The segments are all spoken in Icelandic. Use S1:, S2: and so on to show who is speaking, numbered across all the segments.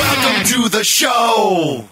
S1: Welcome to the show.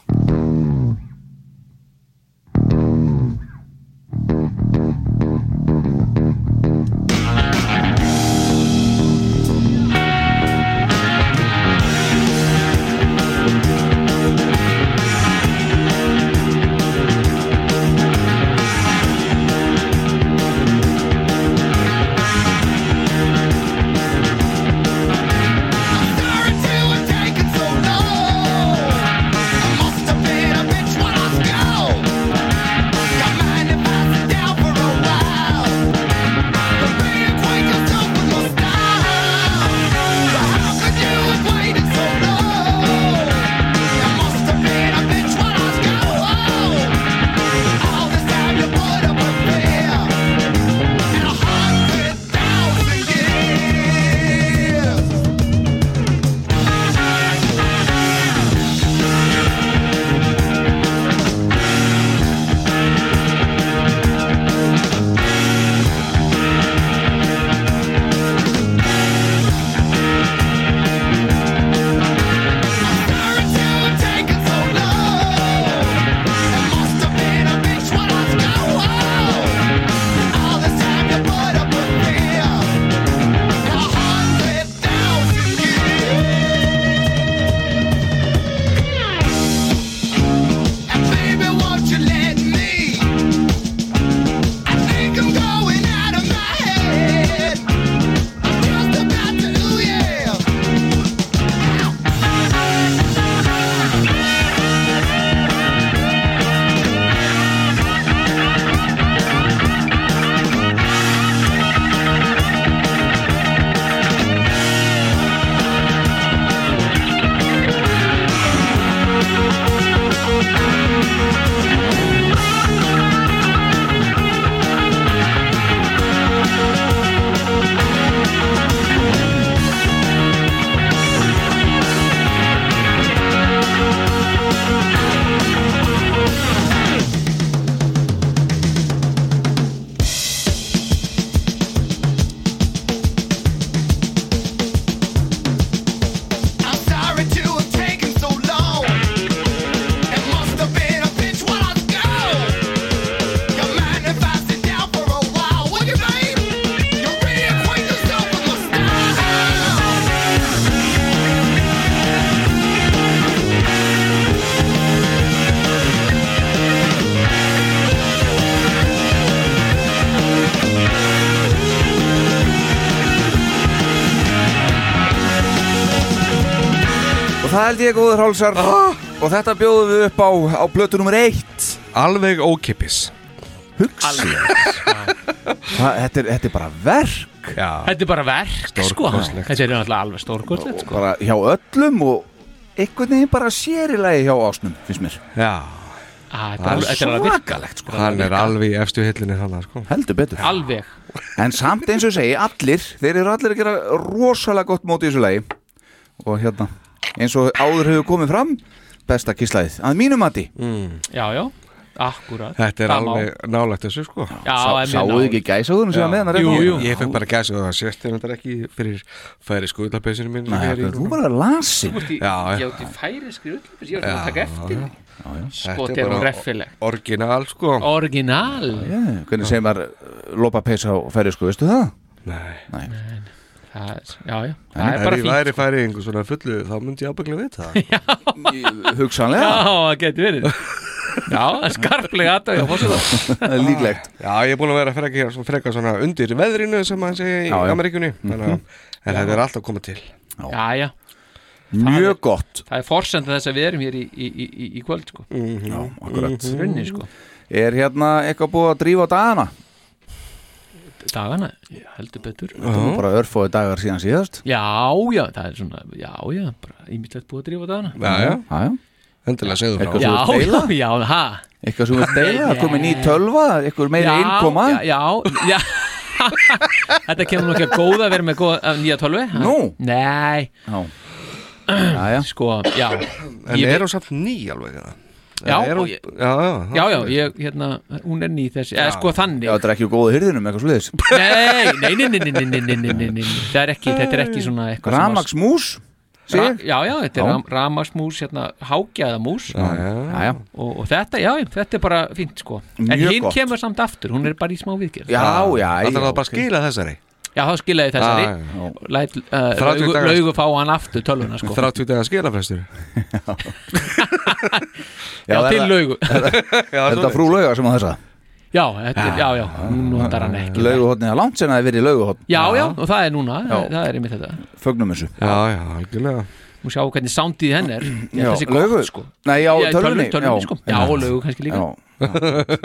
S2: Yeah.
S1: I'm just about to, ooh, yeah. I'm sorry to have taken so long. It must have been a bitch while I was gone. You mind if I sit down for a while? Would you, babe? You reacquaint yourself with my style.
S3: Og það held ég góður hálsar Og þetta bjóðum við upp á, á blötu nummer eitt
S4: Alveg ókipis
S5: Sko,
S3: það, þetta, er, þetta er bara verk
S4: Já,
S5: Þetta er bara verk sko
S4: Stórkostlegt.
S5: Þetta er náttúrulega alveg stórkostlegt sko
S3: Bara hjá öllum og einhvern veginn bara sér í lagi hjá ásnum finnst mér
S4: já
S5: Á, Þetta er alveg- þetta er alveg virkalegt sko
S4: Hann er alveg í efstu hillinni hann sko.
S3: Heldur betur
S5: Alveg
S3: En samt eins og ég segi, allir Þeir eru allir að gera rosalega gott móti í þessu lagi Og hérna Eins og áður hefur komið fram Besta kíslaðið, að mínum mati
S5: Já, já Akkurat
S4: Þetta er
S5: Það má.
S4: alveg nálægt þessu sko
S5: Já, en
S3: Sáu
S5: mér
S3: þið
S5: náði.
S3: ekki gæsaðunum sem var með hann
S5: Jú,
S4: Ég-
S5: jú.
S4: Ég fekk bara gæs og það sést þér þetta ekki fyrir færi skoðlapesinu mín
S3: Þú bara lasin
S5: Þú ert í-
S4: Já, já.
S5: Ég átti færi skriflöfis, ég átti að taka eftir því. Sko,
S4: Þetta er
S5: þetta er hún
S4: bara-
S5: reffileg
S4: Orginal sko
S5: Orginal
S3: yeah, Hvernig segir maður uh, lopa peysa á færisku, veistu það?
S4: Nei
S5: Það er, já, já, það
S4: Ef
S5: er bara
S4: ég
S5: fínt sko.
S4: væri færi einhver svona fullu þá myndi ég ábygglega vita það
S3: Hugsanlega
S5: Já, það getur verið Já, það er skarplega aðtöð
S3: það er líklegt
S4: Já, ég er búin að vera frekar, svona- frekar svona undir veðrinu sem maður segja í
S3: Já, já.
S4: Ameríkunni þannig
S5: Mhm.
S4: að en þetta er alltaf komið til
S5: Já, já,
S3: Mjög gott
S5: það er forsenda þess að við erum hér í, í, í, í- í kvöld sko.
S3: Já, akkurat
S5: Runni sko
S3: Er hérna eitthvað búið að drífa á dagana?
S5: Dagana, ég heldur betur
S3: Það var bara örfóði dagar síðan síðast
S5: Já, já, það er svona Já, já, bara ímyndilegt búið að drífa dagana
S4: Já, já,
S3: Já, já
S4: endilega segðu frá
S3: Eitthvað
S5: Já,
S3: þú vilt
S5: já,
S3: deila?
S5: já, ha
S3: Eitthvað sem við deila,
S5: Nei.
S3: komið ný tölva, eitthvað meiri
S5: já,
S3: innkoma
S5: Já, já, já Þetta kemur nokkið góð að vera með góð, að nýja tölvi ha?
S3: Nú?
S5: Nei,
S3: Já, já, já.
S5: sko, já
S4: En
S5: Ég
S4: er hún samt ný alveg eða?
S5: Já,
S4: Er hún-
S5: og ég-
S4: já, já,
S5: Já, já, ég, hérna, hún er ný þessi Eða sko þannig
S3: já þetta er ekki úr góðu hyrðinum, eitthvað sliðis
S5: Nei, nei, nei, nei, nei, nei, nei, nei, nei, nei, nei. Það er ekki, þetta er ekki svona eitthvað sem að-
S3: Ramagsmús,
S5: Ra-
S3: segir
S5: Já, já, þetta
S3: Já.
S5: er ramagsmús, hérna, hágjaðamús
S4: já, já.
S3: Já, já,
S5: og, og þetta, já, þetta er bara fínt sko En
S3: Mjög
S5: hinn
S3: gott.
S5: kemur samt aftur, hún er bara í smá viðgerð Já,
S3: já, já,
S4: Það er
S3: já.
S4: það bara að skila þessari
S5: þá skilaði þessari
S4: Já,
S3: já.
S5: Læt, uh,
S4: 30
S5: laugu,
S4: dagar.
S5: laugu fá hann aftur tölvuna sko
S4: Þráttu dagar skilafrestur
S5: Já,
S3: það er
S5: til
S3: það-
S5: laugu
S3: Er Þetta frú lauga sem að þessa
S5: Já, þetta, er- já, já, hún notar hann ekki
S3: Lauguhotni, það er langt sen að það verið lauguhotn
S5: Já, já, og það er núna,
S3: Já.
S5: það er einmitt þetta
S3: Fögnum þessu
S4: Já, já, algjörlega
S5: Nú sjá hvernig soundið henn er Ég held
S3: Já,
S5: það sé gott,
S3: laugu.
S5: sko.
S3: Nei, já,
S5: Já,
S3: tölvunni
S5: tölvunni, sko. Já, og laugu kannski líka
S3: Já,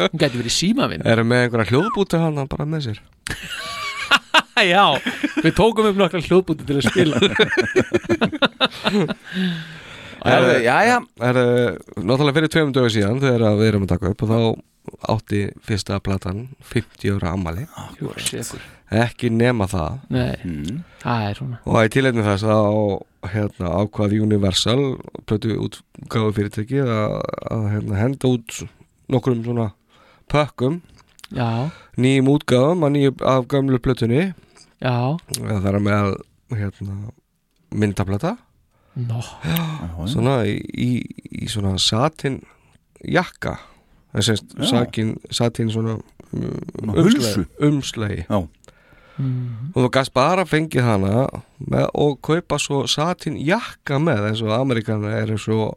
S5: Hún gæti verið símavinn
S4: Erum með einhverja hljóðbúti hana bara með sér
S5: Já, við tókum upp nokkra hljóðbúti til að spila
S3: Herðu, já, já,
S4: Það er eh, náttúrulega fyrir tveimum dögum síðan þegar að við erum að taka upp og þá átti fyrsta platan 50 ára ammali ekki nema það
S5: Nei,
S3: Mm.
S5: það er svona
S4: og í tilefni þess að hérna, ákvað Universal plötu útgáðu fyrirtæki að, að hérna, henda út nokkrum svona pökkum
S5: Já,
S4: nýjum útgáðum að nýjum af gamlu plötunni
S5: já,
S4: það er með hérna, myndaplata
S5: nó
S4: svona í, í, í svona satin jakka það sést
S3: Já.
S4: sakin, satin svona um,
S3: hulsu.
S4: umslagi, umslagi.
S3: Já.
S4: og þú gast bara fengið hana með, og kaupa svo satin jakka með eins og Amerikanar eru svo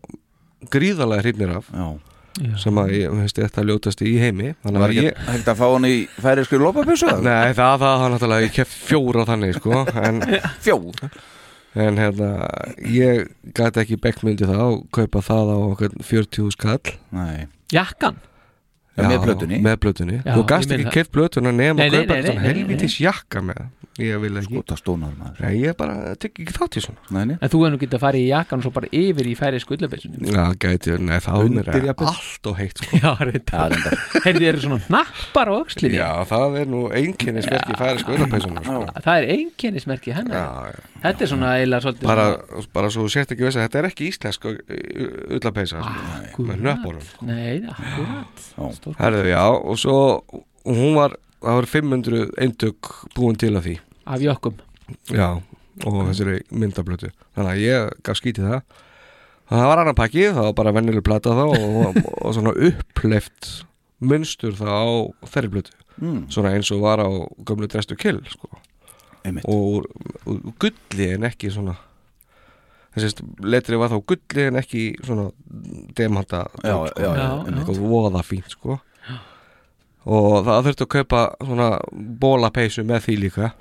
S4: gríðalega hrifnir af
S3: já
S4: sem að ég veist þetta ljótast í heimi þannig
S3: Var
S4: að
S3: ekki
S4: ég
S3: hægt að fá hann í færiðskri lópapísu?
S4: Nei, það, það var náttúrulega, ég kef fjóra þannig, sko, en,
S3: Fjóð
S4: en hérna, ég gæti ekki bekkmyndi það og kaupa það á okkur 40 skall
S3: Nei,
S5: Jakkan?
S3: Já, með plötunni.
S4: með plötunni.
S5: Já,
S4: þú
S5: ég
S4: gast
S5: meina
S4: ekki
S5: það.
S4: keift plötuna nema
S5: Nei,
S4: að
S5: nei,
S4: kaupa
S5: nei,
S4: þetta
S5: nei, nei,
S4: helvitis jakka með það. ég vil ekki
S3: gúta stónar maður
S4: Nei, ég bara tek ekki þátt í svona
S3: Nei, nei
S5: En þú hefur nú getað að fara í jakkan og svo bara yfir í færi skullabessunni
S4: já, gæti, nei, það er mér
S3: Undir jafnvel.
S4: allt og heitt sko.
S5: Já, reynda
S3: Það er enda
S5: Heyrðu, eru svona hnappar á öxlinni
S4: já, það er nú einkennisverki færi sko öllapæsunum sko.
S5: Það er einkennismerki hennar
S4: Já, já.
S5: Þetta er svona eiginlega svolítið
S4: bara, bara svo þú sért ekki veist að þetta er ekki íslensk öllapæsa sko,
S5: Akkúrat.
S4: með nöppunum
S5: svona- Nei, akkurat
S4: herðu, já, og svo hún var, það var 500 eindök búin til af því
S5: Af jökkum
S4: Já, og þessari myndablötu Þannig að ég gaf skítið það Þannig að það var annar pakki, það var bara vennileg plata þá og, og svona uppleift munstur þá á þeirri blötu
S3: Mm.
S4: Svona eins og var á gömlu drestu kill sko.
S3: Einmitt.
S4: Og úr, úr gulli en ekki svona Þessi letri var þá gulli en ekki svona demanta
S3: Já,
S4: dót,
S3: já, já,
S5: Já,
S3: einmitt.
S4: eitthvað voða fínt sko Og það þurfti að kaupa svona bólapeysu með því líka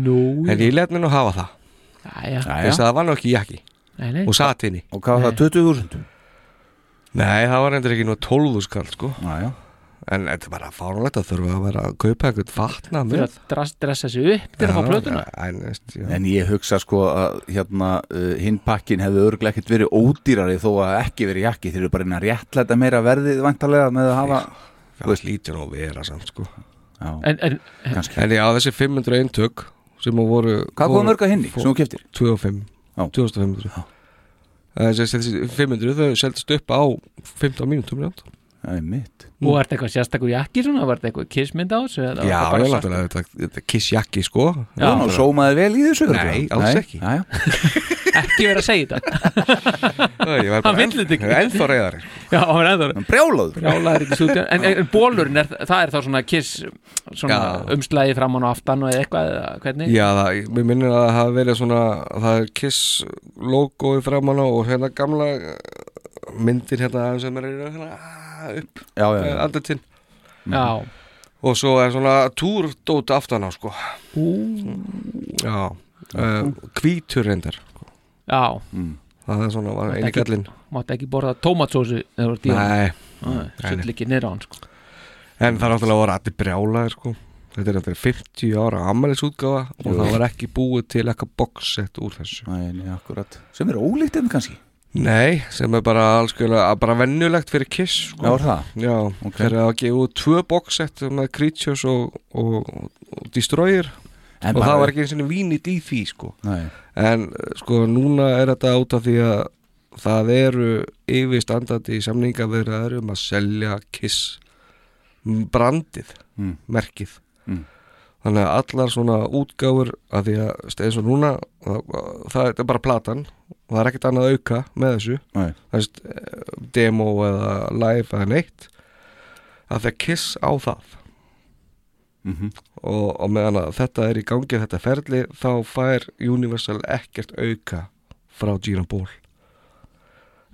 S5: Nú
S4: En ég let mér nú hafa það
S5: Jæja,
S3: Já, já.
S4: þess að það var nú ekki jakki
S5: nei, nei
S4: og satt inni
S3: Og hvað var það, 20.000?
S4: Nei, það var endur ekki nú 12 skall sko
S3: Já, já
S4: en þetta er bara fáránlegt að þurfa að vera að kaupa eitthvað fatna
S5: Fyrir
S4: með
S5: að dras- dressa sig upp til að fá plötuna
S4: Já, en, veist, já.
S3: En ég hugsa sko að hérna uh, hinn pakkin hefði örglega ekkert verið ódýrari þó að ekki verið jakki þeir eru bara inn að réttlæta meira verðið vantarlega með að hafa
S4: það veist, lítur nú að vera samt sko
S3: Já,
S5: En, en
S3: kannski
S4: En já, þessi 500 eintök sem að voru
S3: Hvað kom mörg að hinni sem
S4: fór-
S3: þú keftir?
S4: 25
S3: Já.
S4: 2500 Eh, þessi, þessi 500 þau seldist upp á 15 mínútum reynd
S3: Það er mitt
S5: og var þetta eitthvað sérstakur jakki svona Var þetta eitthvað kissmynd á þessu eða var
S4: Mm. Já,
S5: þetta bara
S4: ég
S5: svart?
S4: náttúrulega þetta, þetta kissjakki sko
S5: Já.
S3: Já, og sómaði vel í þessu
S4: Nei, alls ekki.
S3: Já, já,
S5: Ekki verið að segja þetta
S4: Ég var
S5: Hann
S4: bara
S5: vill þetta
S4: enn-
S5: ekki.
S4: ennþá reyðari
S5: Já, hann er ennþá
S3: en brjálaður
S5: Brjálaður ekki stúdíun en, en bólurinn, er, það er þá svona kiss svona
S4: Já.
S5: umslæði framann og aftan og eitthvað eða hvernig
S4: Já, það, mér minnir að það hafi verið svona það er Kiss uh, logoið framan á og hérna gamla eh, myndir hérna aðeins sem er hérna, upp
S3: já, já,
S4: eh,
S3: já.
S4: andlitinn
S5: Já,
S4: og svo er svona túrdót aftan á sko já eh, hvítur reyndar
S5: já,
S4: það er svona var eini
S5: Ekki-
S4: gallin
S5: mátt ekki borða tómatsósu eða voru dýra
S4: nei nei.
S5: Sull ekki nýra hann sko
S4: En það er náttúrulega voru allir brjálaðir sko Þetta er náttúrulega 50 ára ammælisútgáfa og það var ekki búið til eitthvað boxset úr þessu
S3: Æ, nei, akkurat Sem er ólíkt enn kannski
S4: Nei, sem er bara alls alls bara vennulegt fyrir Kiss
S3: Já,
S4: sko.
S3: er það
S4: Já,
S3: Ok.
S4: þeir eru að gefa út tvö boxset með Creatures og, og, og Destroyer
S3: En
S4: og
S3: bara-
S4: það var ekki eins og vínit í því sko
S3: Nei,
S4: En eh, sko núna er þetta út af því að það eru yfirstandandi samningaverðar um að selja Kiss brandið,
S3: Mm.
S4: merkið
S3: Mm.
S4: þannig að allar svona útgáfur að því að stegið svo núna það, það er bara platan og það er ekkert annað að auka með þessu
S3: nei,
S4: Þess, eh, demo eða live eða neitt að því að Kiss á það
S3: Mhm.
S4: og, og meðan að þetta er í gangi þetta ferli þá fær Universal ekkert auka frá Gina Ból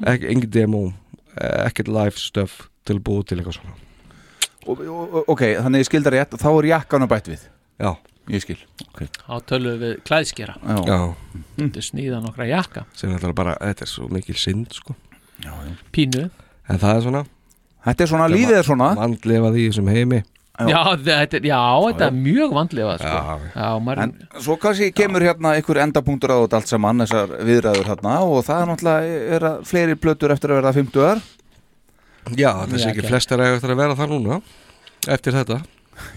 S4: Ek, engin demo ekkert live stuff til búið til eitthvað svona
S3: og, og, Ok, þannig ég skildar rétt Þá er jakkan að bætt við
S4: já,
S3: Ég skil okay.
S5: Þá tölum við klæðskera
S3: já.
S4: já, Mm.
S5: Þetta snýða nokkra jakka
S4: sem þetta er bara þetta er svo mikil synd sko
S5: Pínu
S4: en það er svona,
S3: Þetta er svona lífið er
S4: Ah.
S3: svona
S4: vandlefað í þessum heimi
S3: Já.
S5: Já, þetta, er- já, þetta er mjög vandlega sko.
S4: Já.
S5: já, maður,
S3: En svo kannski kemur hérna einhver endapunktur á þetta allt saman Þessar viðræður hérna Og það er náttúrulega er að fleiri blötur eftir að verða 50
S4: já, þetta
S5: Já,
S4: sé ekki
S5: ekki.
S4: flestar eiga eftir að vera það núna eftir þetta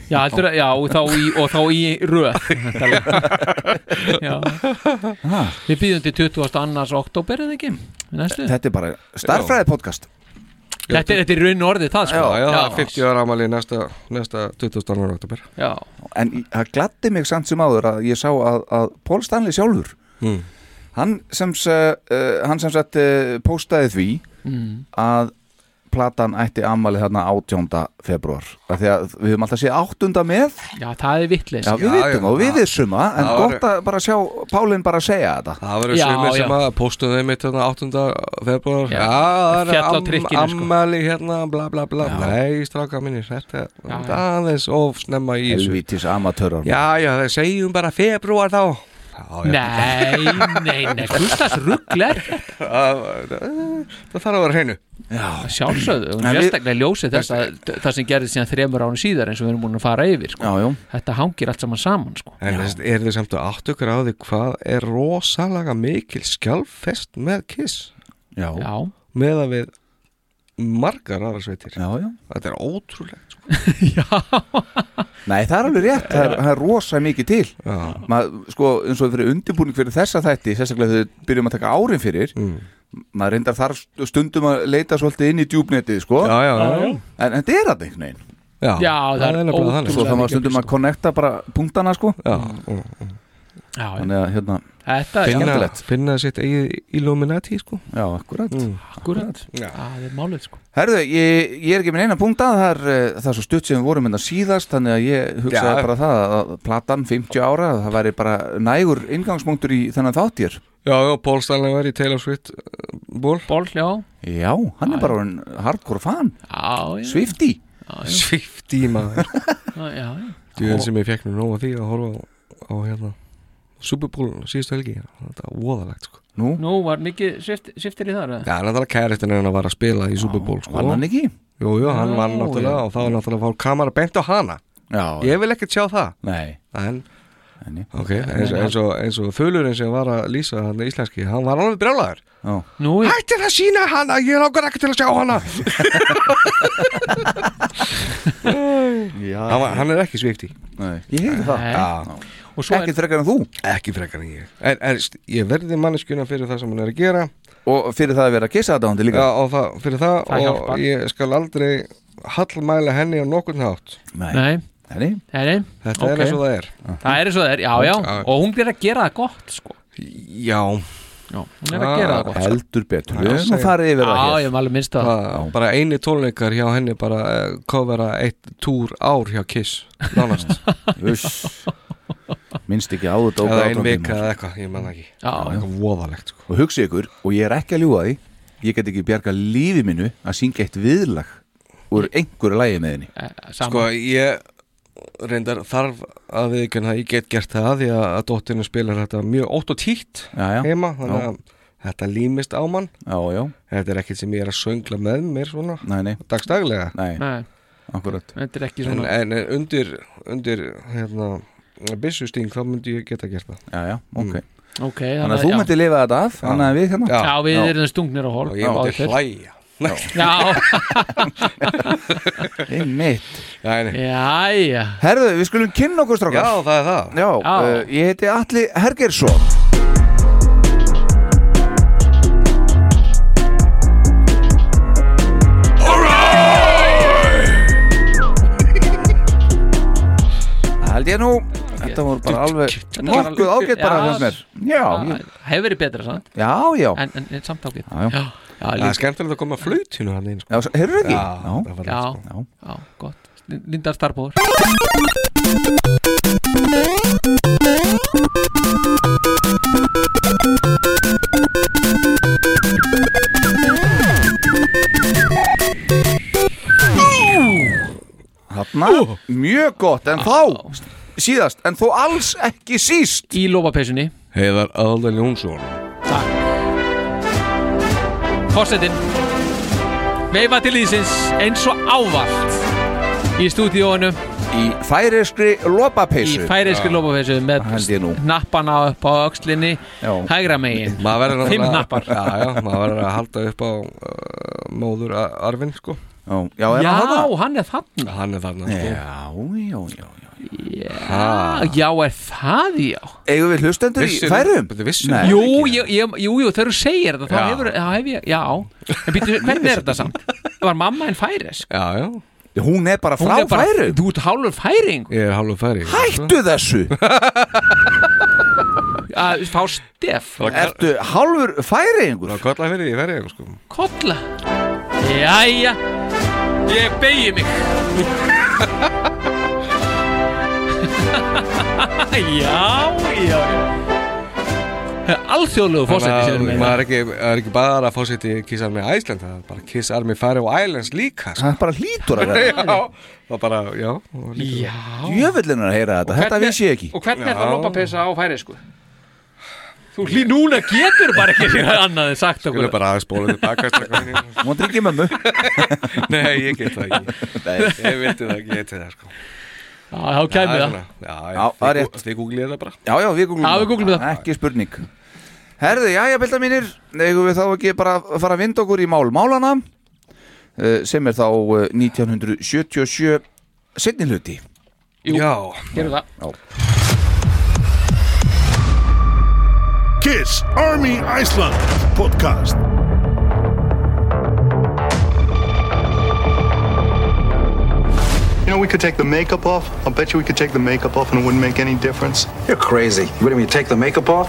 S5: já, heldur, að- já og, þá í, og þá í röð Já
S3: Ha.
S5: Við býðum til 22. annars oktober eða ekki Næstu
S3: Þetta er bara starfræði podcast
S5: Þetta er, þetta er raun orðið það sko
S4: Já, já, það er 50 ára ámali næsta, næsta 20. annan oktober
S5: já.
S3: En í- það gladdi mig samt sem áður að ég sá að, að Paul Stanley sjálfur
S4: mm.
S3: Hann sem, s- uh, hann sem sagt uh, postaði því
S5: Mm.
S3: að platan ætti ammalið þarna 18. februar af því að við höfum alltaf séð 8. með
S5: já, það er vittleys
S3: já, við
S4: Já,
S3: vitum
S4: já,
S3: og við
S4: já.
S3: vissum það en
S4: Það var-
S3: gott að bara sjá Pálin bara segja þetta
S4: Það verður
S5: Já,
S4: sumir
S5: já.
S4: sem að postuðu þeim mitt þarna 8. februar
S5: Já.
S4: Já, það er
S5: Fjall á
S4: am,
S5: trikkinu, sko.
S4: ammali hérna, bla bla bla Nei, stráka mínir, þetta
S5: Já,
S4: þetta
S5: já.
S4: aðeins of snemma í þessu
S3: Elvítis amatörar
S4: Já, já, það segjum bara februar þá Já, já,
S5: Nei, nei, nei, Gustafs ruggler
S4: það það þarf að vera hreinu
S5: Sjálfsögðu, og
S3: En við-
S5: sérstaklega ljósið þess að það sem gerðist síðan þremur árum síðar eins og við erum múin að fara yfir sko.
S3: já, já.
S5: Þetta hangir allt saman saman sko.
S4: En þess- er þið samt að áttu ykkur á því hvað er rosalega mikil skjálfest með Kiss
S3: Já.
S5: Já,
S3: Já.
S4: með að við margar aðra sveitir
S3: Já,
S4: Þetta er ótrúlegt sko.
S3: Nei, það er alveg rétt, það er, það er rosa mikið til
S4: Já,
S3: maður, sko, eins og fyrir undirbúning fyrir þessa þætti, sérstaklega þegar við byrjum að taka árin fyrir
S4: Mm.
S3: maður reyndar þar stundum að leita svolítið inn í djúbnetið, sko
S4: já, já, já, já.
S3: en þetta er þetta einhvern veginn,
S4: Já,
S5: Já, það er
S4: nefnilega
S5: ótrúlega-
S3: svo
S4: þannig.
S3: það maður stundum að connecta bara punktana, sko
S4: Já,
S5: Mm. já, já.
S3: þannig að, hérna,
S5: þetta er
S4: finna,
S3: skemmtilegt.
S4: finna sitt eigið Illuminati sko.
S3: já, akkurat
S5: akkurat
S4: Já.
S5: Það er málið sko
S3: Herðu, ég, ég er ekki minn eina punkt að það er, eh, það er svo stutt sem við vorum innan síðast þannig að ég hugsaði
S4: Já.
S3: bara það að- að platan 50 ára, það væri bara nægur ingangspunktur í þennan þáttir
S4: Já, já, Paul Stanley var í Taylor Swift uh, ból
S5: Ból, já,
S3: Já, hann er bara orðinn hardcore fan
S5: já, já,
S3: Swifty
S4: Swift í maður
S5: já, já, já.
S4: Djúðin sem ég fekk nú nóg að því að horfa á, á hérna Super Bowl síðustu helgi Þetta er voðalegt sko.
S3: Nú,
S5: Nú var mikið svift- sviftir í þar eða?
S4: Já, hann er kæristinn en að var að spila í Super Bowl sko.
S3: var hann ekki?
S4: Jú, jú, hann vann
S5: Já,
S4: náttúrulega
S5: já.
S4: og þá var náttúrulega að fá kamera beint á hana
S3: Já,
S4: Ég vil ekkert sjá það
S3: nei
S4: En,
S3: Nei.
S4: ok, eins, eins, og, eins og þölurinn sem var að lýsa hann íslenski, hann var alveg brjálæður
S3: Já.
S5: Nú, er-
S4: Hættir að sína hana, ég langar ekki til að sjá hana hann, var- hann er ekki svifti
S3: Nei. Ég heiti það
S5: Nei. og svo er
S3: Ekkert frekar en þú
S4: Ekki frekar en ég En, en st- ég verði manneskjuna fyrir það sem hann er að gera
S3: Og fyrir það að vera kissa þetta ándi líka
S4: ja, og það, fyrir það,
S5: Það
S4: og
S5: hjálpar.
S4: ég skal aldrei hallmæla henni á nokkurn hátt
S5: Nei,
S3: Nei.
S5: nei, nei
S4: Þetta
S5: ok.
S4: er eins og það er
S5: Það er eins og það er, já, já
S4: Já.
S5: Og hún er að gera það gott, sko
S4: Já,
S5: Já, hún er að
S4: Ah,
S5: gera það gott, sko
S3: Heldur betur
S4: Já,
S3: Við erum
S4: segir.
S3: að fara yfir það
S5: Já,
S3: hér
S5: ég hef alveg minnst það
S4: það, bara eini tónleikar hjá henni bara uh, kofera eitt túr ár hjá Kiss Nánast,
S3: Uss. Minnst ekki á þetta og
S4: eða
S3: grátum
S4: ein vika
S3: tíma.
S4: eða eitthvað, ég menna ekki
S5: Já,
S4: Það er
S5: já.
S4: eitthvað voðalegt sko
S3: Og hugsa ykkur, og ég er ekki að ljúga því Ég get ekki bjarga lífi minu að syngja eitt viðlag úr einhverju lægi með
S5: e,
S3: henni
S4: Sko
S5: Saman
S4: ég reyndar þarf að viðkjöna að ég get gert það því að, að dóttinu spilar þetta mjög ótt og títt
S3: Já, já.
S4: heima þannig að þetta límist á mann
S3: Já, já,
S4: þetta er ekkert sem ég er að söngla með mér svona
S3: nei, nei,
S4: dagstaglega
S3: nei,
S5: Nei,
S3: akkurat
S5: þetta er ekki
S4: en,
S5: svona
S4: en undir, undir hérna, byssusting þá myndi ég geta gert það
S3: Já, já, ok
S4: Mm.
S5: Ok,
S3: Þannig að þú myndir lifa þetta af, þannig að við hérna
S5: Já, við erum stungnir á hól
S4: og ég
S5: báðir
S4: myndi
S5: tveir.
S4: hlæja Nei,
S5: Já,
S3: Einmitt.
S4: nei, nei.
S5: jæja
S3: Herðu, við skulum kynna okkur
S4: Já,
S3: strákar
S4: það er það
S3: Já,
S5: Já.
S3: uh, ég heiti Atli Hergersson Það held ég nú Þetta voru bara alveg
S5: Þetta var
S3: nokkuð
S5: alveg-
S3: ágætt bara
S5: Já.
S3: fannst mér Já, ég-
S5: Hefur verið betra sant?
S3: já, já
S5: En, en, en samt ágætt
S3: Já, já.
S5: já, já,
S4: Það er
S5: Lind-
S4: skemmtilegt að koma að flutinu hann einn sko.
S3: Já, s- heyrðu ekki?
S4: það var
S5: já,
S4: rétt, sko.
S3: já.
S5: já, gott Lindar starfbóður
S3: Þarna, mjög gott, en þá síðast, en þó alls ekki síst
S5: Í lópapeysunni
S4: Heiðar Aðaldan Jónsson
S5: Fossettinn Veifa til ísins eins og ávart Í stúdíóinu
S3: í færiskri
S5: Í
S3: lopapeysu
S5: færiðsku lópapeysu Með
S3: Það held ég nú.
S5: hnappana upp á öxlinni
S3: Já.
S5: Hægra megin
S4: Maður verður
S5: Fimm
S4: náttúrulega-
S5: hnappar.
S4: Já, já, maður verður að halda upp á uh, móður a- arfinn sko
S3: Já, já, er
S5: Já,
S3: hann þarna?
S5: hann er þarna
S4: Hann er þarna
S3: Já,
S4: sko
S3: já, já, já
S5: Já, já er það já
S3: Eigum við hlustendur í
S4: Vissirðu-
S3: færum?
S4: Bíddu, vissirðu?
S3: Nei.
S5: Jú, ég, ég, jú, jú, þegar þú segir þetta þá hefur, þá hef ég, já En býttu, hvernig er þetta samt? Var mamma en færisk?
S4: Já, já,
S3: Hún er bara
S5: Hún
S3: frá
S5: er bara-
S3: færum
S5: Þú ert hálfur færing
S4: ég er hálfur færi sko.
S3: Hættu þessu,
S5: að fá stef
S3: ertu hálfur færiðingur
S4: Það var kollað fyrir því í færi sko
S5: kolla Jæja, ég begi mig Já, já, já Alþjóðlegu fórsætti sér
S4: Þannig að
S5: með
S4: maður er ekki, það er ekki bara að fórseti Kiss Army Iceland, það er bara Kiss Army Faroe Islands líka sko.
S3: Það er bara hlýtur að vera
S4: Já, það er bara, já og lítur-
S5: Já
S3: Jöfullin er að heyra þetta, þetta vissi ég ekki
S5: Og hvernig er
S4: Já.
S5: það lopapeysa á færisku? Þú hlý núna getur bara ekki fyrir annað en sagt
S4: Ég vil
S5: okkur
S4: bara aðeins bóla tilbaka strákar.
S3: Hún drikki mömmu
S4: Nei, ég get það ekki Ég veit það ekki, ég get það sko
S5: Já, þá kæmi það
S4: svona. Já,
S3: Já, það er
S4: já,
S3: rétt.
S4: þið googlið það bara
S3: Já, já, við googlum
S5: Já, við googlum það.
S3: Ekki spurning Herðu, já, já, bylda mínir Eigum við þá ekki bara að fara að vinda okkur í mál málana eh, sem er þá eh, 1977 setni hluti
S5: Jú.
S4: Já,
S5: Gerum það
S2: Kiss Army Iceland podcast.
S6: You know, we could take the makeup off. I'll bet you we could take the makeup off and it wouldn't make any difference.
S7: You're crazy. What do you mean? Take the makeup off?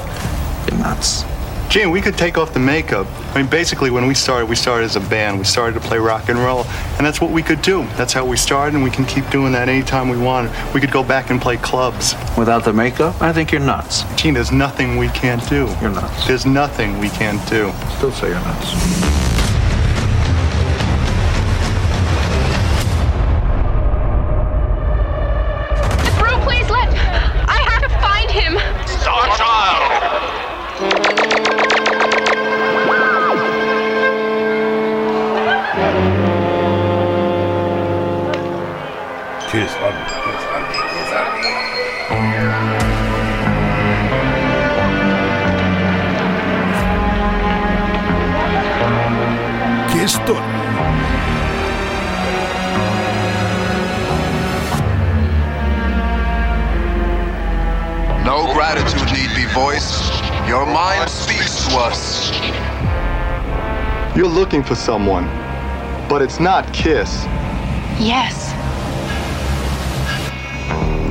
S7: You're nuts.
S6: Gene, we could take off the makeup. I mean, basically, when we started, we started as a band. We started to play rock and roll, and that's what we could do. That's how we started, and we can keep doing that anytime we want. We could go back and play clubs.
S7: Without the makeup? I think you're nuts.
S6: Gene, there's nothing we can't do.
S7: You're nuts.
S6: There's nothing we can't do.
S7: Still say you're nuts.
S8: Brew, please let. I have to find him.
S2: Kiss Army. Kiss Army. Kiss Army. Kiss Story.
S9: No gratitude need be voiced. Your mind speaks to us.
S6: You're looking for someone, but it's not Kiss.
S8: Yes.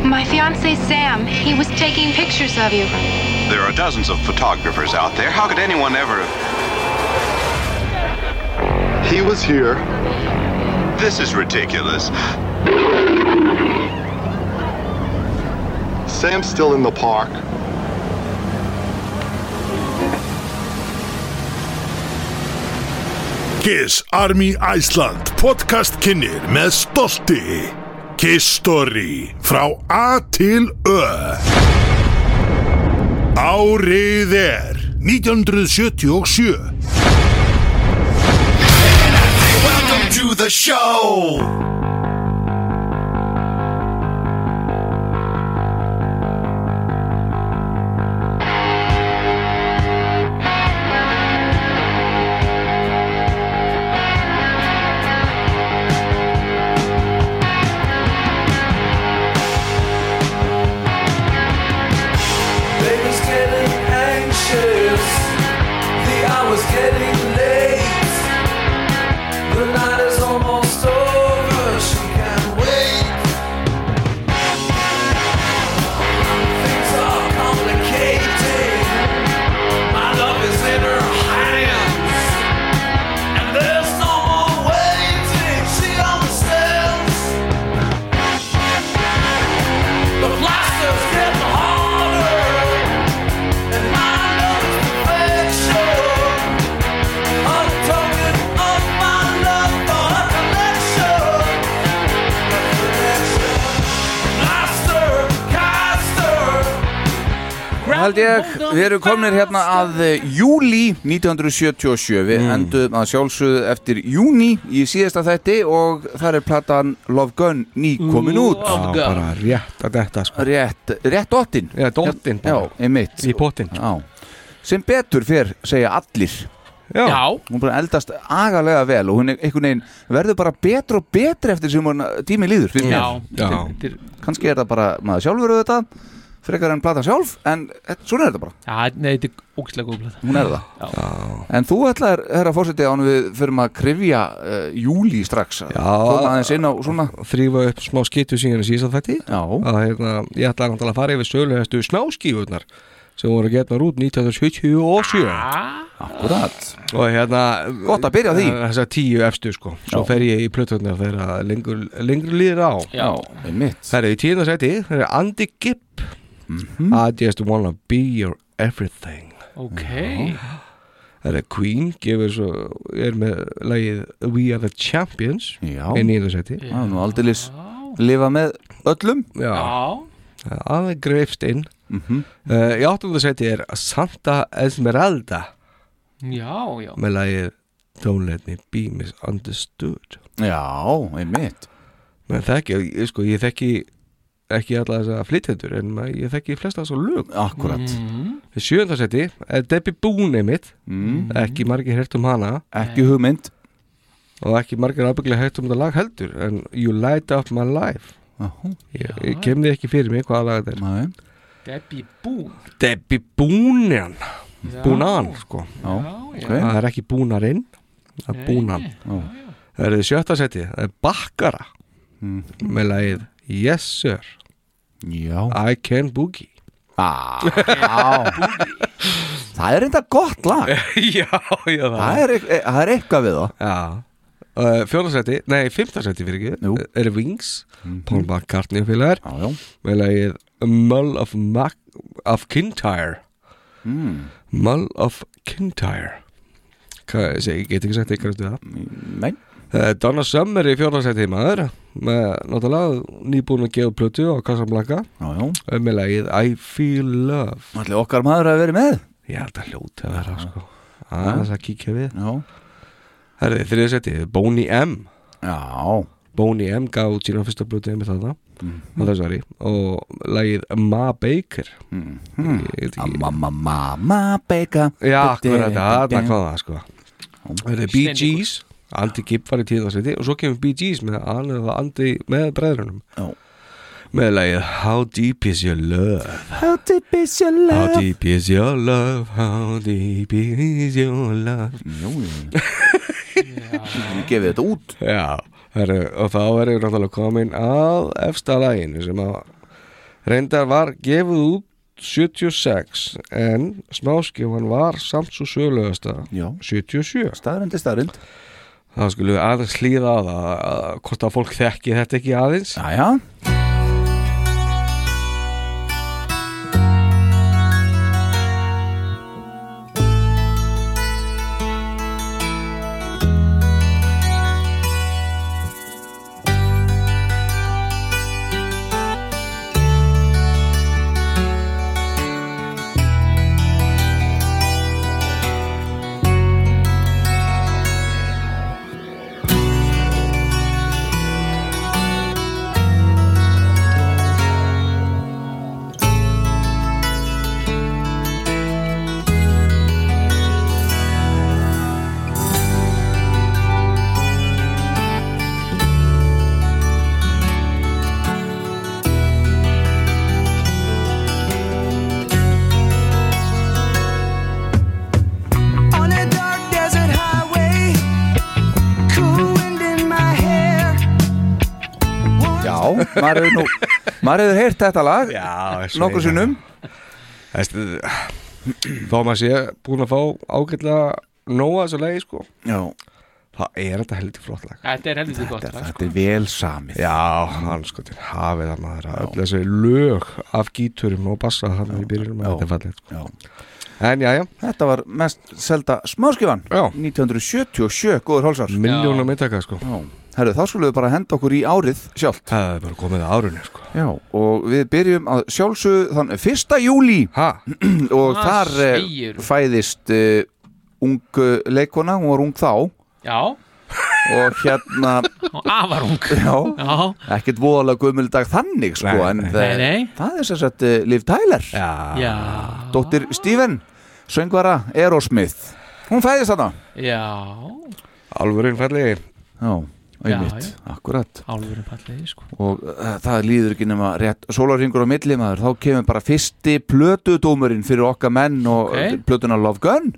S8: My fiance Sam, he was taking pictures of you.
S9: There are dozens of photographers out there. How could anyone ever?
S6: He was here.
S9: This is ridiculous.
S6: Sam's still in the park.
S2: Kiss Army Iceland podcast kynir með stolti Kiss Story frá A til Ö Árið er 1977
S9: Welcome to the show.
S1: Baby's getting anxious. The hour's getting late. The night is almost over. She can't wait. Things are complicated. My love is in her hands. And there's no more waiting. She understands. The blasters get harder, and my love is perfection. I'm talking of my love for a connection. A connection. Blaster, caster.
S3: Held ég, við erum komnir hérna að eh, júlí 1977 Við endum að sjálfsögðu eftir júni í síðasta þætti og þar er platan Love Gun ný komin út
S4: Já, bara rétt að þetta sko
S3: Rétt, rétt dottinn
S4: Já, dottinn
S3: Já,
S4: bara.
S3: einmitt
S4: Í pottinn.
S3: Já Sem betur fyrr segja allir
S4: Já,
S3: Hún bara eldast agalega vel og hún er einhvern veginn verður bara betur og betur eftir sem hún tími líður finnst
S5: Já.
S3: mér.
S4: já,
S3: Kannski er það bara maður sjálfur auðvitað frekar en platan sjálf en eh, svona er þetta bara
S5: Já, nei, þetta er ógæslega góð plata
S3: Hún er það.
S5: Já,
S3: En þú ætlaðir, herra fórseti, án við förum að krifja uh, júli strax Já Koma aðeins inn á svona
S4: þrýfa upp smá skýtu síðan í síðan þetta
S3: Já,
S4: að hérna, ég ætla náttúrulega að fara yfir söluhestu snáskífurnar sem voru getnar út 1977
S3: akkurat
S4: og hérna
S3: Gott að byrja á því.
S4: þess að tíu efstu sko svo
S3: Já.
S4: fer ég í plötunar þegar að lengur, lengur líður á
S5: já,
S3: einmitt
S4: það eru í tíðna seti það eru Andy Gibb
S3: Mhm.
S4: I just wanna be your everything
S5: ok
S4: það eru Queen gefur svo er með lagið We are the champions
S3: Já,
S4: í nýjunda seti
S3: það er nú aldeilis lifa með öllum
S4: já
S5: Já,
S4: aðeins greifst inn
S3: Mhm.
S4: uh, í áttunda seti er Santa Esmeralda
S5: já, já
S4: með lagið Don't Let Me Be Misunderstood
S3: Já, einmitt
S4: menn þekki, ég, sko, ég þekki ekki alla þess að flytjendur en ma- ég þekki flesta þess að lög
S3: Akkurat
S4: í sjöndarsetti er Debbie Boone mitt
S3: mm.
S4: ekki margir hert um hana
S3: Ekki hugmynd
S4: og ekki margir ábygglega hert um þetta lag heldur en You Light Up My Life
S3: Jaha,
S4: ég, ég kem því ekki fyrir mig hvaða lag þetta er
S3: nei.
S5: Debbie Boone
S4: Debbie Boonean
S5: Já.
S4: Boonan sko
S3: Já,
S5: já.
S3: ok
S4: það er ekki Boonarin það er
S5: Nei.
S4: Boonan
S3: Já.
S4: það er í sjöttarsetti það er Bakkara
S3: Mm.
S4: með lagið Yes Sir
S3: Já
S4: I Can Boogie
S3: Ah, Já Það er enda gott lag
S4: já, já,
S3: Það er, e, það er eitthvað við það
S4: Já uh, Fjórðarsæti, nei, fimmtarsæti fyrir
S3: Jú. Mhm.
S4: ekki Er Wings, Paul McCartney og félagar
S3: Já, já
S4: Með lagið Mull of, Mac of Kintyre
S3: mm.
S4: Mull of Kintyre Hvað ég segi, ég get ekki sagt eitthvað eftir það
S3: Nei
S4: uh, Donna Summer í fjórðarsæti maður Með náttúrulega nýbúin að gefa plötu á Casablanca
S3: Já, já
S4: uh, Með lagið I Feel Love
S3: Allir okkar maður að vera með
S4: Ég held að hljóti að
S3: Ah.
S4: vera sko Aðeins að kíkja við
S3: Já
S4: Herði, þriðarsæti, Boney M
S3: Já
S4: Boney M gaf út sína fyrsta blötu með þarna
S3: Mhm.
S4: á þessu ári og lagið Ma Baker
S3: Hmm.
S4: Ég veit ekki-
S3: Amma, mamma, mamma, beika
S4: Já, akkurat, þarna kom það sko Það eru Bee
S5: Stendikur.
S4: Gees Andy Gibb var í tíðarsveiti og svo kemur Bee Gees með hann eða Andy með bræðrunum
S3: Já.
S4: með lagið How Deep Is Your Love
S3: How deep is your
S4: How
S3: love
S4: Deep Is Your Love How Deep Is Your Love
S3: Jú, jú Við gefið þetta út
S4: Já, heru, og þá verður náttúrulega komin að efsta laginu sem að reyndar var gefið út 76 en smáskjóðan var samt svo sögulegasta
S3: Já
S4: 77
S3: Staðrind er staðrind
S4: Það skulum við aðeins hlýða á það að hvort að fólk þekki þetta ekki aðeins
S3: Jæja maður hefur nú maður hefur heyrt þetta lag
S4: Eh,
S3: nokkur sinnum
S4: Þá eh, maður sé búin að fá ágætlega nóa þessu lagi sko
S3: Já
S4: Það er þetta heldur flott lag
S5: Þetta er heldur gott lag,
S3: Þetta er vel samið
S4: Já, hann sko til hafið að maður Öll þessi lög af gíturum og bassa hann í byrjunum Þetta er fallið sko En já, já
S3: Þetta var mest selda smáskifan 1977, góður hálsar
S4: Miljónum myndaka sko
S3: Herru, þá skulum við bara henda okkur í árið sjálft
S4: Það er bara komið að árunni sko
S3: Já, og við byrjum að sjálfsögðu þann 1. júli
S4: ha.
S3: og
S5: Hvað
S3: þar
S5: segirðu?
S3: segir. fæðist uh, ung eh, leikona, hún var ung þá
S5: já
S3: og hérna,
S5: Og afarung
S3: já,
S5: Já,
S3: ekkert voðalega gumuldag þannig sko,
S4: Nei,
S3: en
S4: nei.
S3: það-
S5: Nei, nei.
S3: það er sér sett uh, Liv Tyler,
S4: Já,
S5: já,
S3: dóttir Steven, söngvara Aerosmith, hún fæðist þarna
S5: já
S4: alvörin fallið
S3: Já,
S5: Já,
S3: einmitt, akkurat
S5: Álfurinn fallegi, sko
S3: og uh, það líður ekki nema rétt sólarringur á milli maður, þá kemur bara fyrsti plötudómurinn fyrir okkar menn og
S5: Ok.
S3: okay. plötuna Love Gun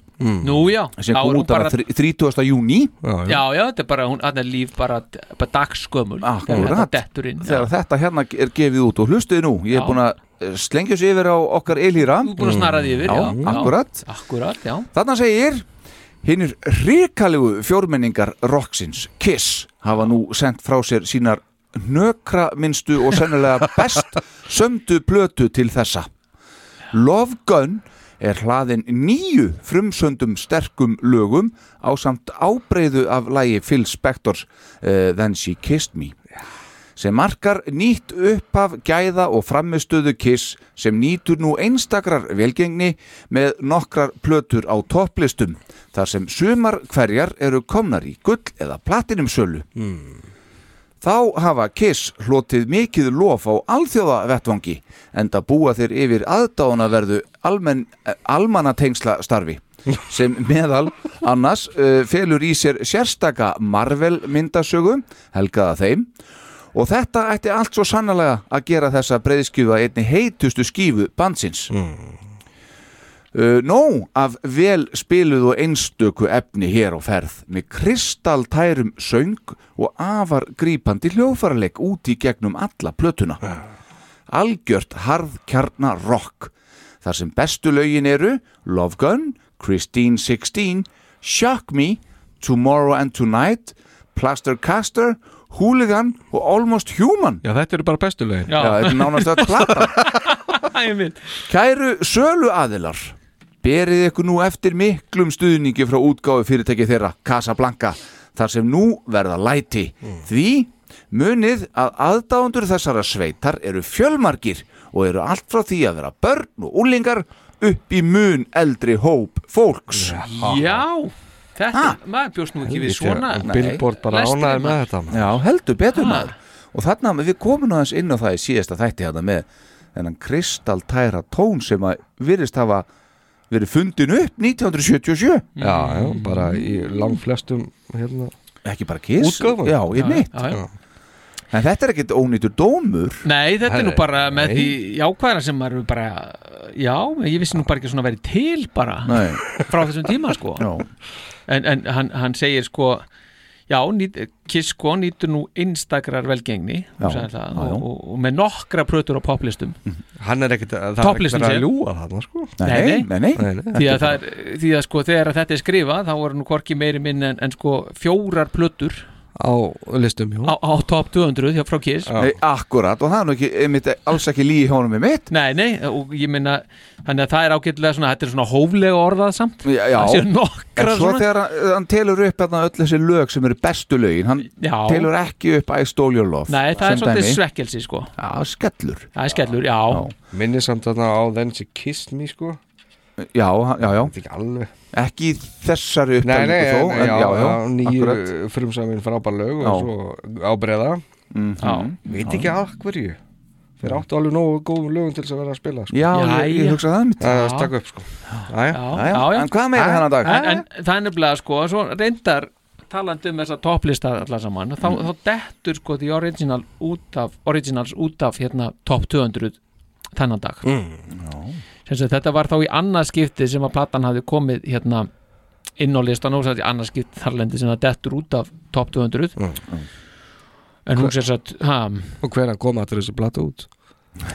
S5: Nú, já,
S3: sem
S5: Þá er
S3: kom
S5: hún
S3: út bara...
S5: bara
S3: 30. júni
S4: Já,
S5: Já, já, þetta er bara, hún, hann er líf bara, bara dagskömmul
S3: Akkurat.
S5: Dettur inn
S3: þegar þetta hérna er gefið út og hlustuði nú, ég
S5: Já.
S3: er búin að eh, slengja sér yfir á okkar Elíra
S5: Þú er búin að snara því yfir,
S3: Mm, Já,
S5: já,
S3: akkurat.
S5: já Akkurat, já
S3: Þarna segir hinnir ríkalegu fjórmenningar rocksins Kiss hafa nú sendt frá sér sínar nökra minnstu og sennilega best sömdu plötu til þessa Love Gun er hlaðin nýju frumsöndum sterkum lögum á samt ábreyðu af lægi Phil Spectors uh, Then She Kissed Me sem markar nýtt uppaf gæða og framistöðu Kiss sem nýtur nú einstakrar velgengni með nokkrar plötur á topplistum þar sem sumar hverjar eru komnar í gull eða platinumsölu. Þá hafa Kiss hlotið mikið lof á alþjóðavettvangi en það búa þeir yfir aðdánaverðu almenn, eh, almannatengsla starfi sem meðal annars uh, felur í sér sérstaka Marvel myndasögu, helgaða þeim og þetta ætti allt svo sannlega að gera þessa breyðskjöfu að einni heitustu skífu bandsins mm. Nó af vel spiluð og einstöku efni hér á ferð með kristaltærum söng og afar grípandi hljófarleik út í gegnum alla plötuna algjört harðkjarna rock þar sem bestu lögin eru Love Gun, Christine 16 Shock Me, Tomorrow and Tonight Plaster Caster, Hooligan og Almost Human
S4: Já, þetta eru bara bestu lögin
S3: Já, þetta er nánast að plata
S5: Æminn
S3: Kæru sölu aðilar Berið ykkur nú eftir miklum stuðningi frá útgáfi fyrirtæki þeirra Casablanca þar sem nú verða læti því munið að aðdáundur þessara sveitar eru fjölmargir og eru allt frá því að vera börn og úlingar upp í mun eldri hóp fólks
S5: Já, þetta,
S3: Ha?
S5: maður bjóst nú ekki við
S4: Þetta er-
S5: svona
S4: Billboard bara
S5: Lestu
S4: ánæði
S5: þeim
S4: með þetta maður.
S3: Já, heldur betur maður og þarna við komum aðeins inn á það í síðasta þætti hérna með þennan kristaltæra tón sem að virðist hafa verið fundin upp 1977
S4: Já, já, bara í langflestum hérna
S3: ekki bara kiss
S4: Útgáfan?
S3: já, ég mitt
S5: Já, já.
S3: en þetta er ekkit ónýtur dómur
S5: Nei, þetta er nú
S4: Herri,
S5: bara með
S4: nei.
S5: því jákvæðara sem maður er bara Já, ég vissi nú bara ekki að svona verið til bara
S3: nei,
S5: frá þessum tíma sko
S3: já,
S5: en, en hann, hann segir sko já, nýt, Kiss sko nýtur nú einstakrar velgengni
S3: Já,
S5: já, það,
S3: já, já.
S5: Og, og, og með nokkra prötur á poplistum
S4: Hann er ekkert það er
S5: Topplistin
S4: ekkert verið
S5: sé.
S4: að ljúa þarna sko
S3: nei,
S5: Nei,
S3: nei, nei,
S4: Nei, nei.
S5: því að, það, er- því að sko þegar að þetta er skrifað þá voru nú hvorki meiri minn en, en sko fjórar plötur
S4: Á listum, jú
S5: á, á top 200 hjá frá Kiss
S4: Já.
S3: nei akkurat og það er nú ekki, einmitt, alls ekki líi hjónum með mitt
S5: Nei, nei, og ég minna þannig að það er ágætlega svona, þetta er svona hóflega orðað samt
S3: já, já.
S5: það séu
S3: en
S5: nokkra
S3: svo
S5: svona
S3: þegar hann, hann telur upp hérna öll þessi lög sem eru bestu lögin hann
S5: Já.
S3: telur ekki upp I stole your love
S5: Nei, það er
S3: sem
S5: svolítið
S3: dæmi.
S5: svekkelsi sko
S3: já, skellur
S5: Það er skellur, já,
S4: Minni samt þarna á Then She Kissed Me sko
S3: já, hann- já, já,
S4: Þetta er ekki alveg
S3: ekki í þessari
S4: Nei, nei,
S3: uppdælingu þó
S4: nei, já, já, nýju
S3: akkurat.
S4: frumsamin frábær lög
S3: Já.
S4: og svo ábreiða
S5: já.
S3: Mm-hmm.
S4: Veit ekki að hverju Þeir áttu alveg nógu góðum lögum til þess að vera að spila sko.
S3: já, ég, ég
S5: Jæja.
S3: hugsa það mitt
S4: Það
S5: Já.
S4: er að stakka upp sko Æja,
S5: Já,
S3: já,
S5: já, já.
S3: en hvað meira hennan dag
S5: en, en það er nefnilega sko svo reyndar talandi um þessa topplista allar saman, þá, þá dettur sko því original út af, originals út af hérna topp 200 þennan dag mm, sem sagt þetta var þá í annað skipti sem að platan hafði komið hérna inn á listan og sem sagt í annað skipti þarlendi sem það dettur út af topp 200
S4: Mm,
S5: En hún sér satt, ha?
S4: Og hvernig koma allir þessi plata út?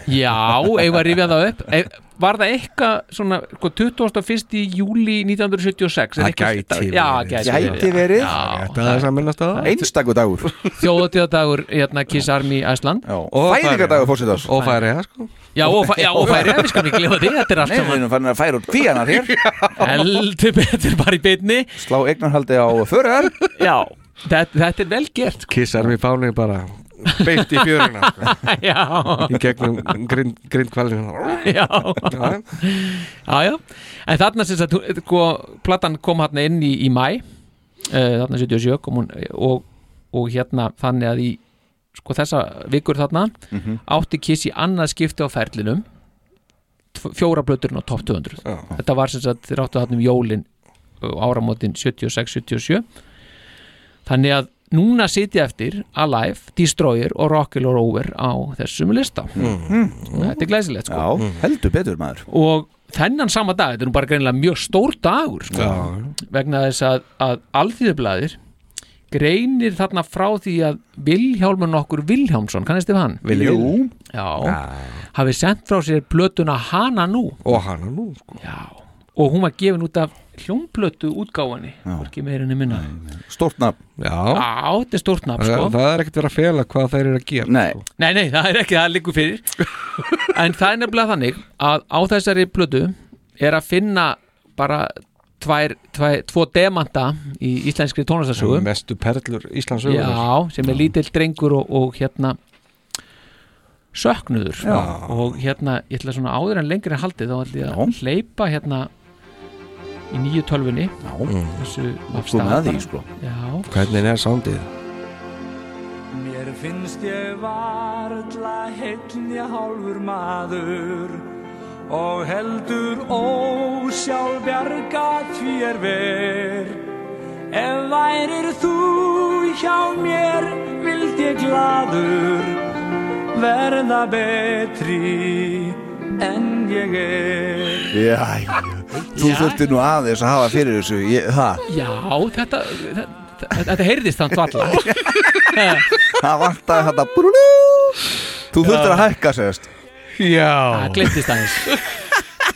S5: Já, eigum að rifja það upp Ef- Var það eitthvað svona sko, 21. júli 1976 er
S4: Það
S5: eitthvað-
S4: gæti
S5: Já,
S4: verið.
S5: gæti,
S4: Gæti
S3: verið.
S5: Já,
S4: Það er samminnast að það
S3: Einstakur dagur
S5: Þjóðatíðadagur hérna, Kiss Army Æsland
S3: Og Fæðingardagur fórsetars
S4: Og færiða sko
S5: Já, og, fæ- já, og færiða, við skalum ekki glefa því Þetta er allt
S3: Nei, við
S5: saman
S3: erum fannin að færa út kvíanar hér
S5: Heldur betur bara í beinni
S3: Slá eignarhaldi á förðar
S5: Já, þetta, þetta er vel gert
S4: Kissar mér fánið bara Beint í fjöruna sko.
S5: Já,
S4: Í gegnum grind, grindkvalinu
S5: já Já, já En þarna sem sagt, hún- sko, platan kom hérna inn í, í mæ uh, þarna 77 kom hún eh, og, og hérna þannig að í sko þessa vikur þarna
S3: Mhm.
S5: átti Kiss í annað skipti á ferlinum tv- fjóra blöturinn á topp 200 þetta var sem sagt, þeir áttu þarna um jólin og áramótin 76-77 þannig að núna sitja eftir Alive, Destroyer og Rock'n'Roll Over á þessum lista þetta er glæsilegt sko
S3: Mhm. Já, heldur betur maður
S5: og þennan sama dag, þetta er nú bara greinilega mjög stór dagur sko, vegna þess að, að alþýðublaðir greinir þarna frá því að Vilhjálmur nokkur Vilhjálmsson, kannist þið hann?
S3: Jú,
S5: Já, hafi sendt frá sér blötuna Hana nú
S4: Og hana nú sko
S5: Já, og hún var gefin út af hljómblötu útgáfanni, hvorki meirinni minna
S3: stórt nafn
S4: Já
S5: Já, þetta er stórt nafn sko
S4: Það, það er ekkert verið að fela hvað þeir eru að gera
S3: Nei,
S4: sko.
S5: Nei, nei, það er ekki, það liggur fyrir En það er nefnilega þannig að á þessari blödu er að finna bara tvær, tvær, tvo demanta í íslenskri tónlistarsögu
S4: Mestu perlur Íslands
S5: Já, sem er lítill drengur og, og hérna söknuður Já. og hérna, ég ætla svona áður en lengri en haldið þá ætla ég að hleypa hérna í nýju tölfunni þessu af
S3: komið
S5: stað
S3: að því
S5: bara.
S3: sko
S5: Já,
S4: Hvernig er sándið?
S1: Mér finnst ég varla heitlja hálfur maður og heldur ósjálfbjarga því er ver. Ef værir þú hjá mér vild ég gladur verða betri en ég er.
S3: Já, þú þurftir nú aðeins að hafa fyrir þessu ég, Það,
S5: já þetta, þetta, þetta heyrðist þannig allar
S3: það vantaði þetta brúlú Þú þurftir að hækka sérst
S5: Það gleyndist aðeins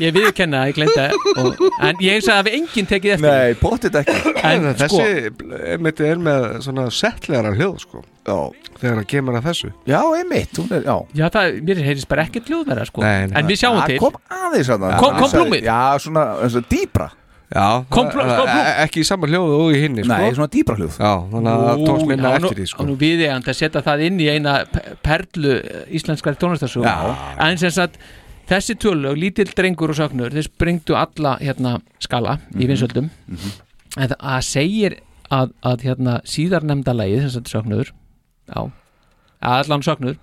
S5: Ég viðurkenna að ég gleyndi það og- En ég sagði að við enginn tekið eftir
S3: Nei, pottit ekki
S5: En
S4: En
S5: sko,
S4: þessi mitt er með svona settlegar hljóð sko
S3: Já,
S4: Þegar það kemur að þessu
S3: já einmitt, hún er, já
S5: já það, mér heyrðist bara ekkert hljóðverða sko
S4: Nei, nei.
S5: En við sjáum
S3: Það
S5: til
S3: Kom aðeins að
S5: Kom- kom blúmið?
S3: Já, svona, svona dýbra
S4: Já,
S5: Kom
S4: það-
S5: bló-
S4: það-
S5: kom bló-
S4: e- ekki í sama hljóðu og í hinni sko.
S3: Nei, svona dýbra hljóð
S4: Já, þannig að það tókst minna eftir því
S5: Og
S4: sko.
S5: nú við eigandi að setja það inn í eina pe- perlu eh, íslenskari tónlistarsögu En sem sagt, þessi tölög, lítill drengur og söknur Þeir springdu alla hérna skala
S4: Mhm.
S5: í vinsöldum En það að segir að, að hérna síðarnemda lagið, sem sagt söknur Já, að allan söknur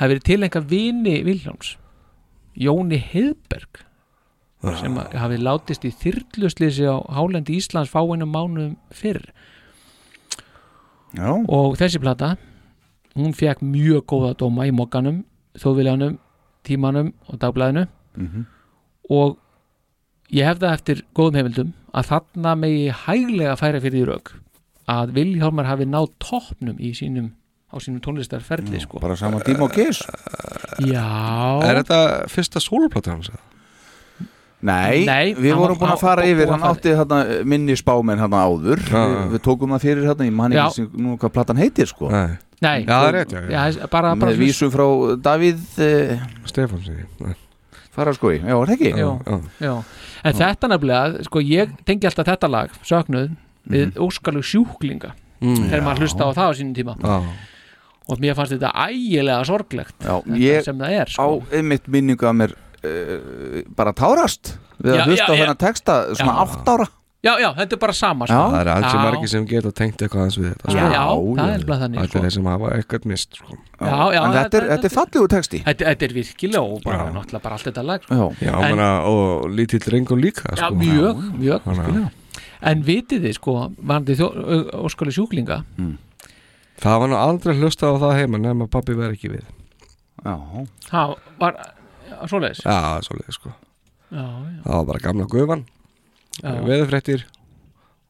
S5: hafi verið tilengja vini Viljáns Jóni Heiðberg sem
S4: Ah.
S5: að- hafi látist í þyrluslýsi á hálendi Íslands fáinu mánuðum fyrr
S3: Já,
S5: og þessi plata hún fekk mjög góða dóma í mokkanum þjóðviljanum, tímanum og dagblæðinu
S4: Mhm.
S5: og ég hef það eftir góðum heimildum að þarna megi hæglega færa fyrir því rauk að Vilhjálmar hafi náð toppnum í sínum á sínum tónlistarferli sko.
S3: bara sama tíma og kiss
S4: Er
S5: Já,
S4: þetta fyrsta sólplata hans? eða?
S3: Nei,
S5: Nei,
S3: við
S5: hann
S3: vorum
S5: var-
S3: búin að
S5: á-
S3: fara
S5: bú-
S3: yfir,
S5: búin að
S3: hann
S5: fara-
S3: átti hérna, minni spáminn hérna áður við, við tókum það fyrir hérna, ég man
S5: Já.
S3: ekki sem- nú hvað platan heitir sko
S4: Nei,
S5: nei
S4: Já, það er rétt, já, já.
S5: já, bara, bara
S3: með vísu frá Davíð eh,
S4: Stefán sér Nei,
S3: Fararskói, já, er það ekki?
S5: já,
S4: já.
S5: já. en þetta nefnilega, sko ég tengi alltaf þetta lag, söknuð
S4: Mhm.
S5: við óskalug sjúklinga þegar maður hlusta á það á sínum tíma
S4: Já,
S5: og mér fannst þetta ægilega sorglegt
S3: Já,
S5: þetta
S3: ég
S5: sem það er
S3: á
S5: sko.
S3: einmitt minningu að mér uh, bara tárast við
S5: Já,
S3: að hlusta
S5: já,
S3: á
S5: já.
S3: þennan texta svona
S5: Já.
S3: átt ára
S5: já, já, þetta er bara sama
S3: Já.
S5: sko.
S4: Það er ansi
S5: Já.
S4: margir sem geta tengt eitthvað hans við þetta
S5: já,
S4: sko.
S5: já, það
S3: já.
S5: er bara þannig
S4: Allir
S5: sko.
S4: þeir sem hafa eitthvað mist sko.
S5: já, já,
S3: en þetta er, þetta er fallegur texti
S5: þetta, þetta er virkilega og bara,
S4: Já.
S5: náttúrulega bara allt þetta lag sko.
S3: já,
S4: Já, en,
S5: En-
S4: og lítill drengur líka
S5: já,
S4: sko.
S5: mjög, mjög
S4: Þannig að-
S5: en vitið þið sko, varandi óskalug sjúklinga
S4: Það var nú aldrei hlustað á það heima nefn að pappi veri ekki við
S3: já,
S5: það var já, svoleiðis já,
S4: Já, svolítið sko
S5: já,
S4: Það var bara gamla gufan,
S5: já.
S4: veðurfréttir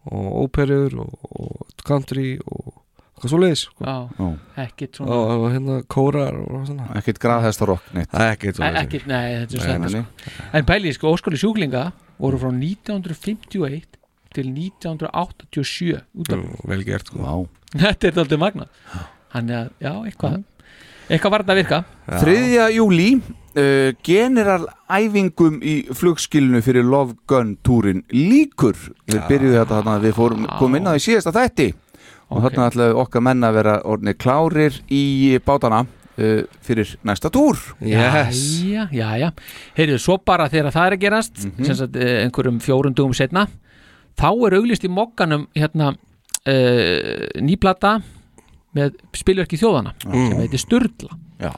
S4: og óperur og, og country og eitthvað svo leiðis sko.
S5: Já, ekkert svona.
S4: og, og hérna kórar og svona
S3: ekkert graðhestarokk neitt
S4: ekkert
S5: Nei, ekkert, nei, þetta er slæmt sko. En pælið, sko, óskali sjúklinga voru frá 1951 til 1987 út af
S4: vel gert sko.
S5: Þetta er þáttið magna Þannig að, já, eitthvað Eitthvað var þetta að virka
S3: 3. júli uh, generalæfingum í flugskilinu fyrir Love Gun túrin líkur við
S4: Já.
S3: byrjuðum þetta þarna að við fórum, komum inn á því síðasta þætti og þarna ætlaði okkar menn að vera orðni klárir í bátana uh, fyrir næsta túr
S5: Jæja, jæja Heyrðu, svo bara þegar það er að gerast mm -hmm. sagt, eh, einhverjum fjórundum setna þá er auglist í mokkanum hérna uh, nýplata með spilverki þjóðana sem heitir Sturla
S3: Já.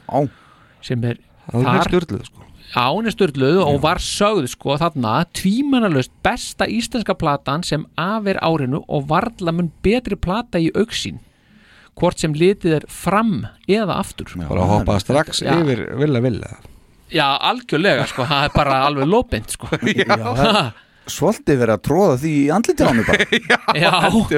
S5: sem er
S4: Það er
S5: þar-
S4: stjórnlega sko.
S5: Já, hún er störluð og var sögð sko þarna tvímannalöst besta íslenska platan sem af er árinu og varla mun betri plata í auksín hvort sem litið er fram eða aftur
S4: bara að hoppa strax
S5: Já.
S4: yfir vilja vilja
S5: Já, algjörlega sko, það er bara alveg lópind sko Já,
S3: Svolítið verið að tróða því í andlitið á mig bara
S5: já,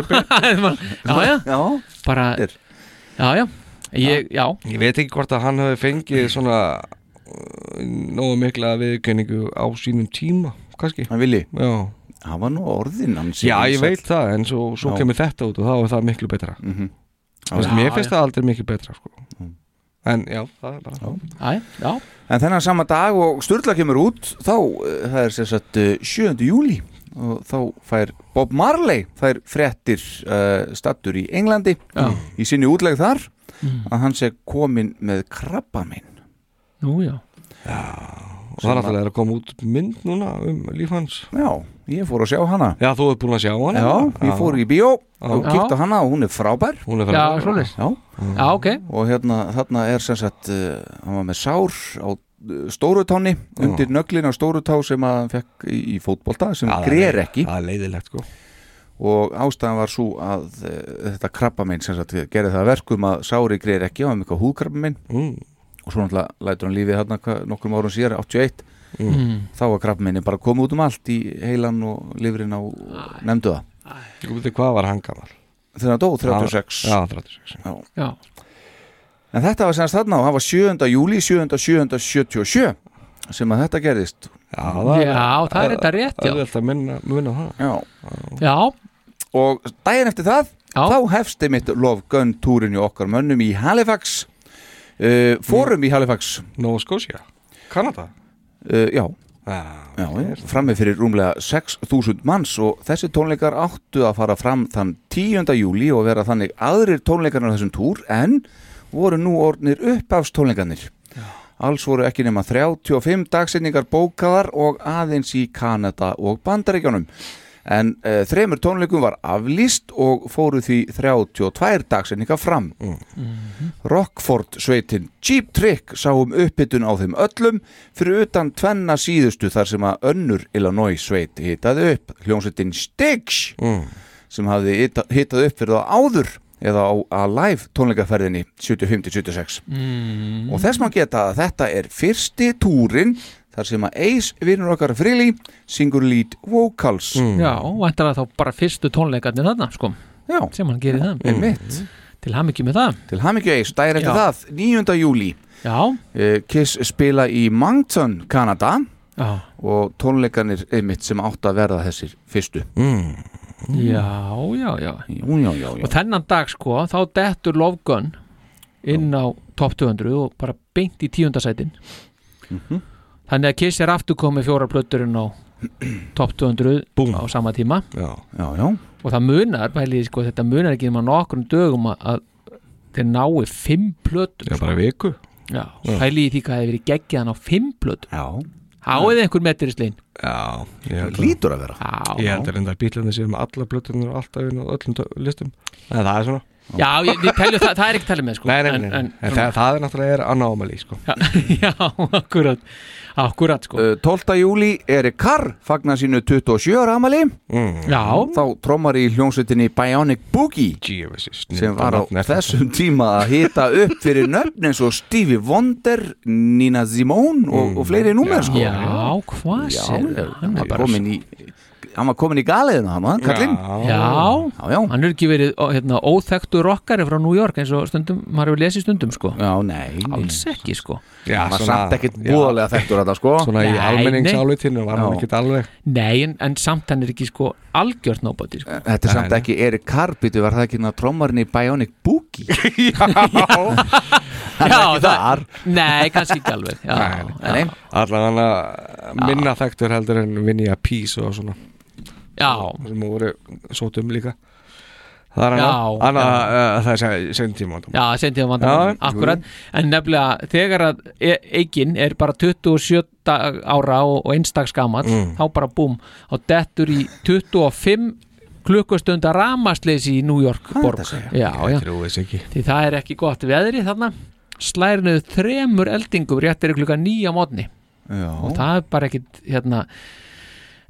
S5: já, já,
S3: já.
S5: bara Já, já, ég, já
S4: ég veit ekki hvort að hann hafi fengið svona uh, nógu mikla viðkenningu á sínum tíma kannski
S3: hann vilji
S4: já
S3: hann var nú orðin hans
S4: já ég veit það en svo, svo
S3: Já.
S4: kemur þetta út og þá er það miklu betra mm
S3: Mhm.
S4: mér
S5: Já,
S4: finnst
S5: já.
S4: það aldrei miklu betra sko. en já það er bara
S5: já, já.
S3: En þennan sama dag og Sturla kemur út þá, eh, það er sem sagt eh, 7. júli og þá fær Bob Marley fær fréttir uh, stattur í Englandi
S5: Já.
S3: í sinni útleg þar
S5: Mm.
S3: að hann sé komin með krabba minn
S5: Nú, já
S4: og það er alltaf að koma út mynd núna um líf hans
S3: Já, ég fór að sjá hana
S4: já þú ert búin að sjá hana
S3: Já, ég fór í bíó og
S5: Já.
S3: kíkti á hana og hún er frábær
S4: hún er
S5: Já,
S4: frábær.
S5: svoleiðis
S3: Já,
S5: Já, ok,
S3: og hérna þarna er sem sagt uh, hann var með sár á uh, stórutáni undir nöglin á stórutá sem að hann fekk í, í fótbolta sem
S4: Já, það er-
S3: grer ekki
S4: það er leiðilegt sko
S3: og ástæðan var svo að uh, þetta krabbamein sem sagt gerði það að verkum að sári greið ekki á mikið húðkrabbamein
S4: mm.
S3: og svo náttúrulega lætur hann lífið hérna hva- nokkrum árum síðar, 81
S4: Mm.
S3: þá var krabbameinni bara komið út um allt í heilan og lifrin á nefndu það
S4: Þú veitir hvað var hann gammal?
S3: þegar hann dó 36
S4: Já, 36
S3: Já.
S5: já
S3: en þetta var semast þarna og hann var 7. júli 7. 7. 77 sem að þetta gerðist
S4: Já, það
S5: Já, það er þetta rétt, já.
S4: Það er þetta minna, minna það
S3: Já.
S5: Já,
S3: og daginn eftir það
S5: Já.
S3: þá hefst einmitt Love Gun túrin í okkar mönnum í Halifax uh, fórum í Halifax
S4: Nova Scotia, Kanada
S3: uh, já
S4: Já,
S3: Já, frammi fyrir rúmlega 6.000 manns og þessi tónleikar áttu að fara fram þann 10. júli og vera þannig aðrir tónleikarnar á þessum túr en voru nú orðnir uppafstónleikarnir. Alls voru ekki nema 35 dagsinningar bókaðar og aðeins í Kanada og Bandaríkjónum. En uh, þremur tónleikum var aflýst og fóru því 32 dagsinningar fram. Rockford sveitin Cheap Trick sáum uppbytun á þeim öllum fyrir utan tvenna síðustu þar sem að önnur Illinois sveit hitaði upp hljómsveitin Styx
S5: Mm.
S3: sem hafði hita- hitað upp fyrir það áður eða á Alive tónleikaferðinni 75-76
S5: mm.
S3: og þess maður geta að þetta er fyrsti túrin þar sem að Ace vinnur okkar frili syngur lead vocals
S5: já Væntar þá bara fyrstu tónleikarnir þarna sko
S3: Já,
S5: sem hann gerir það
S3: einmitt
S5: Til ham með það
S3: Til hamingju Ace, dagir eftir
S5: Já.
S3: það 9. júli
S5: Já,
S3: Eh, Kiss spila í Moncton, Kanada
S5: já
S3: og tónleikanir einmitt sem átt að verða þessir fyrstu
S5: Mm. Já, já, já
S3: Jú, já, já, já.
S5: Og þennan dag sko, þá dettur Love Gun inn á top 200 og bara beint í tíundasætin
S4: Mhm.
S5: Þannig að Kiss er aftur komið fjóra plöturinn á top 200
S4: Búm.
S5: á sama tíma
S4: já
S3: já, já.
S5: og það munar, bæli, sko, þetta munar ekki um að nokkrum dögum að- að þeir nái fimm plötur
S4: Já, bara viku
S5: Já, pæli í því hvað hefur verið geggjaðan á fimm plötur
S3: já.
S5: Háið einhver metri slinn
S4: Já, ég held að
S3: lítur að vera
S5: Já,
S4: Ég held að reynda að bílarnir séu með alla blöturnir og alltaf inn á öllum dö- listum Nei, það er svona
S5: já ég, við teljum það, það er ekki talið með sko
S4: Nei, nei, nei, nei. En, það, það er náttúrulega er anomaly, sko
S5: Já, já, akkurat Akkurat sko
S3: Eh, 12. júli Erik Carr fagnar sínu 27 ára amali
S5: Mm.
S3: Mm.
S5: Já,
S3: þá trómar í hljómsveitinni Bionic Boogie
S4: G.F.S.
S3: sem var á þessum tíma að hita upp fyrir nöfn eins og Stevie Wonder Nina Simone og, og fleiri númer sko
S5: já, hvað
S3: Já,
S5: Mm. sér
S3: hann er komin í hann var komin í galiðina hann, hann, kallinn
S5: Já, hann er ekki verið ó, hérna, óþekktur rockari frá New York eins og stundum, maður hefur lesið stundum sko
S3: Já, nei
S5: Alls ekki sko
S3: Já, hann var samt ekkert búðalega þekktur þetta sko
S5: Svona í Nei, almenningsálitinu
S4: var hann ekkert alveg
S5: Nei, en, en samt hann er ekki sko algjört nobody sko
S3: Þetta er samt ekki Erik Karpitu var það ekki ná trommarinn í Bionic Boogie
S5: Já, það, Nei, kannski ekki alveg Já, já,
S4: Allan hann að minna þekktur heldur en Vinja Pís og svona
S5: Já
S4: Sem voru sótum líka Það er
S5: Já,
S4: hann Anna,
S5: já.
S4: uh, Það er sem- sem tíma
S5: já sendið á
S4: Já,
S5: vandamálum,
S4: jú.
S5: akkurat En nefnilega, þegar að e- eigin er bara 27 dag- ára og, og einstags gamall
S4: Mm.
S5: þá bara búm, þá dettur í 25 klukkustundar ramasleysi í New York borg Já, já
S4: Trúið sér ekki
S5: því það er ekki gott veðri þarna slærinuðu þremur eldingum rétt er klukka nýja mótni
S3: Já.
S5: og það er bara ekkit hérna,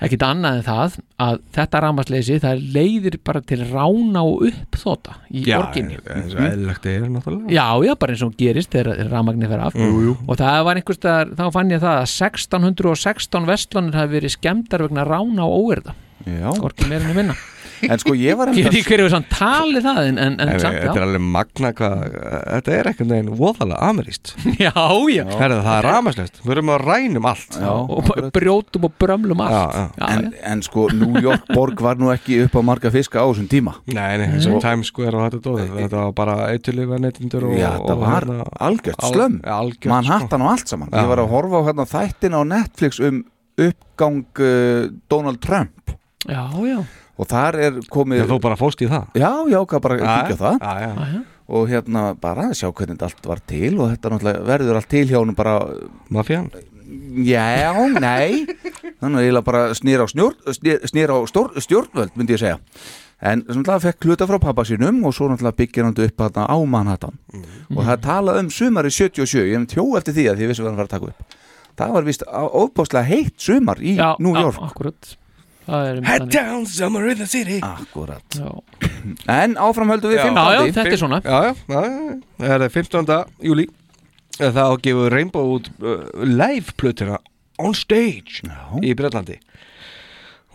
S5: ekkit annað en það að þetta rámasleysi það leiðir bara til rána og uppþóta í
S4: Já, eh,
S5: orginni Mhm.
S4: eins og eðlilegt er náttúrulega
S5: Já, já, bara eins og hún gerist þegar rafmagnir fer af
S4: Jú, jú.
S5: og það var einhvers staðar, þá fann ég það að 1616 vestlanir hafi verið skemmdar vegna rána og óerða
S3: Já
S5: Gorki meirinu minna
S3: En sko ég var
S5: Ég veit ekki hverju við samt talið það en, en,
S4: En
S5: en
S4: eh,
S5: samt
S4: Þetta er
S5: já
S4: alveg magna hvað eh, Þetta er ekkert neginn voðalega ameríst
S5: Já, já
S4: Herðu, það er ramaslegt Við erum að rænum allt
S3: Já,
S5: og bara brjótum og brömlum allt
S4: já.
S3: en, en sko New York borg var nú ekki upp á marga fiska á þessum tíma
S4: Nei, nei, eins og Times Square og þetta dóði Þetta var bara eitthulifa neytindur og,
S3: Já, þetta
S4: og
S3: var
S4: hérna-
S3: algjört
S4: al-
S3: slömm
S4: ja, algjört, sko.
S3: Manhattan og allt saman
S4: Já.
S3: Ég var að horfa á hérna, þættin á Netflix um uppgang uh, Donald Trump
S5: Já, já
S3: og þar er komið
S4: sko. Já, þú bara fórst í það
S3: Já, já, hvað bara að
S4: Já,
S3: kíkja á það
S4: já, já.
S5: já.
S3: og hérna bara að sjá hvernig þetta allt var til og þetta náttúrulega verður allt til hjá hún bara
S4: Mafían?
S3: Já, nei Þannig að ég bara snýra á, snjór, snýr, snýr á stór, stjórnvöld myndi ég segja En sem náttúrulega fekk hluta frá pappa sínum og svo náttúrulega byggir hann þetta upp þarna á Manhattan og það er talað um sumari 77 ég hef tjó eftir því að því ég vissi hvað hann var að taka upp Það var víst á- ofboðslega heitt sumar í
S5: já,
S3: New
S5: já,
S3: York
S5: akkurat Það er um
S4: Head
S5: þannig.
S4: down summer in the city
S3: Akkurat
S5: Já.
S3: En áfram höldum við
S4: Já.
S3: 15.
S4: Já, já, þetta er
S5: svona
S4: Já, já, já, já. það er 15. júli þá gefur Rainbow út uh, live plötuna on stage í Bretlandi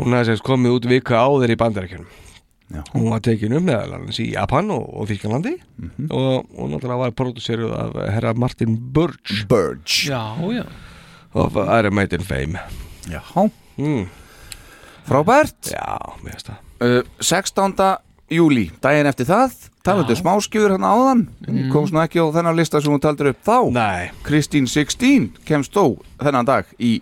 S4: hún hafði sérst komið út vika áður í bandarækjunum hún var tekinu meðal annars í Japan og, og Fískalandi og, og náttúrulega var produseruð af herra Martin Burge
S3: Burge
S5: Já, já
S4: of Iron Maiden fame
S3: Já
S4: mm.
S3: Frábært
S4: Já, mér finnst það
S3: uh, 16. júli, daginn eftir það talandu smáskjur hann áðan mm. komst nú ekki á þennan lista sem hún taldur upp þá
S4: Nei.
S3: Kristín 16 kemst þó þennan dag í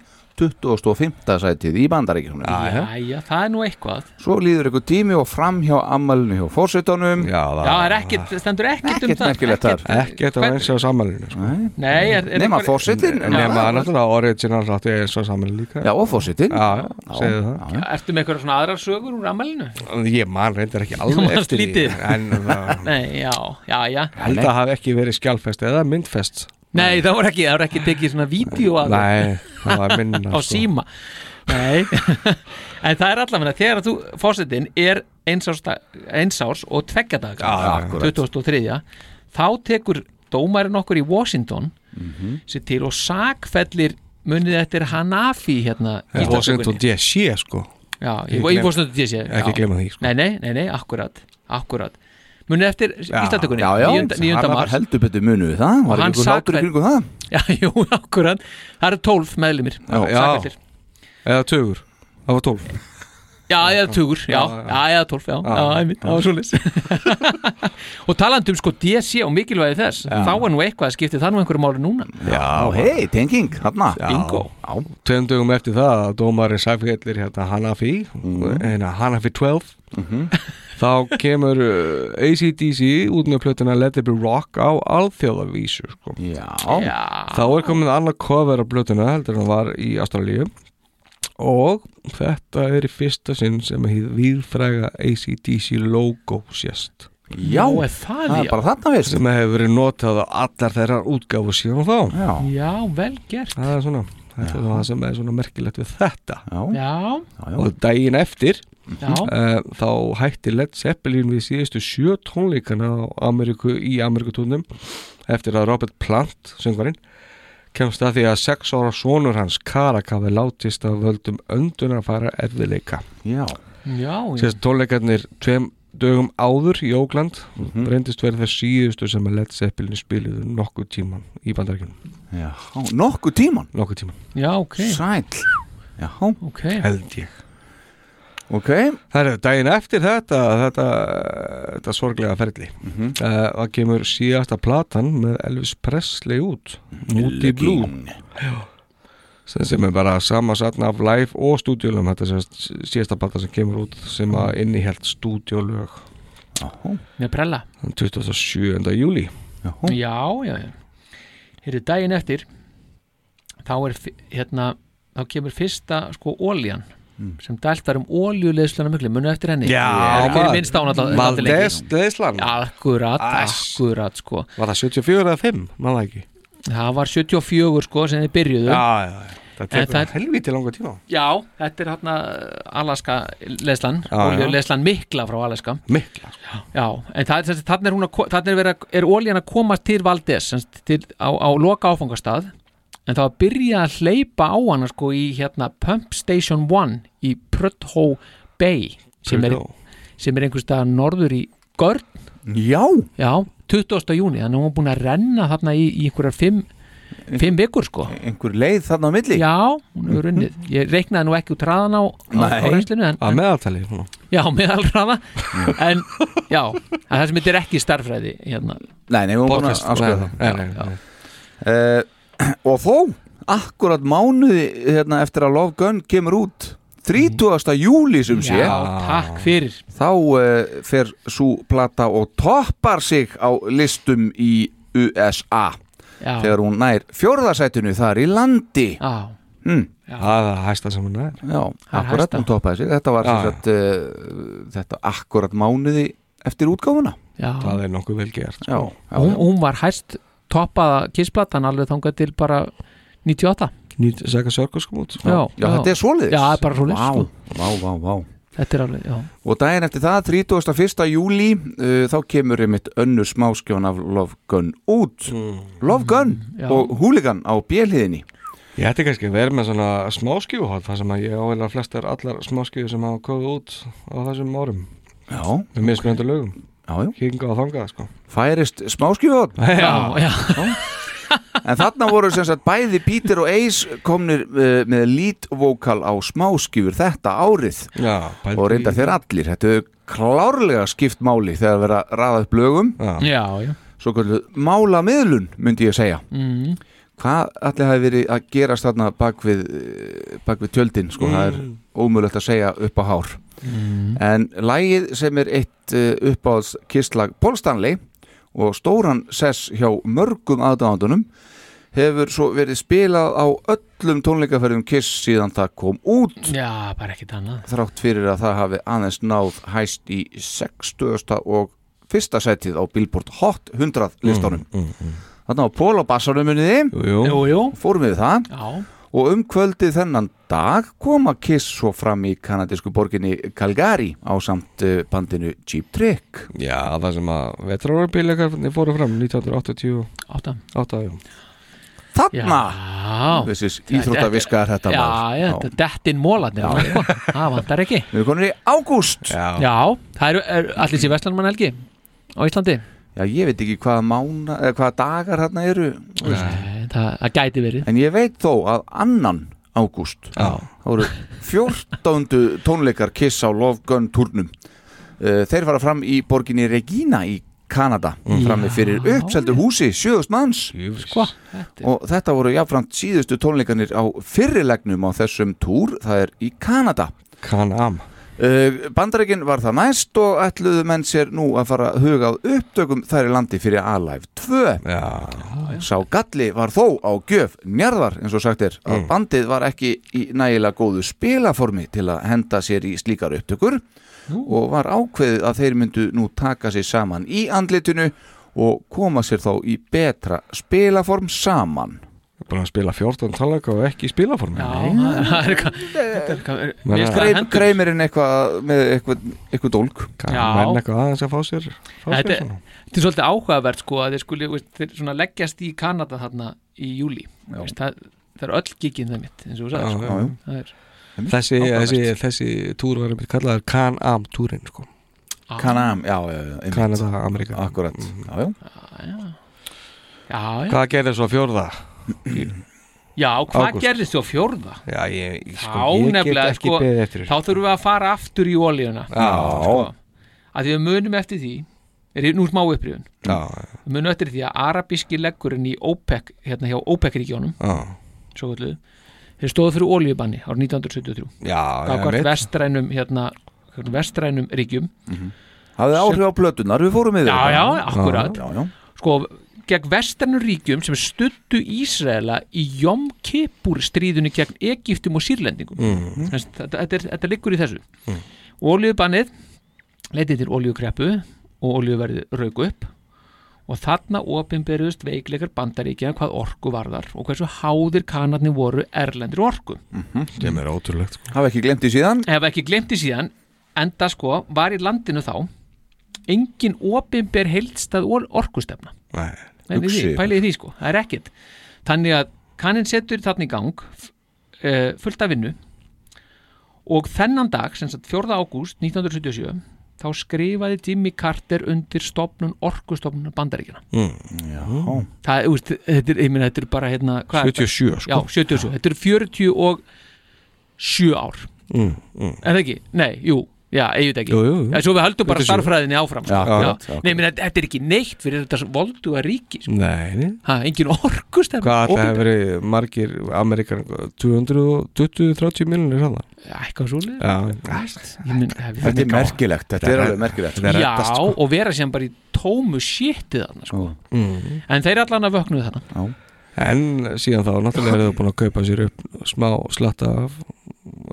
S3: 25. sætið í bandaríkjum
S5: Jæja, það er nú eitthvað
S3: Svo líður ykkur tími og fram hjá ammalinu hjá fórsetunum
S4: Já,
S5: Já, það er ekkit, stendur ekkit, um
S3: Ekkert
S5: það
S3: merkilegt þar
S4: Ekkert að eins og samanlunum sko.
S5: Nei, er, er
S3: Nema
S5: eitthvað-
S3: fórsetin
S4: Nefna náttúrulega original rætti eins og samanlunum líka
S3: Já, og fórsetin
S4: Já, já, Mm. segðu það
S5: Ertu með eitthvað svona aðrar sögur úr ammælinu?
S4: Ég man reyndar ekki
S5: Þú
S4: alveg
S5: manst
S4: eftir því
S5: lítið.
S4: En uh, það
S5: Nei, já, já, já
S4: held að hafi ekki verið skjálfest eða myndfest
S5: Nei, það voru ekki, það voru ekki tekið svona vídeo að
S4: Nei, það var minna,
S5: Á
S4: sko.
S5: síma Nei, en það er allavega þegar að þú, fórsetin er einsárs, dag- einsárs og tveggjadag
S4: Já, akkúrat.
S5: 2003 þá tekur dómærin okkur í Washington
S4: Mhm.
S5: sér til og sakfellir munið eftir Hanafi hérna í
S4: Washington
S5: dagsökunni.
S4: DC sko
S5: Já, í
S4: Ekki glem-
S5: í Washington DC já.
S4: Ekki gleyma því, sko.
S5: Nei, nei, nei, nei, akkurat, akkurat Munið eftir Íslandökunni
S3: Já, já,
S5: 9.
S3: hann var
S5: mars
S3: heldur betur munu við það
S5: Og
S3: Var
S5: hann
S3: ekki ykkur hlátur
S5: sakfell-
S3: kringu það
S5: Já, jú, akkurat Það eru 12 meðlumir sakfellir
S4: Eða tögur, það var tólf
S5: Já, eða tugur, já, já, eða tólf, já, já, einmitt, það var svolítið Og talandi um sko DC og mikilvægi þess, þá er nú eitthvað að skipti það nú einhverju máli núna
S3: Já, hei, tenging, hann
S5: Bingo.
S4: Tveim dögum eftir það að dómari sæfgellir hérna Hanafi hérna, Hanafi 12 þá kemur uh, ACDC út með plötuna Let It Be Rock á alþjóðavísu sko.
S3: Já.
S4: þá er komin annað cover af plötuna heldur en það var í Australíu og þetta er í fyrsta sinn sem hefði víðfræga ACDC logo sést
S3: Já,
S5: Nú, er það,
S3: það er
S5: já.
S3: bara þarna veist
S4: sem hefur verið notað á allar þeirra útgáfu síðan þá
S3: Já,
S5: Já, vel gert
S4: það er svona Þetta er það sem er svona merkilegt við þetta
S3: já,
S5: Já,
S3: já.
S4: og daginn eftir
S5: já,
S4: uh, þá hætti Led Zeppelin við síðustu sjö tónleikana á Ameriku, í Amerikutónum eftir að Robert Plant, söngvarinn kemst að því að sex ára sonur hans Karaka við látist að völdum öndunar fara erfiðleika
S3: Já
S5: Já, já.
S4: Sérst tónleikarnir tveim dögum áður í Ógland reyndist verið þess síðustu sem að Led Zeppelin spiliðu nokkuð tíman í bandarækjunum
S3: Já, nokkuð tíman?
S4: Nokkuð tíman
S5: Já, ok
S3: Sæl Já,
S5: ok
S4: Held ég
S3: Ok
S4: Það eru daginn eftir þetta þetta, þetta sorglega ferli mm það kemur síðasta platan með Elvis Presley út Moody Blue Já. sem, sem er bara sama satna af live og stúdíulum þetta er sem sagt síðasta platan sem kemur út sem að innihjælt stúdíulög
S5: Með prella
S4: 27. júli Hm?
S5: Já, já, já Hérðu daginn eftir þá er fi- hérna þá kemur fyrsta sko óljan sem dælt var um óljuleðsluna miklu munu eftir henni
S4: Hm. Já,
S5: ekki
S4: maður.
S5: minnst á hann alltaf
S4: Valdez leðslan
S5: Akkurat,
S4: Ass.
S5: akkurat sko
S4: Var það 74 eða 5? Maður það ekki
S5: Það var 74 sko sem þið byrjuðu
S4: Já, já, já. Það
S5: En
S4: tekur
S5: það-
S4: helviti langa tíma
S5: Já, þetta er hérna Alaska leslan,
S4: Já, já.
S5: oljuleðslan mikla frá Alaska
S4: Mikla
S5: Já, en það, þessi, þannig er, hún að ko- þarna er, verið að- er olían að komast til Valdes sem sagt, til, á, á loka áfangastað en það var að byrja að hleypa á hana sko í hérna Pump Station 1 í Prudhoe Bay sem er,
S4: Prudhoe.
S5: sem er einhvers staðar norður í Görn
S3: Já,
S5: Já, 20. júni, þannig að hún var búin að renna þarna í, í einhverjar fimm, fimm vikur sko
S3: einhver leið þarna á milli
S5: Já, hún hefur runnið Ég reiknaði nú ekki út hraðan á, á, á
S3: Nei.
S5: reynslinu en,
S4: Að meðaltali svona.
S5: Já, meðal hraða En já, en það sem þetta er ekki starfræði hérna.
S3: Nei, nei, við vorum búin að
S4: Podcast.
S3: afskrifa
S4: Nei,
S3: það
S4: nei, nei, nei.
S3: Eh, Og þó, akkurat mánuði hérna, eftir að Love Gun kemur út 30. júli sem Um sé
S5: Já, takk fyrir
S3: þá uh, fer svo plata og toppar sig á listum í USA
S5: Já,
S3: þegar hún nær fjórðasætinu þar í landi
S5: já,
S3: hm,
S4: Það er að hæsta sem hún er
S3: Já,
S5: er hæsta.
S3: akkurat hún toppaði sig þetta var
S4: Já,
S3: sem sagt uh, þetta akkurat mánuði eftir útgáfuna
S5: já.
S4: Það er nokkuð vel gert
S3: Já, já,
S5: Hún,
S3: já.
S5: hún var hæst toppaða kisplatan alveg þangað til bara 98
S4: Nýt Sæka Sörgur sko út
S5: Já,
S3: já, þetta er svoleiðis
S5: Já, það er bara svoleiðis,
S3: Vá,
S5: sko.
S3: vá, vá, vá
S5: Þetta er alveg, já
S3: Og daginn eftir það, 31. júli, uh, þá kemur einmitt önnur smáskjón af Love Gun út. Love Gun
S5: Mm. já.
S3: og Hooligan á bjelhiðinni.
S4: Ég ætti kannski að vera með svona smáskjúhótt Það sem að ég áveila flestar allar smáskjúi sem hafa komið út á þessum árum
S3: Já,
S4: Með mismunandi lögum
S3: já, já.
S4: Hinga og þangað sko
S3: Færist smáskjóðan.
S5: Já, já,
S3: En þarna voru sem sagt bæði Peter og Ace komnir uh, með lead vocal á smáskjúfur þetta árið.
S4: Já,
S3: Og reyndar þeir allir. Þetta er klárlega skipt máli þegar vera raðað upp lögum.
S4: Já,
S5: já, já.
S3: Svo kallu málamiðlun, myndi ég segja.
S5: Mm.
S3: hvað allir hafi verið að gerast þarna bak við, eh, bak við tjöldin sko, það er ómögulegt að segja upp á hár en lagið sem er eitt eh, uppáðs kistlag Paul Stanley og stóran sess hjá mörgum aðdáðandunum hefur svo verið spilað á öllum tónleikaferðum Kiss síðan það kom út
S5: já, bara ekkert annað
S3: þrátt fyrir að það hafi aðeins náð hæst í 60. og fyrsta setið á Billboard Hot 100 listanum
S5: Mm,
S3: þarna var Paul á bassanum muniði
S4: jú, jú.
S5: Jú, jú,
S3: fórum við það
S5: já,
S3: og um kvöldið þennan dag koma Kiss svo fram í kanadísku borginni Calgary á samt eh, bandinu Cheap Trick
S4: Já, það sem að vetrarorbilegarnir fóru fram 1988
S5: átta
S4: já.
S5: Já,
S3: Þarna, þessi íþróttaviskar þetta
S5: já,
S3: mál
S5: já, þetta dettin mólarnir sko. Það vantar ekki
S3: Við erum konur í ágúst já.
S5: Já, það eru er, allir sér Vestlandmann Helgi á Íslandi
S3: ég veit ekki hvaða, mána, eða hvaða dagar þarna eru
S5: Nei, það, það gæti verið
S3: En ég veit þó að annan ágúst
S4: Já.
S3: Það voru 14. tónleikar Kiss á Love Gun turnum Eh, Þeir fara fram í borginni Regina í Kanada
S5: Mm.
S3: frammi fyrir uppseldu húsi, sjöðust manns Sko,
S5: Hva? Þetta er-
S3: og þetta voru jáfnframt síðustu tónleikanir á fyrirlegnum á þessum túr, það er í Kanada.
S4: Can-Am
S3: Uh, Bandarækin var það næst og ætluðu menn sér nú að fara að huga á upptökum þær í landi fyrir Alive 2.
S4: Já,
S3: Sá galli var þó á gjöf njarðar eins og sagt er
S5: Mm.
S3: að bandið var ekki í nægilega góðu spilaformi til að henda sér í slíkar upptökur og var ákveðið að þeir myndu nú taka sér saman í andlitinu og koma sér þá í betra spilaform saman.
S4: búin að spila 14 talanka og ekki í spilaformi
S5: Já, það er eitthvað- þetta er eitthvað er- mér finnst það
S3: Greim,
S5: hendur-
S3: Greimirinn eitthvað með eitthvað, eitthvað dólk
S5: Já. menn eitthvað
S4: aðeins að fá sér,
S5: Þetta er- þetta er svolítið áhugavert sko að þeir skuli veist, þeir svona leggjast í Kanada þarna í júli veist, það, það er öll giginn það mitt eins og þú sagðir sko. Það er-
S4: þessi,
S5: Áhugavert.
S4: þessi, þessi túr var einmitt kallaður Can-Am túrin sko.
S5: Ah. Mhm.
S3: Can-Am, já, já, já, einmitt.
S4: Kanada, Amerika
S3: Akkurat, já, já
S5: já, já.
S4: Hvað gerir svo fjórða?
S5: Já, hvað
S4: Ágúst.
S5: gerðist þú á fjórða?
S4: Já, ég, ég, sko,
S5: þá
S4: ég get
S5: nefnilega,
S4: ekki
S5: sko,
S4: beðið eftir þessu.
S5: þá þurfum við að fara aftur í olíuna
S4: Já.
S5: sko, að því við munum eftir því er nú smá upprýðun
S4: Já,
S5: við munum eftir því að arabíski leggurinn í OPEC hérna hjá OPEC-ríkjónum
S4: Já.
S5: svo kalluðu, þeir stóðu fyrir olíubanni árið 1973
S4: Já,
S5: hvort
S3: einmitt.
S5: vestrænum hérna, gagnvart vestrænum ríkjum
S3: Hafið áhrif á plötunar, við fórum yfir
S5: Já,
S3: þetta.
S5: já, akkurat
S3: Já, já,
S5: Sko, gegn vestrænum ríkjum sem stuttu Ísraela í Jom Kippur stríðunni gegn Egiptum og Sýrlendingum
S4: Mhm.
S5: Þess, þetta, þetta, er, þetta liggur í þessu
S4: Mhm.
S5: Olíubannið leitið til olíukreppu og olíuverðið rauk upp og þarna opinberðust veikleikar bandaríkja hvað orku varðar og hversu háðir kanarni voru erlendir orku
S4: Sem er ótrúlegt sko.
S3: Hafa ekki glemt því síðan
S5: hef ekki glemt í síðan enda sko var í landinu þá engin opinber heildstað or- orkustefna
S4: Nei,
S5: Pælið í því,
S4: hugsi.
S5: pælið í því sko, það er ekkert þannig að kannin setur þarna í gang uh, fullt af vinnu og þennan dag sem sagt 4. ágúst 1977 þá skrifaði Jimmy Carter undir stopnun orkustofnun bandaríkina
S4: mm.
S3: Já
S5: það, úst, þetta, er, ég meina, þetta er bara hérna, hvað er þetta?
S4: 77, sko.
S5: já, 77, þetta er 47 ár
S4: Mm, mm.
S5: er það ekki? Nei, jú, já, eigið ekki
S4: Jú, jú, jú.
S5: Já, svo við höldum bara
S4: 77.
S5: starfræðinni áfram sko.
S4: Já, akkurat,
S5: já.
S4: akkurat.
S5: Nei, menn, þetta þetta er ekki neitt fyrir þetta sem voldu að ríki sko.
S4: Nei, nei.
S5: ha, engin orkustefn
S4: Hvað ætla hefur verið margir Amerikan 220-30 miljonir hann
S5: Eitthvað svo leið
S4: sko.
S3: Þetta er merkilegt, þetta er sko. alveg merkilegt
S5: Já,
S4: sko.
S5: og vera sem bara í tómu shitið þarna sko.
S4: Mm.
S5: En þeir allan að vöknuðu þarna
S4: En síðan þá náttúrulega eru þau búin að kaupa sér upp smá slatta af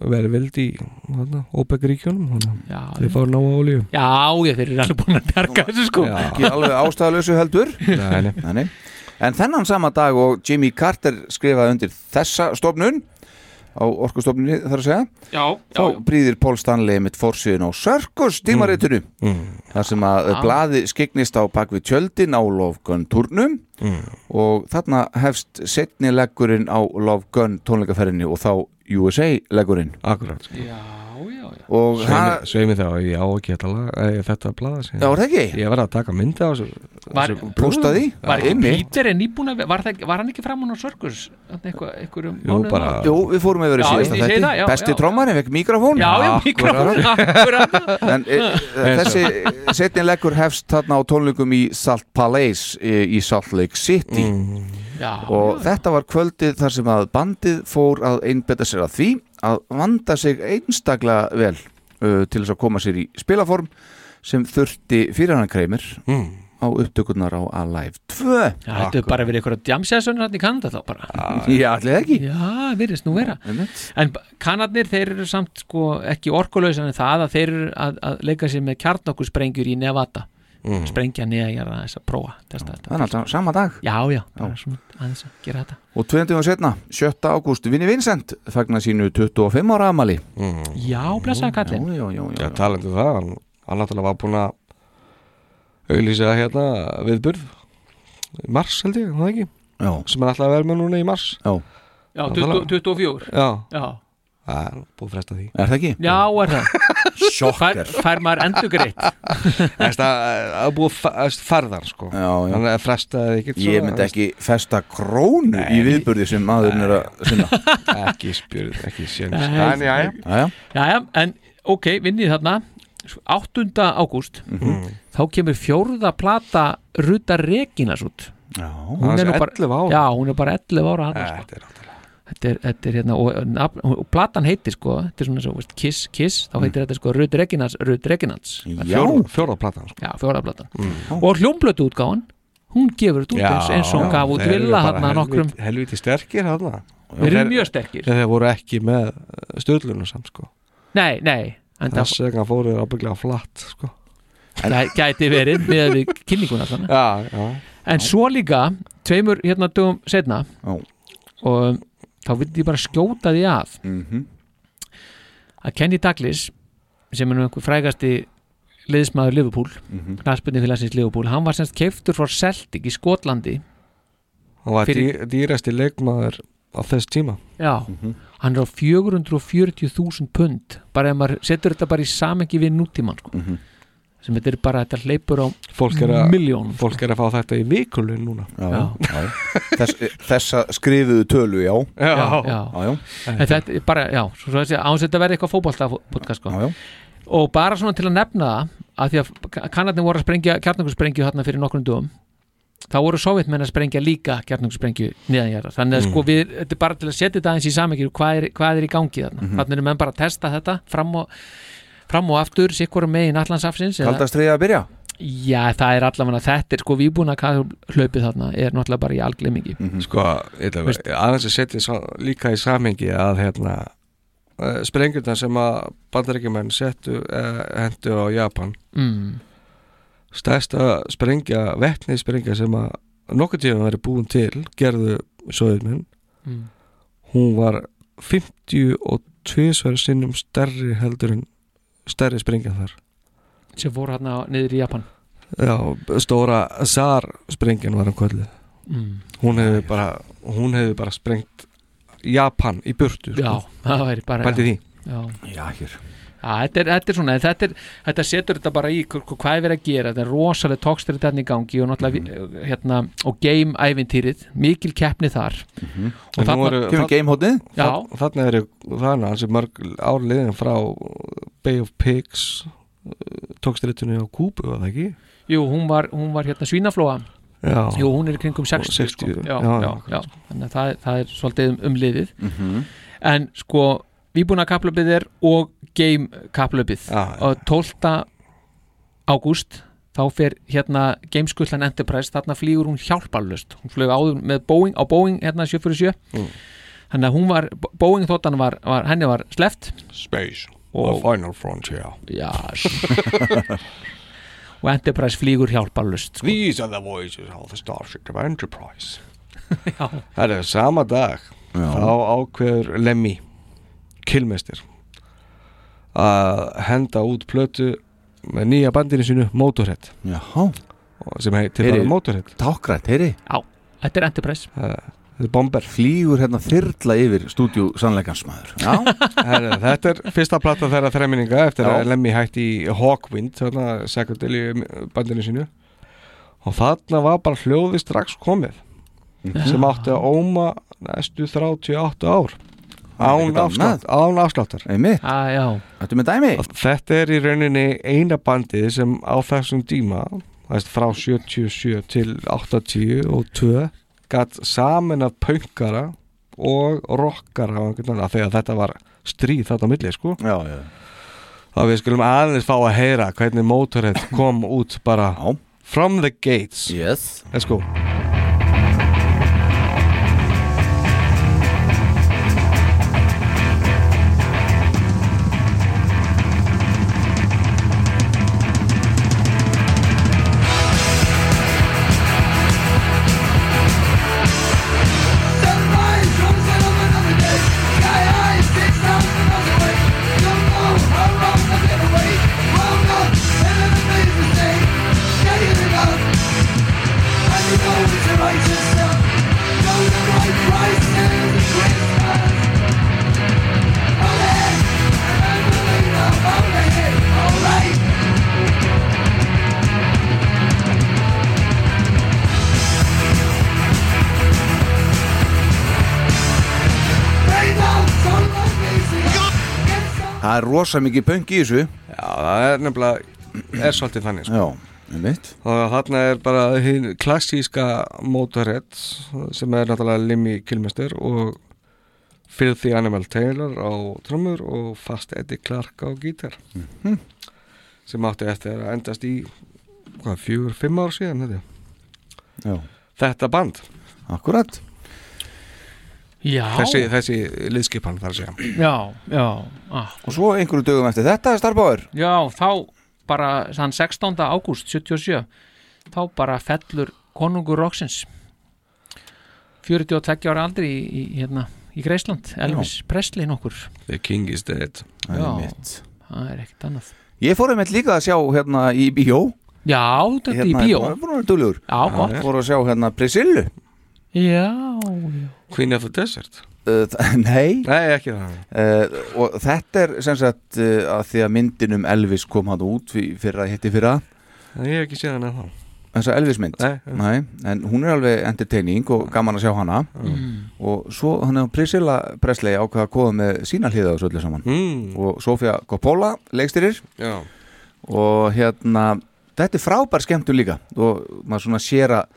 S4: verið vildi í þarna, OPEC-ríkjónum
S5: Já,
S4: Þeir fá ná olíu
S5: Já, já, þeir eru alveg búin að bjarga þessu sko
S3: Ekki alveg ástæðalösu heldur
S4: Nei, nei.
S3: nei. En þennan sama dag og Jimmy Carter skrifaði undir þessa stofnun á orkustofnunni þarf að segja
S5: Já,
S3: þá brýðir Paul Stanley mitt fórsíðun á Sörkus tímaritinu
S4: Mm,
S3: þar sem að
S5: Mm. Já.
S3: blaði skiknist á bakvið tjöldin á Love Gun turnum og þarna hefst setni leggurinn á Love Gun tónleikaferðinni og þá USA leggurinn
S4: Akkurat
S5: Já, já, já
S3: Og það-
S4: Sveimi, sveimi þá, ég á ekki þetta, lag- eh, þetta blaða sig
S3: Já, er það ekki?
S4: Ég var að taka myndi á þessu
S5: Var,
S4: þessu-
S5: var ekki
S4: Einmitt.
S5: Peter en íbúin að var, það ekki- var hann ekki framann á Sörgus einhver, einhverjum
S4: Jú,
S5: mánuðum
S4: bara
S5: áður?
S3: Jú, við fórum yfir í
S5: Já,
S3: síðasta
S5: ég segi
S3: þætti.
S5: það, já,
S3: Besti
S5: já.
S3: trómarinn fekk mikrofón
S5: Já, já,
S3: Akkurat.
S5: mikrofón, akkurat.
S3: En e, e, þessi setni leggur hefst þarna á tónleikum í Salt Palace e, í Salt Lake City
S5: Mm. Já,
S3: og þetta var kvöldið þar sem að bandið fór að einbetta sér að því að vanda sig einstaklega vel uh, til þess að koma sér í spilaform sem þurfti fyrir hann kreimir á upptökurnar á Alive 2
S5: Já, þetta er bara verið einhverja djamsæðsönur hann í Kanada þá bara
S3: Já, allir ekki
S5: Já, virðist nú vera En b- kanarnir, þeir eru samt sko ekki orkulausan en það að þeir eru að, að leika sér með kjarnokursprengjur í Nevada
S3: Mm.
S5: Sprengja neðagjara þess að prófa testa þetta
S3: Þannig að sama dag
S5: Já, já, bara svona aðeins að gera þetta
S3: Og 20. og setna, 7. ágúst, Vinni Vincent fagnar sínu 25 ára amali
S5: Já, blessaða kallinn
S3: Já, já, já,
S4: Já, talandu það, hann, hann náttúrulega var búin að auðlýsa hérna viðburð í mars held ég, var það ekki
S3: Já.
S4: sem hann ætlaði að vera með núna í mars
S3: Já,
S5: Já, 20 24
S4: Já,
S5: Já,
S4: það er búið að fresta því
S3: Er það ekki?
S5: já er það
S3: Sjokker.
S5: Fær, fær maður endur greitt
S4: Það það er búið að ferðar sko
S3: Já, já.
S4: Þannig að frestaði ekki
S3: Ég myndi ekki festa krónu í viðburði sem maðurinn er að sinna
S4: Ekki spjörð, ekki séns
S5: Nei.
S4: En já, já
S3: Jæja.
S5: Jæja, en ok, vinnið þarna 8. ágúst þá kemur fjórða plata Ruta Reginas út
S3: Já,
S4: Aðeins 11 ára. Eh.
S5: Já, hún er bara 11 ára hann,
S4: Þetta
S5: sko.
S4: er
S5: þetta, er, þetta er hérna og, nafn- og platan heitir sko þetta er svona svo, veist, Kiss, Kiss,
S4: Mm.
S5: þá heitir þetta sko Ruta Reginas, Ruta Reginas
S4: Fjórða- fjórða platan sko.
S5: Já, fjórða platan
S4: Mm.
S5: og hljómblötu útgáfan hún gefur þetta út eins, eins og hún gaf út
S4: þeir eru
S5: vilja
S4: bara
S5: hann nokkrum
S4: helvíti, helvíti sterkir hann
S5: Þeir eru mjög sterkir.
S4: Þeir voru ekki með stöðlunum samt sko
S5: Nei, nei, en það
S4: Þess vegna fóru þeir ábygglega flatt sko
S5: gæ- gæti verið með við kynninguna þannig
S4: Já, já
S5: En svo líka, tveimur hérna dögum setna
S3: Já.
S5: og um, þá vildi ég bara skjóta því að
S3: Mhm.
S5: að Kenny Douglas sem er nú einhver frægasti liðsmaður Liverpool mm
S4: Mhm.
S5: -hmm. félagsins Liverpool hann var semst keiftur frá Celtic í Skotlandi
S4: hann var
S5: Fyrir-
S4: dý, dýrasti leikmaður á þess tíma
S5: Já, hann er á 440.000 pund bara ef maður setur þetta bara í samengi við nútímann sko. sem þetta er bara þetta hleypur á
S4: fólk er, að,
S5: miljón
S4: fólk er að fá þetta í vikulun núna
S5: Já.
S3: Þess, þessa skrifuðu tölu, já
S4: Já.
S5: já, já.
S3: já.
S5: En þetta er bara, já, svo svo að segja, án þetta verði eitthvað fótbolta podcast sko. og bara svona til að nefna það að því að kannarnir voru að sprengja kjarnungusprengju hérna fyrir nokkrum dögum þá voru sovjetmenn að sprengja líka kjarnungusprengju neðanjara, þannig að
S10: Mm.
S5: sko við þetta er bara til að setja þetta aðeins í samengir hvað, er- hvað er í gangi þarna,
S3: Mhm.
S5: þannig eru menn bara að testa þetta fram og, fram og aftur sikkur megin allansafsins eða-
S3: Kaldastriðið að byrja
S5: Já, það er allavega þetta er sko víbúna hlaupið þarna er náttúrulega bara í algleimingi
S4: sko, ég ætla að
S5: Veist-
S4: vera- aðeins að setja svo, líka í samhengi að hérna eh, sprengjurnar sem að bandaríkjumenn settu eh, hendu á Japan
S5: Mm.
S4: stærsta sprengja, vetnið sprengja sem að nokkuð tíðan verið búin til gerðu söðuminn
S5: Mm.
S4: hún var 52 sverð sinnum stærri heldur en stærri sprengja þar
S5: sem voru hérna niður í Japan
S4: Já, stóra Zar sprengjan var hann kvöldu
S5: Mm.
S4: hún hefði bara hún hefði bara sprengt Japan í burtu sko.
S5: Já, það væri bara
S4: Pældu
S5: já.
S4: því
S5: Já.
S3: Já, hér
S5: Já, þetta, er, þetta er svona, þetta, er, þetta setur þetta bara í hv- hv- hvað er verið að gera, þetta er rosalega tókstur þetta í gangi og
S4: Mhm.
S5: náttúrulega mm. hérna, og game ævintýrið, mikil keppni þar
S4: Mhm.
S5: og
S4: En nú eru-
S5: þarna,
S4: þarna-
S5: Já,
S4: þa- Þarna eru þarna hansi mörg árliðin frá Bay of Pigs tókstritunni á Kúbu, var það ekki?
S5: jú, hún var, hún var hérna svínaflóa
S4: Já.
S5: Jú, hún er í kringum 60, sko.
S4: 60,
S5: já, já,
S4: já,
S5: já, Þannig að það, það er svolítið um, um liðið
S4: Mhm.
S5: En sko, výbúna kaplöpið er og game kaplöpið
S4: Já, já.
S5: og 12. ágúst þá fer hérna gameskullan Enterprise, þarna flýgur hún hjálparlust hún flög áður með Boeing, á Boeing hérna 747
S4: Mm.
S5: þannig að hún var, Boeing þóttan var, var henni var sleft
S4: Space,
S5: Og-
S4: the final frontier
S5: Yes og Enterprise flýgur hjálparlust sko.
S4: These are the voices of the Starship of Enterprise Það er sama dag þá ákveður Lemmy kilmestir að henda út plötu með nýja bandinu sínu Motorhead
S3: Jaha.
S4: sem heitir bara Motorhead
S3: Tákrætt, heyri
S5: Já, þetta er Enterprise
S4: Þetta er bomber
S3: Flýgur hérna þyrla yfir stúdíu sannleikansmaður Já,
S4: Herra, þetta er fyrsta plata þeirra þreminninga eftir
S3: Já.
S4: að Lemmy hætti í Hawkwind þarna sekundil í bandinu sínu og þarna var bara hljóði strax komið sem átti að óma næstu 38 ár án,
S3: ekkert
S4: afslátt, án afsláttar
S3: Einmitt
S5: ah, Já,
S3: Þetta með dæmi
S4: Þetta er í rauninni eina bandið sem á þessum díma veist, frá 77 til 80 og 2 gatt samin að pöngara og rockara og einhvern veginn þegar þetta var stríð þetta á milli sko
S3: já, já.
S4: þá við skulum aðeins fá að heyra hvernig Motorhead kom út bara já. from the gates
S3: yes.
S4: let's go
S3: Það er rosa mikið pönk í þessu
S4: Já, það er nefnilega er svolítið þannig sko.
S3: Já, einmitt
S4: og þarna er bara hinn klassíska Motorhead sem er náttúrulega Limmy Kilmester og Filthy Animal Taylor á trommur og Fast Eddie Clark á gítar Mhm. sem átti eftir að endast í hvað, fjögur, fimm ár síðan þetta,
S3: Já.
S4: þetta band
S3: Akkurat
S5: Já.
S4: þessi, þessi liðskipan þar að segja
S5: já, já ah.
S3: Og svo einhverju dögum eftir þetta er starfbáður
S5: Já, þá bara þann 16. ágúst 77 þá bara fellur konungur Roxins 42 ára aldri í, í, hérna, í Greisland Elvis Presley nokkur
S4: The King is Dead
S5: Já, það er ekkert annað
S3: Ég fór einmitt líka að sjá hérna í bíó Hérna,
S5: Já, þetta er í bíó.
S3: Það voru dúlugur
S5: Já, gott.
S3: Fór að sjá hérna Priscillu
S5: Já,
S4: Queen of the Desert
S3: Uh, þa- nei
S4: Nei, ekki það
S3: uh, Og þetta er sem sagt uh, að því að myndin um Elvis kom hann út fyr- fyrra, hitti fyrra
S4: Ég hef ekki séð hann eða
S3: þessa Elvis mynd
S4: Nei,
S3: nei. en hún er alveg entertaining og gaman að sjá hana og svo hann er Priscilla Presley ákvað að koma með sína hliða þessu öllu saman
S4: mm.
S3: og Sofia Coppola leikstyrir
S4: Já.
S3: og hérna þetta er frábær skemmtun líka og maður svona sér að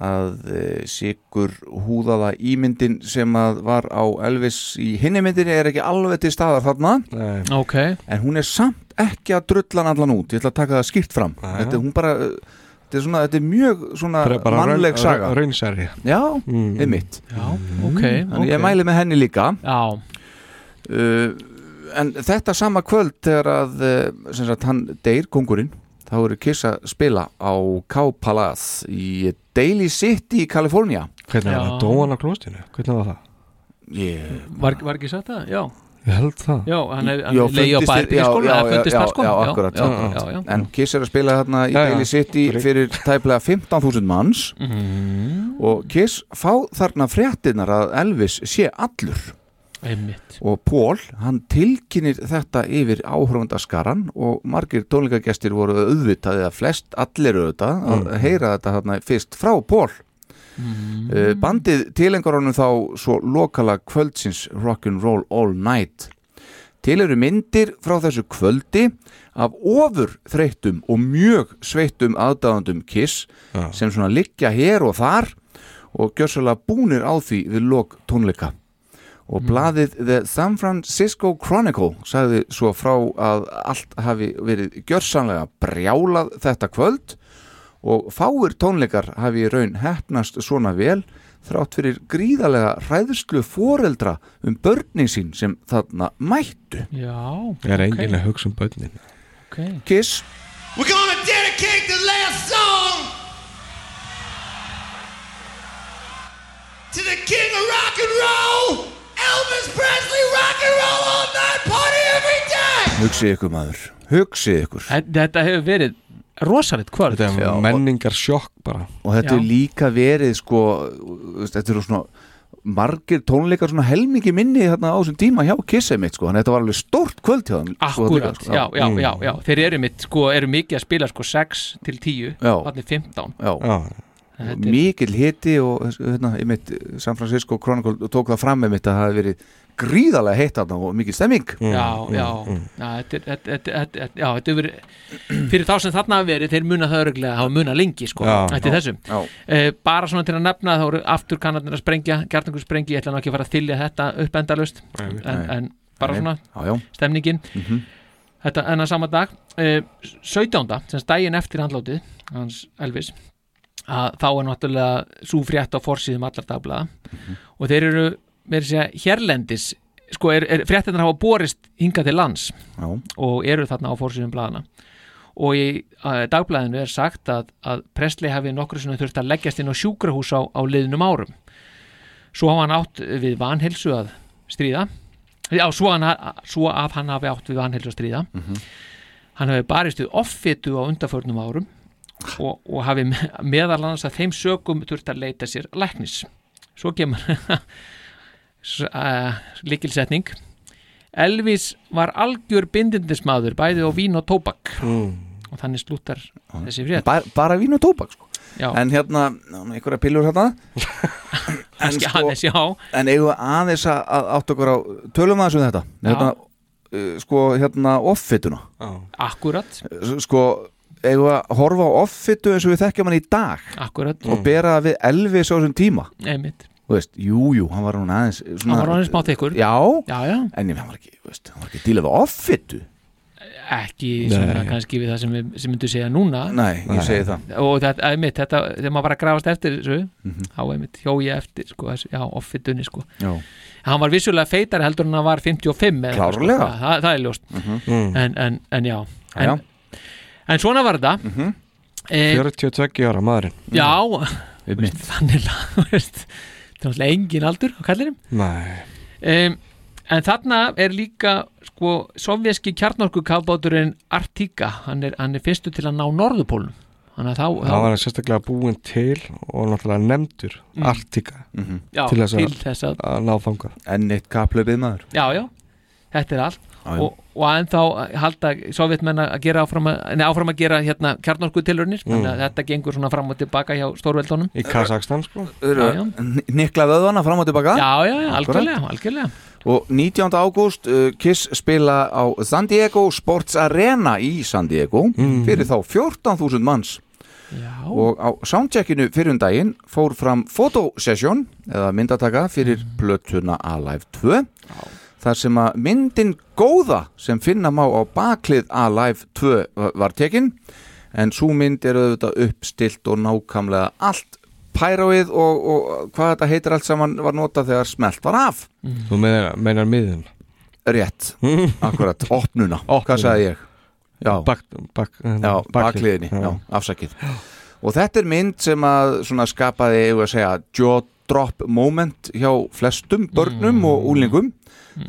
S3: að e, sigur húðaða ímyndin sem að var á Elvis í hinni myndinni er ekki alveg til staðar þarna
S4: Nei.
S5: Ok
S3: en hún er samt ekki að drulla hann allan út, ég ætla að taka það skýrt fram þetta, er- hún bara, eh, þetta, er svona, þetta er mjög svona
S4: Bara- bara
S3: mannleg
S4: raun-
S3: saga
S4: ra- raunsærri.
S3: já,
S4: Hmm.
S3: einmitt
S5: já,
S3: Mm.
S5: ok,
S3: Þannig
S5: ok.
S3: ég mæli með henni líka
S5: já
S3: Eh, en þetta sama kvöld þegar að eh, sem sagt, hann deyr kongurinn þá eru Kiss að spila á K-Palace í Daly City í Kalifornia
S4: Hvernig var
S5: Já.
S4: það? Dóan á klóstinu? Hvernig var það?
S3: yeah.
S5: Var, var ekki sagt það? Já,
S4: Ég held það
S5: já hann er
S3: Já,
S5: leið á
S3: fundist-
S5: bærbíl
S3: já,
S5: skóla
S3: já,
S5: eða
S3: já,
S5: fundist þar sko
S3: já, akkurat,
S5: já,
S3: akkurat.
S5: já, já.
S3: En Kiss er að spila hérna í
S5: Já, já.
S3: Daily City fyrir tæplega 15.000 manns
S5: Mhm. Mm.
S3: og Kiss fá þarna fréttinar að Elvis sé allur
S5: Einmitt.
S3: og Paul, hann tilkynir þetta yfir áhörfundaskaran og margir tónleikagestir voru auðvitað eða flest allir auðvitað að heyra þetta þarna fyrst frá Paul mm. Bandið tilengar honum þá svo lokala kvöldsins Rock'n'Roll All Night Til eru myndir frá þessu kvöldi af ofur þreyttum og mjög sveittum aðdáðandum Kiss sem svona liggja hér og þar og gjössalega búnir á því við lok tónleika. Og blaðið The San Francisco Chronicle sagði svo frá að allt hafi verið gjörsamlega brjálað þetta kvöld og fáir tónleikar hafi í raun hefnast svona vel þrátt fyrir gríðalega hræðslu foreldra um börnin sín sem þarna mættu.
S5: Já,
S4: Ég er enginn að hugsa um börnin
S3: Kiss
S9: We're gonna dedicate the last song to the king of rock and roll, Elvis Presley, rock and roll all night, party every day.
S3: Hugsið ykkur maður, hugsið ykkur
S5: Þe- Þetta hefur verið rosalegt kvöld
S4: Þetta er menningar sjokk bara
S3: og þetta
S5: Já.
S3: er líka verið sko, þú veist, þetta eru svona margir tónleikar svona helmingi minni þarna á þessum tíma hjá Kiss einmitt sko, þannig að þetta var alveg stórt kvöld hjá sko, hann
S5: Akkurat, já, já,
S3: Mm.
S5: já, já Þeir eru mitt, sko, eru mikið að spila sko 6 til 10,
S3: Já.
S5: þannig 15
S3: já.
S5: Þetta er-
S3: mikill hiti og hérna, einmitt, San Francisco Chronicle tók það fram einmitt að það hafi verið gríðarlega heitt þarna og mikil stemming
S5: Já, já, já, þetta er- þetta- þetta- þetta- þetta- já, þetta er verið fyrir þá sem þarna hafa verið, þeir muna það örglega hafa muna lengi, sko,
S4: Já.
S5: þetta er þessum
S3: já.
S5: Eh, bara svona til að nefna þá eru aftur kannarnir að sprengja, kjartangur sprengja ég ætla nú ekki að fara að þylja þetta upp endalaust en,
S3: nei.
S5: en bara
S3: Nei.
S5: svona
S3: Já, já.
S5: stemningin þetta enna sama dag eh, 17. sem daginn eftir handlátið hans Elvis að þá er náttúrulega svo frétt á forsýðum allar dagblaða og þeir eru meira að segja hérlendis sko er, er fréttinnar hafa borist hingað til lands
S3: Já.
S5: og eru þarna á forsýðum blaðana og í uh, dagblæðinu er sagt að, að Presley hafi nokkru sinni þurft að leggjast inn á sjúkrahús á, á liðnum árum svo hafa hann átt við vanhelsu að stríða já, svo, hann, svo að hann hafi átt við vanhelsu að stríða
S3: Mhm.
S5: hann hafi barist við offitu á undarförnum árum og, og hafi me- meðal annars að þeim sögum þurft að leita sér læknis svo kemur uh, líkilsetning Elvis var algjör bindindismadur bæði á vín og tóbak og þannig slúttar þessi frétt
S3: bara, bara vín og tóbak sko.
S5: Já.
S3: Ah. en hérna, einhverja pillur hérna sko- en
S5: Kannski aðeins, já.
S3: en eigum við aðeins að- að átt okkur á tölum aðeins um þetta hérna, uh, sko hérna offituna
S5: akkurat,
S3: S- sko, eigum við að horfa á offitu eins og við þekkjum hann í dag
S5: akkurat
S3: og bera það við Elvis á þessum tíma
S5: einmitt,
S3: þú veist, jú, jú, hann var hún aðeins svona,
S5: hann var orðin smá þykkur
S3: já,
S5: já, já,
S3: en ég, hann var ekki, þú veist, hann var ekki að díla við offitu
S5: ekki svona kannski við það sem, við- sem myndu segja núna
S3: nei, ég segi það
S5: og þetta, einmitt, þetta, þegar maður var að grafast eftir þessu,
S3: Mhm.
S5: þá einmitt, hjó ég eftir sko, þessu, já, offitunni, sko
S3: já,
S5: hann var vissulega feitari heldur en hann var 55 eða, eitthvað,
S3: Klárlega. Mhm.
S5: sko, það, það er ljóst
S4: Mm.
S5: en, en, en já en,
S3: já. Mhm.
S5: en svona var þetta mm
S4: 42 ára maðurinn
S5: já, veist, þannig lag, veist, það er náttúrulega engin aldur á kallinum
S4: Nei
S5: um, en þarna er líka sko, sovjeski kjarnorku kafbáturinn Artika, hann er, hann er fyrstu til að ná norðupólum þannig að þá,
S4: Það var hann sérstaklega búinn til og náttúrulega nefndur
S5: Mm.
S4: Artika
S5: Mhm. Já,
S4: til, þess
S5: til þess að-
S4: að ná þangað
S3: Enn eitt kaplöfið maður
S5: já, já, þetta er allt
S3: Já, já.
S5: og, og ennþá halda sovjetmenn að gera áfram að, nei, áfram að gera hérna kjarnorku tilurnir, þannig að þetta gengur svona fram og tilbaka hjá stórveldunum
S4: Í Kazakstan sko
S5: Já, já.
S3: Nikla vöðvana fram og tilbaka
S5: Já, já, já, algjörlega, algjörlega
S3: Og 19. ágúst uh, Kiss spila á San Diego Sports Arena í San Diego fyrir þá 14.000 manns
S5: Já.
S3: og á soundcheckinu fyrir um daginn fór fram fotosession eða myndataka fyrir plötuna Alive 2 þar sem að myndin góða sem finna má á baklið Alive 2 va- var tekin en svo mynd er auðvitað uppstilt og nákvæmlega allt pyroið og, og hvað þetta heitir allt saman var notað þegar smelt var af
S4: Þú meinar, meinar miðin
S3: Rétt, akkurat, opnuna,
S4: Opnuna.
S3: Hvað sagði ég? Já,
S4: bak, bak, hérna,
S3: já bakliðinni, já. afsakið Og þetta er mynd sem að svona skapaði, ég að segja, jaw drop moment hjá flestum börnum
S4: Mm.
S3: og úlingum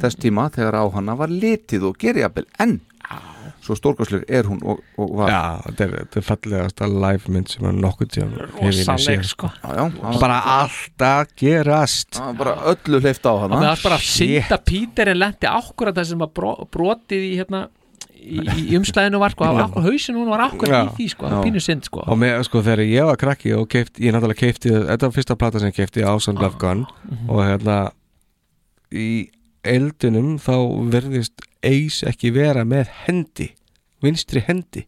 S3: þess tíma þegar á hana var litið og gerjabel en svo stórkosleg er hún og, og var
S4: Já, þetta er, þetta er fallegasta live mynd sem er nokkuð tíðan
S5: Rosaleg, sko.
S3: Já, já, það var-
S4: Bara allt að gerast
S3: það var bara öllu hleyft á
S5: og
S3: hana
S5: með það bara synda Píter en lendi akkurat það sem að bro, brotið í hérna í, í umslæðinu var sko, það var akkurat hausin hún var akkurat
S4: Já.
S5: í því sko, það var
S4: Já.
S5: pínu synd sko
S4: Og með, sko, þegar ég var krakki og keift, ég náttúrulega keifti, þetta var fyrsta plata sem ég keifti Ásand
S3: Ah.
S4: Love Gun
S3: Mhm.
S4: og hérna í eldunum þá verðist Ace ekki vera með hendi, vinstri hendi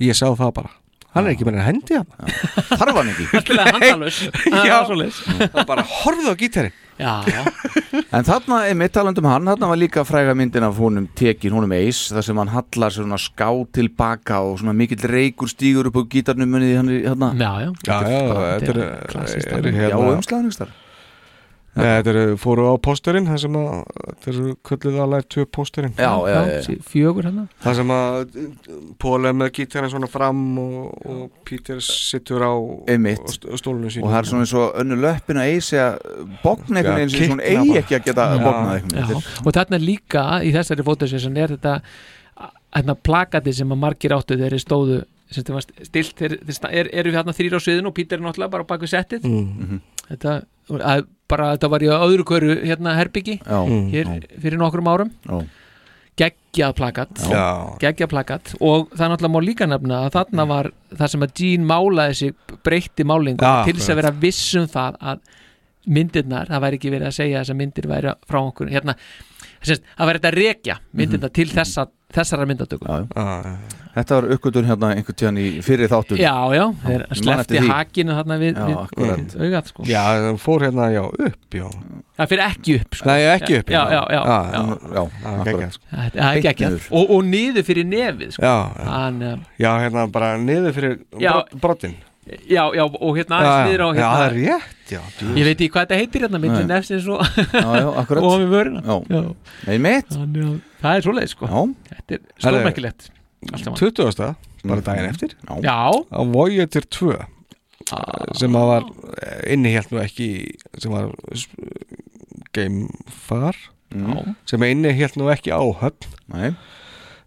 S4: ég sá það bara hann
S3: Ah.
S4: er ekki með hendi hann
S3: þarf hann ekki
S5: Allilega handalaus Það
S4: Já.
S5: var svoleiðis.
S4: og bara horfðu á gítarinn
S5: Já, já,
S3: En þarna er mitt talandum hann, þarna var líka fræga myndin af honum tekin, honum eis, þar sem hann hallar sér svona ská til baka og svona mikill reykur stígur upp á gítarnum munið hann er hérna.
S5: já, já
S4: já, já, þetta er,
S5: klassískt
S4: er
S5: alveg.
S3: Já,
S4: hérna,
S3: umslaðan ykkur
S4: ja, þetta er fóru á pósterinn það sem að, þetta er kölluð á live 2 pósterinn
S3: Já, já,
S5: Já,
S3: já, já.
S5: sí- Fjögur hérna
S4: Það sem að Pól er með gítarinn svona fram og, og Peter sittur á
S3: Einmitt.
S4: og st- stólunum sínu
S3: Og það er svona eins og önnu löppin að eisi að bogna einhvern
S4: Já,
S3: veginn sem hún
S4: kikna
S3: eigi
S4: bara.
S3: ekki að geta
S4: Já.
S3: bognað einhvern
S5: Já,
S3: veginn.
S5: og þarna líka í þessari fótasessun er þetta hérna plakati sem að margir áttu þegar þeir stóðu sem þetta var stilt, þeir, þeir sta- er, eru við hérna þrýr á sviðinu og Pítur er náttúrulega bara á bak við settið
S4: Mhm.
S5: þetta, að, bara þetta var í öðru hverju hérna herbyggi
S3: Já,
S4: Mm.
S5: hér fyrir nokkrum árum
S3: já,
S5: geggjað plakat
S4: Já,
S5: geggjað plakat og það er náttúrulega má líka nefna að þarna
S4: Mm.
S5: var það sem að Gene málaði sig breytti málingu
S4: Já,
S5: til þess að vera viss um það að myndirnar, það væri ekki verið að segja að þessar myndir væri frá okkur hérna, sérst, það væri þetta að rekja
S4: Mhm.
S5: myndirna til þessa, þessara myndatökum
S3: já.
S4: já,
S3: Þetta var uppgötun hérna einhvern tíðan í fyrir þáttum.
S5: já, já, þeir
S3: man eftir
S5: slefti
S3: því.
S5: hakinu þarna við,
S3: Já,
S5: við
S3: akkurat.
S5: augað sko.
S4: já hann fór hérna já, upp já.
S5: það fyrir ekki upp sko.
S4: Nei, ekki upp
S5: já, já, já,
S4: já,
S5: já.
S3: Ah, já,
S4: Það er geggjað,
S3: akkurat.
S4: sko.
S5: Það- það er
S3: Beint
S5: ekki
S3: niður.
S5: og, og niður fyrir nefið sko.
S4: já, já.
S5: Hann, eh,
S4: já, hérna bara niður fyrir
S5: Já.
S4: brot, brotin
S5: já, já, og hérna
S4: já,
S5: aðeins niður
S4: já,
S5: á
S4: það er
S5: hérna
S4: rétt já, djú.
S5: ég veit ekki hvað þetta heitir hérna myndin nefsins og
S3: Já, já,
S5: og
S3: akkurat.
S5: við vörina
S3: Já.
S5: Já.
S3: Nei, mitt.
S5: Þannig að það er svoleið sko
S3: Já,
S5: Þetta er stórmerkilegt Allt saman Mm.
S4: 20. bara daginn eftir
S3: já,
S5: Já,
S4: á Voyager 2
S5: Ah.
S4: sem að var eh, innihélt nú ekki sem var gamefar
S3: Já.
S4: sem innihélt nú ekki áhöfn
S3: Mm, nei.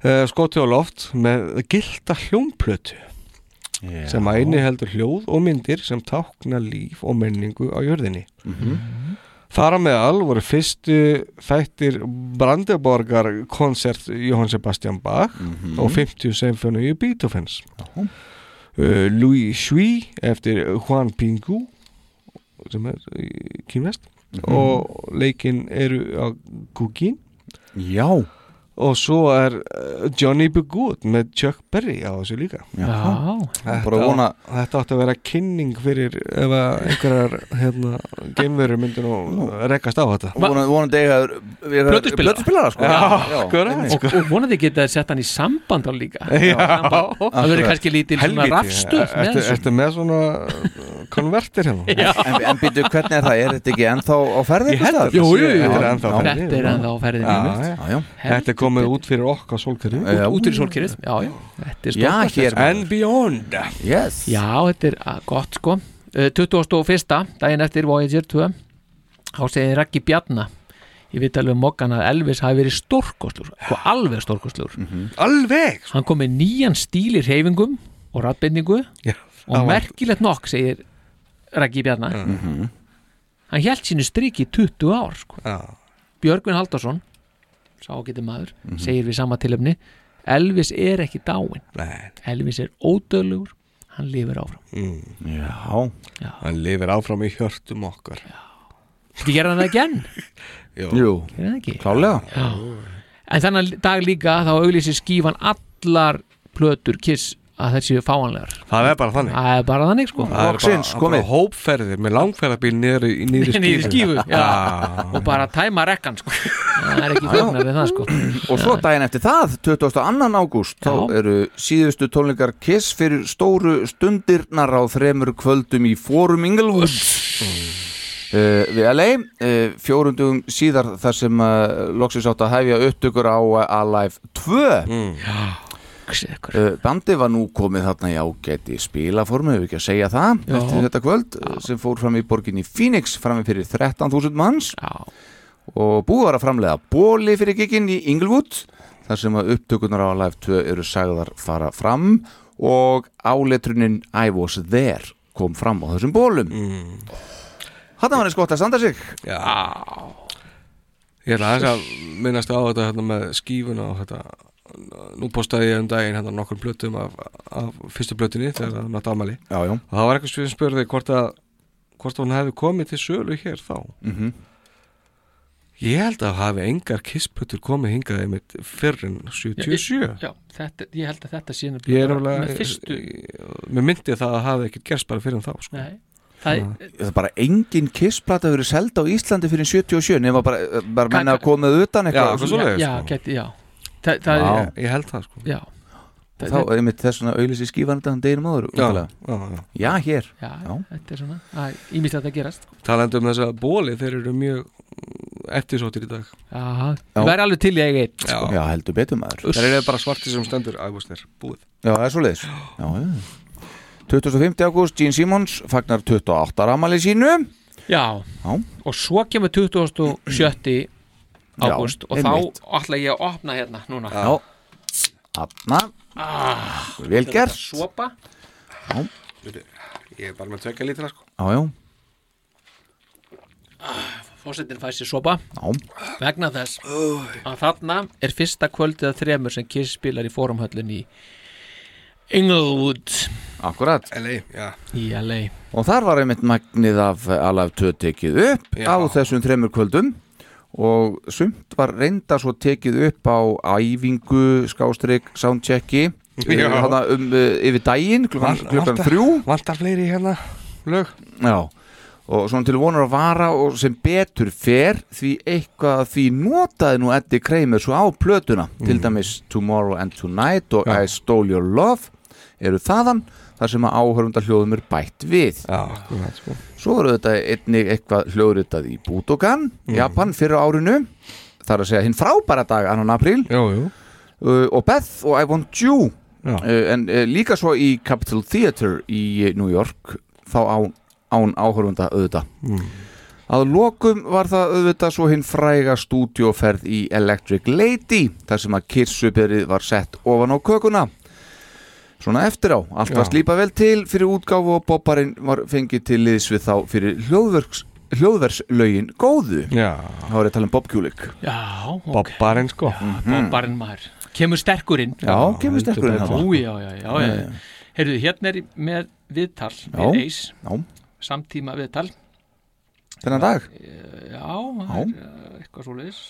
S4: uh, skotið á loft með gilda hljómplötu sem að inni heldur hljóð og myndir sem tákna líf og menningu á jörðinni
S3: Mhm,
S4: Þar á meðal voru fyrstu þættir Brandeborgar koncert Johann Sebastian Bach og
S3: Mhm.
S4: 50 symfóníu Beethoven's uh, Louis Shui eftir Juan Pingu sem er í kínvest
S3: Mhm.
S4: og leikinn eru á Gugin
S3: Já,
S4: og svo er uh, Johnny B. Good með Chuck Berry á þessu líka
S3: já,
S5: já,
S3: Bara vona-
S4: þetta átti að vera kynning fyrir ef að einhverjar hérna, geimveru myndir nú rekast á þetta
S3: Vona- Vonandi eiga þeir-
S5: Plötuspilara.
S3: plötuspilara, sko.
S4: Já, akkurat.
S3: einmitt.
S5: og, og vonandi geta sett hann í samband á líka
S4: Já.
S5: Samband. Það verður kannski lítið svona rafstuð með
S4: ertu,
S5: þessu.
S4: ertu með svona uh, konvertir hérna
S5: Já.
S3: En, en býtu, hvernig er það? Er þetta ekki ennþá á ferðin?
S4: Ég held að
S5: Jú, jú, jú.
S4: þetta er ennþá
S3: Já.
S4: ferðinni.
S5: Þetta er ennþá á ferðinni
S4: Já,
S5: einmitt.
S4: já.
S3: Já, já.
S4: Þetta er komið út fyrir okk á sólkerfi
S3: Já.
S5: Út úr í sólkerið Já, já, þetta er
S3: Já,
S5: stórkostlegt.
S3: hér.
S4: And beyond
S3: Yes.
S5: Já, þetta er ah, gott sko Eh, 21. daginn eftir Voyager 2 þá segir Raggi Bjarna ég veit alveg um mokkan að Elvis hafi verið stórkoslur sko alveg stórkoslur
S4: Mhm. alveg
S5: hann kom með nýjan stíl í reyfingum og ratbendingu
S4: Já,
S5: og
S4: það var- Mhm.
S5: merkilegt nokk segir Raggi Bjarna hann hjælt sínu striki í 20 ár sko. Björgvin Haldarsson sá getið maður,
S4: Mhm.
S5: segir við sama tilöfni Elvis er ekki dáin
S4: Nei.
S5: Elvis er ódöðlugur hann lifir áfram
S4: mm. Já. Hann lifir áfram í hjörtum okkar
S5: Þetta gerði hann það ekki enn
S4: Jú.
S3: Jú.
S5: Gerði hann ekki?
S3: Klálega.
S5: Já. En þannig dag líka þá auglýsir skífan allar plötur kiss að þær séu fáanlegar
S4: Það er bara þannig
S5: Það er bara þannig sko
S4: Það er bara, bara hópferðir með langferðarbíl niður í niður í
S5: Niður í skífu, já.
S4: Já.
S5: Og bara tæma rekkan sko Það er ekki flóknar við það sko
S3: Og svo daginn eftir það, 22. ágúst þá eru síðustu tónleikar Kiss fyrir stóru stundirnar á þremur kvöldum í Fórum Inglewood uh, við LA uh, fjórundum síðar þar sem uh, loksins átt að hefja upptökur á uh, Alive 2 Uh, Bandi var nú komið þarna í ágæti spilaformi, hefur ekki að segja það
S5: Já.
S3: eftir þetta kvöld Já. sem fór fram í borginni Phoenix frammi fyrir 13.000 manns
S5: Já.
S3: og búið var að framlega bóli fyrir giginn í Inglewood þar sem að upptökunar á Live 2 eru sagðar fara fram og áletrunin I was there kom fram á þessum bólum mm. Þetta var eins gott að standa sig
S4: Já Ég ætla aðeins að minnast á þetta hérna, með skífuna og þetta nú postaði ég um daginn hérna nokkur plötum af, af fyrstu plötunni þegar það nátt afmæli
S3: já, já.
S4: og það var eitthvað sem spurði hvort að hvort hún hefði komið til sölu hér þá
S3: Mhm.
S4: Ég held að hafi engar kissplötur komið hingað einmitt fyrr en 77
S5: Já, þetta, ég held að þetta sé
S4: Ég er
S5: bara
S4: alveg
S5: með fyrstu
S4: Mér myndi það að hafi ekkert gerst bara fyrir en þá sko.
S5: Nei, það,
S3: Það er bara engin kissplata verið selda á Íslandi fyrir 77 nema bara, bara menna að komið utan eitthvað
S5: Já, geti, já Þa, það,
S3: Vá.
S5: er-
S4: Ég held það sko
S5: Já
S3: Og þá er einmitt þess svona auðlýsi skífan þetta hann deginum áður
S4: Já,
S3: uppalega.
S4: já,
S3: já, hér
S5: Já, þetta er svona Ímislegt að gerast
S4: Talandi um þessa bóli, þeir eru mjög eftirsóttir í dag
S5: Já, ég væri alveg til í eiga eitt
S4: Já.
S5: sko.
S3: Já, heldur betur maður
S4: Þeir eru bara svartir sem stendur ægvastnir, búið
S3: Já, það er svo leiðis Já, já 25. ágúst, Gene Simmons fagnar 28 ramali sínu
S5: Já,
S3: Já.
S5: og svo kemur 27.
S3: Já,
S5: ágúst og
S3: einmitt.
S5: þá ætla ég að opna hérna núna
S3: Já Þarna
S5: ah,
S3: Vel gert
S5: Svopa
S3: Já,
S4: Ég er bara með tvekja lítra sko
S3: já, já
S5: Fósettin fæði sér svopa
S3: Já.
S5: vegna þess að þarna er fyrsta kvöldið að þremur sem Kiss spilar í forumhöllin í Inglewood
S3: Akkurat
S4: LA, já
S5: í LA
S3: Og þar var einmitt magnið af Alive 2 tekið upp á þessum þremur kvöldum og sumt var reynda svo tekið upp á æfingu, skástrík, soundchecki
S4: Já.
S3: hana, um, uh, yfir daginn klukkan, klukkan
S4: vantar-
S3: þrjú
S4: Vantar fleiri hérna lög
S3: Já, og svona til vonar að vara og sem betur fer því eitthvað að því notaði nú Eddie Kramer svo á plötuna til dæmis Tomorrow and Tonight og I Stole Your Love eru þaðan þar sem að áhörfunda hljóðum er bætt við
S4: Já, akkurat sko
S3: Svo eru þetta einnig eitthvað hljóðritað í Budokan, Japan fyrir árinu þar að segja hinn frábæra dag annan apríl
S4: já, já.
S3: Uh, og Beth og I Want You
S4: Já.
S3: uh, en uh, líka svo í Capitol Theatre í uh, New York þá án, án áhörfunda auðvitað Að lokum var það auðvitað svo hinn fræga stúdíóferð í Electric Lady þar sem að kirsuberið var sett ofan á kökuna. Svona eftir á, allt var
S4: Já.
S3: slípa vel til fyrir útgáfu og bobbarinn var fengið til liðs við þá fyrir hljóðverks, hljóðverslögin góðu.
S4: Já.
S3: Það var ég að tala um Bob Kulik.
S5: Já, ok
S4: Bobbarinn sko
S5: Bobbarinn maður Kemur sterkurinn
S3: Hmm. Já, kemur
S5: heldur
S3: sterkurinn
S5: betur.
S3: þarna.
S5: Ú, já, já, já, já,
S3: Já, já.
S5: Heyrðu, hérna er ég með viðtal
S3: Já,
S5: við Eis
S3: já.
S5: Samtíma viðtal
S3: Þennan dag?
S5: Já, já. Er, uh, eitthvað svo leiðis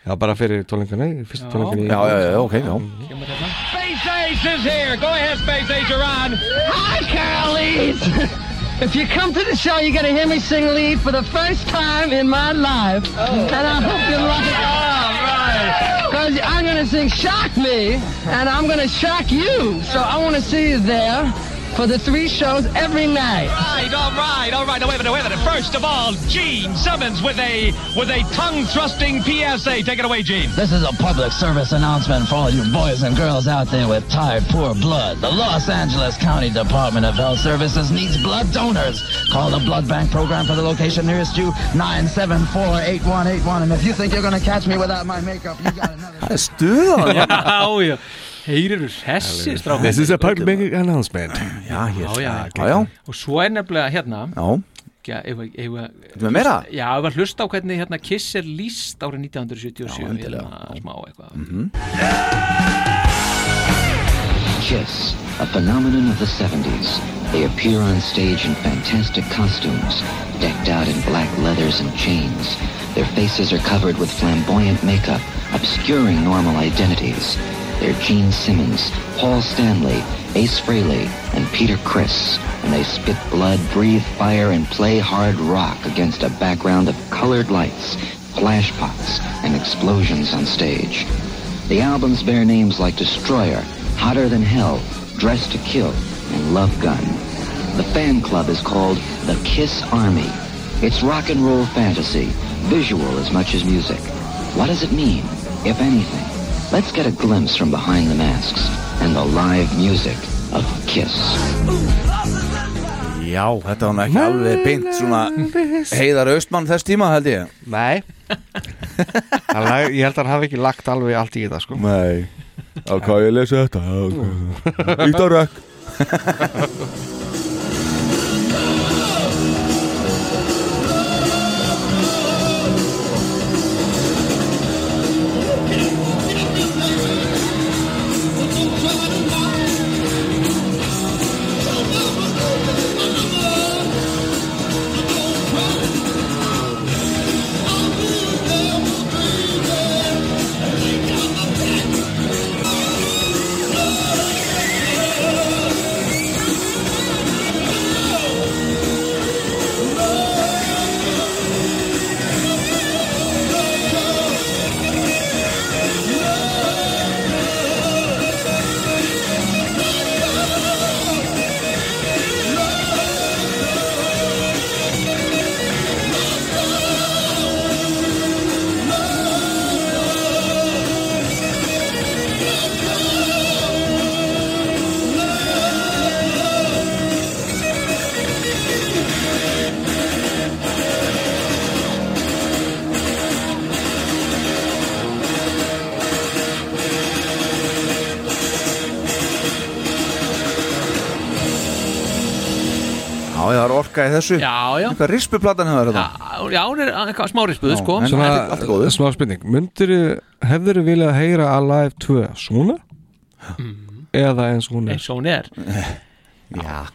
S4: Já, bara fyrir tónleikana, fyrstu
S5: Já.
S4: tónleikana
S3: Já, já, já, ok, já.
S5: Kemur hérna
S10: Space Ace is here. Go ahead, Space Ace, you're on.
S11: Hi, Carlies. If you come to the show, you're going to hear me sing lead for the first time in my life.
S12: Oh.
S11: And I hope you like it. Because I'm going to sing Shock Me, and I'm going to shock you. So I want to see you there. for the three shows every night.
S10: Right, all right, all right. Now wait a minute, wait a minute. First of all, Gene Simmons with a with a tongue thrusting PSA. Take it away, Gene.
S11: This is a public service announcement for all you boys and girls out there with tired, poor blood. The Los Angeles County Department of Health Services needs blood donors. Call the blood bank program for the location nearest you, 974-8181. And if you think you're going to catch me without my makeup, you got another...
S3: Það er stuðan
S5: Já, já, heyrir þú hessi strákar
S4: This is a public making announcement
S3: Já,
S5: Já, já,
S3: já, já.
S5: Og svo er nefnilega hérna
S3: Já.
S5: Já, ef, ef, ef,
S3: Ertu með meira?
S5: Já, ef að hlusta á hvernig hérna Kiss er líst árið 1977
S3: Já, endilega. Mhm.
S5: hérna, smá eitthvað
S12: Kiss, a phenomenon of the 70s. They appear on stage in fantastic costumes, decked out in black leathers and chains. Their faces are covered with flamboyant makeup, obscuring normal identities. They're Gene Simmons, Paul Stanley, Ace Frehley, and Peter Criss, and they spit blood, breathe fire, and play hard rock against a background of colored lights, flash pots, and explosions on stage. The albums bear names like Destroyer, Hotter Than Hell, Dress to Kill, and Love Gun. The fan club is called the Kiss Army. It's rock and roll fantasy, visual as much as music. What does it mean, if anything? Let's get a glimpse from behind the masks and the live music of Kiss.
S3: Já, þetta var nú ekki alveg beint svona heiðar austmann þess tíma held ég
S4: Nei Hann lag- Ég held að hann hafi ekki lagt alveg allt í þetta sko
S3: Nei Á hvað ég lesi þetta
S4: Ít á
S3: rökk Já, ég var orka í þessu
S5: Já, já
S3: Hvað rispuplatan hérna, hefur þetta?
S5: Já, hún er eitthvað smá rispuð, sko
S4: Svona, Ah, smá spurning Myndir, hefur þið viljað heyra Alive 2 svona? Eða eins og hún er
S5: eins og hún er
S3: Já,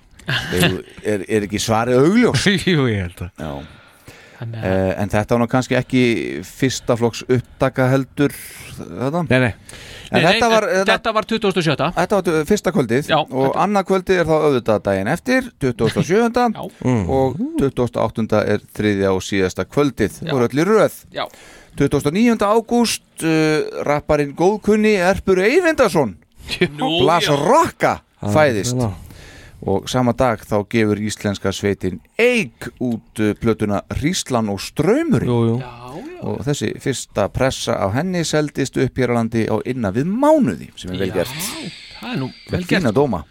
S3: er, er, er ekki svarið augljós?
S4: Jú, ég held
S3: að Já Uh, en þetta var nú kannski ekki fyrsta flokks upptaka heldur þetta?
S4: Nei, nei
S3: En þetta var,
S5: þetta var 2007
S3: Þetta var uh, fyrsta kvöldið Já, og þetta... annað kvöldið er þá auðvitað daginn eftir 27.
S5: Mm.
S3: og 28. er þriðja og síðasta kvöldið
S5: Já.
S3: og öll í röð
S5: Já.
S3: 29. ágúst uh, rapparinn góðkunni Erpur Eyvindarsson
S5: Nú,
S3: Blas
S5: já.
S3: Rokka
S5: Ah,
S3: fæðist
S5: já.
S3: og sama dag þá gefur íslenska sveitin Eik út uh, plötuna Ríslan og Ströymurinn
S4: jú, jú.
S3: og þessi fyrsta pressa af henni seldist upp hér á landi á innan við mánuði sem er vel gert
S5: Það er nú vel
S3: með
S5: gert
S3: fína dóma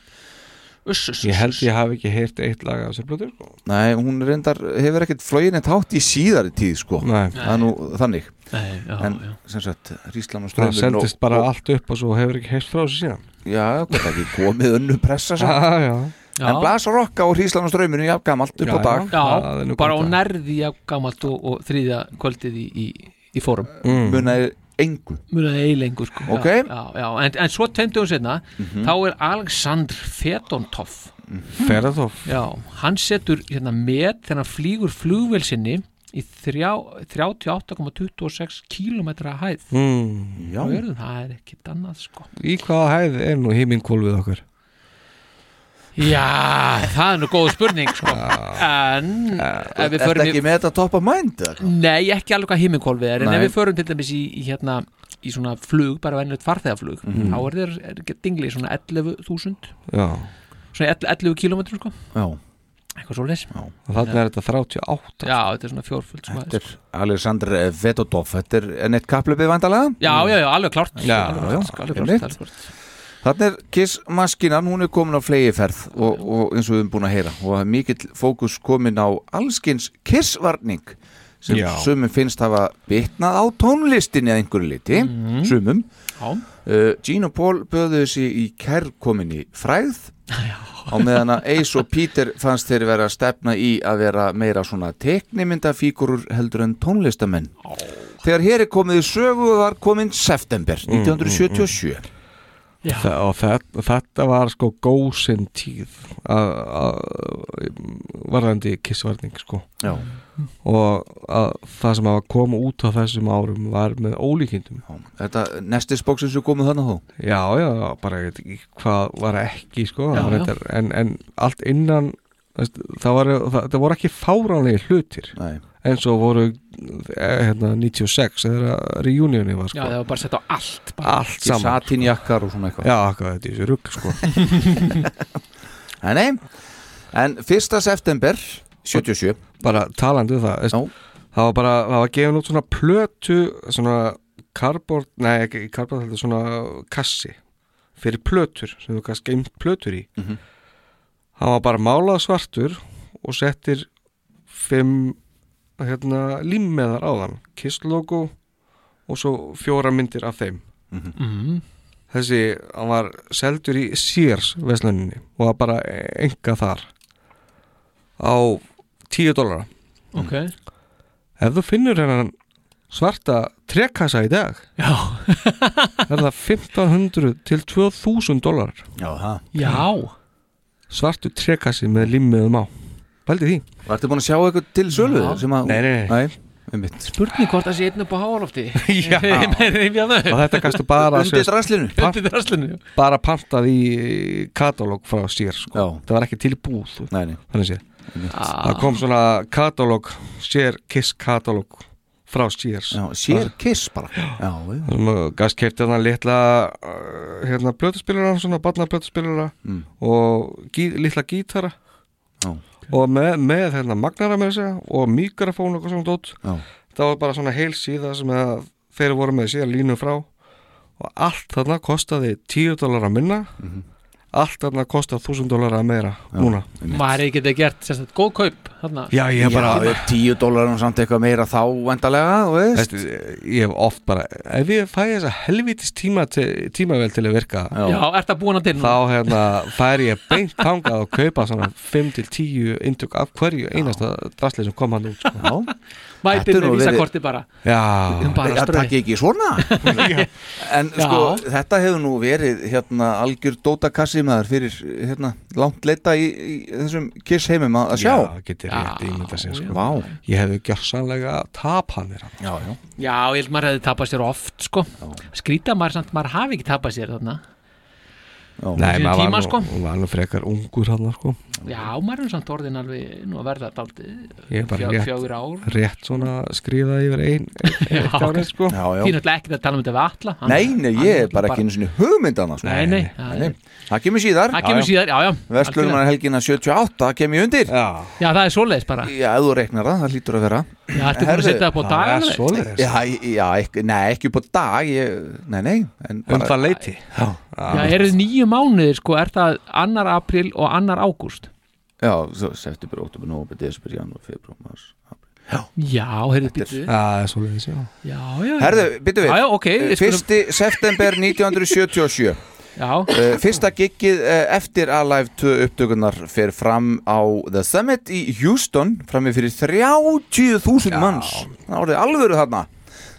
S5: Uss, uss,
S4: Ég held ég hafi ekki heyrt eitt lag af sér blötu sko.
S3: Nei, hún reyndar, hefur ekkert flógin eitt hátt í síðari tíð sko
S4: Nei.
S3: Það er nú þannig
S5: Nei, já,
S3: En sem sagt, Ríslan og
S4: Það
S3: Ströymurinn
S4: seldist
S3: og,
S4: bara
S3: og,
S4: allt upp og svo hefur ekki heyrt frá þessu síðan
S3: Já, hvað er ekki komið önnu pressa samt?
S4: Já, Ah, já.
S3: En
S5: Já.
S3: Blas Rokka og Ríslan og Ströymurinn Já, gamalt upp á dag
S5: Já, bara á nærði af gammalt og, og þriðja kvöldið í, í, í fórum
S3: Mm. Munaði engu
S5: Munaði eilengu sko
S3: Ok. Mhm.
S5: já, já, já, en, en svo tveimtugum setna þá er Aleksandr Fedontov
S4: Fedontov.
S5: Já, hann setur hérna með þegar hann flýgur flugvelsinni í þrjá- 38,26 kílometra hæð
S4: Mm, já.
S5: Á jörðu, það er ekkit annað sko
S4: Í hvaða hæð er nú himminkólfið okkar?
S5: Já, það er nú góð spurning sko. En ef við
S3: Ertu
S5: förum í-
S3: ekki með þetta top of mind?
S5: Nei, ekki alveg hvað himminkólfið er En
S3: Nei.
S5: ef við förum til dæmis í, í, hérna, í svona flug Bara venjulegt farþegaflug
S4: Mhm.
S5: Þá er þér er ekki dingli svona 11.000
S4: Já
S5: svona 11 km sko
S3: Já.
S5: eitthvað svo leys
S4: Og þarna er þetta 38
S5: já, þetta er svona fjórfullt sko.
S3: Þetta er Alexander Vedodov Þetta er enn eitt kaplöpið vandalega
S5: já, já, já, alveg klart
S3: Já,
S5: alveg
S3: já,
S5: klart, sko, alveg
S3: einmitt.
S5: klart, alveg klart.
S3: Þannig er Kiss maskinan, hún er komin á flegiferð og, og eins og við erum búin að heyra og það er mikill fókus komin á allskins Kiss-varning sem
S13: Já.
S3: sumum finnst hafa bitnað á tónlistinni að einhverju liti, sumum uh, Gene og Paul böðuðu sig í kærkominni fræð á meðan að Ace og Peter fannst þeir vera að stefna í að vera meira svona teknimyndafígurur heldur en tónlistamenn Þegar hér er komið í sögu var komin september 1977
S5: Já.
S4: Þa, og þetta, þetta var sko gósin tíð að- að- varðandi kissvarning sko
S3: Já.
S4: og að, það sem hafa komið út á þessum árum var með ólíkindum
S3: Þetta nestis bók sem svo komið þannig þó
S4: Já, já, bara ég veit ekki hvað var ekki sko
S3: Já,
S4: já,
S3: já.
S4: Reyndar, en, en allt innan veist, það, var, það, það voru ekki fáránlega hlutir
S3: Nei.
S4: eins og voru eh, hérna, 96 þegar reunioni var
S5: já,
S4: sko
S5: það var bara sett á allt bara.
S4: allt saman
S3: satinjakkar og svona eitthvað
S4: já, akkurat, þetta er þessu rugg sko
S3: Nei, nei, en fyrsta september 77
S4: bara talandi um það veist, það var bara, það var gefin út svona plötu svona karbord, nei ekki karbord, þetta er svona kassi fyrir plötur, sem þú kannski geimt plötur í
S3: Mhm.
S4: hann var bara málað svartur og settir fimm hérna, límmeðar á þann kisslogo og svo fjóra myndir af þeim
S5: Mhm.
S4: þessi, hann var seldur í Sears vesluninni og var bara enga þar á 10 dólara
S5: ok,
S4: ef þú finnur hennan svarta trekkassa í dag
S5: já
S4: er það 1500 til 2000 dólar
S3: Já, það
S5: já,
S4: svartu trekkassi með limmiðum á Pældi því
S3: Vartu búin að sjá eitthvað til sölu
S5: Já.
S3: sem að
S4: Nei, nei,
S3: nei. nei
S5: spurning hvort það sé einn upp á háalofti
S4: Já. og þetta kannstu bara
S5: Undir draslinu. Undir
S4: draslinu bara pantað í katalóg frá sér sko. það var ekki til í búð
S3: nei, nei.
S4: þannig sé
S5: Ah.
S4: það kom svona katalóg sér kiss katalóg frá sér
S3: Sér kiss bara Já, já.
S4: Gast kefti hann litla uh, hérna blötuspilara, svona barna blötuspilara
S3: Mm.
S4: og gí, litla gítara
S3: Já.
S4: og með, með hérna magnara með þessi og mikrofón og eitthvað svona dót
S3: Já.
S4: það var bara svona heil síða sem að þeir voru með síðan línu frá og allt þarna kostaði 10 dólar að minna
S3: Mhm.
S4: allt þarna kostaði 1000 dólar að meira núna
S5: Ah, maður hefði getið gert sérstætt góð kaup þarna.
S4: Já, ég bara-
S3: Já, 10 dólarum samt eitthvað meira þá vendalega, þú veist
S4: Þessi, ég hef oft bara ef ég fæ þessa helvitist tíma til, tímavel til að virka
S5: já, ert það búin að til
S4: þá hérna fær ég beint tangað og kaupa svona 5-10 indug af hverju einasta drasli sem kom hann út sko.
S5: mætið með vísakorti bara
S4: Já,
S5: Um bara
S3: það
S5: strauk.
S3: takk ekki svona En
S5: Já.
S3: sko, þetta hefur nú verið hérna algjör dótakassi maður fyrir hérna langt leita í, í þessum kiss heimum að að sjá
S4: Já, getur rétt ímynda sér sko.
S3: Vá.
S4: Ég hefði gjörsanlega tap hann er
S3: Já, já
S5: já, ég held maður hefði tapað sér oft sko. skrýta maður samt, maður hafi ekki tapað sér þarna
S4: Nei,
S5: Þessum
S4: maður var,
S5: tíma,
S4: nú-
S5: sko.
S4: var nú frekar ungur hann sko.
S5: já, maður er samt orðin alveg nú að verða daldi
S4: Ég er bara
S5: fjögur ár
S4: rétt, rétt svona skriða yfir ein,
S5: Já.
S4: eitt árið sko.
S5: Því náttúrulega ekki að tala um þetta við alla Hann-
S3: Nei, nei, ég
S5: hann
S3: er
S5: náttúrulega
S3: bara ekki einu sinni hugmyndana sko.
S5: Nei, nei, já,
S3: Það kemur síðar
S5: Það kemur síðar, já, já
S3: Vestlunar helgina 78, það kemur ég undir
S4: Já,
S5: Já, það er svoleiðis bara
S3: já ef þú reiknar það, það lítur að vera
S5: Já, ertu búin að setja það upp á Það er dagana? svoleiðis.
S3: Já, já ekki, nei, ekki upp á dag ég, Nei, nei en
S5: Um
S3: bara,
S4: það leiti
S3: Um Já,
S5: Já, eru nýju mánuðir, sko, er það annar april og annar ágúst
S3: já svo september, oktober, november, desember, janúar, februar, mars
S5: Já, heyrðu, býttu
S4: Já, það er svoleiðis, já
S5: Já, já
S3: Herðu, byttu við
S5: Já, já, ok við skulum-
S3: Fyrsti september 1977 Já Fyrsta giggið eh, eftir Alive 2 upptökunar fer fram á The Summit í Houston frammi fyrir 30.000 manns Það voruði alvöru þarna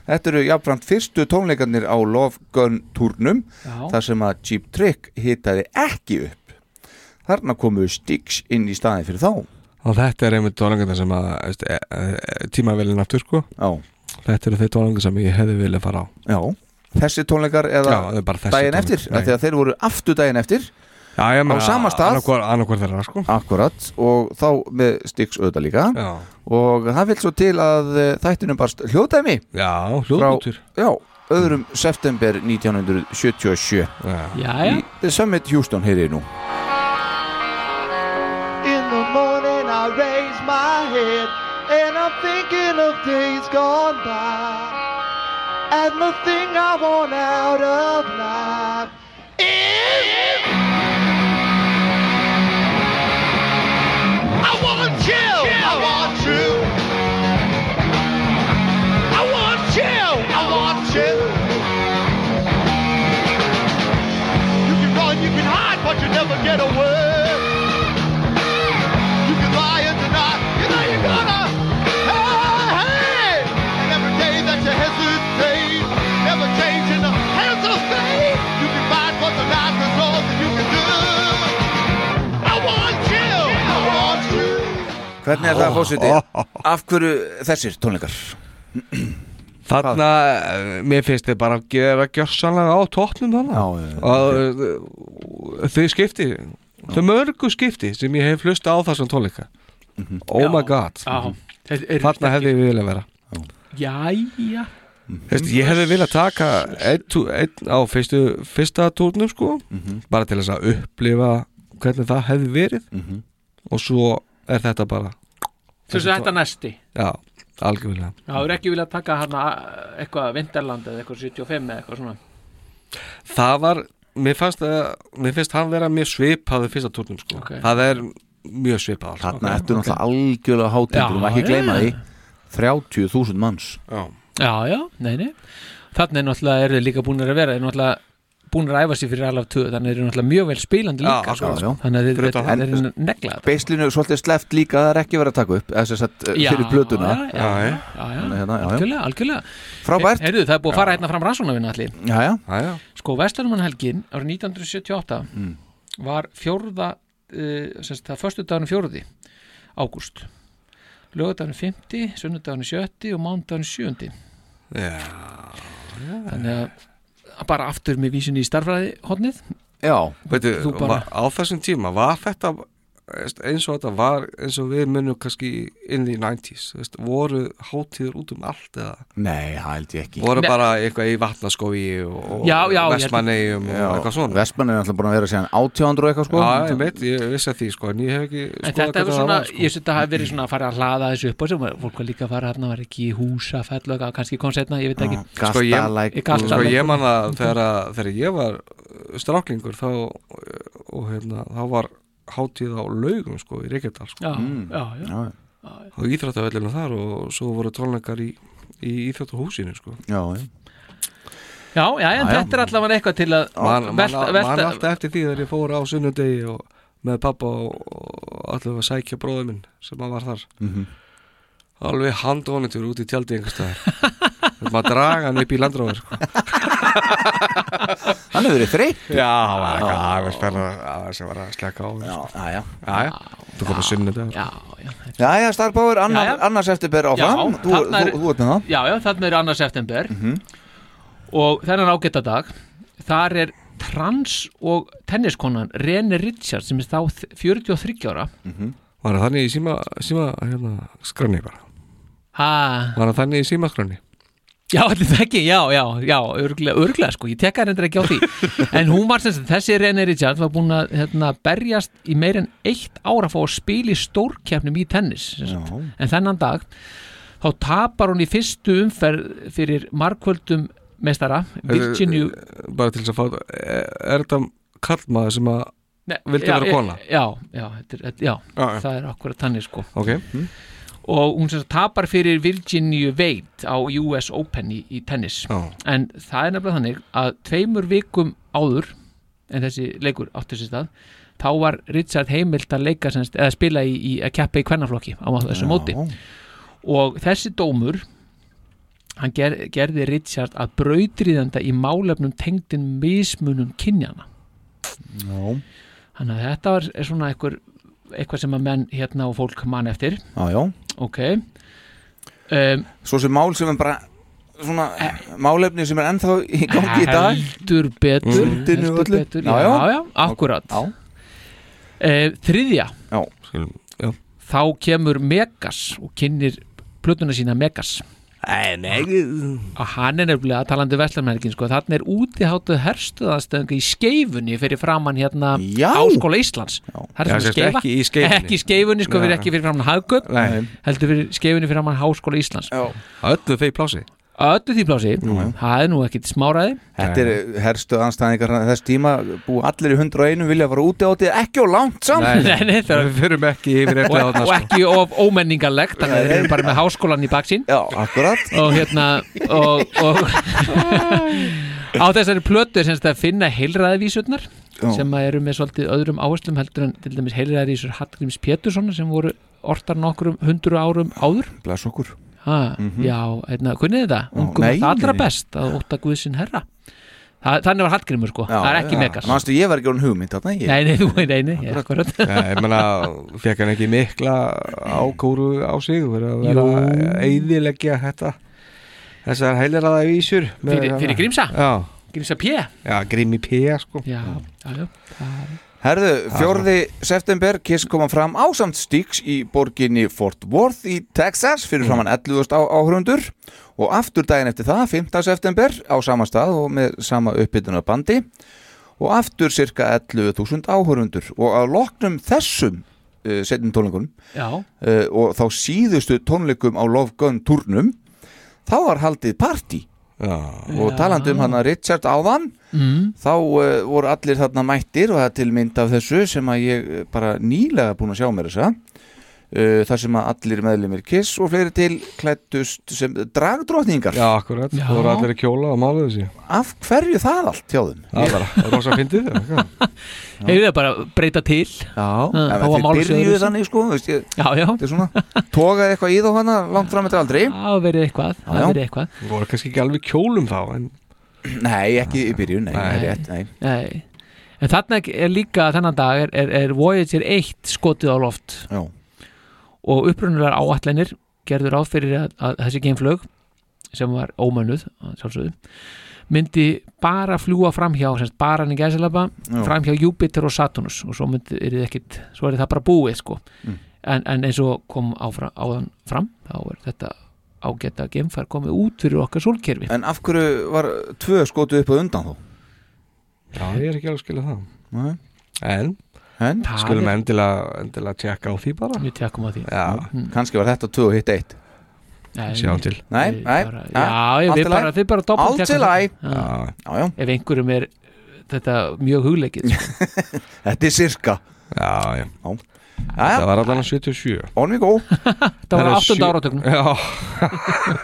S3: Þetta eru jáfnframt fyrstu tónleikarnir á Love Gun turnum
S13: Já.
S3: þar sem að Jeep Trick hitaði ekki upp Þarna komu Styx inn í staðin fyrir þá
S4: Og þetta er einmitt tónleikandar sem að veist, e, e, tímavelin aftur sko
S3: Já.
S4: Þetta eru þeir tónleikandar sem ég hefði viljað fara á
S3: Já, þessi tónleikar eða
S4: Já, það er bara þessi
S3: daginn
S4: tónleikar.
S3: eftir af því að þeir voru aftur daginn eftir
S4: Já, ég
S3: á sama stað
S4: annarkvar þeirra sko
S3: Akkurat og þá með Styx auðvitað líka
S4: Já.
S3: og það vil svo til að eh, þættinum barst hljóðdæmi
S4: Já, hljóðbútur
S3: Já, öðrum september 1977
S4: Já,
S5: já.
S3: Í The Summit Houston heyrið nú
S9: Thank
S13: my head, and I'm thinking of days gone by. And the thing I want out of life is. I want you! I want you! I want you! I want you! You can run, you can hide, but you never get away. You can lie and deny, you know you're gonna. Hey, hey! And every day that you hesitate, never change in the hands of fate. You can find what the life is all that you can do. I want you! I want you!
S3: Hvernig er það fósiti? Af hverju þessir tónleikar?
S4: Þarna, eh, mér finnst þið bara að gera gjörsanlega á toppnum þarna og okay. þau skipti þau mörgu skipti sem ég hef hlusta á þessum tónleika oh my god
S5: Já. Þetta er-
S4: þarna hefði ég viljað vera
S5: Jæja
S4: Hefst, ég hefði viljað taka einn, tú- einn á fyrstu, fyrsta tórnum sko, bara til þess að upplifa hvernig það hefði verið og svo er þetta bara
S5: Svo sem þetta næsti
S4: já, algjörlega
S5: Það er ekki viljað taka hana eh, eitthvað Vinterland eða eitthvað 75 eða eitthvað svona
S4: það var, mér fannst að mér finnst hann vera mjög svipaði fyrsta tórnum sko.
S5: Ok.
S4: það er mjög svipaði sko.
S3: Þarna ertu náttúrulega algjörlega hátindur,
S5: Já,
S3: um ekki
S5: já,
S3: gleyma
S5: já.
S3: því 30.000 manns
S4: Já,
S5: Já, já, nei, nei Þannig er náttúrulega eru þeir líka búnir að vera Þeir eru náttúrulega búnir að æfa sér fyrir alveg tvö Þannig er náttúrulega mjög vel spilandi líka sko. Þannig að þeir- þeir þeir eru negla
S3: Beislinu svolítið sleft líka að það er ekki verið að taka upp eða sem sagt eh,
S5: Já,
S3: fyrir plötuna
S5: já, já, já, já.
S3: Þannig hérna, já, já.
S5: Algjörlega, algjörlega
S3: Frábært.
S5: Heyrðu, það er búið að fara hérna fram rannsóknarvinna allir
S3: Já, já.
S4: Já, já.
S5: Sko, Vestlunumannhelgin árið 1978
S3: Mm.
S5: var fjórða uh, semst, það förstu dagurinn fjórði ágúst lögudagurinn 50, sunnudagurinn 70 og mándagurinn 7
S4: Já,
S5: Þannig að að bara aftur með vísinni í starfræði hodnið
S3: já,
S4: Veitu,
S5: Þú bara-
S4: var- á þessum tíma var þetta veist, eins og þetta var eins og við munum kannski inn í 90s veist, voru hátíður út um allt eða
S3: Nei, það held ég ekki
S4: voru bara eitthvað í vatnaskói og
S5: Já, já, ég held-
S4: vestmannegjum og eitthvað svona
S3: Vestmann er alltaf búin að vera síðan 1800 og eitthvað sko
S4: Já, ég veit, ég vissi að því sko en ég hef ekki
S5: En
S4: skoðað
S5: þetta
S4: hvernig
S5: hefur
S4: það
S5: svona,
S4: var, sko.
S5: ég veist þetta hafi verið svona að fara að hlaða þessu upp og sem fólk var líka að fara hérna, var ekki í húsa, fell og kannski kom setna, ég veit ekki
S4: Sko ég, sko,
S5: Gastalæk.
S4: ég man að þegar, að- þegar ég var uh, stráklingur þá, uh, og hérna, þá var hátíð á laugum sko í Reykjadal sko.
S5: Já, Mm. já, já. Já,
S4: á íþrættavellinu þar og svo voru tónleikar í, í íþrættahúsinu sko.
S3: Já, já
S5: Já, já,
S4: Já,
S5: en
S4: Ah, já.
S5: þetta er allavega eitthvað til að
S4: Man, man, man,
S5: velta- velta-
S4: alltaf eftir því þegar ég fór á sunnudegi og með pappa og, og allavega að sækja bróður minn sem að var þar
S3: Mhm.
S4: alveg handónitur út í tjaldi einhverstaðar maður að draga hann upp í landróður sko.
S3: Hann hefur verið þreytt
S4: Já, það var eitthvað Það var spennað að það var að sleka á Já,
S3: já,
S4: já Þú komið sunnudagur
S5: Já, já
S3: Já, já, Starpower, annar,
S5: Já, já.
S3: annars eftir ber áfram
S5: Já,
S3: þú,
S5: þarna
S3: þú,
S5: er-
S3: þú ert með það
S5: Já, já, þarna er annars september og þennan ágæta dag þar er trans og tenniskonan Rene Richards sem er þá þ- 43 ára
S4: Var það þannig í síma, síma hérna, skrönni bara
S5: ha,
S4: Var það þannig í síma skrönni
S5: Já, allir það ekki, já, já, já, örglega, örglega sko, ég tekka hendur ekki á því en hún var sem sagt, þessi Rene Richards var búin að hérna, berjast í meir en eitt ára að fá að spila í stórkeppnum í tennis sem sagt. en þennan dag þá tapar hún í fyrstu umferð fyrir markvöldum mestara Virginia
S4: Bara til þess að fá Er, er þetta kallmaður sem að
S5: Nei,
S4: Vildi
S5: já,
S4: vera kona
S5: Já, já, þetta er, þetta- já,
S4: Já, já.
S5: það er akkurat þannig sko
S4: Ok
S5: og hún sem sagt tapar fyrir Virginia Wade á US Open í, í tennis
S4: Já.
S5: en það er nefnilega þannig að tveimur vikum áður en þessi leikur átti sér stað þá var Richard heimilt að leika semst, eða spila í, í að keppa í kvennaflokki á þessu móti og þessi dómur hann ger, gerði Richard að brautriðanda í málefnum tengdin mismunum kynjana
S3: Já,
S5: Þannig að þetta var er svona eitthvað, eitthvað sem að menn hérna og fólk mann eftir
S3: já, já
S5: Ok um,
S3: Svo sem mál sem er bara svona
S5: Eh.
S3: málefni sem er ennþá í gangi í dag
S5: Heldur betur
S3: Fundinu og
S5: heldur
S3: öllu.
S5: betur,
S3: Já,
S5: já,
S3: já.
S5: já, akkurat já. Þriðja
S3: Já,
S4: skulum, já
S5: Þá kemur Megas og kynir plötuna sína Megas og hann er nefnilega talandi veslamenningin sko, þannig er útiháttuð herstuðanstöðinga í skeifunni fyrir framann hérna Já. Áskóla Íslands Það
S4: Já,
S5: er
S4: sem
S5: svona
S4: sagt,
S5: skeifa.
S4: ekki í Skeifunni.
S5: ekki í skeifunni sko, fyrir
S4: Nei.
S5: ekki fyrir framann hagköp
S3: Eh.
S4: Nei.
S5: heldur fyrir skeifunni fyrir framann Háskóla Íslands Já.
S4: Öllu þeir plási
S5: öllu því plási, það er nú ekkit smáraði
S3: Þetta er herstu anstæðingar þess tíma bú allir í 101 vilja fara úti átti ekki og langt saman
S5: Nei, nei, það er- Við
S4: förum ekki yfir
S5: og, og ekki of ómenningarlegt þannig að þeir eru bara með háskólan í baksín
S3: Já, akkurat
S5: og hérna og, og á þessari plötu er semst að finna heilræðavísurnar
S3: Já.
S5: sem að eru með svolítið öðrum áherslum heldur en til dæmis heilræðavísur Hallgríms Pétursson sem voru ortar nokkrum hundru árum áður
S3: Bless okkur
S5: ha,
S3: Mhm.
S5: Já, hérna, kunnið þið það? Ungum
S3: nei,
S5: er allra
S3: nei.
S5: best að óta Guð sinn herra Þa, Þannig var Hallgrímur sko, það er ekki megas
S3: Manstu, ég var ekki hún hugmynd þarna ég-
S5: Nei, nei, þú nei, nei, nei, akkurat
S4: Já, ég menna, fekk hann ekki mikla ákóru á sig verið að vera
S5: Jú.
S4: að eyðileggja þetta þessar heiliraða vísur með
S5: Fyrir-
S4: hana.
S5: fyrir Grímsa?
S4: Já,
S5: Grímsa P
S4: já Grími P sko
S5: Já, já, já það-
S3: Herðu, 4. september Kiss koma fram ásamt Styx í borginni Fort Worth í Texas
S4: Mhm.
S3: fyrir framann 11.000 á- áhörundur og aftur daginn eftir það, 15. september á sama stað og með sama uppbytuna bandi og aftur cirka 11.000 áhörundur og að loknum þessum uh, setjum tónleikunum
S5: Já.
S3: uh, og þá síðustu tónleikum á Love Gun turnum þá var haldið party
S4: Já.
S3: og talandi um hann að Richard áðan
S5: Mm.
S3: þá uh, voru allir þarna mættir og það er til mynd af þessu sem að ég uh, bara nýlega búin að sjá mér þessa uh, þar sem að allir meðlumir kiss og fleiri til klættust sem dragdrótningar
S4: Já, akkurat,
S3: Já.
S4: þú voru allir að kjóla og mála þessi
S3: af hverju það allt hjá þeim
S4: Það var bara rosa fyndið eða hvað?
S5: Hefur það bara breyta til
S3: Já,
S5: Það
S3: en
S5: var
S3: þeir
S5: málið sem
S3: byrjuðu
S5: öðruvísi.
S3: þannig sko veist, ég,
S5: Já, já
S3: þetta er svona, Togaði eitthvað í þá hana langt fram eftir aldrei
S5: Já, verið eitthvað,
S3: Já, já.
S5: það verið eitthvað
S4: Þú voru kannski ekki alveg í kjólum þá en...
S3: Nei, ekki í byrjun, nei,
S4: Nei.
S3: nei. Rétt, nei.
S5: Nei. En þarna er líka þennan dag er, er, er Voyager 1 skotið á loft
S3: Já.
S5: og upprunulegar áallanir gerður áð fyrir að, að þessi geimflög sem var ómönnuð að sjálfsögðu, myndi bara fljúa framhjá, semst bara hann í gæsilaba
S3: Já.
S5: framhjá Júpiter og Saturnus og svo myndi, er, ekkit, svo er það bara búið sko.
S3: Mm.
S5: en, en eins og kom áfram, áðan fram þá er þetta ágæta geimfar komið út fyrir okkar sólkerfi
S3: En af hverju var tvö skotu upp og undan þá?
S4: Já, ég er ekki alveg að skilja það
S3: Nei.
S4: En,
S3: en?
S5: Það
S4: skulum
S5: er-
S4: endilega, endilega tjekka á því bara
S5: Við tjekkum á því Hmm.
S4: Já,
S3: Kanski var þetta tvö og hitt eitt
S5: Nei.
S4: Sjáum til.
S3: Nei,
S5: Við
S3: nei,
S5: bara-
S3: ja,
S5: Já, ég,
S3: allt
S5: við
S3: í
S5: bara,
S3: lagi.
S5: við bara doppeltjekkum
S3: Allt í lagi.
S5: það. Já.
S3: Já, já.
S5: Ef einhverjum er þetta mjög hugleikið sko.
S3: Þetta er sirka
S4: Já, já
S3: Það
S4: var allan að 77
S3: On we go
S5: Ah. Það var á áttunda áratögnum.
S4: Já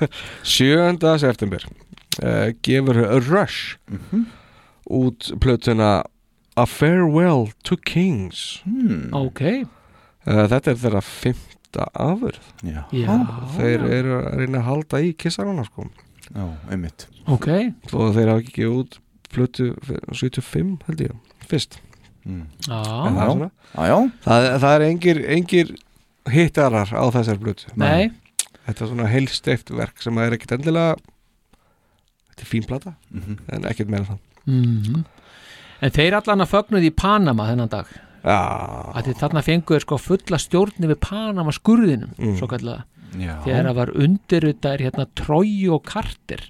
S4: 7. september uh, gefur Rush út plötuna A Farewell to Kings Eh,
S3: hmm.
S5: Ok
S4: Þetta er þeirra fymta afurð
S5: Já.
S4: Þeir eru að reyna að halda í kissarana sko
S3: Já, einmitt
S5: Ok
S4: Þó að þeir hafa ekki gefið út plötu fyrir 75 held ég Fyrst
S3: mm.
S5: Já.
S4: En það er svona.
S3: Ah, Já, já.
S4: Það, það er engir, engir hittarar á þessar blötu
S5: Nei.
S4: Þetta er svona heilsteift verk sem er ekkit endilega Þetta er fín plata En ekkit meira en það
S5: Mhm. En þeir allan að fögnuð í Panama þennan dag
S4: Já.
S5: að þarna fengu þeir sko fulla stjórni við Panama skurðinum
S4: Mm.
S5: svo kallega
S3: Já.
S5: þegar það var undirritaðir hérna Trói og Kartir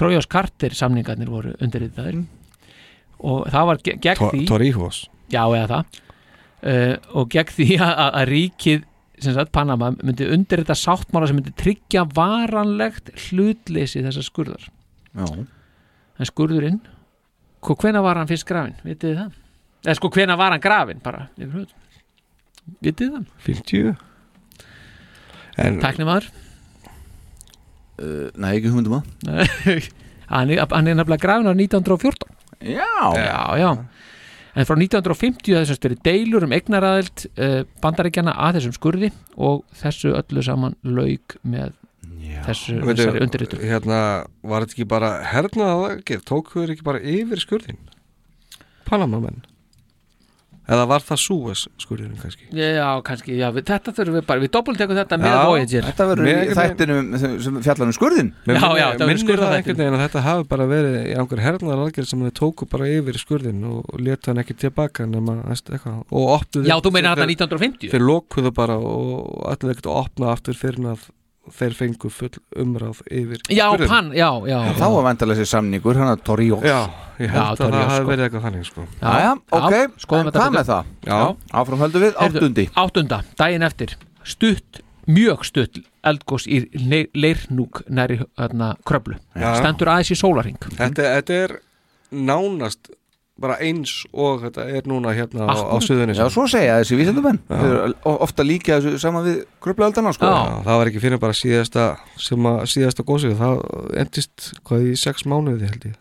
S5: Trói og Kartir samningarnir voru undirritaðir og það var ge- gegn
S4: Tor-
S5: því
S4: Torrijos.
S5: Já, eða það uh, og gegn því að, að- að ríkið sem sagt Panama myndi undir þetta sáttmála sem myndi tryggja varanlegt hlutleysi þessar skurðar
S3: Já.
S5: en skurðurinn hvo- hvenær var hann fyrst grafin, vitið þið það? eða sko hvenær var hann grafin bara yfir höfuð? vitið þið það?
S4: 50 en,
S5: Tæknimaður
S3: uh, Nei, ekki hugmyndum að
S5: hann, er- hann er nefnilega grafin á 1914
S3: Já.
S5: já, já. En frá 1950 hafði þessast verið deilur um eignaræðild uh, bandaríkjana að þessum skurði og þessu öllu saman lauk með þessu,
S4: Veitu,
S5: þessari undirritu.
S4: hérna, Var þetta ekki bara hernaða aðgerð Tóku þeir ekki bara yfir skurðin Panamamenn Eða var það Súes skurðin kannski
S5: Já, kannski, já, við, þetta þurfum við bara, við doppeltekum þetta með
S4: Já,
S5: Voyager.
S3: Þetta verður í
S4: Með-
S3: þættinum sem- sem fjallar um skurðin
S4: Mér
S5: Já, já, þetta verður
S4: minnir það
S5: skurðarþættir.
S4: einhvern veginn að þetta hafi bara verið í einhver hernaðar aðgerð sem þau tóku bara yfir skurðin og létu hann ekki tilbaka nema veist, eitthvað og opnuðu
S5: Já, þú meinar
S4: þeir-
S5: þarna 1950?
S4: Þeir lokuðu bara og allir ekkert að opna aftur fyrir að þeir fengu full umráð yfir
S5: Já,
S4: Hurðum.
S5: hann, já, já,
S3: En Þá var vendalega þessi samningur, hann að Torjós
S4: Já, ég held að það hafi verið eitthvað þannig sko.
S3: Já, já, ok, en
S5: skoðum þetta
S3: hvað
S5: betur.
S3: með það?
S4: Já.
S3: Áfram höldum við,
S5: Heyrðu,
S3: áttundi
S5: Áttunda, daginn eftir Stutt, mjög stutt eldgós í Le- leirnúk næri hérna, kröflu
S4: Já.
S5: Stendur aðeins í sólaring
S4: þetta, þetta er nánast bara eins og þetta er núna hérna á, á
S3: Akkúrat.
S4: suðunni
S3: Já, svo segja þessi vísindumenn Þeir eru o- ofta líka þessu saman við gröflaöldana sko
S4: það var ekki fyrir bara síðasta sem að síðasta gósið, það endist hvað í sex mánuði held ég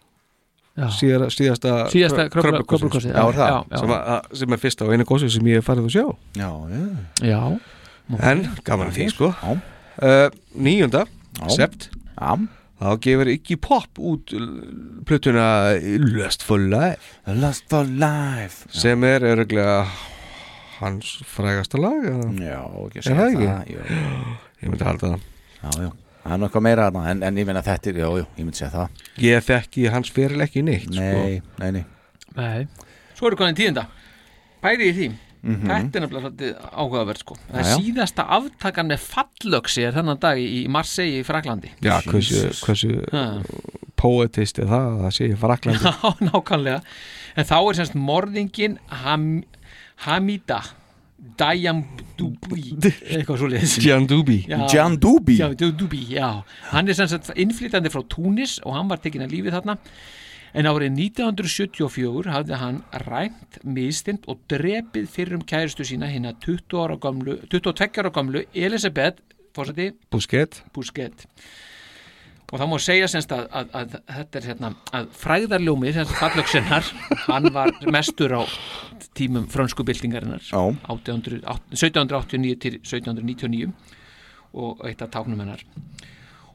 S5: Já.
S4: Síðara, síðasta
S5: Síðasta
S4: krö-
S5: kröflu-
S4: kröflugosið.
S5: kröflugosið, já, Já, er það? já, já.
S4: Sem, að, að- sem er fyrsta og eina gósið sem ég hef farið að sjá
S3: Já,
S5: já,
S4: En gaman að því sko
S3: já.
S4: Uh, Níunda, sept
S3: já.
S4: Þá gefur Iggy Pop út l- plötuna Lust for Life
S3: Lust for Life
S4: sem er öruglega hans frægasta lag eða?
S3: Já, ekki
S4: Er
S3: að segja
S4: það
S3: það,
S4: ekki?
S3: jú.
S4: Ég myndi halda það
S3: Já, já, það er nokkað meira þarna, en, en ég meina þetta er, já, já, ég myndi segja það
S4: Ég þekki hans fyrir ekki neitt sko.
S3: Nei,
S5: Sko.
S3: nei, nei
S5: Nei. Svo eru konin tíðinda Pæri í því
S3: Mhm.
S5: Þetta er nefnilega svolítið áhugaverð sko
S4: Já,
S5: Það
S4: já.
S5: er síðasta aftakan með fallöksi er þennan dag í Marseille í Fraklandi
S4: Já, hversu, hversu
S5: Ha.
S4: poetist er það að það sé í Fraklandi
S5: Já, nákvæmlega En þá er semst morðingin Ham, Hamida Dayamdubi eitthvað svo leiðis
S4: Djandúbi. Djandúbi?
S5: Djandúbi, já Hann er semst innflytandi frá Túnis og hann var tekinn að lífi þarna En árið 1974 hafði hann rænt, mistind og drepið fyrir um kæristu sína hinn að 20 ára gamlu, 22 ára gamlu Elisabeth, fórsætti,
S4: Busquet
S5: Busquet og það má segja semst að, að, að þetta er hérna að fræðarljómi semst fallöksinnar hann var mestur á tímum frönsku byltingarinnar 1800 1789 til 1799 og eitt af táknum hennar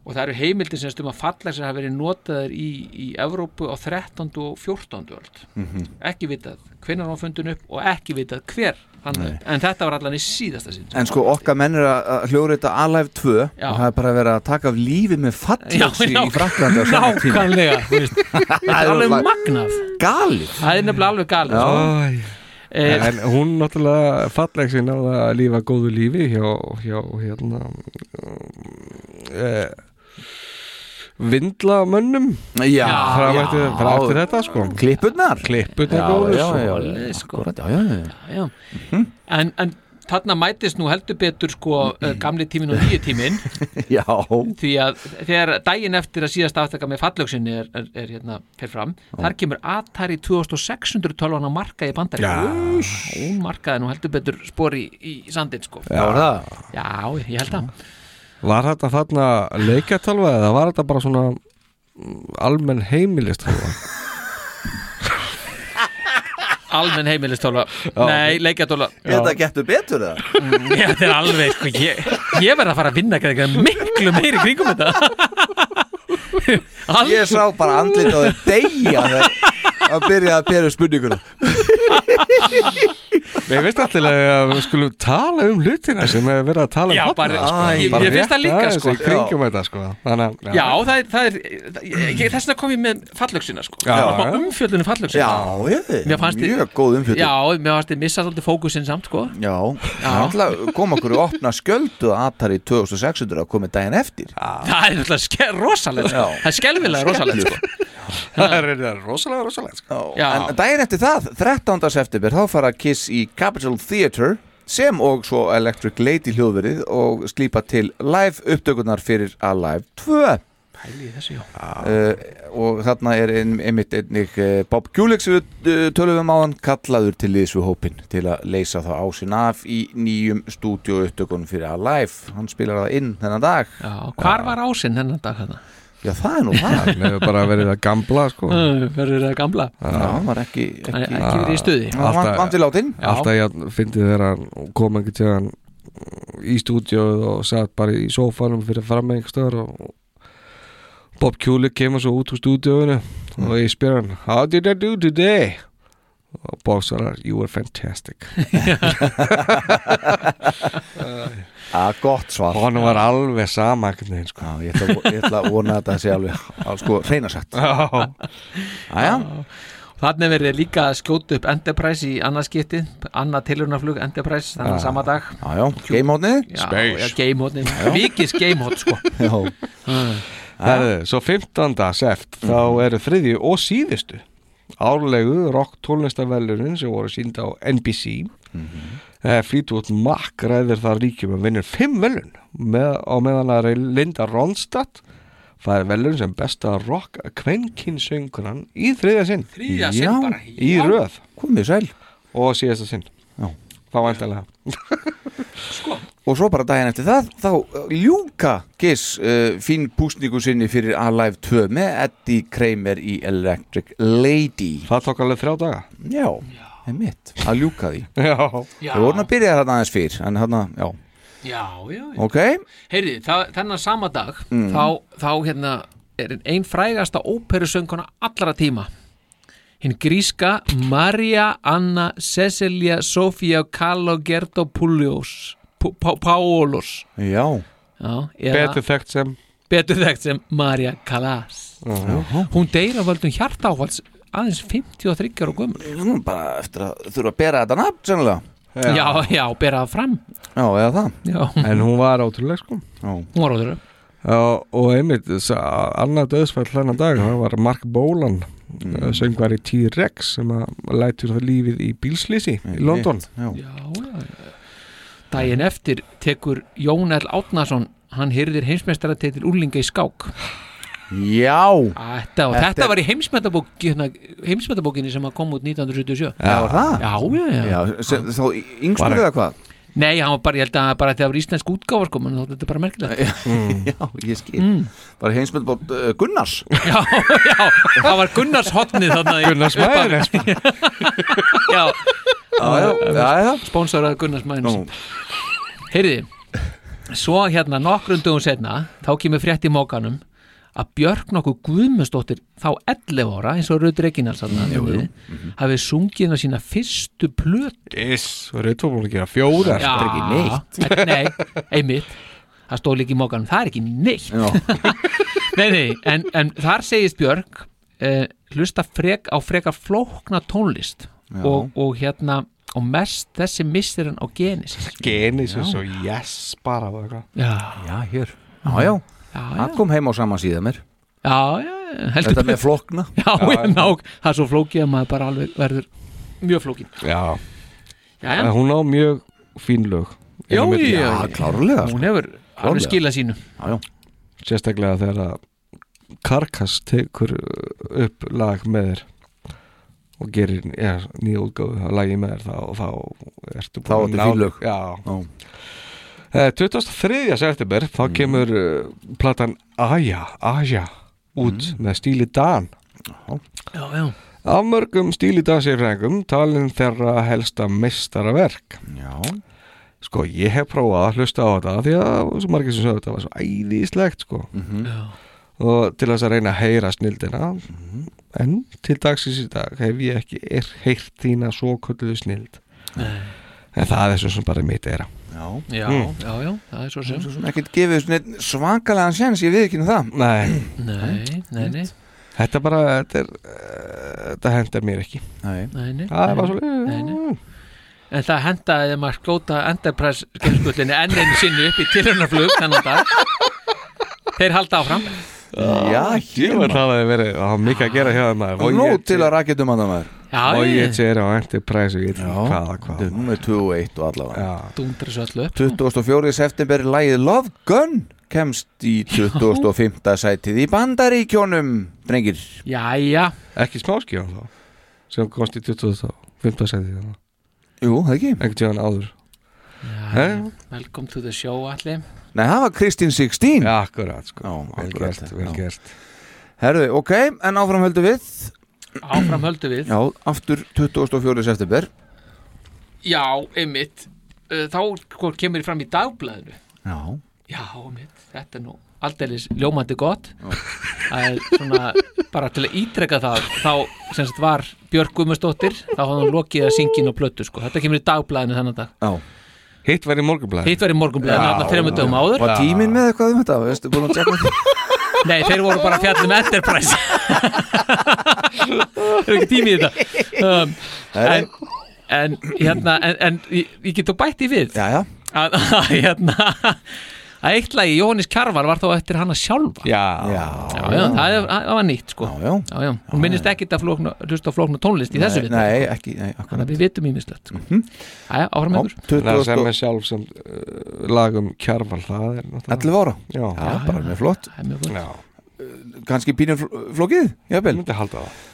S5: og það eru heimildir semst um að fallöksir hafa verið notaðir í, í Evrópu á 13. og 14. öld
S3: Mhm.
S5: ekki vitað hvenar hann var fundin upp og ekki vitað hver hann,
S3: Nei.
S5: en þetta var allan í síðasta sinn
S3: En sko okkar menn er að að hljóðrita Alive 2
S5: Já.
S3: og það er bara að vera að taka af lífi með fallöksi
S5: Já,
S3: í Fraklandi á sama tíma
S5: nákvæmlega þú veist. þetta er
S3: er
S5: alveg
S3: bara-
S5: magnað
S3: Galið
S5: það er nefnilega alveg galið sko.
S4: Æ.
S5: Eh,
S4: En hún náttúrulega falleg sér náða að lífa góðu lífi hjá, hjá hérna eh, vindlamönnum
S3: Já,
S4: Fram eftir,
S3: já.
S4: fram eftir þetta sko
S3: Klippurnar
S4: Klippurnar
S3: Já,
S4: góður
S3: já,
S4: sko.
S3: já,
S5: Svoleiðis, sko.
S3: akkúrat, já, já, já.
S5: já. en, en þarna mætist nú heldur betur sko eh, gamli tímin og nýju tímin
S3: Já,
S5: því að þegar daginn eftir að síðast aftaka með fallöksinni er, er, er hérna fer fram, þar kemur Atari 2600 tölvan að marka í bandarík hún markaði nú heldur betur spori í, í sandin sko
S4: Já, var það?
S5: Já, ég held að
S4: Var þetta þarna leikjartalva eða var þetta bara svona mm, almenn heimilistalva
S5: Almenn heimilistóla Nei, leikjatóla
S3: Þetta getur betur það
S5: Já, þetta er alveg, sko, ég, ég verð að fara að vinna eitthvað miklu meiri kringum þetta
S3: Ég sá bara andlit á þeim deyja þegar að byrja að bera spurninguna
S4: Ég veist alltaf að við skulum tala um hlutina sem hefur verið að tala um
S5: Já,
S4: þarna,
S5: bara-
S4: sko.
S5: Æ, ég- ég finnst það
S4: rétt
S5: líka,
S4: aðeins
S5: sko.
S4: í kringum þetta sko Þannig, að-
S5: Já, það er, það er ég, ég- þess vegna kom ég með fallöksina, sko
S4: Já,
S5: já.
S4: já.
S5: Umfjöldunum fallöksina
S3: Já, ég,
S5: Mér fannst þið-
S3: mjög góð umfjöldun
S5: um Já, mér fannst þið missa svolítið fókusinn samt, sko
S3: Já, alltaf kom okkur í opna skjöldu að Atari 2600 að komið daginn eftir Já,
S5: Það er náttúrulega ske- rosalegt sko.
S3: Já.
S5: Það er skelfilega rosalegt, sko
S4: Það er það er rosalega, rosalega sko.
S3: En daginn eftir það, 13. september þá fara Kiss í Capitol Theatre sem og svo Electric Lady hljóðverið og slípa til live upptökurnar fyrir Alive 2
S5: Pæli í þessu, já
S3: Uh, og þarna er ein, einmitt einnig uh, Bob Gulex við uh, tölum á hann kallaður til liðs við hópin til að leysa þá ásinn af í nýjum stúdíuupptökunum fyrir Alive hann spilar það inn þennan dag
S5: Já, hvar var ásinn hennan dag hérna?
S3: Já, það er nú það
S4: Hann hefur bara verið að gambla sko
S5: Verður það gamla
S3: Já, hann var ekki
S5: Hann er ekki verið í stuði
S3: Já, vant- vant við látinn.
S5: Já.
S4: Alltaf ég fyndi þegar hann kom einhvern tíðan í stúdíóið og satt bara í sófanum fyrir fram með einhver stöðar og Bob Kulik kemur svo út úr stúdíóinu og ég spyr hann How did I do today? og Bob svarar You were fantastic
S3: að gott svar
S4: Hann var alveg sama einhvern veginn sko.
S3: Já, ég ætla, ég ætla að vona að þetta sé alveg á, sko, hreina sagt
S4: Já.
S3: Æja,
S5: Þannig verður líka að skjóta upp Enterprise í annarskipti, annað tilhörnaflug Enterprise, þannig
S3: Já.
S5: sama dag
S3: Já, já, gamehotnið
S5: Já, já, gamehotni, vikis gamehot sko
S4: Herðu, svo 15. seft þá eru þriðju og síðustu árlegu rock tónlistavellunin sem voru sínd á NBC mm -hmm. Fleetwood Mac ræðir þar ríkjum að vinnur fimm velun með, á meðan að Linda Ronstadt fær velun sem besta rock kvenkinsöngunan í þriðja sinn
S5: Þriðja sinn Já. bara,
S4: í
S5: já.
S4: röð
S3: komið sæl
S4: og síðasta sinn
S3: Já.
S4: það væntalega
S3: og svo bara daginn eftir það þá uh, ljúka Giss uh, fín púsningu sinni fyrir Alive 2 með Eddie Kramer í Electric Lady
S4: það tók alveg þrjá daga
S3: já, einmitt, að ljúka því
S4: já.
S5: Já.
S3: þau voru að byrja þarna aðeins fyrr en þarna, já,
S5: Já, já, já
S3: ok
S5: Heyrði, það- þennan sama dag
S3: Mm.
S5: þá, þá hérna er ein frægasta óperusönguna allra tíma hinn gríska Maria Anna Cecilia Sofía Kalogerdopuljós Páolos
S3: já,
S5: Já, eða-
S4: betur þekkt sem
S5: betur þekkt sem Maria Callas
S4: Já.
S5: hún deyr af völdum hjartáfalds aðeins 53 ára gömul
S3: Nú, bara eftir að þurfa að bera þetta nafn sennilega
S5: já, já, bera það fram
S3: já, eða það
S5: já.
S4: en hún var ótrúleg sko
S3: já.
S5: hún var ótrúlega
S4: Já, og einmitt, þess að annað döðsfæll hlennan dag, það var Mark Bolan mm. söngvari T-Rex sem að lætur það lífið í bílslýsi í London
S3: já.
S5: daginn eftir tekur Jón L. Átnason hann hyrðir heimsmeistaratitil úrlinga í skák
S3: Já
S5: Þetta, og
S3: Þetta
S5: þetta
S3: er-
S5: var í heimsmetabók heimsmetabókinni sem að kom út 1977
S3: Já, var það?
S5: Já, já, já,
S3: sem, Þá yngstur
S5: Var-
S3: eða hvað?
S5: Nei, hann var bara, ég held að bara þetta var íslensk útgáfa sko, menn þá þetta er bara merkilegt
S3: Já, ég skil Bara heimsmynd bótt uh, Gunnars
S5: Já, já, það var Gunnars hotnið þarna í-
S3: Gunnars
S5: upphafi.
S3: Majónes.
S5: Já,
S3: já, já, já.
S5: Sponsorað Gunnars Mæðins Heyrði, svo hérna nokkrum dögum setna, þá kemur frétt í mókanum að Björk nokkuð Guðmundsdóttir þá 11 ára eins og Rauð Reginars mm -hmm. hafi sungið hérna sína fyrstu plöt
S4: Yes, og reytum búin að gera fjórar
S5: Já, þetta- Nei, einmitt Það stóð líka í mókanum, það er ekki neitt Nei, nei, en, en þar segist Björk eh, hlusta frek, á frekar flókna tónlist
S4: Já.
S5: og, og hérna og mest þessi missir hann á Genesis
S4: Genesis
S5: Já.
S4: og yes bara og eitthvað
S5: Já.
S3: Já, hér Já, já, það kom heim á sama síða mér
S5: Já, já, heldur
S3: Þetta með
S5: betur.
S3: flokna
S5: Já, já, nák, það er svo flókið að maður bara alveg verður mjög flókin
S4: Já,
S5: Jæja.
S4: En hún á mjög fín lög Inn
S5: Já,
S4: á milli.
S5: já, Já, klárlega, hún sko. hefur alveg skilað sínu.
S3: Já, já
S4: Sérstaklega þegar að Karkas tekur upp lag með þér og gerir ja, nýja útgáfu að lagi með þér þá, þá ertu
S3: Þá
S4: búin
S3: áttu
S4: að
S3: fín
S4: ná-
S3: lög.
S4: Já, Eh, 23. september þá
S3: Mm.
S4: kemur uh, platan Aja, Aja út
S3: Mm.
S4: með stíli Dan
S5: Já, já
S4: Af mörgum stíli dansifræðingum talin þeirra helsta mestaraverk
S3: Já
S4: Sko, ég hef prófað að hlusta á þetta því að það voru svo margir sem sögðu þetta var svo æðislegt sko
S5: Hmm.
S4: og til þess að reyna að heyra snildina Mhm. en til dagsins í dag hef ég ekki er heyrt þína svo kölluðu snild
S5: Nei.
S4: en það er svo sem bara mitt eira
S3: Já,
S5: Já,
S4: Mm.
S5: já, já, það er svo sem
S3: Ekkert gefið neinn svakalega séns, ég við ekki það
S4: Nei,
S5: Hmm. Nei, nei, nei
S4: þetta bara þetta, er, eh, þetta hendar mér ekki
S3: Nei,
S5: Nei, nei,
S4: Það er bara
S5: nei, nei, nei. En það hendaði þegar maður skjóta Enterprise skemmskullinni enn einu sinni upp í tilhörnarflug þennan dag Þeir halda áfram
S3: Já,
S4: ég var það að verið það var mikið að gera hjá þeim maður.
S3: Og nóg til að rakja um að það maður
S5: Já,
S4: og
S5: ég-
S4: ég er á Enterprise og ég veit ekki hvað, hvað
S3: Númer 2 og 1 og allavega
S5: Dúndra svo öllu upp
S3: 24. september lægið Love Gun kemst í 25. sætið í bandaríkjónum drengir
S5: Jæja
S4: ekki smáskjóðan þá sem komst í 2015 seti
S3: Jú, það ekki
S4: Ekkert tíðan áður Jæja.
S5: Velkom to the show allir
S3: Nei, það var Kristín 16
S4: Já, akkurat, sko.
S3: Já,
S4: Vel
S3: akkurat,
S4: gert, vel
S3: já.
S4: gert.
S3: Herðu, ok, en áfram höldu við
S5: Áfram höldu við
S3: Já, aftur 24. september
S5: Já, einmitt Uh, Þá sko, kemur fram í dagblæðinu
S3: Já
S5: Já, einmitt, þetta er nú aldeilis ljómandi gott Það er svona bara til að ítreka það þá sem sagt var Björk Guðmundsdóttir þá hafði hún lokið að syngin og plötu sko. þetta kemur í dagblæðinu þennan dag
S3: Já
S4: Hitt var í morgunblæðinu
S5: Hitt var í morgunblæðinu, þarna þremur dögum áður.
S3: Var tíminn með eitthvað um þetta, veistu, búin að tjekka
S5: Nei, þeir voru bara fjallum Enterprise Það er ekki tími í þetta um, en, en, hérna, en, en ég, ég get þú bætt í við
S3: já, já.
S5: Að, að, hérna, að eitt lagi Jóhannes Kjarvar var þá eftir hana sjálfa
S4: Já,
S3: já,
S5: já, það, er- það var nýtt sko.
S3: já.
S5: Já, já. Hún minnist ekkit að flókna, hlusta á flókna tónlist í þessu
S3: Nei, Mhm.
S5: við
S3: nei, ekki, nei, akkurat.
S5: Þannig að við vitum ímislegt sko. mm -hmm. Áfram með ykkur
S4: Það er sem er sjálf sem uh, lag um kjarval Það er náttúrulega
S3: 11 ára
S4: Já,
S3: já, bara mjög flott
S5: Það er mjög
S4: Já.
S3: Kanski pínur fl- flókið, jafnvel
S4: Myndi halda það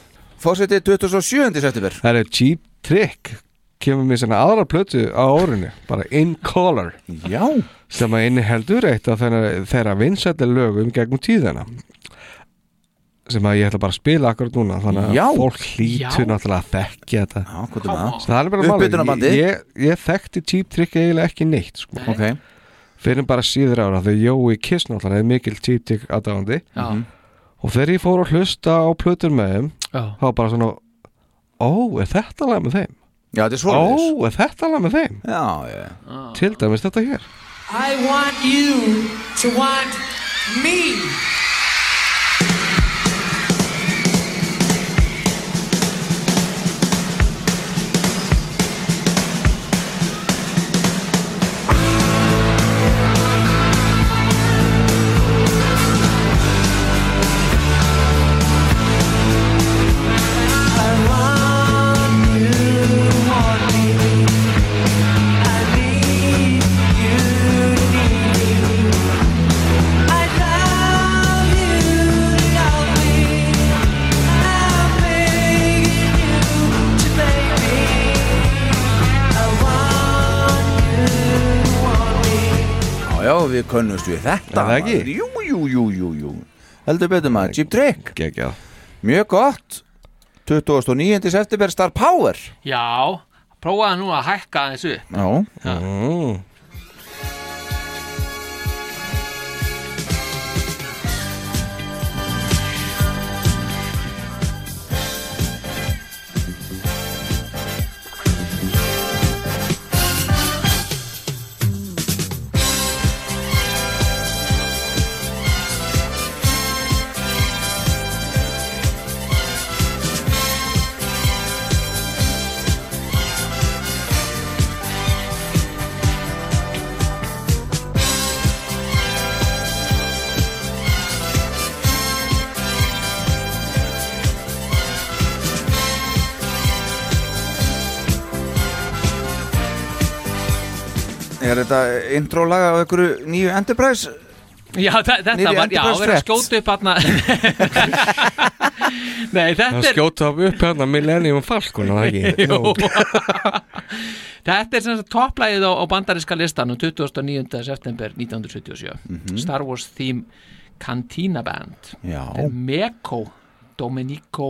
S3: Fórseti 27. september
S4: Það er cheap trick Kemur mér sinna aðra plötu á árinu Bara In Color
S3: Já
S4: Sem að inni heldur eitt af þeirra, þeirra vinsætli lögum gegnum tíðina sem að ég ætla bara að spila akkurat núna þannig að
S3: Já.
S4: fólk hlýtur
S3: Já.
S4: náttúrulega að þekkja þetta
S3: Já, hvað er það?
S4: það er bara máli
S3: Uppitunarbandið.
S4: ég, ég, ég þekkti Cheap Trick eiginlega ekki neitt sko.
S3: okay.
S4: fyrir bara síður ára þegar Jói Kiss náttúrulega er mikil Cheap Trick aðdáðandi
S3: mhm.
S4: og þegar ég fór að hlusta á plötur með þeim
S5: Já.
S4: þá var bara svona ó, er þetta lag með þeim?
S3: Já, þetta er
S4: ó,
S3: svoleiðis.
S4: er þetta lag með þeim?
S3: Já, já.
S4: til dæmis þetta hér
S14: I want you to want me.
S3: Já, já, við könnumst við þetta
S4: Er það ekki?
S3: maður. Jú, jú, jú, jú, jú Heldur betur maður, Jeep Drake
S4: Gekjað.
S3: Mjög gott 29. september Star Power
S5: Já, prófaðu nú að hækka þessu
S3: Já,
S5: já.
S4: Mm.
S3: Er þetta intro laga á einhverju nýju Enterprise?
S5: Já, þe þetta
S3: Niðri
S5: var, já,
S3: Enterprise
S5: við erum að
S3: Threat.
S5: skjóta upp hann Nei, þetta
S4: það
S5: er
S4: skjóta upp hérna Millennium Falcon er það ekki?
S5: Jú. Þetta er sem sagt topplægið á, á bandaríska listanum 29. september 1977
S3: Mhm.
S5: Star Wars Theme Cantina Band
S3: Já.
S5: Þetta er Meko Domenico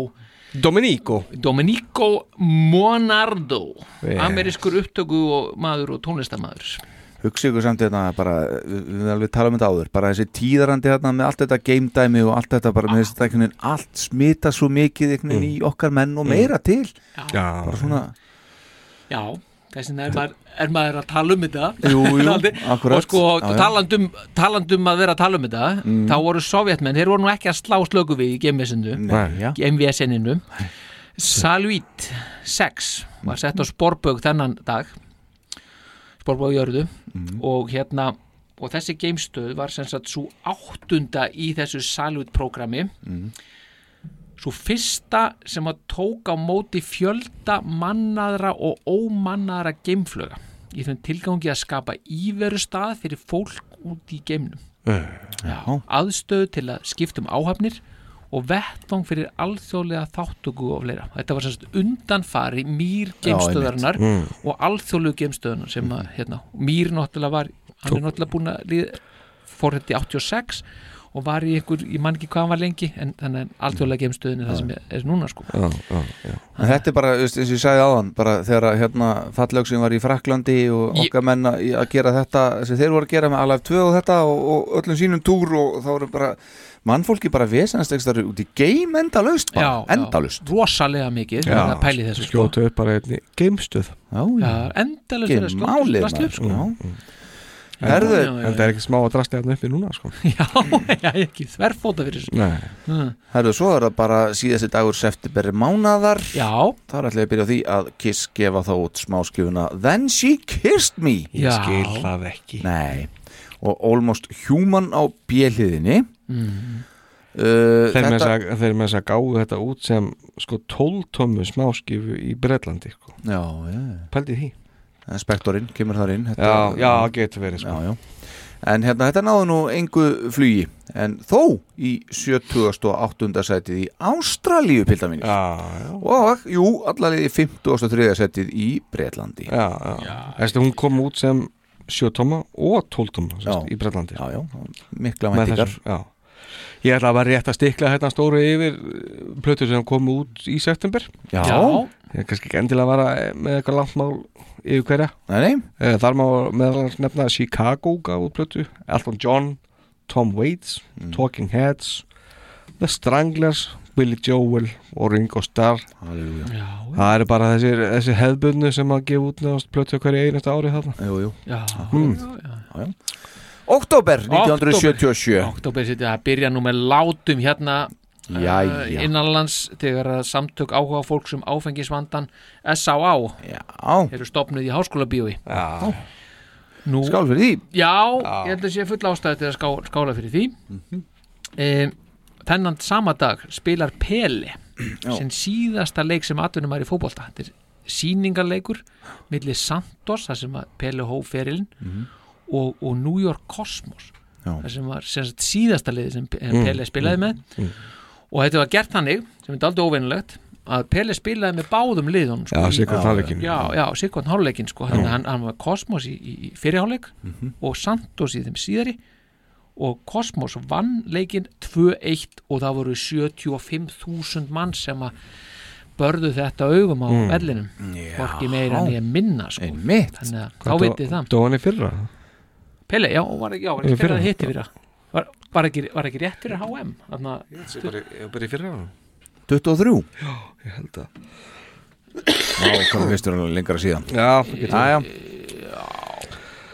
S4: Domenico
S5: Domenico Monardo
S3: Yes.
S5: amerískur upptöku og maður og tónlistamaður
S3: Hugsi ykkur samt þetta bara, við við alveg tala um þetta áður bara þessi tíðarandi hérna með allt þetta game dæmi og allt þetta bara með þessi tæknin allt smita svo mikið einhvern veginn í okkar menn og meira til
S4: Já,
S3: bara svona,
S5: Já, þess vegna er maður, er maður að tala um þetta
S3: Jú, jú,
S5: Aldrei.
S3: akkurat.
S5: Og sko,
S3: Já, já.
S5: talandum, talandum að vera að tala um þetta
S3: Mm.
S5: Þá voru sovjetmenn, þeir voru nú ekki að slá slöku við í GMS-inu
S3: Nei, já.
S5: GMS-inu Saluit 6 var sett á sporbögg þennan dag Sporbögg jörðu Og hérna Og þessi geimstöð var sem sagt svo áttunda í þessu Saluit-programmi svo fyrsta sem að tók á móti fjölda mannaðra og ómannaðra geimfluga í þeim tilgangi að skapa íveru stað fyrir fólk út í geimnum
S3: Já.
S5: aðstöðu til að skiptum áhafnir og vettvang fyrir alþjóðlega þáttöku og fleira. Þetta var semst undanfari mýr geimstöðarinnar
S4: Já, einmitt.
S5: og alþjóðlegu geimstöðunar sem að, hérna, mýr náttúrulega var, hann er náttúrulega búin að líða, fór þetta í 86 og var í einhver, ég man ekki hvað hann var lengi en þannig að alþjóðlega geimstöðin er það sem er, er núna sko.
S4: já, já, já.
S3: En þetta er bara, veist, eins og ég sagði áðan bara þegar að, hérna fallöksin var í Fraklandi og okkar menn að, að gera þetta sem þeir voru að gera með Alive 2 og þetta og, og öllum sínum túr og þá eru bara mannfólki bara vesennast ekstra út í geim endalaust bara,
S5: Já, já.
S3: endalaust
S5: rosalega mikið, þannig að pæli þessu sko.
S4: skjóta upp bara einni hérna geimstöð
S3: já,
S5: Já, endalaust
S3: Geim
S5: þeirra slótt-
S3: málið
S5: slast upp, sko.
S3: maður. Já.
S4: En
S5: Herðu. Já, já,
S4: en það er ekki smá að drastja hérna uppi núna sko.
S5: já, ekki þverfóta fyrir þessu
S3: Nei. Herðu, svo er það bara síðasti dagur september mánaðar
S5: Já
S3: Þar ætla ég að byrja á því að Kiss gefa þá út smáskjöfuna Then She Kissed Me
S4: Ég Já. skil það ekki
S3: Nei Og Almost Human á bjöliðinni
S4: Mhm.
S3: uh,
S4: Þeir með þess að- þeir með þess að gáðu þetta út sem sko 12 tómmu smáskifu í Bretlandi sko.
S3: Já, já
S4: Pældi því
S3: Spektorinn kemur þar inn
S4: Já, já, getur verið sko.
S3: já, já. En hérna, þetta náðu nú engu flugi En þó í 78. sætið í Ástralíu pilda mínir
S4: já, já.
S3: Og, jú, allalegi 53. sætið í Bretlandi
S4: Já, já, já. Þessi, Hún kom út sem 7 tómma og 12 tómma semst, í Bretlandi
S3: Já, já, mikla
S4: Með
S3: væntingar.
S4: þessu, Já Ég ætla að vera rétt að stikla hérna stóru yfir eh, plötu sem kom út í september
S3: Já. Já.
S4: Ég er kannski ekki endilega að vara eh, með eitthvað langt mál yfir hverja Eh,
S3: Nei, nei.
S4: Þar má meðal annars nefna að Chicago gaf út plötu Elton John, Tom Waits,
S3: Mm.
S4: Talking Heads The Stranglers, Billy Joel og Ringo Starr
S3: Halleluja.
S5: Já,
S4: Það eru bara þessir, þessir hefðbunnu sem að gefa út náðast plötu á hverju einasta ári þarna
S3: Jú, jú
S5: Já,
S4: mm.
S3: já, já. Oktober 1977
S5: Oktober setja að byrja nú með látum hérna uh,
S3: Jæja.
S5: innanlands þegar að samtök áhuga fólks um áfengisvandan S.A.A.
S3: Já.
S5: eru stopnuð í háskóla bíói
S4: Já Sko-
S5: Nú,
S3: Skál fyrir því
S5: Já, ég held að sé full ástæði til að ská, skála fyrir því um, Þennan sama dag spilar Pele
S3: Já.
S5: sem síðasta leik sem atvinnum er í fótbolta Þetta er sýningarleikur milli Santos, þar sem að Pele hóf ferilinn
S3: Mhm.
S5: og, og New York Cosmos
S3: Já.
S5: þar sem var sem sagt, síðasta leiði sem Pe-
S3: Mm,
S5: Pele spilaði
S3: mm,
S5: með
S3: mm.
S5: og þetta var gert þannig, sem er aldrei óvinnulegt að Pele spilaði með báðum liðunum sko,
S4: Já,
S5: í-
S4: sitthvorn hálfleikinn.
S5: Já, já, Sikvarn Hálfleikin sko,
S4: Já.
S5: þannig að hann, hann var Kosmos í, í fyrirháleik
S3: Mhm.
S5: og Santos í þeim síðari og Kosmos vann leikinn 2-1 og það voru 75.000 mann sem að börðu þetta augum á
S4: Mm.
S5: vellinum hvorki meira en ég minna sko.
S3: Einmitt.
S5: þannig að þá vitið það
S4: Dóan í fyrra
S5: Pele, já, hún var, já, var
S4: Í
S5: ekki fyrir
S4: fyrra.
S5: að hitti fyrir var, var, ekki, var ekki rétt fyrir HM þannig að
S4: Ég bara í fyrra
S3: 23
S4: Já, ég held að
S3: Já, komum fyrstur alveg lengra síðan
S4: Já,
S3: já,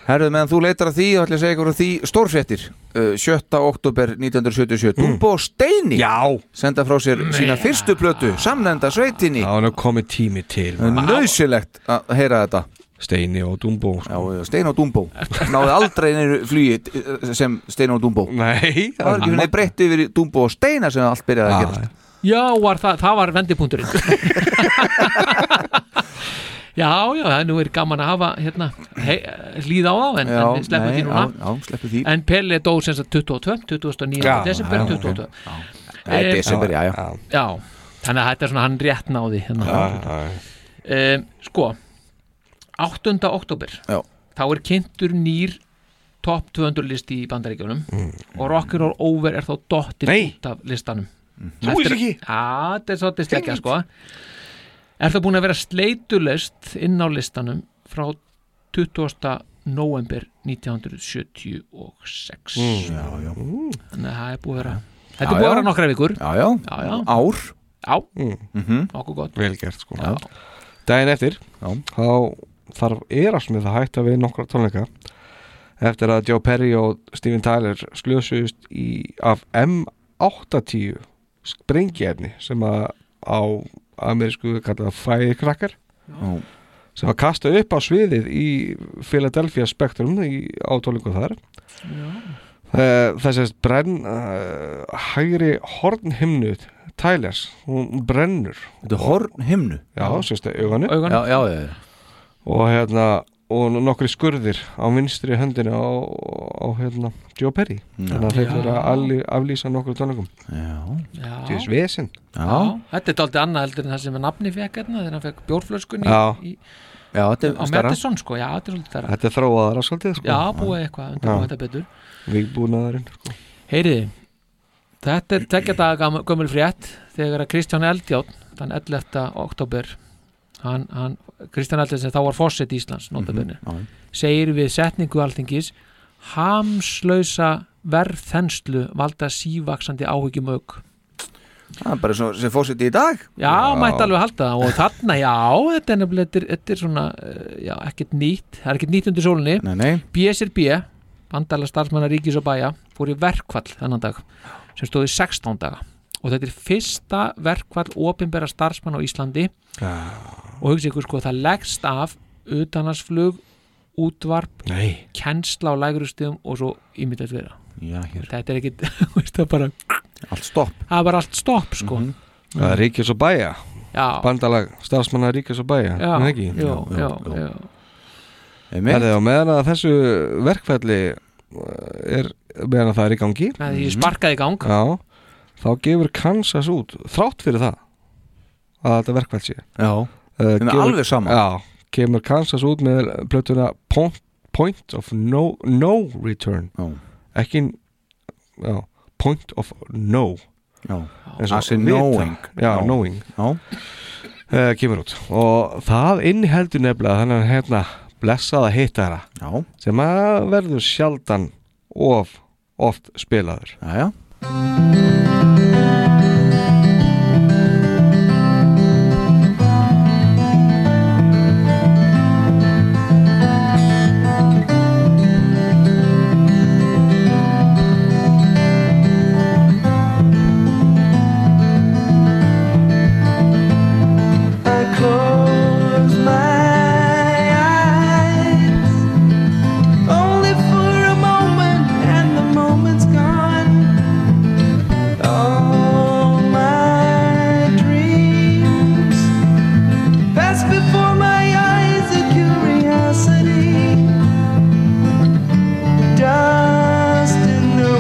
S3: Herðu, meðan þú leitar að því, þá ætlum ég að segja ykkur að því Stórfréttir, uh, 7. oktober 1977, Dúbo og Steini Já Senda frá sér sína fyrstu plötu, samnenda sveitinni
S4: Já, hann er komið tími til
S3: Nauðsilegt að heyra þetta
S4: Steini og Dumbo sko.
S3: Já, uh, Steini og Dumbo Náði aldrei neyru flugi eh, sem Steini og
S4: Mm.
S3: Dumbo
S4: Nei
S3: Það var ekki
S5: hann-
S3: henni breytt yfir í Dumbo og Steina sem allt byrjaði
S4: Ah,
S3: að gerast
S5: Já, var það, það var vendipunkturinn Já, já, það nú er gaman að hafa hérna, hei, hlýða á það en, en sleppum því núna
S3: Já, já sleppu því
S5: En Pelli dó sem sagt 22, 29.
S3: Já,
S5: desember
S3: já,
S5: 22
S3: ok. Nei,
S5: Eh,
S3: desember, já, já.
S5: Já, þannig að þetta er svona hann rétt náði hérna. um, Sko 8. oktober
S3: Já.
S5: þá er kynntur nýr top 200 listi í bandaríkjunum og Rocker or Over er þá dottir
S4: Nei.
S5: út af listanum
S3: Mm.
S4: Þú veist ekki?
S5: Já, þetta er svolítið stekja sko Er það búin að vera sleitulest inn á listanum frá 20. november 1976
S3: Mm, já, já.
S5: Þannig að það er búið að vera Þetta er búið að vera nokkra vikur
S3: Já, já,
S5: Já, já.
S3: ár
S5: Já,
S3: Mhm.
S5: okkur gott
S4: Mm, Vel gert sko
S5: Já.
S4: Daginn eftir
S3: Já.
S4: Þá þarf Erasmith að hætta við nokkra tónleika Eftir að Joe Perry og Steven Tyler slösuðust í, af M80 sprengjarni sem að á amerísku er kallað firecracker
S3: Já.
S4: sem var kastað upp á sviðið í Philadelphia Spectrum í átólingu þar Eh, þessi brenn uh, hægri hornhimnu Tylers, hún brennur
S3: Þetta er hornhimnu?
S4: Já, sérst að auganu
S5: Auganu. Já,
S3: já, já,
S4: Og hérna, og nokkri skurðir á vinstri höndinu á, á hérna, Joe Perry Þannig að þeir
S5: Já.
S4: fyrir að alli- aflýsa nokkru tónleikum
S3: Já
S5: Já.
S4: Þú veist vesinn
S5: Já, þetta er daldið annað heldur en það sem er nafni fekk hérna þegar hann fekk bjórflöskunni
S4: Já.
S5: í,
S3: Já, þetta
S5: á Madison sko, já, þetta er svolítið þar
S4: Þetta er þróaðara svolítið sko.
S5: Já, búið eitthvað, undirbúið þetta betur.
S4: Vígbúnaðarinn sko.
S5: Heyriði, þetta er tekja daga gömul frétt þegar að Kristján Eldjárn þann 11. oktober hann, hann, Kristján Eldjárn sem þá var fórsett Íslands notabene,
S3: Mhm,
S5: segir við setningu alþingis hamslausa verðþenslu valda sívaksandi áhyggjumög
S3: Það er bara svo, sem fórseti í dag
S5: Já, mætti alveg halda það og þarna, já, þetta er nefnilega þetta er- þetta er svona, eh, já, ekkert nýtt það er ekkert nýtt undir sólinni
S3: Nei, nei
S5: BSRB bandala starfsmanna ríkis og bæja fór í verkfall þennan dag sem stóð í 16 daga og þetta er fyrsta verkfall opinbera starfsmanna á Íslandi og hugsa ykkur sko það leggst af utanarsflug, útvarp
S4: Nei.
S5: kennsla á lægurustuðum og svo ímyndað vera
S3: Já, hér.
S5: þetta er ekkit, veist það bara
S3: allt stopp
S5: það er bara allt stopp sko
S4: Það er Ríkis og Bæja
S5: Já.
S4: Bandalag starfsmanna Ríkis og Bæja
S5: Já,
S4: er það ekki?
S5: já, já, já.
S4: Það er á meðan að þessu verkfælli er meðan að það er í gangi
S5: Það er í sparkað í gang.
S4: Já, þá gefur Kansas út þrátt fyrir það að þetta verkfæll sé
S3: Já,
S4: uh,
S3: Þeim er alveg sama.
S4: Já, kemur Kansas út með plötuna Point, point of No, no Return
S3: já.
S4: ekki já, Point of No
S3: Já,
S4: Eins og
S3: As in
S4: vita.
S3: Ah, knowing.
S4: Já,
S3: Já.
S4: knowing
S3: Já
S4: uh, kemur út og það inniheldur nefnilega þannig að hérna blessaða hittara
S3: já.
S4: sem að verður sjaldan of oft spilaður
S3: já, já.
S1: I close my eyes only for a moment, and the moment's gone. All my dreams pass before my eyes, a curiosity, dust in the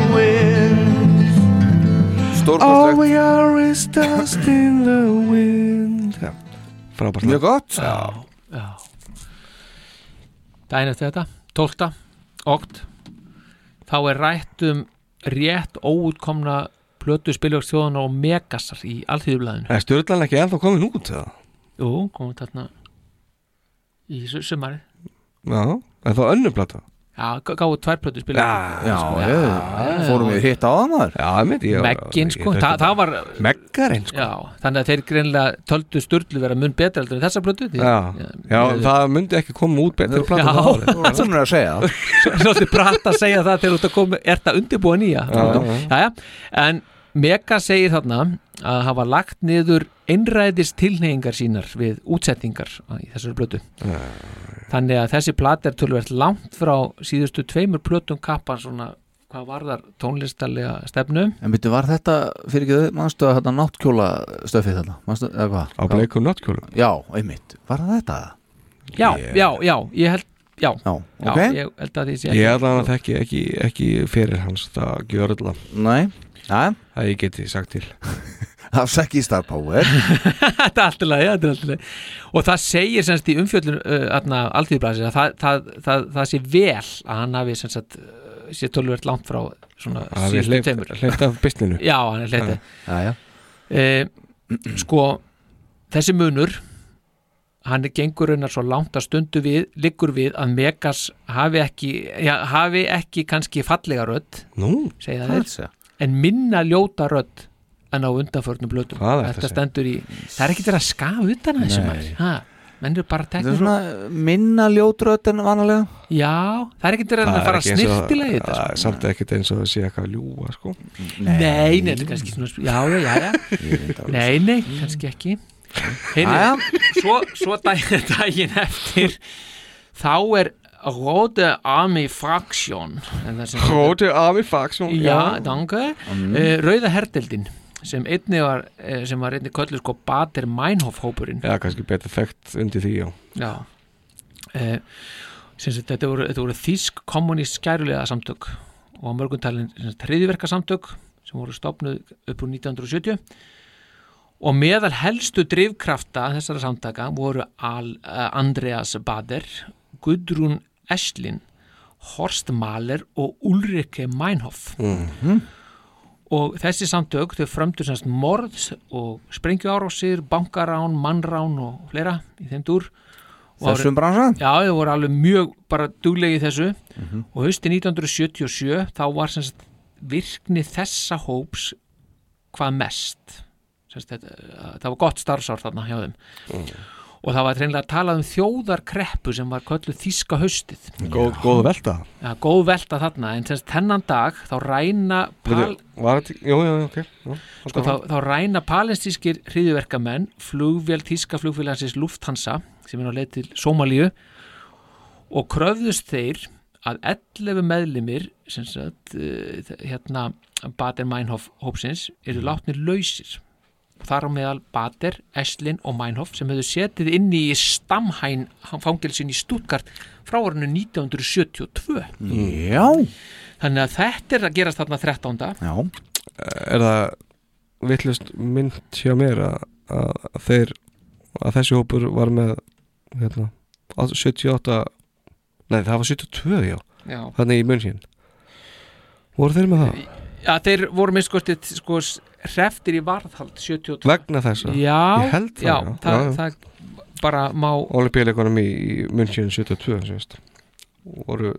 S1: wind.
S4: All we are is dust in the wind Já, frábært lag.
S3: Mjög gott
S4: Já,
S5: Já. Dæin eftir þetta, 12. okt þá er rætt um rétt óútkomna plötu spiljórstjóðunar og megasar í alþýðublaðinu.
S4: Er stjórnlan ekki ennþá komin út eða?
S5: Jú, komum þarna í su- sumarið.
S4: Já, en þá önnum plata
S5: Já, gá- gáðu tvær plötu spiljórstjóðunar.
S4: sko,
S3: við hitt á það maður
S4: Já, mitt, ég
S5: Meggin sko, það, það var
S4: Meggarinn sko
S5: Já, þannig að þeir greinlega töldu sturlu vera mun betra heldur en þessa plötu því-
S4: Já, já, það myndi ekki koma út betur plata
S5: Já.
S4: það árið.
S3: Svona er að segja það
S5: svolítið bratt að segja það þegar þú ert að koma, er það undirbúa nýja
S4: Já, já, já.
S5: Jæja, en Mega segir þarna að hafa lagt niður einræðis tilneyingar sínar við útsettingar í þessari blötu þannig að þessi plat er tölvert langt frá síðustu tveimur plötum kappan svona hvað varðar tónlistarlega stefnu
S3: En byrju, var þetta fyrir ekki þau, mannstu að þetta náttkjóla stöfið þetta, mannstu, eða hvað?
S4: Á bleikum náttkjóla?
S3: Já, einmitt, var það þetta?
S5: já, já, já, ég held já, já,
S3: ok.
S5: ég held að því sé
S4: Ég ætla hann að þekki ekki, ekki fyrir hans það gjörðla
S3: Nei, já
S4: Það ég geti sagt til
S3: Afsækki star power
S5: þetta er allt í lagi, þetta er allt í lagi og það segir semst í umfjöllun uh, alþýðblæsir að það, það, það, það sé vel að hann hafi sem sagt uh, sé tölvöld langt frá svona
S4: Það er
S5: síðustu tveimur
S4: hleyft af bysninu
S5: já, hann er hleyta
S3: já, já.
S5: uh, sko, þessi munur hann gengur raunar svo langt að stundu við, liggur við að Megas hafi ekki, já, hafi ekki kannski fallega rödd
S4: Nú,
S5: segja
S3: hvað
S5: það
S3: er að segja?
S5: en minna ljóta rödd en á undanförnum blötum
S4: Hvað er þetta að
S5: þetta
S4: segja?
S5: stendur í, það er ekki verið að skafa utan að þessu
S3: Nei.
S5: maður ha, menn eru bara
S3: Þetta
S5: teknir
S3: er svona minna ljótröð en vanalega
S5: já, það er ekki verið að fara snirtilega í þetta sko.
S4: Það er samt ekkert eins og það sé eitthvað að ljúa sko
S5: nei, nei, þetta er kannski svona já, já, já,
S3: Ég veit
S5: já.
S3: alveg. Ah,
S5: nei, nei, kannski ekki
S3: Jæja.
S5: Heyrðu, svo, svo daginn, daginn eftir þá er Rode Army Fraction en það sem-
S4: Hróti af í faxum
S5: Já, danka mm. Rauða herdeldin sem einni var, eh, sem var einni köllu sko Bater Meinhof hópurinn
S4: Já, kannski betur þekkt undir því, já
S5: Já eh, sem sagt, þetta, voru, þetta voru þýsk kommunist skærulega samtök og á mörgum talin þriðiverka samtök sem voru stopnuð upp úr 1970 og meðal helstu drifkrafta þessara samtaka voru Al, eh, Andreas Bader Gudrun Eslin Horst Mahler og Ulrike Meinhof og þessi samtök þau frömdu semst morð og sprengjuárásir, bankarán, mannrán og fleira í þeim dúr Og
S3: Þessum
S5: árið-
S3: bransa?
S5: Já, þau voru alveg mjög bara duglegi í þessu og hausti 1977 þá var semst virkni þessa hóps eh, hvað mest semst, þetta, það var gott starfsár þarna hjá þeim og það var reynilega að tala um þjóðarkreppu sem var kölluð þíska haustið
S4: Góð, góð velta
S5: ja, góð velta þarna en þess þennan dag þá ræna pal,
S4: Veitu, var þetta- Jú, jú, jú, ok jú,
S5: sko, þá, þá ræna palestískir hriðuverkamenn flugvél tíska flugfélagsins Lufthansa sem er á leið til Somalíu og kröfðust þeir að 11 meðlimir sem sagt, eh, þ- hérna Bader-Meinhof hópsins eru látnir lausir þar á meðal Bader, Eslin og Meinhof sem hefðu setið inn í Stamhain fangelsin í Stuttgart frá orðinu 1972
S3: Já
S5: þannig að þetta er að gerast þarna 13.
S3: Já
S4: Er það vittlust mynd hjá mér að, að þeir að þessi hópur var með hérna, 78 Nei, það var 72, já,
S5: Já.
S4: Þannig í munn Voru þeir með það?
S5: Já, þeir voru minnskostið sko hreftir í varðhald 72
S4: Vegna þessa?
S5: Já,
S4: Ég held það,
S5: já,
S4: já.
S5: það,
S4: Já, já.
S5: það bara má
S4: Olympíuleikunum í, í München 72 sést. voru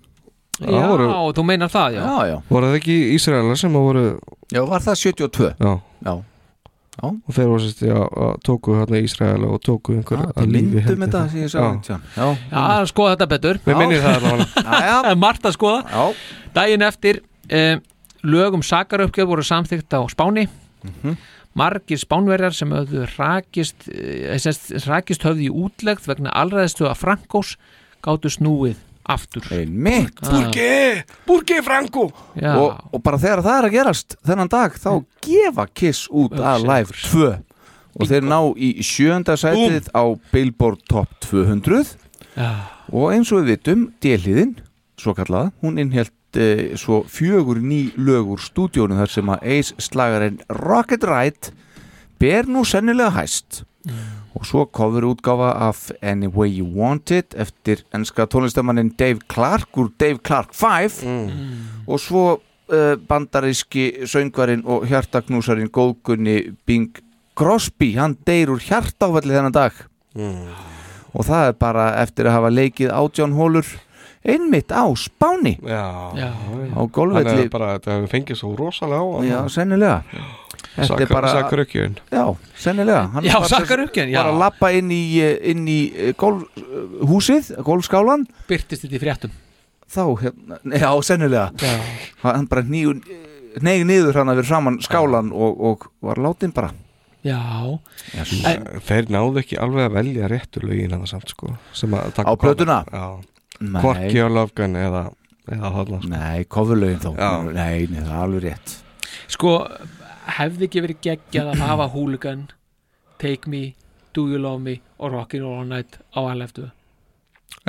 S5: Já, þú meinar það, já. Já, já.
S4: Voru það ekki Ísraelar sem að voru
S3: Já, var það 72
S4: Já,
S3: já. Já.
S4: Og þeir voru sérst, já, að tóku hérna Ísraelar og tóku einhver
S3: Já, Ah, til myndum þetta sem ég sá
S4: Já.
S3: þetta, já.
S5: Já, að skoða þetta betur
S4: Mér minnir það allavega.
S5: Það er margt að skoða
S3: já.
S5: Daginn eftir um, lögum sakaröfgjöf voru samþykkt á Spáni Margir spánverjar sem höfðu rakist, eh, sem sagt, rakist höfðu í útlegð vegna allraðistu að Frankós gátu snúið aftur
S3: Einmitt
S4: Burgi, Burgi Franko
S5: Já.
S3: og, og bara þegar það er að gerast þennan dag þá gefa Kiss út að live 2 og þeir ná í sjönda sætið á Billboard Top 200
S5: Já.
S3: og eins og við vitum deliðin, svo kallaða hún innhjælt eh, svo fjögur ný lögur stúdíónu þar sem að Ace slagarinn Rocket Ride ber nú sennilega hæst og svo kofur útgáfa af Any Way You Want It eftir enska tónlistamannin Dave Clark úr Dave Clark 5 og svo uh, bandaríski söngvarinn og hjartagnúsarinn góðgunni Bing Crosby hann deyr úr hjartáfalli þennan dag og það er bara eftir að hafa leikið átján hólur einmitt á Spáni
S4: Já,
S5: já.
S3: á golfvelli
S4: Þannig að bara þetta hefur fengið svo rosalega á hann.
S3: Já, sennilega Þetta er
S4: Sakar-
S3: bara-
S4: sakarökkjun.
S3: Já, sennilega Hann
S4: Já,
S3: var-
S5: sakarökkjun, já.
S3: Bara að lappa inn í, eh, inn í eh, golf, eh, húsið, golfskálan
S5: Byrtist þetta í fréttum
S3: Þá, hérna, já, sennilega
S5: Já.
S3: Hann bara hnígur Nei, niður hann að vera saman skálan og, og var látin bara
S5: Já, En-
S4: Þeir náðu ekki alveg að velja réttu lögin hann samt sko sem að
S3: Á
S4: taka
S3: plötuna?
S4: Já
S3: Nei.
S4: Korki á löfgan eða eða hodla sko.
S3: Nei, kofurlaugin þá Nei, nei, það er alveg rétt
S5: Sko, hefði ekki verið geggjað að hafa Hooligan, Take Me, Do You Love Me og Rockin' All Night á aðleftu?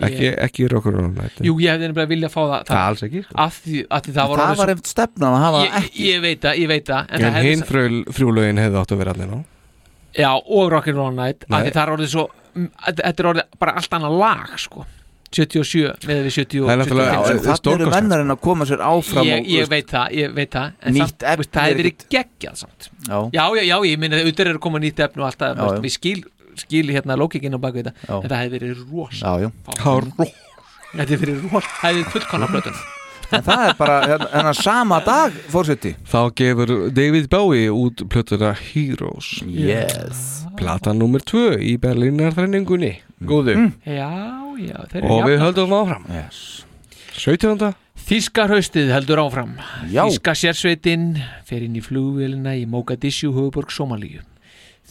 S4: Ekki, ekki rokkur og nætti
S5: Jú, ég hefði nefnilega viljað fá það.
S4: Það alls ekki, sko.
S5: Af því, af því það var...
S3: Það var
S5: orðið svo-
S3: einmitt stefnan að hafa
S5: Ég- Ég veit það, ég veit það.
S4: En
S5: það hefði
S4: hinn
S5: sa-
S4: frú, frúlögin hefði átt að vera allir nú
S5: Já, og Rockin' All Night, af
S4: Nei.
S5: því það er orðið svo... m- Þetta er orðið bara allt annað lag, sko. 77 með við 70
S4: Það er náttúrulega-
S3: Já, en
S5: 75.
S3: Þannig eru mennar en að koma sér áfram
S5: ég,
S3: og, veist,
S5: ég veit það, ég veit það en
S3: Nýtt
S5: samt, efni það
S3: er
S5: hefur verið geggjað samt
S3: Já.
S5: já, já, já, ég minna auðvitað er að koma nýtt efni og allt
S3: Já,
S5: það,
S3: já.
S5: við skil, skil hérna lókikinn á bakvið þetta,
S3: Já.
S5: en það hefur verið rosa
S3: Já, já.
S5: þetta hefur verið rosa, það hefur fullkona blötun
S3: En það er bara hérna- hennar sama dag fórseti
S4: Þá gefur David Bowie út plötuna Heroes
S3: Yes.
S4: Plata nummer 2 í Berlínar þrenningunni Góðu
S5: já, já, þeir
S4: Og
S5: eru
S4: við
S5: jafn
S4: höldum áfram
S3: yes.
S4: 17.
S5: Þíska hraustið heldur áfram
S4: Já.
S5: Þíska sérsveitin fer inn í flugvélina í Mogadishu höfuborg Somalíu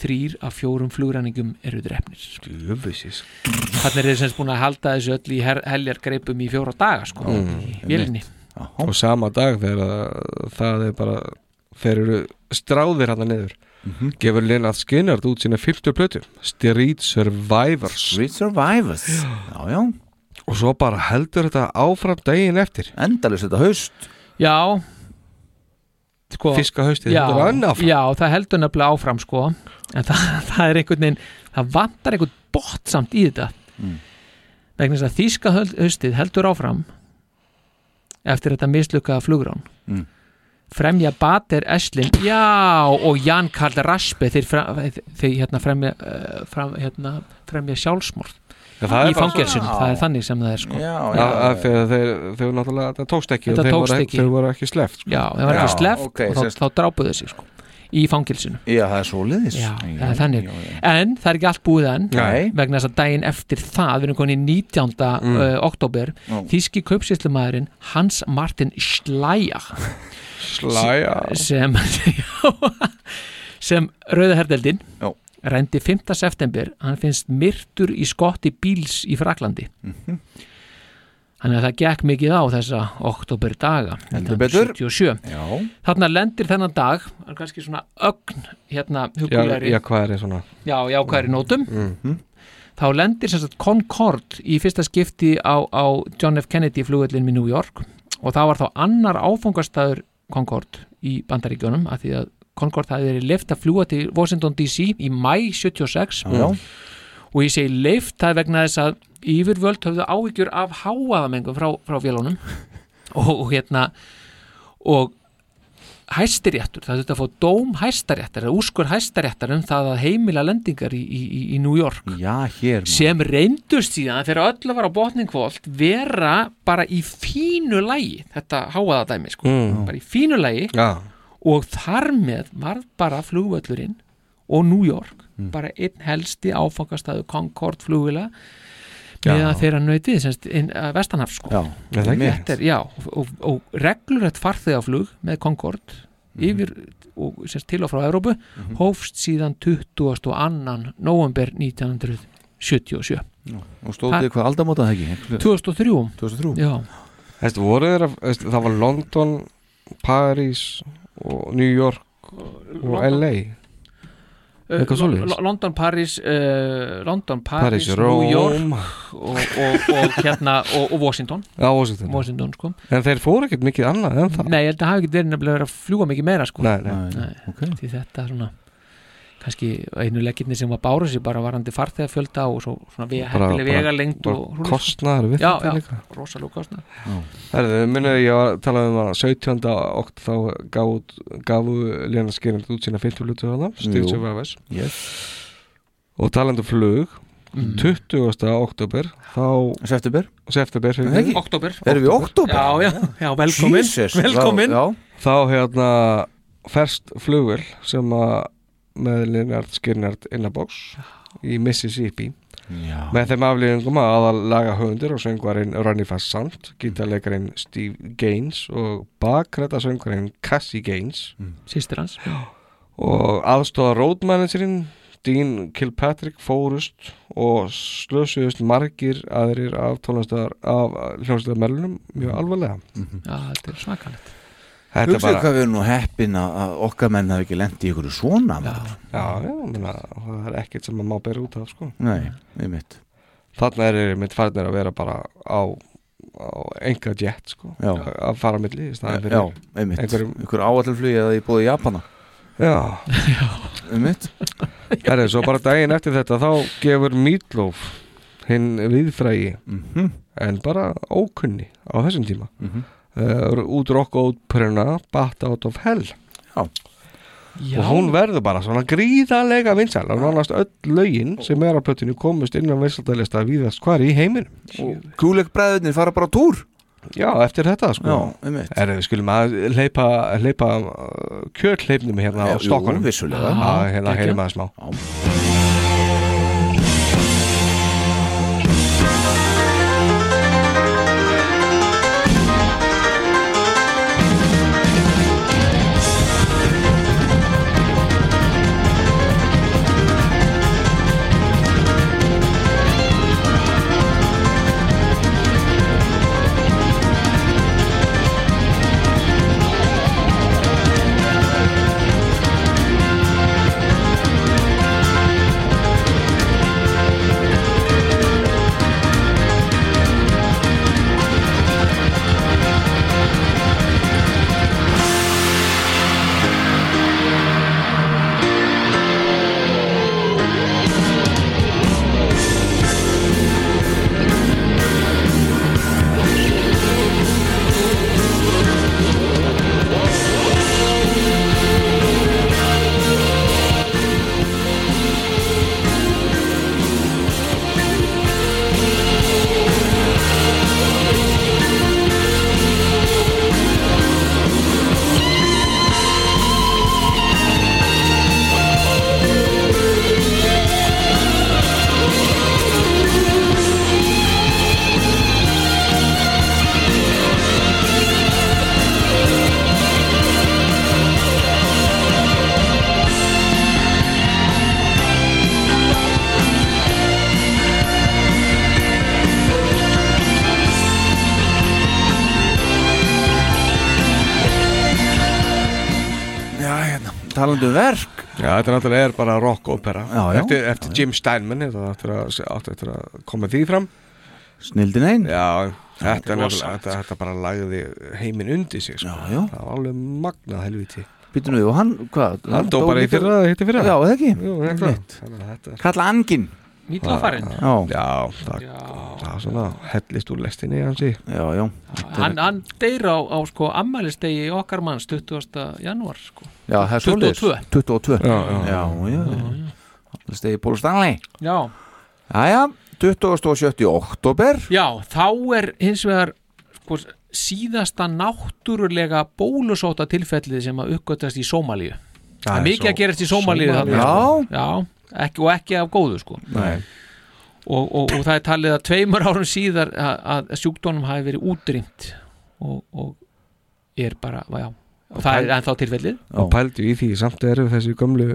S5: þrýr af fjórum flugræningum eru drefnir
S4: Jöfusis
S5: Þannig er þeir semst búin að halda þessu öll í her- heljargreipum í fjóra daga sko,
S3: Mm,
S5: í vélinni
S4: og sama dag þegar að það er bara þeir eru stráðir hann niður gefur Lennart Skinnard út sína 50 plötu Street Survivors
S3: Street Survivors, já já
S4: og svo bara heldur þetta áfram daginn eftir
S3: endalist þetta haust
S5: Já sko,
S4: Fiska haustið,
S5: já,
S4: þetta var annað áfram.
S5: Já, það heldur nefnilega áfram sko en það, það er einhvern veginn það vantar einhvern bótt samt í þetta
S4: Mm.
S5: vegna þess að þíska höld- haustið heldur áfram eftir þetta mislukkaða flugrán
S3: Mm.
S5: fremja Bater Eslin já og Jan Karl Raspe þeir, fram, þeir hérna fremja eh, fram, hérna, fremja sjálfsmorð
S4: Já, það er
S5: í
S4: bara-
S5: fangelsun,
S4: Já.
S5: það er þannig sem það er sko
S4: já, já. Þegar þeir, þeir náttúrulega, það tókst ekki og
S5: Þetta
S4: þeir
S5: tókst
S4: voru,
S5: ekki.
S4: þeir voru ekki sleft sko.
S5: Já, það var ekki sleft
S3: ok,
S5: og þá,
S3: sérst-
S5: þá drápuðu sig sko. í fangilsinu
S3: Já, það er svoleiðis
S5: Já, það er þannig En það er ekki allt búið enn
S3: Nei.
S5: vegna þess að daginn eftir það við erum konin í 19. Mm.
S3: Mm.
S5: oktober
S3: Já.
S5: þíski kaupsýslumæðurinn Hans Martin Schleier
S4: Schleier.
S5: sem sem rauða herdeldin rendi 5. september hann finnst myrtur í skotti bíls í Fraklandi
S3: Mhm.
S5: Þannig að það gekk mikið á þessa oktober daga
S3: Heldur betur.
S5: 1977
S3: Já.
S5: Þarna lendir þennan dag hann er kannski svona ögn hérna
S4: Já,
S5: hugulegri
S4: já, hvað er ég svona
S5: já, jákvæðri nótum þá lendir sem sagt Concorde í fyrsta skipti á, á John F. Kennedy flugvöllin í New York og það var þá annar áfangastæður Concorde í bandaríkjónum að því að Concorde það verið leift að fljúa til Washington DC í mæ 76
S3: Já.
S5: og ég segi leift það er vegna þess að yfirvöld höfðu áhyggjur af háaðamengum frá, frá félónum og hérna og hæstiréttur, það þurfti að fá dóm hæstaréttar eða úrskur hæstaréttar um það að heimila lendingar í, í, í- í New York
S3: Já, hér maður.
S5: sem reyndust síðan þegar öllu var á botningvolt vera bara í fínu lægi þetta háaða dæmi sko,
S4: Mm.
S5: bara í fínu lægi
S4: Já.
S5: og þar með var bara flugvöllurinn og New York bara einn helsti áfangastæðu Concorde flugvila
S4: Já.
S5: meðan þeirra nöytið semst inn að Vestanhaf sko
S3: Já, er það ekki?
S5: Þetta er, já, og, og reglurætt farþegaflug með Concorde
S4: Mhm.
S5: yfir og semst til og frá Európu hófst síðan 22. november 1977
S3: Og stóðu þið hvað aldamóta það ekki?
S5: 2003
S3: 2003
S5: Já,
S4: Þessi, voru þeirra, þessi, það var London, Paris og New York og
S5: London.
S4: LA
S5: Uh,
S4: Eitthvað
S5: Lo-
S4: svoleiðis
S5: Lo- London, Paris uh, London, Paris,
S4: Paris,
S5: New
S4: Rome.
S5: York og, og, og hérna og, og Washington
S4: Já, Washington.
S5: Washington sko.
S4: En þeir fóru ekkert mikið annað en það
S5: Nei, ég held að það hafi ekki verið nefnilega verið að fljúga mikið meira sko.
S4: Nei, nei.
S5: okay. Því þetta er svona kannski einu leggirni sem var báru sér bara varandi farþegafjölda og svo svona vega,
S4: Bara-
S5: heppileg
S4: bara-
S5: vegalengd
S4: bara
S5: og svoleiðis.
S4: kostnaður við
S5: já,
S4: þetta
S5: já,
S4: líka.
S5: rosalú kostnaður
S4: Herðu, minnaði ég að tala um að 17. okt þá gaf út- gafu Léna Skirind út sína 50 hlutu hana, Steve
S3: Jú.
S4: Survivors
S3: Yes.
S4: og talandu flug
S5: Mm.
S4: 20. oktober þá
S3: September
S4: September
S3: Er það ekki?
S5: Október.
S3: Erum við í október?
S5: Já, já, já, velkomin
S3: Jesus, já,
S5: Velkomin
S3: já.
S4: þá hérna ferst flugvel sem að með Linnard Skinnard innabóks í Mississippi
S3: Já.
S4: með þeim aflýðingum að aðal lagahöfundir og söngvarinn Ronny Fassant gítarleikarinn Steve Gaines og bakræta söngvarinn Cassie Gaines
S5: Sýstir hans
S4: og aðstofa rótmanagerinn Dean Kilpatrick fórust og slösuðust margir aðrir af tónlistar af hljómsveitarmerlunum mjög alvarlega
S5: Já, þetta er svakalegt
S4: Þetta er
S3: Hugsaðu
S4: bara-
S3: hvað við erum nú heppin að að okkar menn hafi ekki lendi í ykkur svona Já,
S4: já, já menna, það er ekkert sem maður má bera út af sko.
S3: Nei, einmitt
S4: þarna er mitt farnir að vera bara á, á enga jet sko,
S3: Já.
S4: að fara á milli í staðinn fyrir
S3: Já, einmitt
S4: einhverjum
S3: Einhver áallflugi að ég búið í Japana
S4: Já,
S3: einmitt
S4: Herri, svo bara daginn eftir þetta þá gefur Meatloaf hinn viðfrægi en bara ókunni á þessum tíma mm
S3: Mhm.
S4: út rock út pruna Bat Out of Hell
S3: Já.
S4: og hún verður bara svona gríðarlega vinsæl og nánast öll lögin sem er á plötinu komust inn á vinsældalista víðast hvar í heiminum
S3: Kúleik bræðunir fara bara á túr
S4: Já, eftir þetta sko
S3: Já, einmitt.
S4: Herri, við skulum að leipa, leipa kjötleifnum hérna
S3: Já,
S4: á stokkunum
S3: jú, vissulega.
S4: Já, hérna
S3: Geggjað.
S4: heyrum aðeins smá
S3: Já.
S1: Thank
S4: hérna.
S3: talandi um verk
S4: Já, þetta náttúrulega er bara rock opera
S3: Já, já.
S4: Eftir, eftir Jim Steinman Þetta áttur að, áttu eftir að koma því fram
S3: Snildin einn
S4: Já, þetta,
S3: er
S4: er nefnilega,
S3: rosalegt.
S4: þetta, þetta bara lagði heiminn undir sig sko. já, já. Það var alveg magnað helviti
S3: Býtum við, og hann, hvað?
S4: Hann dó bara í
S3: líka-
S4: fyrra, hitti fyrra.
S3: Já, eða ekki
S4: Jú, það er klart. Þannig að þetta er-
S3: Kalla angin
S4: Mítla farinn.
S3: Já,
S4: já það, það var svona hellist úr lestinni hansi
S3: Já, já
S5: hann, hann deyr á, á sko ammælistegi okkar manns 20. janúar sko.
S3: Já, það er svoleiðis
S5: 22.
S3: 22
S5: Já, já.
S3: já, já. Það stegi Pól Stanley
S5: Já.
S3: Jæja, 27. oktober
S5: Já, þá er hins vegar sko, síðasta náttúrulega bólusóta tilfellið sem að uppgötast í Sómalíu Það er
S4: Æ,
S5: mikið
S4: Só-
S5: að gerast í Sómalíu
S4: Sómalíu.
S5: þarna, sko.
S4: Já.
S5: Já, ekki, og ekki af góðu sko
S4: Nei.
S5: og, og, og það er talið að tveimur árum síðar að, að sjúkdónum hafi verið útrýmt og, og er bara, já, og það er ennþá tilfellið
S4: Og pældu í því, samt eru þessi gömlu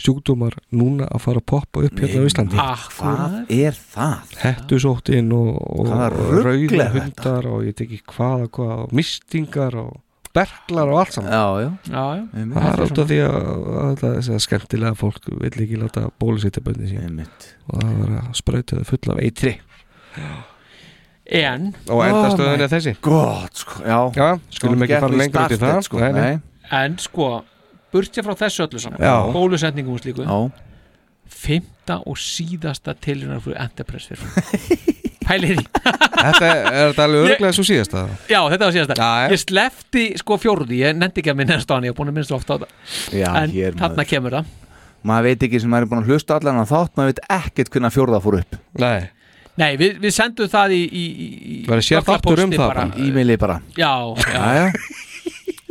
S4: sjúkdómar núna að fara að poppa upp hérna á Íslandi
S5: Akkurat.
S3: er það?
S4: Hettusóttin og, og
S3: Hvaða
S4: og
S3: rugl
S4: rauðir
S3: er þetta?
S4: hundar og ég teki hvað og hvað og mistingar og berklar og allt saman
S3: Já, já,
S5: já, já.
S4: Það er út af því að, að, að þess að skemmtilega fólk vill ekki láta bólusetja bönni sín
S3: Einmitt.
S4: og það var að sprauta þau full af eitri
S5: En
S4: og endastöðun er þessi
S3: God, sko, já.
S4: já, skulum ekki fara lengur út í það
S3: sko.
S4: Nei, nei.
S5: En sko, burtja frá þessu öllu saman
S4: Já.
S5: Bólusetningum og slíku
S3: Já.
S5: Fymta og síðasta tilunar fyrir Enterprise fyrir Pælir í
S4: Þetta er, er þetta alveg örglega svo síðast að
S5: Já, þetta var síðasta Ég slefti sko fjórði, ég nefndi ekki að minna stóðan Ég er búin að minna svo ofta á það
S3: Já,
S5: En
S3: hér
S5: þarna kemur það
S3: Maður veit ekki sem maður er búin að hlusta allan að þátt Maður veit ekkert hvernig að fjórða fór upp
S4: Nei
S5: Nei, við, við sendum það í, í, í
S3: Verður sér
S5: nokkra
S3: þáttur um
S5: pósti
S3: það
S5: bara.
S3: bara. Í e-maili bara
S5: Já, já
S3: Jæja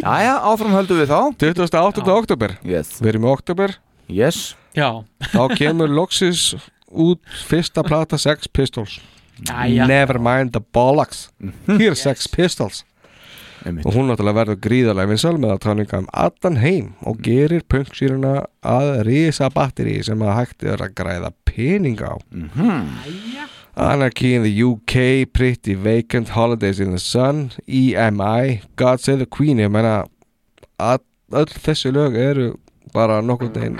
S3: Jæja, áfram höldum við þá
S4: 28. oktober
S3: yes.
S4: Við erum í oktober
S3: yes.
S5: Já
S4: Þá kemur loksins út fyrsta plata Sex Pistols
S5: Jæja.
S4: Never mind the bollocks Here Sex Pistols Og hún náttúrulega verður gríðarlega vinsal með að táningum allan heim og gerir punksýruna að risa batteri sem að hægt er að græða pening á Anarchy in the UK, Pretty Vacant, Holidays in the Sun, EMI, God Save the Queen, ég meina að- öll þessi lög eru bara nokkurn veginn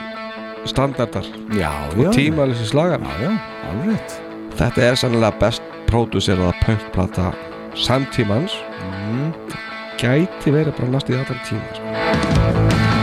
S4: standardar
S3: já,
S4: og
S3: já.
S4: tímalessi slagar
S3: já, alveg
S4: Þetta er sannlega best próduseraða punkplata samtímans
S3: Mm.
S4: gæti verið bara næst í allra tíma sko.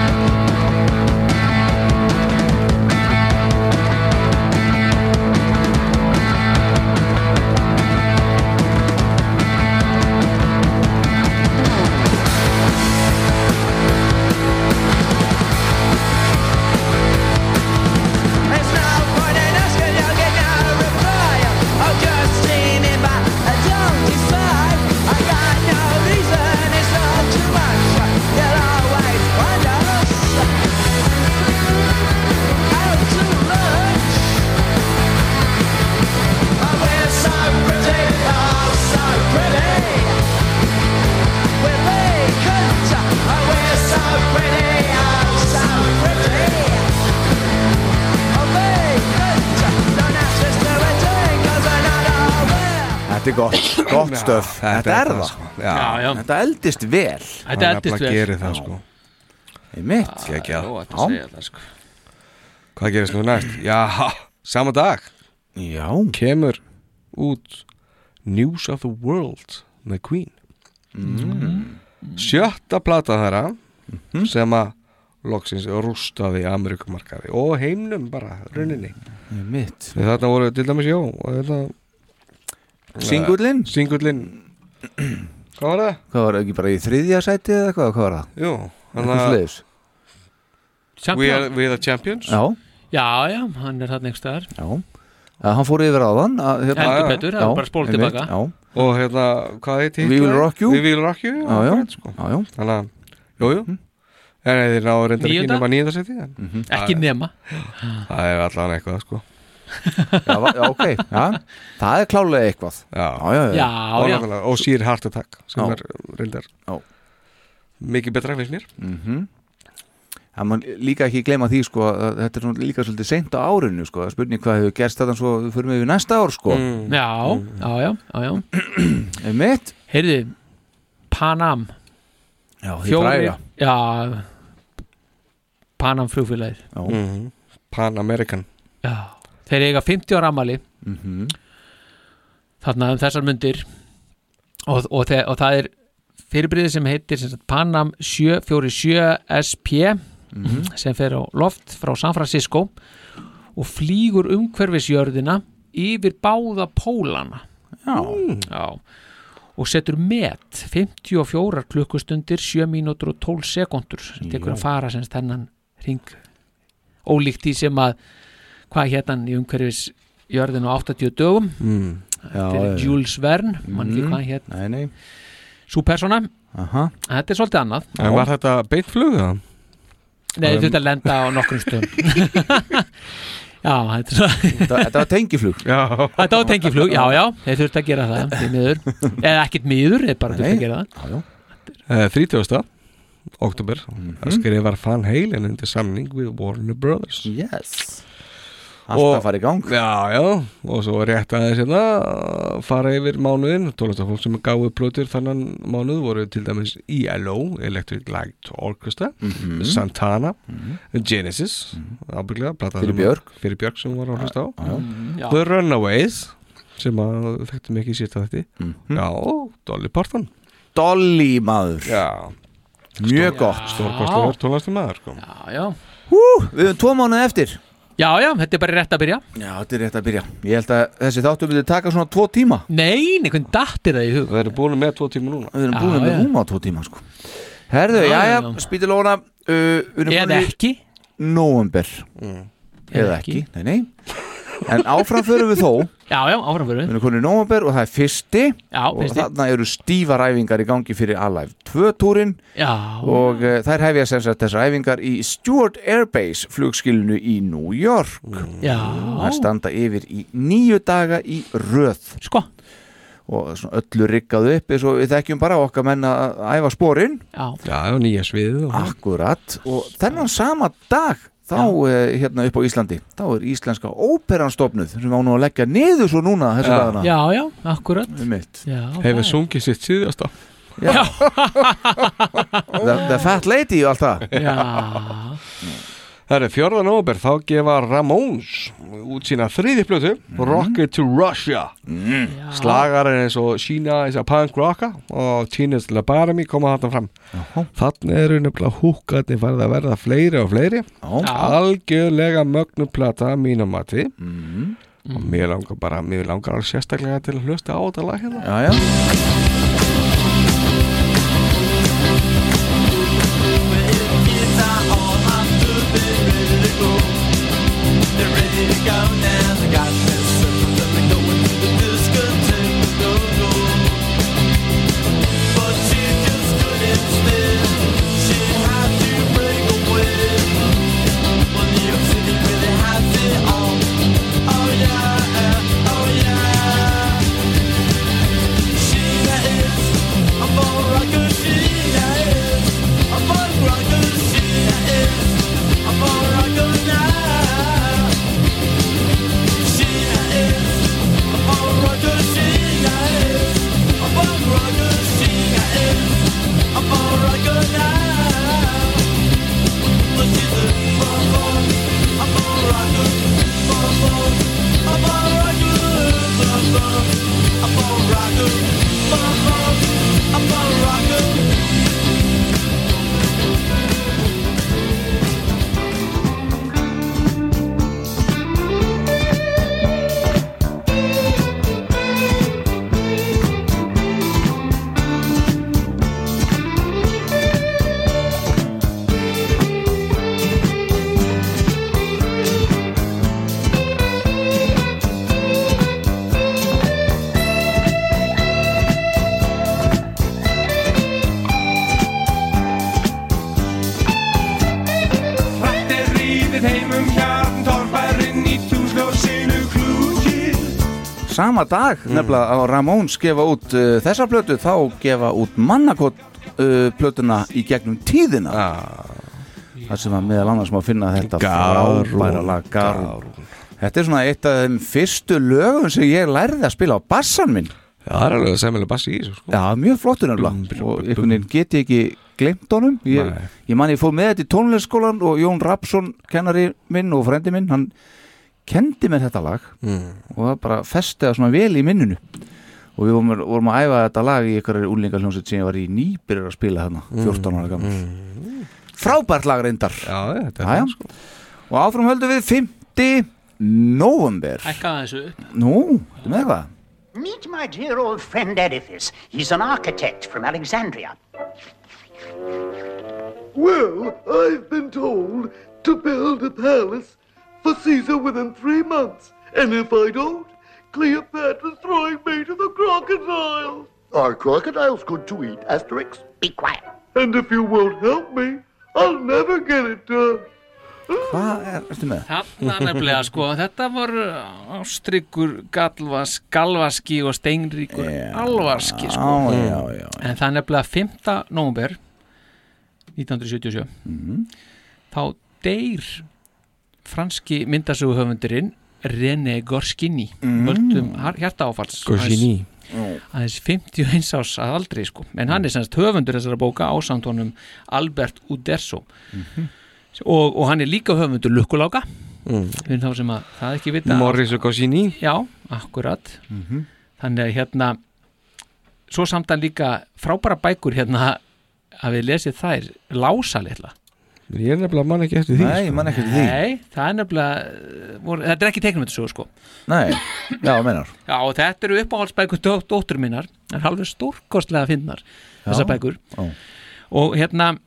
S1: It's no point in asking, you'll get no reply. I'm just dreaming, but I don't decide. I got no reason, it's all too much. You'll always want us. I'm too much. Oh, we're so pretty, oh, so pretty. We're vacant, oh, we're so pretty, oh, so pretty.
S3: Þetta er gott, gott stöf Þetta, er það sko.
S4: Já,
S5: já.
S3: Þetta eldist vel
S5: Þetta eldist nefnilega vel. gerir það,
S4: sko.
S3: Einmitt
S4: Það er ekki að-
S5: óhætt að segja það, sko.
S4: Hvað gerist nú næst? Já, sama dag
S3: Mm. Já
S4: Kemur út News of the World með Queen
S3: Mm. Mhm.
S4: Sjötta plata þeirra sem að loksins rústaði Amerikumarkaði og heimnum bara, rauninni
S3: Einmitt
S4: Við Þarna voru til dæmis Jó og þetta
S3: Singullinn?
S4: Singullinn Hvað var það?
S3: Hvað var það, ekki bara í þriðja sæti eða hvað, hvað var það?
S4: Jú,
S3: Eitthvað svoleiðis.
S4: We are, we are the champions
S3: Já,
S5: Já, já, hann er þarna einhver staðar
S3: já Að hann fór yfir áðan að, hérna-
S5: Heldur betur, það
S3: Já,
S5: er bara spólum
S3: einmitt,
S5: tilbaka.
S3: Já,
S4: Og hérna, hvað heit
S3: We will rock you.
S4: We will rock you
S3: Já, já.
S4: akkurat, sko.
S3: já, já
S4: Þannig að, jú, jú En þeir ná reyndar ekki
S5: Níunda?
S4: nema nýjönda seti en
S5: Ekki
S4: það-
S5: nema
S4: Það er allan eitthvað, sko
S3: já, va- já, ok, já Það er klálega eitthvað
S4: Já,
S3: já, já,
S5: Já,
S4: og,
S5: já.
S4: náttúrulega- og sír Heart Attack sem
S3: Já.
S4: er reyndar
S3: Já.
S4: mikið betra finnst mér
S3: Mhm. Það má líka ekki gleyma því sko að þetta er svona líka svolítið seint á árinu sko að spurning hvað hefur gerst þarna svo við förum yfir næsta ár sko
S4: Mm.
S5: Já, já, já, já, já.
S3: Einmitt
S5: Heyrðu, Panam
S3: Já, því
S5: Fjórir-
S3: fræga
S5: Já, Panam flugfélagið
S4: Mhm. Pan American
S5: Já. Þeir eiga 50 ára amali
S4: Mhm.
S5: þarna um þessar mundir og, og, þe og það er fyrirbriði sem heitir sem sagt, Panam 747 SP
S1: Mhm.
S5: sem fer á loft frá San Francisco og flýgur umhverfisjörðina yfir báða pólana
S3: Já.
S5: Já. og setur met 54 klukkustundir 7 mínútur og 12 sekundur sem tekur
S3: Já.
S5: að fara sem sagt þennan ring ólíkt því sem að hvað hérna í umhverfis jörðin á 80 dögum
S3: Mm.
S5: þetta
S3: Já,
S5: er
S3: já.
S5: Jules Verne, mann ekki
S3: Mm.
S5: hvað hérna
S3: Nei, nei
S5: Sú persóna,
S3: Aha.
S5: þetta er svolítið annað
S4: En var þetta beint flug það?
S5: Nei,
S4: Um,
S5: þú ert að lenda á nokkrum stöðum Já, þetta er svo
S3: Þetta var tengiflug
S4: Já
S5: Þetta var tengiflug, já, já, þeir þurft að gera það því miður, eða ekkert miður þeir bara þurft að gera það
S4: Eh, 30. oktober það skrifar Van Halen undir samning við Warner Brothers
S3: yes.
S4: Alltaf
S3: að fara í gang
S4: Já, já, og svo rétt aðeins hérna að fara yfir mánuðin tólestafólk sem gáðu plötur þannan mánuð voru til dæmis ELO Electric Light Orchestra
S3: Mhm.
S4: Santana, Genesis ábygglega, plata
S3: Fyrir
S4: sem-
S3: Björk.
S4: Mhm. fyrir Björk Ah, sem hún var að hlusta á
S3: Já, já. Mhm, já.
S4: The Runaways sem að þekktum ekki sýrt að þetta já, Dolly Parton
S3: Dolly maður
S4: Já
S3: Mjög gott
S4: Stórkostlegur tólastamæður sko.
S5: Já, já
S3: Hú, við höfum tvo mánuði eftir
S5: Já, já, þetta er bara rétt að byrja
S3: Já, þetta er rétt að byrja Ég held að þessi þáttu myndi taka svona tvo tíma
S5: Nei, einhvern dattir það í hug
S4: Við erum búin með tvo tíma núna
S3: Við erum
S5: Já,
S3: búin með
S5: já.
S3: rúma tvo tíma sko Herðu,
S5: Já,
S3: já, já,
S5: já.
S3: spýtilóna uh, við erum
S5: Eða
S3: búin í
S5: ekki.
S3: Nóember Eða
S5: Eða
S3: ekki, nei, nei En áfram förum við þó
S5: Já, já, áfram förum
S3: Við erum komin í nóember og það er fyrsti
S5: Já,
S3: Og
S5: fyrsti.
S3: þarna eru stífar æfingar í gangi fyrir Alive 2-túrin
S5: Já.
S3: Og uh, þær hefja sem sagt þessar æfingar í Stuart Airbase flugskilinu í New York
S5: Já.
S3: Það standa yfir í nýju daga í röð
S5: Sko
S3: Og svona öllu riggað upp eins og við þekkjum bara okkar menn að æfa sporin
S5: Já
S4: Já, og nýja sviðið
S3: Ah,
S4: og...
S3: Akkurat og þennan sama dag þá eh, hérna upp á Íslandi þá er íslenska óperan stofnuð sem á nú að leggja niður svo núna þessu
S4: Já.
S3: dagana
S5: Já, já, akkurat
S3: Einmitt.
S5: Já,
S4: hérna. hefur sungið sitt síðasta
S3: the, the Fat Lady og allt það
S5: Já
S4: Það eru fjörðan óber, þá gefa Ramones út sína þriði plötu
S3: Mhm.
S4: Rocket to Russia
S3: Ah.
S4: mm. Slagar er eins og Sheena eins og Punk Rocka og Teenage Labarami koma þarna fram Þannig eru nefnilega húkarnir farið að verða fleiri og fleiri
S3: Já.
S4: Algjörlega mögnuplata að mínum mati
S3: Mhm.
S4: og mér langar bara, mér langar alveg sérstaklega til að hlusta á þetta lag hérna
S3: Já, já
S1: Hrætt er ríðið heimum hjarn Torfærinn í túsljósinu klúkið
S3: Sama dag nefnilega á Ramones gefa út uh, þessa plötu þá gefa út mannakott uh, plötuna í gegnum tíðina Það sem að meðal annars má finna þetta
S4: Garún,
S3: frábæra lag Garún Þetta er svona eitt af þeim fyrstu lögum sem ég lærði að spila á bassan minn
S4: það er alveg semilega bassi í þessu sko.
S3: Já, mjög flottur nefnilega og einhvern veginn get ég ekki glemt honum ég,
S4: Nei.
S3: ég man ég fór með þetta í tónleiksskólan og Jón Rapsson, kennari minn og frendi minn, hann kendi mér þetta lag og það bara festiða svona vel í minnunu og við vorum, vorum að æfa þetta lag í einhverjar úlingarhljómsveit sem ég var í nýbyrjar að spila þarna, 14 ára gammal frábært lag reyndar Mm. Já, þetta er það sko Og áfram höldum við 5. november
S5: Hækkaði þessu upp.
S3: Nú, þetta með eitthvað
S15: Meet my dear old friend Edifice. He's an architect from Alexandria.
S16: Well, I've been told to build a palace for Caesar within three months, and if I don't, Cleopatra's throwing me to the crocodile.
S17: Are crocodiles good to eat, Asterix?
S15: Be quiet.
S16: And if you won't help me, I'll never get it done.
S3: Hvað er, ertu með?
S5: Þarna nefnilega sko, þetta voru ástryggur, galvas, galvaski og steinríkur alvarski sko.
S3: já, já, já.
S5: En það er nefnilega 5. nómber 1977
S4: Mhm.
S5: þá deyr franski myndasöguhöfundurinn René Gorskini
S4: Mm.
S5: völdum hjarta áfalls
S4: Goscinny.
S5: aðeins 51 árs að aldrei sko en hann er semst höfundur þessara bóka ásamt honum Albert Uderso
S4: Mhm.
S5: og, og hann er líka höfundur lukkuláka
S4: Mm.
S5: við þá sem að það ekki vita
S4: Morris og Goscinny
S5: já, akkurat
S4: Mhm.
S5: þannig að hérna svo samt að líka frábæra bækur hérna að við lesið þær lása litla
S4: Ég er nefnilega mann ekki eftir því sko.
S5: Nei, það er nefnilega, uh, voru, þetta er ekki teiknumöndasögu sko
S3: Nei, já, meinar
S5: Já, og þetta eru uppáhaldsbækur dó- dóttur minnar það er alveg stórkostlega að finnar
S3: Já,
S5: þessar bækur
S3: já.
S5: og hérna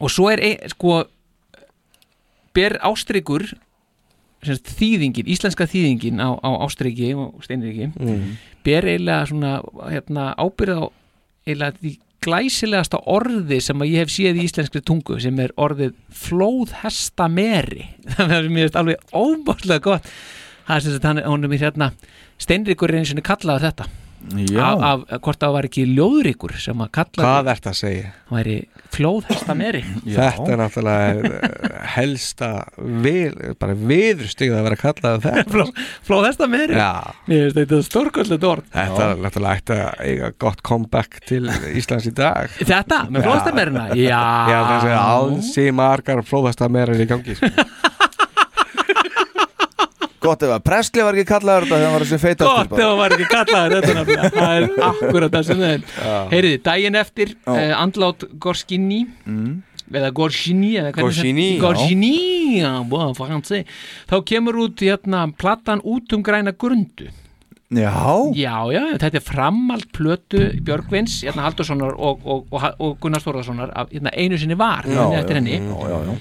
S5: og svo er ein, sko ber ástrykur semst, þýðingin, íslenska þýðingin á, á ástryki og steinriki
S4: Mm.
S5: ber eiginlega svona hérna, ábyrð á eiginlega því glæsilegasta orði sem að ég hef séð í íslenskri tungu sem er orðið flóðhestameri það er mér finnst alveg óbáslega gott það er sem sagt hann, hún er mér hérna Steinrikur er eins og hann kallaði þetta
S4: Já.
S5: af, af, hvort það var ekki ljóðrikur sem að kallaði
S4: Hvað ert að segja?
S5: hann væri flóðhestameri
S4: Þetta er náttúrulega eh, helsta vil, bara viðurstigð að vera kallað þetta
S5: Fló, flóðhestameri
S4: Já.
S5: mér finnst þetta stórkostlega orð
S4: Þetta er náttúrulega ætti að eiga gott comeback til Íslands í dag
S5: Þetta, með flóðhestamerina? Já.
S4: Já, það er aðsi margar flóðhestamerir í gangi sko.
S3: Gott ef að Presley var ekki kallaður þetta þegar hann var þessi feita
S5: gott ef hann var ekki kallaður þetta nafnilega. það er akkurat það sem það
S3: Já.
S5: er heyriði, daginn eftir
S3: Já. Mm.
S5: uh, andlát Gorskini eða Gorskini eða hvernig
S4: Gorskini,
S5: sem-
S4: já.
S5: Gorskini, já, búa, fransi þá kemur út hérna platan út um græna grundu
S3: Já,
S5: já, já, þetta er framald plötu Björgvins, hérna Haldurssonar og, og, og, og Gunnar Stórðarssonar af hérna, einu sinni var,
S3: já,
S5: hérna eftir henni
S3: já, já, já.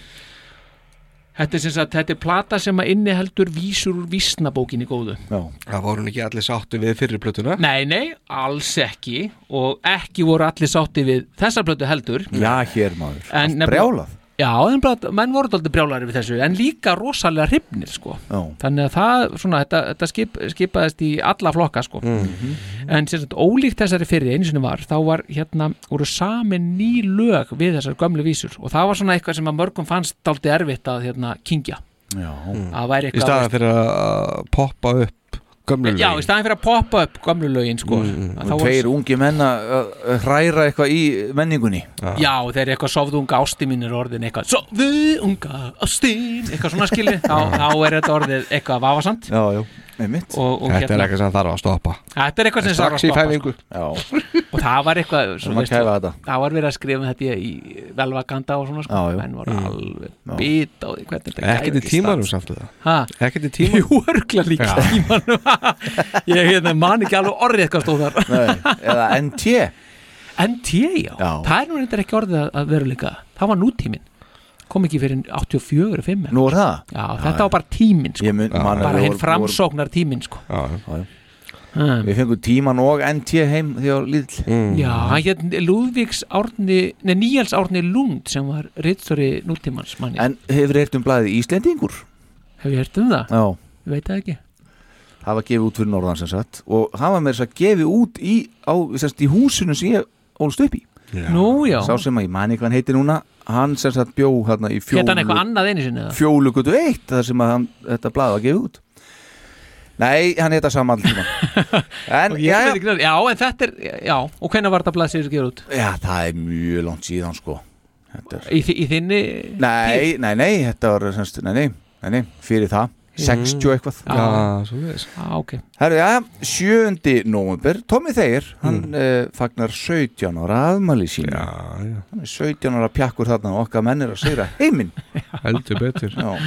S5: Þetta er sem sagt, þetta er plata sem að inniheldur vísur úr vísnabókinni góðu
S4: Það voru nú ekki allir sáttu við fyrir plötuna
S5: Nei, nei, alls ekki og ekki voru allir sátti við þessar plötu heldur
S3: Já, hér maður
S5: En
S3: Allt
S5: nefnilega-
S3: Brjálað
S5: Já, en bara, menn voru aldrei brjálari við þessu en líka rosalega hrifnir sko
S3: Já.
S5: Þannig að það, svona, þetta, þetta skip, skipaðist í alla flokka sko En sem sagt, ólíkt þessari fyrir einu sinni var þá var hérna, voru samin ný lög við þessar gömlu vísur og það var svona eitthvað sem að mörgum fannst daldi erfitt að hérna, kingja
S3: Já
S5: Að væri
S4: Í
S5: eitthvað
S4: staðan fyrir að poppa upp gömlu
S5: Já, í staðan fyrir að poppa upp gömlu lögin sko mm,
S3: Og tveir ungi menn að að hræra eitthvað í menningunni
S5: Já, þeir eru eitthvað sofðu unga ásti mín er orðin eitthvað sofðu unga ástin eitthvað svona skili, þá, þá er þetta orðið eitthvað vafasamt
S3: Já, já, einmitt
S5: og, og
S4: Þetta er eitthvað sem þarf að stoppa
S5: hérna. Þetta er eitthvað sem
S4: Strax í
S5: þarf að sko.
S4: fæðingu
S3: Já
S5: og það var eitthvað
S3: Við erum að kæfa þetta.
S5: það var verið að skrifa um þetta í í velvakanda og svona sko,
S3: Já, já.
S5: menn voru
S3: Mm.
S5: alveg bít á því hvernig þetta
S4: Ekkert í
S5: gæti
S4: tímanum
S5: staðst.
S4: samt við það
S5: Ha?
S4: Ekkert í tímanum
S5: Jú, örgla líka í tímanum Ég hérna, man ekki alveg orðið eitthvað stóð þar
S3: Nei, eða NT
S5: NT, já. Það er nú reyndar ekki orðið að- að veruleika Það var nútíminn kom ekki fyrir 84 og 5
S3: Nú er það?
S5: Já, þetta var bara tíminn sko.
S3: mun- man að
S5: bara
S3: við
S5: hinn
S3: vorum-
S5: framsóknar tíminn sko.
S4: Já,
S3: já
S5: Hmm.
S3: Við fengum tíman og NT heim því á Lidl
S4: Mm.
S5: Já, hann hérna Lúðvíks Árni Nei, Níels Árni Lund sem var reytstjóri nútímans manni
S3: En hefur þið heyrt um blæðið Íslendingur?
S5: Hefur ég hert um það?
S3: Já
S5: Ég veit það ekki
S3: Það var gefið út fyrir norðan sem sagt Og það var með þess að gefið út í, á, sérst, í húsinu sem ég ólst upp í
S5: Nú, já.
S3: Sá sem að ég mani hvað hann heitir núna Hann sem sagt bjó hérna í fjólu
S5: Hérna hann eitthvað annað einu sinni eða?
S3: Fjólugutu eitt þar sem að hann, þetta blað var gefið út Nei, hann heita sama allir tíma En,
S5: Ég
S3: já,
S5: veit ekki neitt. já, en þetta er, já, og hvenær var þetta blaðsýður að gera út?
S3: já, það er mjög langt síðan sko Þetta er-
S5: Í, þi- í þinni
S3: Nei, nei, nei, þetta var semst, nei, nei, nei, nei, fyrir það 60 eitthvað
S5: Já,
S4: Hérna, svo við þess
S5: ah, okay.
S3: Herru, já, 7. nóvember Tommy Þeir, hann eh, fagnar 17 ára aðmæli sín já,
S4: já.
S3: Hann er 17 ára pjakkur þarna og okkar menn er að segja heiminn
S4: heldur betur
S3: Já.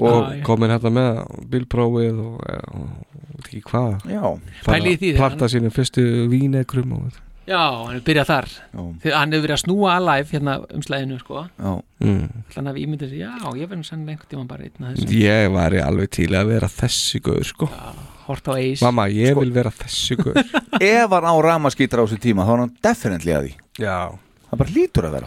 S4: og
S3: Já, já.
S4: komin hérna með bílprófið og, eh, og, og veit ekki hvað
S3: Já.
S5: Pælið í því,
S4: planta
S5: hann-
S4: sínum fyrstu vínekrum og
S5: Já, hann er byrjað þar Þegar hann hefur verið að snúa alive hérna um slæðinu sko.
S3: Já.
S4: Mm.
S5: Þannig að við ímyndum sér, já, ég verðum sannlega einhvern tíma bara einn að þessu
S4: ég væri alveg til að vera þessi gaur sko
S5: Hort á eis
S4: mamma ég vil vera þessi gaur
S3: Ef hann á ramaskýtar á þessu tíma þá er hann definitely að því
S4: Já
S3: Það bara lítur að vera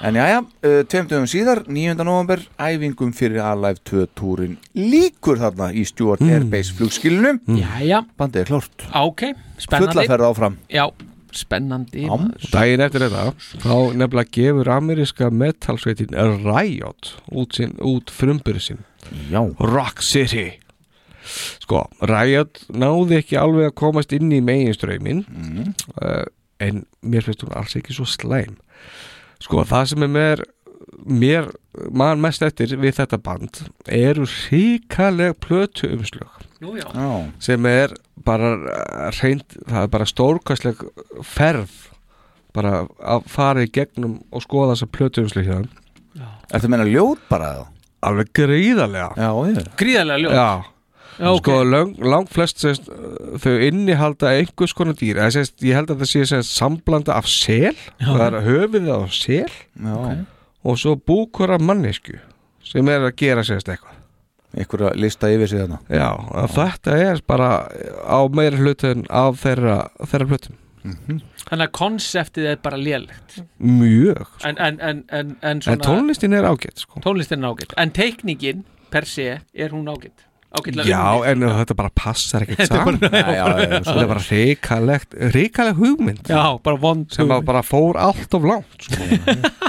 S3: En já, já, tveimtugum síðar 9. november, æfingum fyrir Alive 2 túrin líkur þarna í Stuart Air Base flugskilinu
S4: mm.
S5: Jæja
S3: Bandið er klárt
S5: Ah, Ok, spennandi
S3: Fulla ferð áfram.
S5: Já, spennandi maður.
S4: Og daginn eftir þetta þá nefnilega gefur ameríska metalsveitin Riot út, sin, út frumbur sinn
S3: Já.
S4: Rock City sko, Riot náði ekki alveg að komast inn í meginströymin mm. en mér finnst hún alls ekki svo slæm sko, það sem er mér mér, mann mest eftir við þetta band eru ríkaleg plötu umslög
S5: Nú já.
S3: Já.
S4: sem er bara eh, reynd, það er bara stórkastleg ferð bara að fara í gegnum og skoða þessa plötuumslu hjá þeim
S3: Er það meina ljót bara þá?
S4: Alveg gríðarlega
S3: Já, ég
S5: Gríðarlega ljót
S4: Já,
S5: Já, ok.
S4: sko lang, lang flest sést, eh, þau innihalda einhvers konar dýr eða, sést, ég held að það sé sést, samblanda af sel
S5: Já.
S4: það er höfuðið af sel
S3: Já. Ok.
S4: og svo búkur af mannesku sem er að gera sérst eitthvað
S3: Einhverja lista yfir sig þarna
S4: Já, að þetta er bara á meira hlutin af þeirra, þeirra hlutum
S5: Þannig að konseptið er bara lélegt
S4: Mjög
S5: En, en, en, en, en,
S4: En tónlistin er ágætt sko.
S5: Tónlistin er ágætt En teikningin per se er hún ágætt Ágætlega
S4: Já,
S5: unnin.
S4: en þetta bara passar ekkert
S5: Þetta er
S4: saman
S5: bara- Já, já, já,
S4: Þetta er bara reikalegt reikalegt hugmynd
S5: Já, bara vond
S4: sem að bara fór allt of langt sko.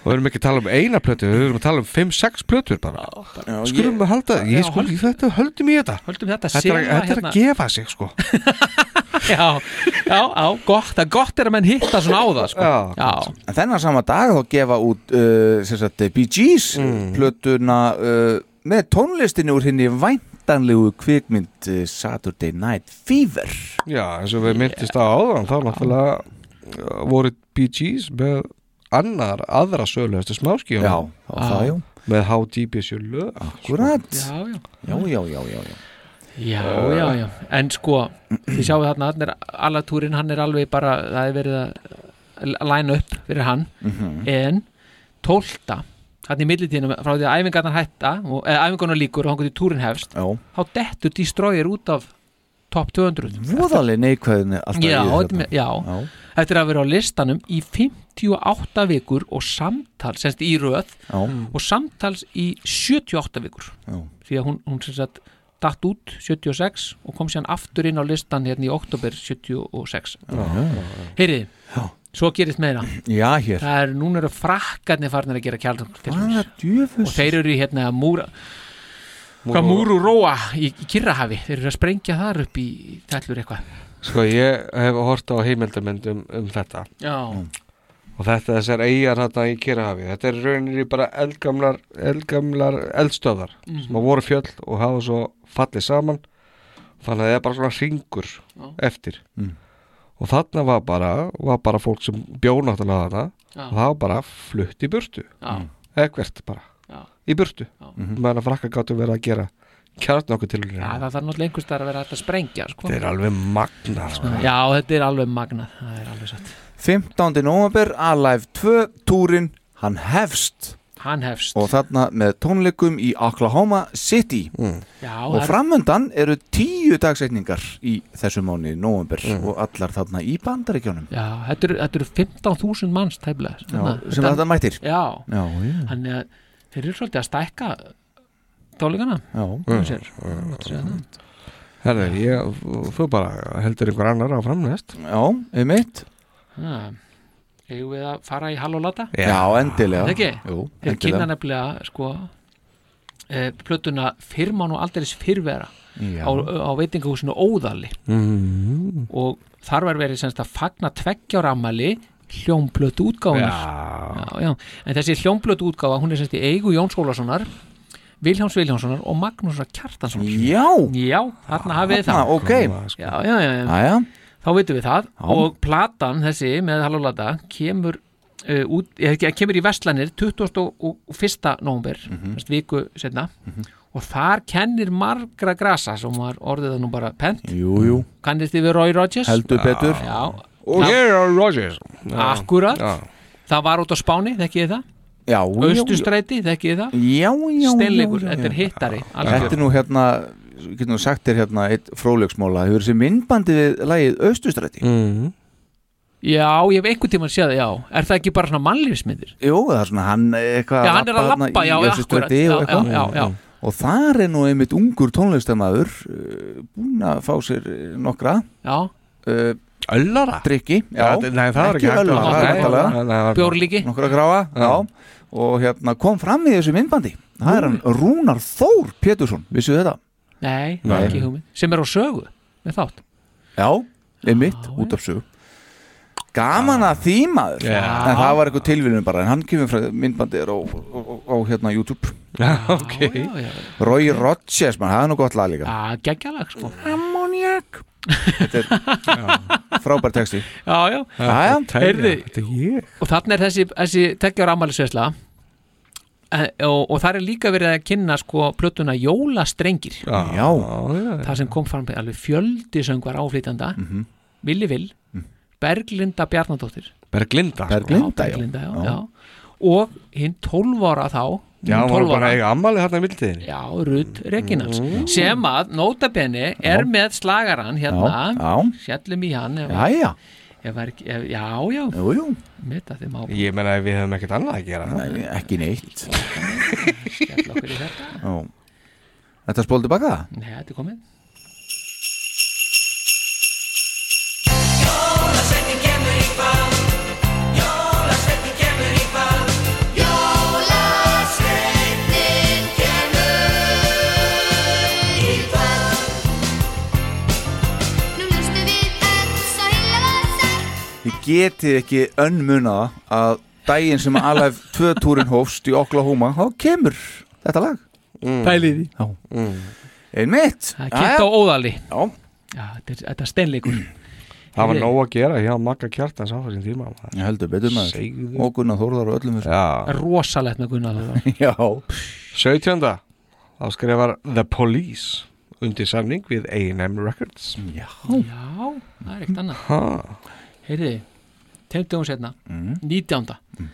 S4: og við erum ekki að tala um eina plötu við erum að tala um 5-6 plötur bara skulum við halda, ég sko ég þetta höldum í þetta
S5: höldum þetta
S4: þetta er,
S5: sela
S4: þetta er
S5: hérna.
S4: að gefa sig sko
S5: já, já, já, gott Það er gott er að menn hitta svona á það sko. já.
S3: En þennan sama dag þá gefa út uh, sem sagt, Bee Gees
S5: Mm.
S3: plötuna uh, með tónlistinu úr henni væntanlegu kvikmynd uh, Saturday Night Fever
S4: Já, eins og við myndist á áðan þá náttúrulega uh, voru Bee Gees með annar, aðra sölu eftir smáskíu
S3: Já, það var það, já.
S4: með How Deep Is Your Love
S3: Akkurat
S5: Ah, Já, já.
S3: Já, já, já, já, já.
S5: Já, já, já En sko, þið sjáu þarna hann er, Alatúrin, hann er alveg bara Það er verið að læna upp fyrir hann
S3: Mhm.
S5: En tólta Þannig í millitíðinu frá því að æfingarnar hætta og, eða æfingarnar líkur og hann til túrin hefst
S3: Já.
S5: þá dettur Destroyer út af top 200
S3: Voðaleg neikvæðinu alltaf
S5: já,
S3: í
S5: þetta með, já. eftir að vera á listanum í 58 vikur og samtals semst í röð
S3: Já.
S5: og samtals í 78 vikur
S3: Já.
S5: því að hún, hún sem sagt datt út 76 og kom síðan aftur inn á listan hérna í oktober 76 heyriði, svo gerist meira
S3: Já, hér
S5: það er, núna eru frakkarnir farnir að gera kjaldum og
S3: djöfus
S5: þeir eru í hérna múra
S4: Múra-
S5: hvað múru róa í, í Kirrahafi þeir eru að sprengja þar upp í tællur eitthvað
S4: Sko ég hef hort á heimildamöndum um þetta
S5: Já.
S4: og þetta þessar eigjar þarna í Kirahafi þetta er rauninni bara eldgamlar eldgamlar eldstöðar
S5: Mhm.
S4: sem að voru fjöll og hafa svo fallið saman þannig að það er bara svona ringur eftir
S3: Mm.
S4: og þarna var bara, var bara fólk sem bjó náttúrulega þarna
S5: Já.
S4: og það var bara flutt í burtu
S3: Mm.
S5: Já.
S4: ekkert bara,
S5: Já.
S4: í burtu meðan að frakka gáttu verið að gera kjartna okkur til
S5: Já, það þarf náttúrulega einhvers þar að vera hægt að sprengja sko.
S4: þetta er alveg magnað sko.
S5: Já, þetta er alveg magnað Það er alveg satt
S3: 15. november, Alive 2 túrin, hann hefst
S5: Hann hefst
S3: og þarna með tónleikum í Oklahoma City
S5: Já, það
S3: og
S5: er-
S3: framöndan eru tíu dagsetningar í þessum mánu í november og allar þarna í bandaríkjónum
S5: Já, þetta eru- þetta eru 15.000 manns tæfla
S3: sem þetta mætir.
S5: Já,
S3: Já, já.
S5: Þannig að þeir eru svolítið að stækka tóligana
S3: Já.
S5: hérna.
S4: Herði, ég, þú bara heldur einhver annar á framnæst
S3: Já, um eitt
S5: Eigum við að fara í hallólata?
S3: Já, endilega.
S5: Það ekki?
S3: Jú, endilega.
S5: Þeir eh, kynna nefnilega sko e, plötuna Firman og aldeilis fyrrvera
S3: Já. Mhm.
S5: á, á veitingahúsinu Óðali
S4: Mm.
S5: og þar var verið semst að fagna tveggjáramali hljómblötu útgáfunar já, já. en þessi hljómblötu útgáfa hún er semst í eigu Jóns Ólasonar Viljáns Viljánssonar og Magnúsar Kjartanssonar
S3: Já,
S5: já þarna hafið þið
S3: þarna, sko.
S5: það
S3: ok.
S5: já, já, já, já.
S3: Jæja.
S5: þá veitum við það og platan þessi með Hallolata kemur uh, út, eða, kemur í Vestlanir 21. nómber mm
S3: Mhm.
S5: viku setna og þar kennir margra grasa sem var orðið það nú bara pent
S3: jú, jú.
S5: kannist þið við Roy Rogers
S3: Heldur
S5: Já.
S3: betur.
S5: já.
S4: Og
S5: Það-
S4: hér er Rogers
S5: Akkúrat.
S4: Já.
S5: það var út á Spáni, þekkið þið það
S3: já, já, já.
S5: Östustræti, þekkið þið það
S3: Já, já, já, já,
S5: Steinleikur,
S3: já.
S5: þetta er hittari algjör.
S3: Þetta er nú hérna, getur nú sagt þér hérna eitt fróðleiksmóla, hefur þessi myndbandi við lagið Östustræti
S4: mm.
S5: Já, ég hef einhvern tímann séð það, já Er það ekki bara svona mannlífsmyndir?
S3: Jú, það er svona hann eh, eitthvað
S5: Já, hann er að
S3: labba
S5: labba,
S3: þarna í
S5: já,
S3: Östurstræti
S5: akkurat,
S3: og
S5: já,
S3: eitthvað.
S5: já, já, já.
S3: Og þar er nú einmitt ungur tónlistamæður uh, búin að fá sér eh, nokkra
S5: Já
S3: uh,
S4: Öllara?
S3: Drykki, já,
S4: Já, þetta- nei, það er ekki hægt að-
S3: öllara,
S4: Nei,
S3: væntanlega.
S4: nei, nei, nei. Bjórlíki.
S3: Nokkra gráa, já Og hérna kom fram í þessu myndbandi Það er hann Rúnar Þór Pétursson, vissu þetta?
S5: Nei,
S3: Nei.
S5: ekki hugmynd Sem er á sögu, með þátt
S3: Já, einmitt, út af sögu Gaman að því maður
S5: Já.
S3: En það var eitthvað tilvílun bara En hann kemur frá myndbandir á, á, á hérna YouTube Já, ok Roy Rogers, mann, það er nú gott lag líka
S5: Já, geggjalag, sko
S3: Ammoniak Þetta er frábær texti
S5: Já, já,
S3: Jæja.
S5: Heyrðu,
S4: Þetta er ég
S5: Og þarna er þessi, þessi tekjar ammælisveisla Eh, og, og þar er líka verið að kynna sko plötuna Jólastrengir
S4: Já, já, já.
S5: Það sem kom fram alveg fjöldi söngvar áflýtanda Villi Vill Berglinda Bjarnadóttir
S4: Berglinda sko.
S5: Berglinda, já, Berglinda, já, já. Og hinn 12 ára þá
S4: Já, hún
S5: hún
S4: var
S5: 12
S4: bara
S5: ára,
S4: að eiga ammali hérna í mildiðinni
S5: Já, Rutt Reginans sem að Nótabenni er með slagaran hérna
S4: Já,
S5: Sjallum í hann ef,
S4: Jæja.
S5: ef, er ekki- ef, Já, já
S3: Jú, jú
S5: Meta þeim á
S4: Ég meina að við hefum ekkert annað að gera
S3: Nei, Ekki neitt
S5: Skella okkur í þetta
S3: Já. Þetta spóldi baka það?
S5: Nei, þetta er komið
S3: Þið getið ekki önnmunaða að daginn sem Alive 2 túrin hófst í Oklahoma þá kemur þetta lag mm.
S5: Pælið í.
S3: Já Einmitt
S5: Það er kynnt á óðali
S3: Já,
S5: þetta, er, þetta er steinleikur
S4: Það var
S5: Heyrðu,
S4: nóg að gera hjá Magga Kjartan sáfæð sem tíma
S3: Ég heldur betur maður. Og Gunnar Þórðar og öllum
S4: Já,
S5: Rosalegt með Gunnar Þóra
S3: Já
S4: 17. Þá skrifar The Police undir samning við A&M Records
S3: Já
S5: Já, það er ekkert annað Heyrði, tegndum við setna
S4: Mm.
S5: 19.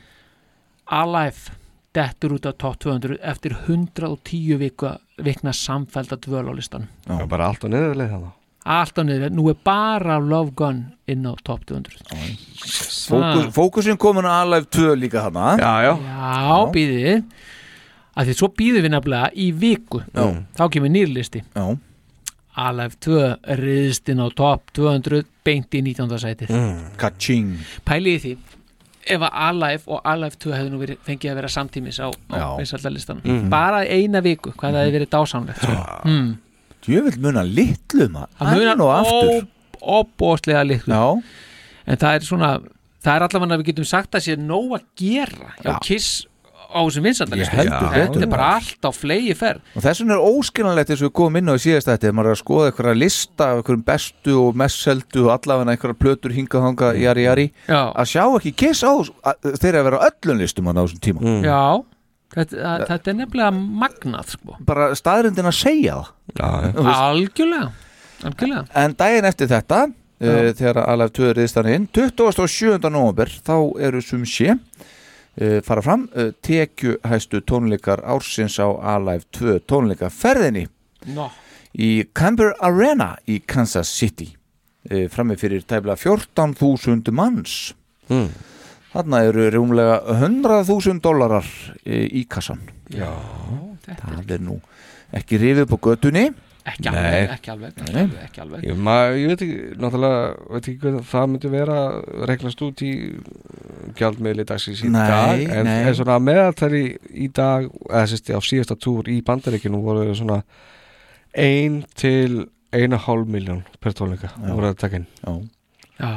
S5: Alive dettur út af top 200 eftir 110 vika, vikna samfælda dvöl á listan
S4: Það er bara allt og neðurlega þannig
S5: Allt á niður, nú er bara Love Gun inn á top 200
S3: Fókus, Fókusin komin á Alive 2 líka þarna
S4: Já, já
S5: Já, býðið að því svo býðum við nefnilega í viku
S3: Já.
S5: þá kemur nýrlisti
S3: Já.
S5: Alef 2 riðist inn á top 200 beint í 19. sætið
S3: Kaching
S5: pæliði því ef að Alive og Alive 2 hefðu nú verið, fengið að vera samtímis á, á vinsaldalistan
S3: Mhm.
S5: bara eina viku, hvað það hefði verið dásamlegt sko. mm.
S3: Djöfull muna litlu maður
S5: það
S3: Enn og aftur
S5: munar óbóðslega líkt
S3: Já.
S5: en það er svona það er allavega að við getum sagt að sé nóg að gera já, Kiss á þessum vinsaldalistum
S3: Ég heldur betur.
S5: þetta er bara allt á flegi ferð
S3: Og þess vegna er óskiljanlegt eins og við komum inn á í síðast þetta maður er að skoða einhverja lista af einhverjum bestu og mest seldu og allavega einhverja plötur hingað hanga, jari, jari
S5: Mm. Já.
S3: að sjá ekki kiss á þess- að- þeir eru að vera á öllum listum þarna á þessum
S5: Mm.
S3: tíma
S5: Já, þetta, að, þetta er nefnilega magnað sko.
S3: bara staðrindin að segja
S4: það
S3: Þú veist.
S5: Algjörlega Algjörlega
S3: En daginn eftir þetta uh, þegar Alef 2 er riðstan inn 27. november þá eru sum sé uh, fara fram uh, tekjuhæstu tónleikar ársins á Alef 2 tónleikaferðinni
S5: Nó.
S3: í Camber Arena í Kansas City uh, frammi fyrir tæfla 14.000 manns mm. Þarna eru rúmlega 100.000 dólarar eh, í kassan.
S4: Já,
S3: Það er nú ekki rifið upp á götunni.
S5: Ekki
S4: alveg, Nei.
S5: ekki alveg,
S3: Nei.
S5: alveg, ekki alveg.
S4: Ég, maður, ég veit ekki, náttúrulega, veit ekki hvað það myndi vera reglast út í gjaldmiðli dagsins í
S3: Nei,
S4: dag en,
S3: nei.
S4: en svona meðaltæri í dag eða sérst á síðasta túr í bandaríkinu voru svona ein til eina hálf miljón per tónleika
S3: Já.
S4: voru að taka inn
S3: Já,
S5: Já,
S3: Já,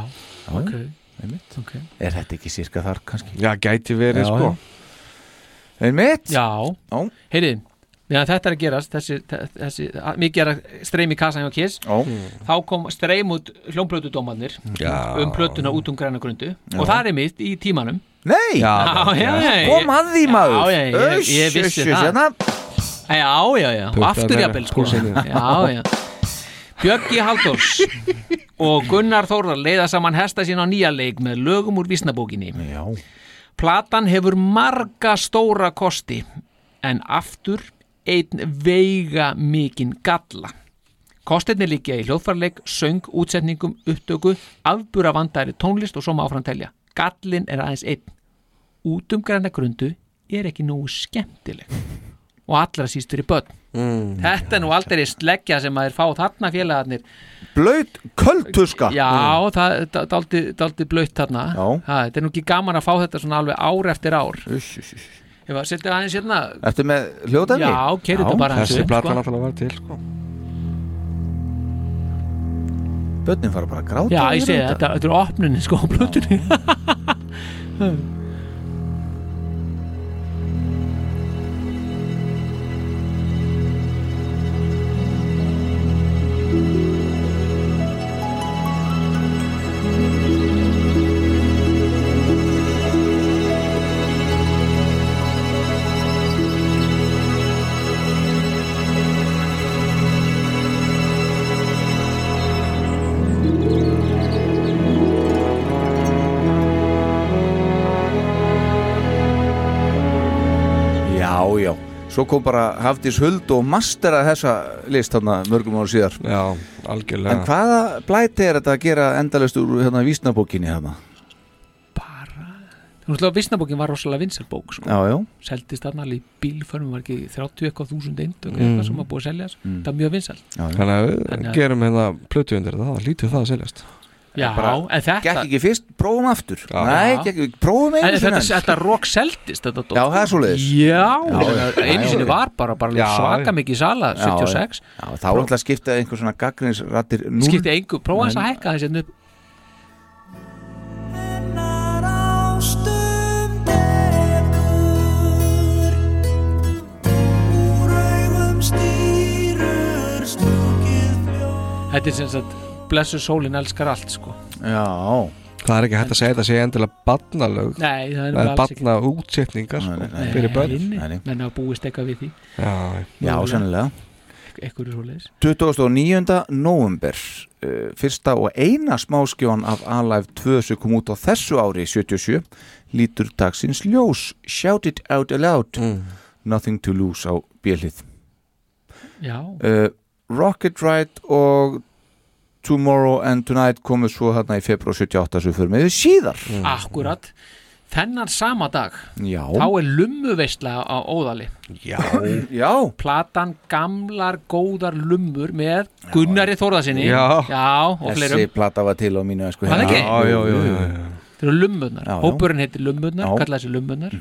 S5: ok
S3: einmitt.
S5: Ok.
S3: Er þetta ekki sírka þar kannski?
S4: Já, gæti verið
S3: Já,
S4: sko
S3: já. Einmitt
S5: Já,
S3: Já.
S5: heyri meðan þetta er að gerast þessi, þe- þessi, að- mikið er að streymi kassan hjá Kiss
S3: Já.
S5: þá kom streym út hljómplötudómarnir
S3: Já.
S5: um plötuna út um græna grundu
S3: Já.
S5: og það er mitt í tímanum
S3: Nei,
S5: já, já, já, já.
S3: kom að því maður
S5: Já, já, ég, ég, ég vissi það
S3: hérna,
S5: Já, já, já, og
S3: Puttar
S5: aftur
S3: þær-
S5: jafnvel sko
S3: pússinni.
S5: Já, já Björgi Halldórs og Gunnar Þórðar leiða saman hesta sín á nýja leik með lögum úr vísnabókinni
S3: Já
S5: Platan hefur marga stóra kosti en aftur einn veiga mikinn galla Kostirni líkja í hljóðfarleik, söng, útsetningum, upptöku, afbúra vandæri tónlist og svo má áfram telja. Gallin er aðeins einn. Útumgræna grundu er ekki nógu skemmtileg og allra síst fyrir börn.
S3: Mm.
S5: Þetta er nú aldrei sleggja sem maður fá þarna félagarnir.
S3: Blaut köldtuska
S5: Já, það er daldi, daldi blöytt þarna.
S3: Mm. Já.
S5: Ha, þetta er nú ekki gaman að fá þetta svona alveg ár eftir ár.
S3: Uss, uss, uss.
S5: Ef að setja aðeins hérna,
S3: Ertu með hljóðdæmi?
S5: Já, keyrðu þetta bara aðeins
S4: Þessi
S5: upp,
S4: plata
S5: sko.
S4: náttúrulega var til sko
S3: Bönnin fara bara að gráta
S5: já, ég segi þetta, þetta er opnunin sko á blötunni.
S3: Já, já Svo kom bara Hafdís Huld og mastera þessa list þarna mörgum ára síðar
S4: Já, algjörlega
S3: En hvaða blæti er þetta að gera endalist úr hérna vísnabókinni hérna?
S5: Þú veist, Vísnabókin var rosalega vinsal bók sko.
S3: Já, já
S5: seldist þarna alveg í bílförmum var ekki 30 eitthvað þúsund eindug
S4: Mm.
S5: eitthvað sem var búið að selja sko.
S3: Mm.
S5: það er mjög vinsal
S4: Þannig að við
S5: Þannig að-
S4: gerum hérna plötu undir það, það lítið það að seljast
S5: Já, en þetta
S3: Gekk ekki fyrst, prófum aftur já. Nei,
S5: Já.
S3: gekk ekki, prófum
S5: En
S3: einu
S5: þetta,
S3: sinni enn.
S5: þetta rock seldist þetta dót.
S3: Já, það er svoleiðis.
S5: Já,
S3: Já, já,
S5: einu
S3: já,
S5: sinni
S3: já.
S5: var bara, bara
S3: Já,
S5: svaka
S3: já.
S5: mikið í sala
S3: Já,
S5: 76
S3: Já, þá er alltaf að skipta einhver svona gaggrinsrattir
S5: skipti engu, prófa þess að hækka þessi hérna upp Þetta er sem sagt blessu sólin elskar allt sko
S3: Já
S4: Það er ekki hægt að segja þetta sé endilega barnalög
S5: Nei, það er
S4: Eða
S5: bara alls ekki.
S4: barnaútsetningar, sko, fyrir börn
S5: Nei, menn hafa búist eitthvað við því
S4: Já,
S3: Já, sennilega
S5: Ekkur er svoleiðis
S3: 29. november uh, fyrsta og eina smáskjón af Alive 2 sem kom út á þessu ári 77 lítur dagsins ljós Shout it out aloud
S5: Mm.
S3: Nothing to lose á bjölið
S5: Já,
S3: uh, Rocket Ride og Tomorrow and Tonight komu svo hérna í februar 78 sem fyrir með síðar
S5: akkurat Þennan sama dag
S3: Já,
S5: þá er lummuveistla á óðali
S3: já, já.
S5: platan gamlar góðar lummur með Gunnari Þórðarsinni
S3: Já.
S5: og
S3: Þessi
S5: fleirum
S3: plata var til á mínu sko,
S5: Var það ekki?
S3: Já, já, já, já,
S5: þetta eru lummurnar,
S3: Já, já.
S5: hópurinn heitir lummurnar
S3: Já.
S5: kalla þessi lummurnar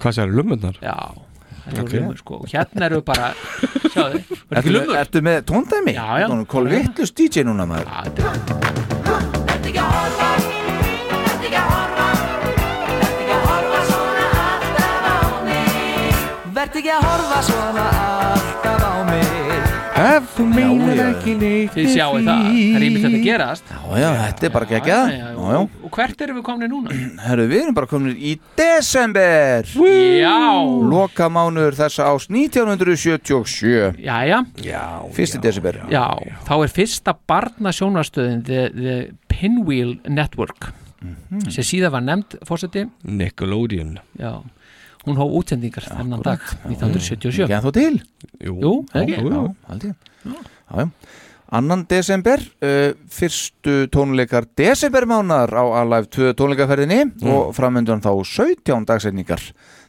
S4: Hvað sér, lumurnar?
S5: já, þetta eru
S4: Ok.
S5: lummur sko og hérna eru bara, sjáðu, var
S3: Ertu,
S5: ekki
S3: með-
S5: lummur
S3: ertu með tóndæmi?
S5: Já, já.
S3: Kolvittlust DJ núna maður
S5: Já, þetta er
S1: Vert ekki að horfa svona alltaf á mig
S4: Ef þú
S3: meinar ekki
S4: neitt
S5: þið sjáu það, það er ímynd þetta gerast
S3: Já, já, þetta er bara ekki
S5: Já,
S3: að
S5: já, já.
S3: Já, já
S5: og hvert erum við komni núna?
S3: Herru, við erum bara komin í desember
S5: já,
S3: Lokamánur þessa ás 1977
S5: já, já
S3: Fyrsti desember
S5: Já, þá er fyrsta barnasjónarstöðin the, the Pinwheel Network sem síðan var nefnd fórseti
S4: Nickelodeon
S5: Já, hún hóf útsendingar þennan dag 1977
S3: Ekki ennþá til
S4: Jú,
S5: Jú,
S3: Já,
S5: það ekki
S3: já, haldið Já, já Annan desember, uh, fyrstu tónleikar desembermánar á Alive 2 tónleikaferðinni og framöndan þá 17 dagsetningar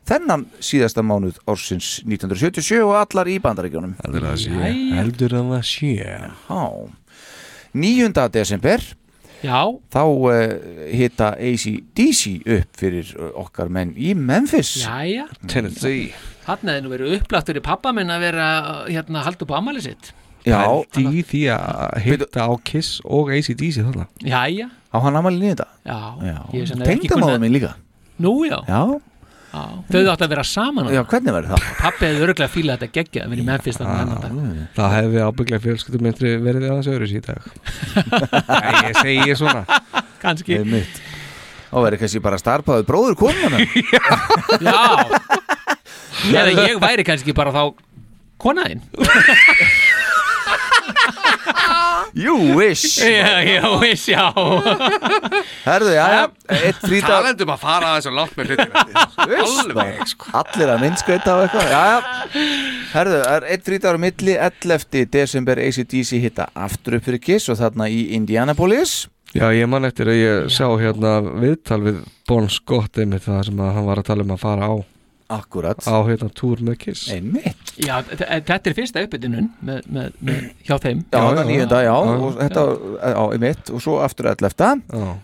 S3: þennan síðasta mánuð ársins 1977 og allar í bandaríkjónum
S4: Heldur að það sé Heldur að það sé
S3: Já 9. desember
S5: Já,
S3: þá uh, hita ACDC upp fyrir eh, okkar menn í Memphis
S5: jæja
S4: Tennessee
S5: Þarna hefði nú verið upplagt fyrir pappa minn að vera hérna, halda upp á ammæli sitt
S3: Já.
S4: Pældi í því að hitta á Kiss og ACDC þarna
S5: Jæja,
S3: Á hann amalinn í þetta?
S5: já, ég
S3: Já.
S5: sem er ekki
S3: Tengdamáður
S5: kunna-
S3: minn líka
S5: Nú já,
S3: Já,
S5: já. Þau átt að vera saman
S3: já hvernig verður það?
S5: Pappi hefði örglega fílað þetta geggja að vera í Memphis þarna hennan dag
S4: Það hefði ábygglega fjölskyldumindri verið aðeins öðru í dag Nei, ég segi svona
S5: Kanski
S3: Einmitt. Og verður kannski bara starpaður bróður komin
S5: Já Eða ég væri kannski bara þá konaðinn
S3: You wish
S5: Já, já, viss, já
S3: Herðu, já, já, eitt frítag
S4: Talendum að fara aðeins og látt með hlutina Alveg
S3: sko. Allir að minnskauta á eitthvað Já, já Herðu, það er eitt frítagur á milli 11. desember ACDC hitta aftur upp fyrir Kiss og þarna í Indianapolis
S4: Já, ég man eftir að ég sá hérna viðtal við Bon Scott einmitt það sem að hann var að tala um að fara á
S3: Akkurat
S4: Á hérna túr með Kiss
S3: Einmitt
S5: Já, þe- þetta er fyrsta uppbytunum með, með, með, hjá þeim
S3: Já, það nýjunda, já, og þetta á einmitt og svo aftur 11.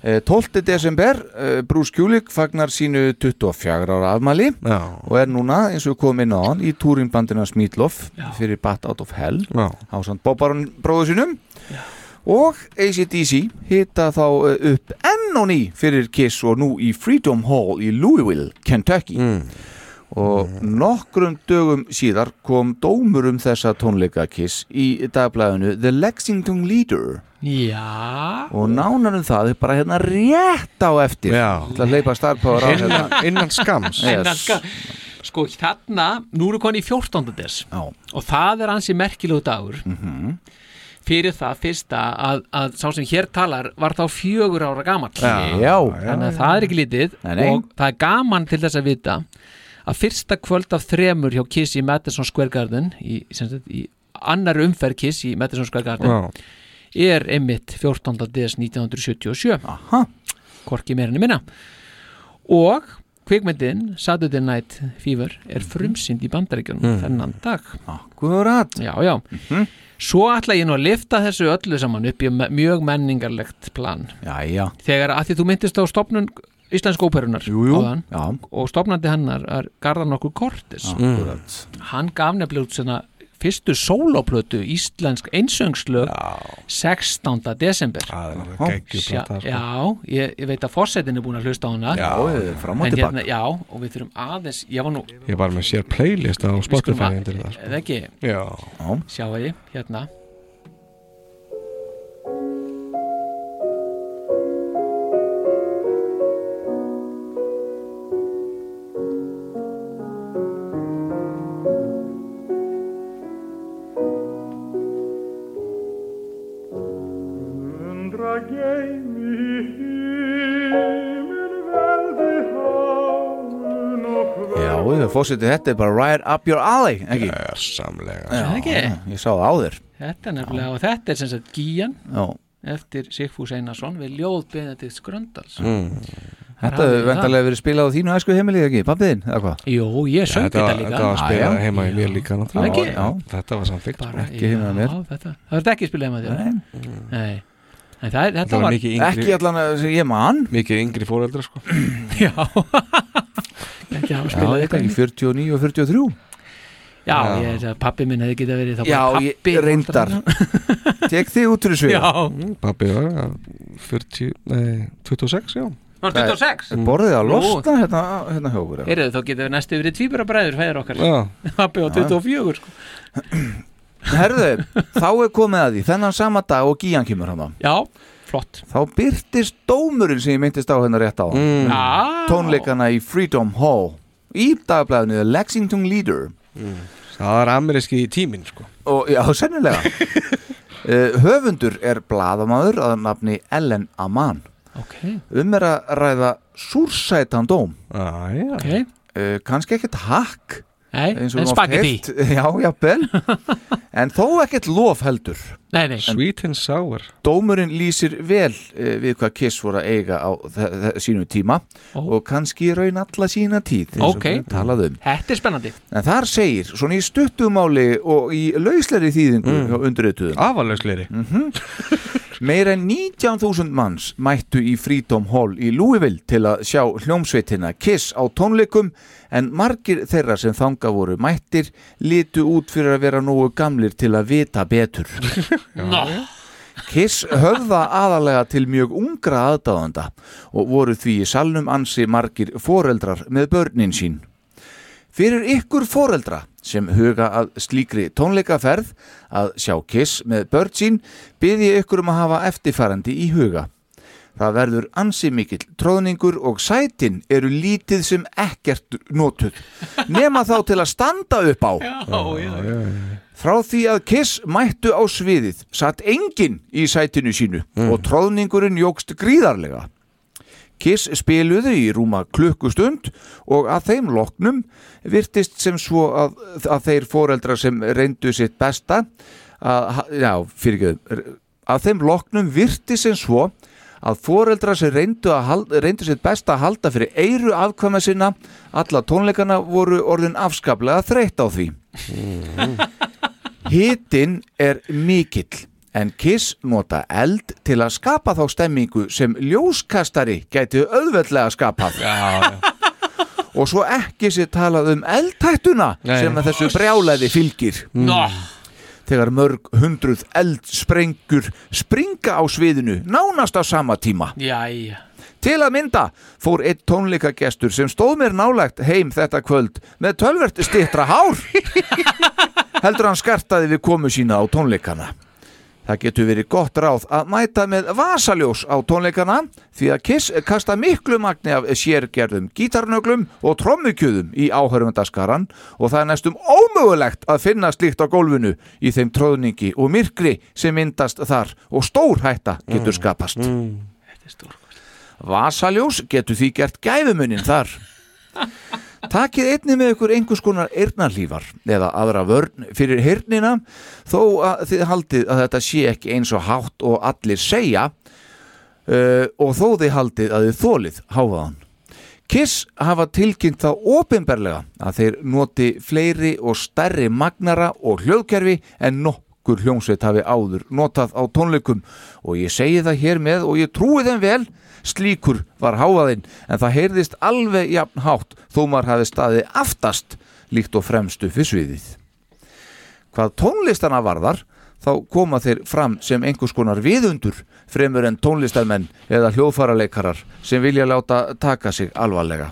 S3: Eh, 12. desember, eh, Bruce Kulick fagnar sínu 24 ára afmæli
S4: já.
S3: og er núna, eins og við komum inn á hann, í túringbandina Smítloff fyrir Bat Out of Hell
S4: já.
S3: á samt Bobbarn bróðu sínum og ACDC hita þá eh, upp enn og ný fyrir Kiss og nú í Freedom Hall í Louisville, Kentucky og nokkrum dögum síðar kom dómur um þessa tónleika Kiss í dagblæðinu The Lexington Leader
S5: Já
S3: og nánar um það er bara hérna rétt á eftir Já. til að leipa starfpáður á
S4: Innan-
S3: hérna.
S4: innan skams.
S3: Yes.
S5: Innan ska- Sko, þarna, nú eru koni í 14. des
S3: Já.
S5: og það er ansi merkilegu dagur
S3: Mhm.
S5: fyrir það fyrsta að, að sá sem hér talar var þá fjögur ára gamall
S3: Já, já.
S5: þannig að það Hérna er ekki litið
S3: Nei, nei.
S5: og það er gaman til þess að vita að fyrsta kvöld af þremur hjá Kiss í Madison Square Garden í, sem sagt, í annar umferð Kiss í Madison Square Garden
S4: Já.
S5: er einmitt 14. des 1977 Aha. hvorki meira enn minna og kvikmyndin Saturday Night Fever er frumsynd í bandaríkjunum
S3: Mm.
S5: þennan dag
S3: Akkurat
S5: Já, já
S4: Mhm.
S5: Svo ætla ég nú að lifta þessu öllu saman upp í me- mjög menningarlegt plan
S3: Já, já
S5: Þegar að því þú myndist á stopnun Íslensk óperunar jú,
S3: jú,
S5: áðan,
S3: já.
S5: og stopnandi hennar er Garðan okkur Kortis
S3: Akkúrat.
S5: Hann gaf nefnilega út svona fyrstu sóloplötu íslensk einsöngslög 16. desember
S4: geggjuð plata, sko.
S5: Já, ég, ég veit að forsetin er búin að hlusta á hana
S4: Já,
S3: við erum fram og
S5: En
S3: tilbaka.
S5: hérna, Já, og við þurfum aðeins Ég var nú,
S4: Ég var með sér playlist á Spotify
S5: að-
S4: undir það sko.
S5: eða ekki
S4: Já
S5: Sjáiði, hérna
S9: Dragei mich Himmelwälder
S3: Já, fórsetið þetta er bara right up your alley, ekki? Já,
S4: samlega
S3: Já,
S5: Ekki?
S3: Ég sá það áður
S5: Þetta er nefnilega, og þetta er sem sagt Gíjan
S3: Já.
S5: eftir Sigfús Einarsson við ljóð Benedikt Gröndals
S3: Þetta
S5: Raðið
S3: hefur
S5: það.
S3: vendarlega verið spilað á þínu æsku heimilið ekki, pappiðin, eða hvað?
S5: Jó, ég söng þetta líka.
S4: Þetta var
S5: Já,
S4: spilað
S5: já.
S4: heima í mér líka náttúrulega.
S5: Ekki?
S4: Já, Þetta var samþykkt sko.
S3: Ekki heima hjá mér.
S5: Já, þetta, það verður ekki spilað með þér Nei, Nei. En það, er- þetta var,
S3: Ekki allan að sem ég man
S4: Mikið yngri fóreldra sko
S5: Já Ekki hafa
S3: Já,
S5: spilað
S3: þetta
S5: eitthvað
S3: ekki 49 og 43
S5: Já,
S3: Já.
S5: ég er að pappi minn hefði getað verið þá bara
S3: Já,
S5: pabbi
S3: ég reyndar Tek þig út fyrir svið
S5: Já.
S4: Pappi Mm, var að 40, nei, 26 já
S5: Var 26?
S3: Borðið að
S5: Nú.
S3: losna hérna, hérna hjá okkur eða?
S5: Heyrðu, þá getað við næstu verið tvíburabræður fæður okkar
S3: Já.
S5: Pappi á 24 sko.
S3: Herðu, þá er komið að því Þennan sama dag og Gían kemur hann
S5: Já, flott
S3: Þá byrtist dómurinn sem ég myndist á hérna rétt á
S4: mm.
S5: Já.
S3: Tónleikana í Freedom Hall Í dagblæðinu The Lexington Leader
S4: Það er ameríski tíminn sko
S3: og, Já, sennilega uh, Höfundur er bladamaður að nafni Ellen Aman
S5: okay.
S3: Um er að ræða súrsætan dóm
S4: ah, ja.
S5: okay.
S3: uh, Kanski ekkert hakk
S5: Nei,
S3: eins og
S5: en
S3: við oft
S5: spagetti.
S3: heyrt. Já, jafnvel En þó ekkert lof heldur
S5: Nei, nei
S4: Sweet and sour
S3: Dómurinn lýsir vel uh, við hvað Kiss voru að eiga á þe- þe- sínum tíma og kannski raun alla sína tíð eins og
S5: Ok.
S3: við talaðum
S5: Þetta er spennandi
S3: En þar segir, svona í stuttumáli og í lausleri þýðingu mm. undirrituðum
S4: Afalausleri
S3: mm -hmm. Meira en 19.000 manns mættu í Freedom Hall í Louisville til að sjá hljómsveitina Kiss á tónleikum en margir þeirra sem þanga voru mættir litu út fyrir að vera nógu gamlir til að vita betur.
S5: Ná.
S3: Mm. Kiss höfða aðalega til mjög ungra aðdáðanda og voru því í salnum ansi margir foreldrar með börnin sín. Fyrir ykkur foreldra sem huga að slíkri tónleikaferð að sjá Kiss með börn sín byrði ykkur um að hafa eftirfarandi í huga. Það verður ansi mikill tróðningur og sætin eru lítið sem ekkert notuð. Nema þá til að standa upp á. Frá því að Kiss mættu á sviðið satt enginn í sætinu sínu og tróðningurinn jógst gríðarlega. Kiss spiluðu í rúma klukkustund og að þeim loknum virtist sem svo að, að þeir foreldra sem reyndu sitt besta að, já, fyrirgjöðum að þeim loknum virtist sem svo að foreldra sem reyndu, að halda, reyndu sitt besta að halda fyrir eiru afkvæma sinna alla tónleikana voru orðin afskaplega þreytt á því Mhm. Hittin er mikill en Kiss nota eld til að skapa þá stemmingu sem ljóskastari gæti auðveldlega skapað já, já. og svo ekki sér talað um eldtættuna
S1: Nei.
S3: sem að þessu brjálæði fylgir
S1: Ná.
S3: þegar mörg hundruð eldsprengur springa á sviðinu nánast á sama tíma
S5: Jæja
S3: Til að mynda fór einn tónleikagestur sem stóð mér nálægt heim þetta kvöld með tölvert stittra hár. Heldur hann skartaði við komu sína á tónleikana. Það getur verið gott ráð að mæta með vasaljós á tónleikana því að Kiss kasta miklu magni af sérgerðum gítarnöglum og trommukjöðum í áhörfundaskaran og það er næstum ómögulegt að finna slíkt á gólfinu í þeim tróðningi og myrkri sem myndast þar og stór hætta getur skapast. Vasaljós getur því gert gæfumuninn þar. Takið einni með ykkur einhvers konar eirnarlífar eða aðra vörn fyrir hirnina þó að þið haldið að þetta sé ekki eins og hátt og allir segja uh, og þó þið haldið að þið þólið háfaðan. Kiss hafa tilkynnt þá opinberlega að þeir noti fleiri og stærri magnara og hljóðkerfi en nokkur hljómsveit hafi áður notað á tónleikum og ég segi það hér með og ég trúi þeim vel slíkur var hávaðinn en það heyrðist alveg jafn hátt þó maður hafi staðið aftast líkt og fremstu fyrir sviðið. Hvað tónlistana varðar þá koma þeir fram sem einhvers konar viðundur fremur en tónlistarmenn eða hljóðfaraleikarar sem vilja láta taka sig alvarlega.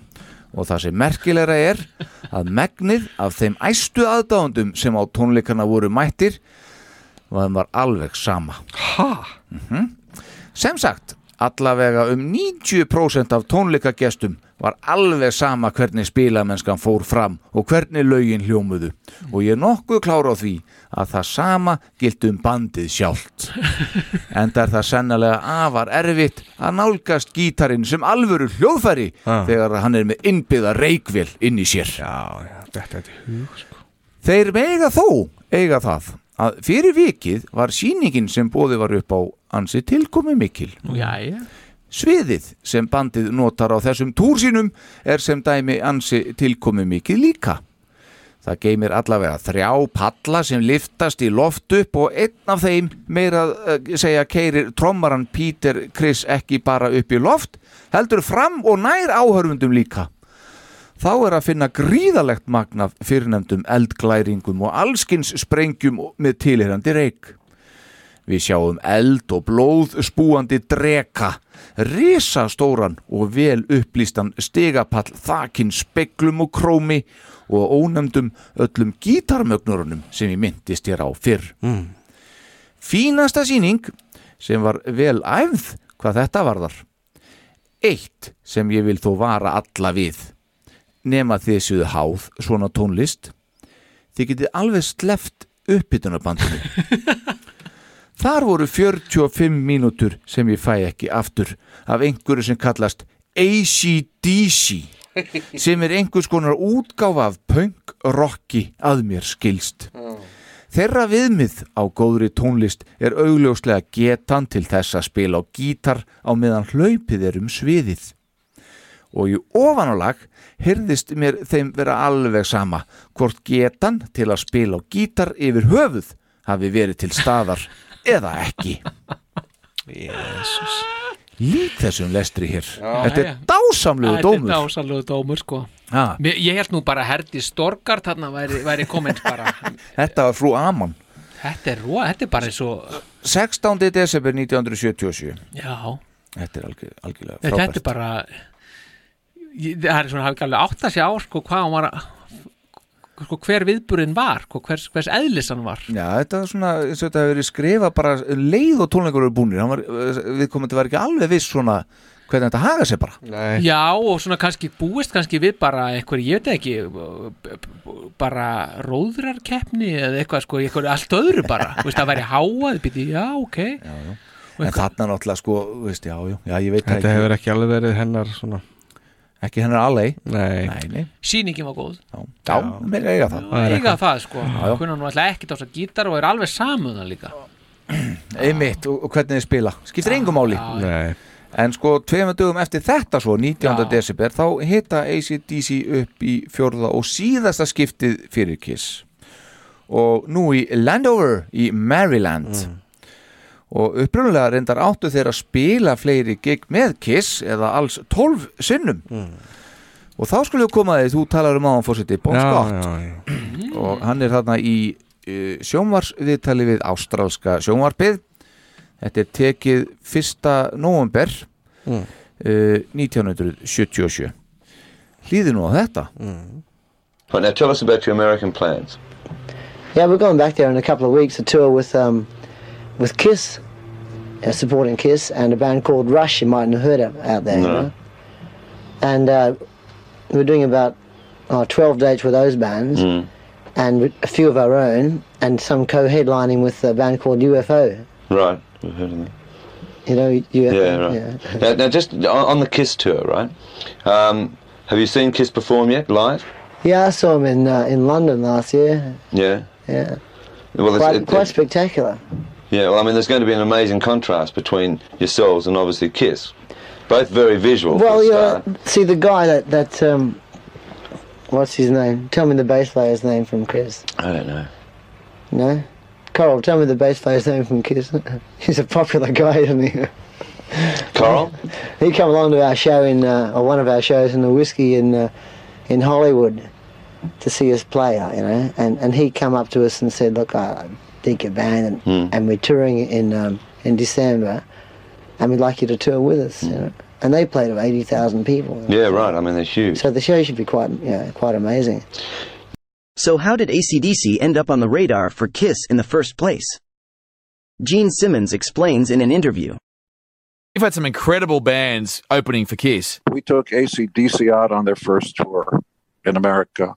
S3: Og það sem merkilegra er að megnir af þeim æstu aðdáðundum sem á tónleikana voru mættir og þeim var alveg sama. Ha? Sem sagt, allavega um 90% af tónleikagestum var alveg sama hvernig spilamennskan fór fram og hvernig lögin hljómuðu og ég er nokkuð klára á því að það sama gildi um bandið sjálft enda er það sennilega afar erfitt að nálgast gítarinn sem alvöru hljóðfæri þegar hann er með innbyða reikvél inn í sér Ah. Já, já, þetta er hug Þeir mega þó eiga það að fyrir vikið var síningin sem bóði var upp á ansi tilkomi mikil.
S5: Jæja
S3: Sviðið sem bandið notar á þessum túr sínum er sem dæmi ansi tilkomi mikil líka. Það geymir allavega þrjá palla sem liftast í loft upp og einn af þeim meira að eh, segja keirir trommaran Peter Chris ekki bara upp í loft, heldur fram og nær áhörfundum líka þá er að finna gríðalegt magn af fyrrnefndum eldglæringum og allskins sprengjum og- með tilherandi reik. Við sjáum eld og blóð spúandi dreka, risastóran og vel upplýstan stigapall þakin speglum og krómi og ónefndum öllum gítarmögnurunum sem ég myndist hér á fyrr. Fínasta síning sem var vel æfð hvað þetta varðar. Eitt sem ég vil þó vara alla við nema þið séuðu háð svona tónlist þið getið alveg sleft uppbytunabandinu þar voru 45 mínútur sem ég fæ ekki aftur af einhverju sem kallast ACDC sem er einhvers konar útgáfa af punk rocki að mér skilst Þeirra viðmið á góðri tónlist er augljóslega getan til þess að spila á gítar á meðan hlaupið er um sviðið og í ofanálag heyrðist mér þeim vera alveg sama hvort getan til að spila á gítar yfir höfuð hafi verið til staðar eða ekki.
S4: Jesus.
S3: Lík þessum lestri hér
S5: Já.
S3: Þetta er
S5: Jæja.
S3: dásamlegu
S5: Þetta er
S3: dómur
S5: dásamlegu dómur sko
S3: Ha.
S5: Mér, Ég held nú bara að Herdi Storkar þarna væri, væri kominn bara
S3: Þetta var frú Amon
S5: Þetta er rúa, þetta er bara eins og
S3: 16. desember 1977
S5: Já,
S3: Þetta er algjör, algjörlega
S5: Nei,
S3: frábært
S5: þetta er bara ég, Það er svona, hafi ekki alveg átt að sjá sko hvað hann var að sko, hver viðburinn var, sko, hvers, hvers eðlis hann var
S3: Já, þetta er svona, eins og þetta hefur verið skrifað bara um leið og tónleikur eru búnir Hann var, við komum þetta var ekki alveg viss svona hvernig þetta haga sér bara
S4: Nei.
S5: Já, og svona kannski búist kannski við bara einhver, ég veit ekki b- b- b- bara róðrarkeppni eða eitthvað, sko, eitthvað allt öðru bara, þú veist, það væri háað býti, já, ok já, já.
S3: En þarna náttúrulega sko, þú veist, já, já, já ég veit það
S4: Þetta hefur ekki alveg verið hennar svona
S3: Ekki hennar alveg
S4: Nei,
S3: Nei, nei.
S5: Sýningin var góð
S3: Já, mér eiga það
S5: eiga það sko
S3: Já, já.
S5: kunna nú alltaf ekkert á þess að gítar og er alveg saman það líka
S3: einmitt og, og hvernig þið spila skiptir engum máli en sko tveimur dögum eftir þetta svo 19. desember þá hita ACDC upp í fjórða og síðasta skiptið fyrir Kiss og nú í Landover í Maryland
S4: Mm.
S3: og upprunalega reyndar áttu þeir að spila fleiri gig með Kiss eða alls 12 sinnum og þá skulle við koma að því þú talar um áðan fórseti Bon
S4: Mm. Já,
S3: Scott
S4: já, já.
S3: og hann er þarna í uh, sjónvarsviðtali við ástralska sjónvarpið þetta er tekið 1. november
S4: Mm.
S3: uh, 1977 hlýði nú á þetta
S18: But now tell us about your American plans.
S19: Yeah, we're going back there in a couple of weeks to tour with um, with Kiss, uh, supporting Kiss, and a band called Rush. You mightn't have heard of out there. you
S18: No.
S19: know? And uh, we're doing about uh, 12 dates with those bands,
S18: Mm.
S19: and a few of our own, and some co-headlining with uh, a band called UFO.
S18: Right, we've heard of that.
S19: You uh, know, UFO.
S18: yeah, right. Now, now, just on, on the Kiss tour, right? Um, have you seen Kiss perform yet, live?
S19: Yeah, I saw him in uh, in London last year.
S18: Yeah.
S19: Yeah,
S18: Well, it's,
S19: quite,
S18: it,
S19: quite
S18: it-
S19: spectacular.
S18: yeah. Well, I mean, there's going to be an amazing contrast between yourselves and obviously Kiss. Both very visual. for
S19: Well,
S18: a
S19: you
S18: start.
S19: know, see the guy that that um, what's his name? Tell me the bass player's name from Kiss.
S18: I don't know.
S19: No, Coral. Tell me the bass player's name from Kiss. He's a popular guy, isn't he?
S18: Coral.
S19: he came along to our show in uh, or one of our shows in the whiskey in uh, in Hollywood to see us play. uh, You know, and and he come up to us and said, "Look, I dig your band, and,
S3: Hmm.
S19: and we're touring in um, in December, and we'd like you to tour with us." You know, and they played to eighty thousand people.
S18: Yeah, right. I mean, they're huge.
S19: So the show should be quite, you know, quite amazing.
S20: So how did ACDC end up on the radar for KISS in the first place? Gene Simmons explains in an interview.
S21: You've had some incredible bands opening for Kiss.
S22: We took AC/DC out on their first tour in America.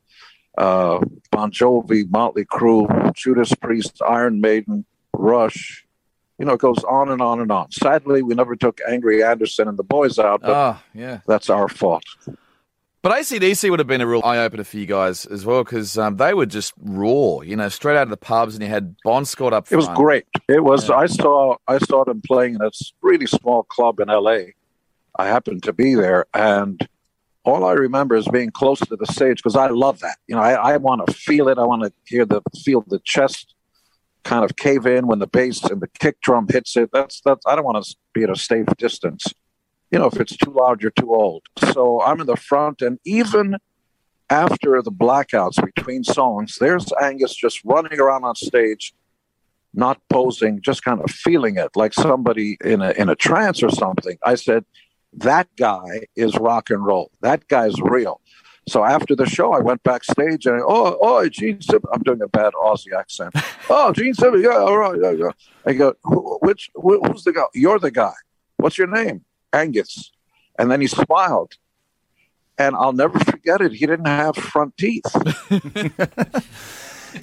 S22: Uh, bon Jovi, Motley Crue, Judas Priest, Iron Maiden, Rush. You know, it goes on and on and on. Sadly, we never took Angry Anderson and the boys out, but
S21: Ah, yeah.
S22: that's our fault.
S21: But ACDC would have been a real eye opener for you guys as well because um, they were just raw, you know, straight out of the pubs, and you had Bon Scott up
S22: It
S21: front.
S22: was great. It was. I saw. I saw them playing in a s- really small club in L.A. I happened to be there, and all I remember is being close to the stage because I love that. You know, I, I want to feel it. I want to hear the feel the chest kind of cave in when the bass and the kick drum hits it. That's that's. I don't want to be at a safe distance. You know, if it's too loud, you're too old. So I'm in the front, and even after the blackouts between songs, there's Angus just running around on stage not posing, just kind of feeling it, like somebody in a in a trance or something. I said, "That guy is rock and roll. That guy's real." So after the show, I went backstage and oh, oh, Gene Simmons. I'm doing a bad Aussie accent. oh, Gene Simmons. Yeah, all right. Yeah, yeah. I go, "Who- which who, who's the guy? You're the guy. What's your name? Angus. And then he smiled, and I'll never forget it. He didn't have front teeth.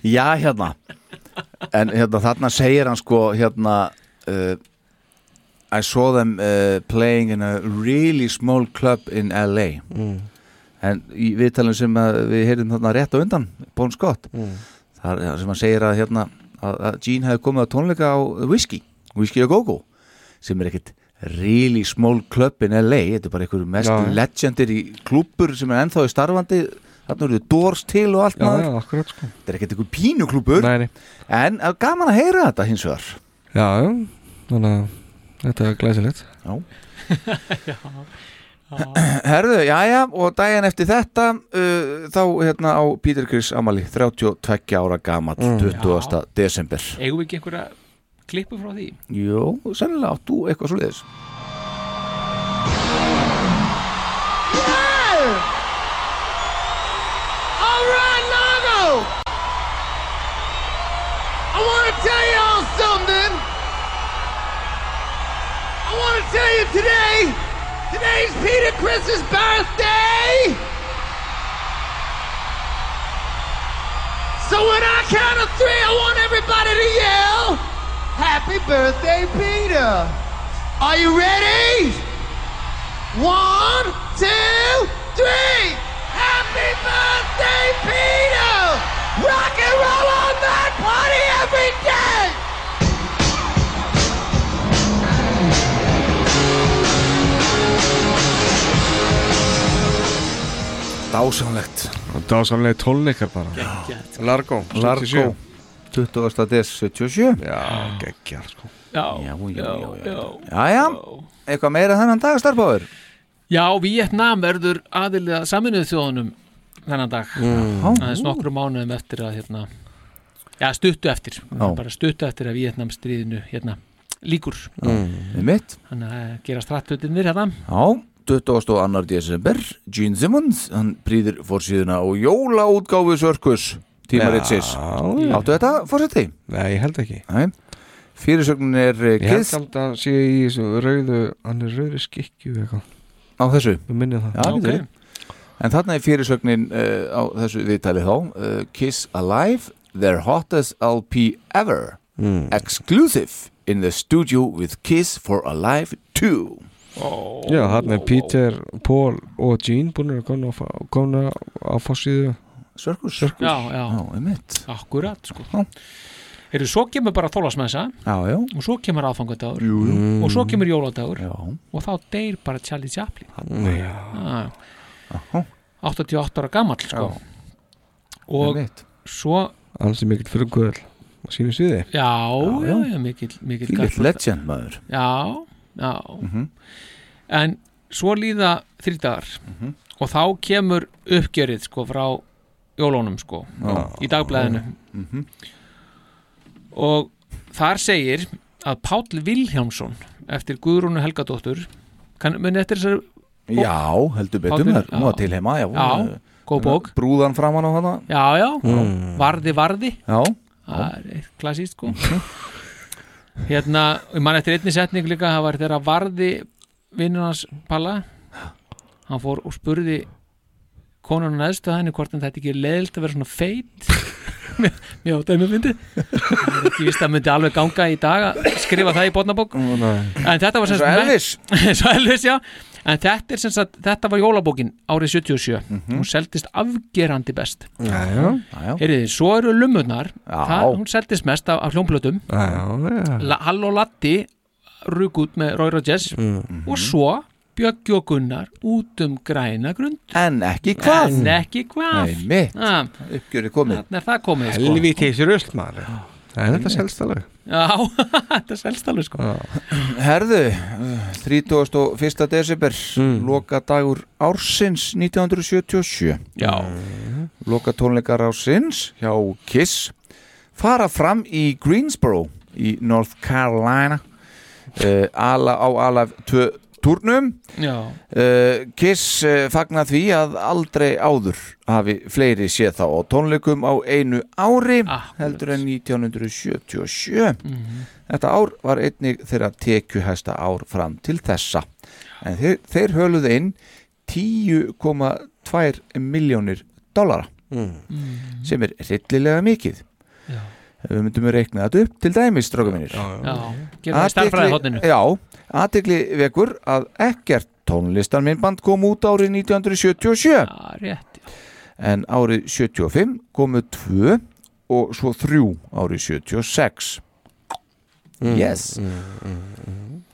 S3: Já, hérna En hérna, þarna segir hann sko hérna uh, I saw them uh, playing in a really small club in LA En í viðtalinu sem að við heyrðum þarna rétt á undan Bon Scott
S4: Mm.
S3: þar, sem hann segir að hérna að, að Gene hefði komið á tónleika á Whiskey Whiskey og Go-Go sem er ekkit really small club in LA þetta er bara einhverju mest
S4: Já, já.
S3: legendir í klúpur sem er ennþá í starfandi þarna eru Doors til og allt
S4: Já,
S3: maður
S4: já, akkurat sko
S3: Þetta er ekkert einhver pínuklúpur nei, nei. En það er gaman að heyra þetta hins vegar
S4: Já, já, þannig að Þetta er glæsilegt
S3: Já Herðu, jæja, og daginn eftir þetta uh, þá hérna á Peter Chris Amali 32 ára gamall,
S5: Mm.
S3: 20. desember
S5: eigum við ekki einhverja klippu frá því
S3: Jó, sennilega átt þú eitthvað svo liðis
S13: All right, Lano! I want to tell y'all something. I want to tell you today. Today's Peter Chris's birthday. So when I count to three, I want everybody to yell, "Happy birthday, Peter!" Are you ready? One, two, three. Happy birthday, Peter! Rock and roll on that party every day!
S3: Dásamlegt
S4: Dásamlega tónleikar bara
S5: Geggjað.
S4: Largo,
S3: Largo
S4: 77.
S3: 20. des 77
S4: Já, geggjar sko
S5: Já,
S3: já, já, já,
S5: já.
S3: Jæja, eitthvað meira þennan dag starfbáður
S5: Já, Vietnam verður aðilið að saminuðu þjóðunum þennan dag
S3: Mm.
S5: aðeins nokkru mánuðum eftir að hérna, já, stuttu eftir bara stuttu eftir að Vietnam stríðinu hérna, líkur
S3: Mm. Einmitt.
S5: þannig að það gerast rættfötinir hérna
S3: Já, 22. desember Gene Simmons, hann prýðir fórsíðuna á jólaútgáfu Sörkus tímaritsins
S4: Já.
S3: Áttu þetta fórseti?
S4: Nei, ég held ekki
S3: Nei. Fyrirsögnin er eh,
S4: Ég held
S3: Kiss
S4: samt að sé í þessu rauðu Hann er rauðri skikju eitthvað
S3: á þessu
S4: Við minnið það
S3: Já, okay. En þarna er fyrirsögnin uh, á þessu viðtali þá uh, Kiss Alive, their hottest LP ever Exclusive in the studio with Kiss for Alive 2
S5: oh.
S4: Já, hann er Peter, Paul og Gene búin að koma á, fa- komna á fórsíðu
S3: Sörkus
S5: Já, já,
S3: einmitt
S5: Akkurat, sko Eru, svo kemur bara þólasmessa
S3: Já, já Hmm.
S5: og svo kemur aðfangadagur
S3: Jú, jú.
S5: og svo kemur jóladagur
S3: já.
S5: og þá deyr bara Charlie Chaplin
S4: Já.
S5: Já. 88 ára gamall sko. og
S3: Einmitt.
S5: svo
S4: Alls er mikill frumkvöðl á sínu sviði
S5: já, já, já, mikill, mikill
S4: Þvílíkt
S5: garpur- sko.
S4: legend, maður.
S5: já, já
S4: Mhm.
S5: en svo líða þrý dagar
S3: Mhm.
S5: og þá kemur uppgjörið sko frá jólónum sko
S3: Já.
S5: í dagblæðinu
S3: Mhm.
S5: og þar segir að Páll Vilhjámsson eftir Guðrúnu Helgadóttur kann, muni eftir þessari bók?
S3: Já, heldur betur
S5: Páll
S3: mér,
S5: Vil-
S3: nú að til heima Já,
S5: Já, góð bók.
S3: Brúðan framan á hana
S5: Já, já,
S3: Mm.
S5: varði, varði
S3: Já.
S5: Það er eitt klassíst sko Hérna, ég man eftir einni setning líka það var þegar varði vinnur hans Palla hann fór og spurði konan neðstu að henni hvort en þetta ekki er leðilt að vera svona feit Mér- Mér áttaði mér myndi Ég vist að myndi alveg ganga í dag að skrifa það í botnabók En þetta var sem
S3: Eins og Elvis.
S5: Svo Elvis, já En þetta, er sem sagt, þetta var jólabókin árið 77
S3: Mhm.
S5: Hún seldist afgerandi best
S4: Já, já.
S5: Heyriði, svo eru lummunar það, Hún seldist mest af, af hljómplötum
S4: Já, já
S5: La, Hall og Latti rúk út með Roy Rogers
S3: Mm. Mhm.
S5: og svo Bjöggi og Gunnar út um græna grund
S3: En ekki hvað.
S5: En ekki hvað
S3: Nei, mitt.
S5: Ah,
S3: Uppgjörið komið
S5: Þarna er það komið sko.
S4: Helvítið sér öll maður Það er þetta selst alveg
S5: Já, þetta selst alveg sko
S3: Herðu, uh, 31. desember Loka dagur ársins 1977
S5: Já
S3: Loka tónleikar ársins hjá Kiss Fara fram í Greensboro í North Carolina uh, ala, Á alaf 2 turnum
S5: Já.
S3: Eh, Kiss uh, fagna því að aldrei áður hafi fleiri séð þá á tónleikum á einu ári
S5: Ah,
S3: heldur en 1977
S5: Mhm.
S3: Þetta ár var einnig þeirra tekjuhæsta ár fram til þessa en þeir, þeir höluðu inn 10,2 miljónir dollara
S5: Mm.
S3: sem er rillilega mikið
S5: Já.
S3: Ef Við myndum að reikna þetta upp til dæmis, stráka mínir
S5: já. Gerum það í
S3: Athygli-
S5: stærðfræðihorninu.
S3: Já, aðtikli vekur að ekkert tónlistarminnband kom út árið 1977
S5: Já, rétt
S3: En árið 75 komu tvö og svo þrjú árið 76 Yes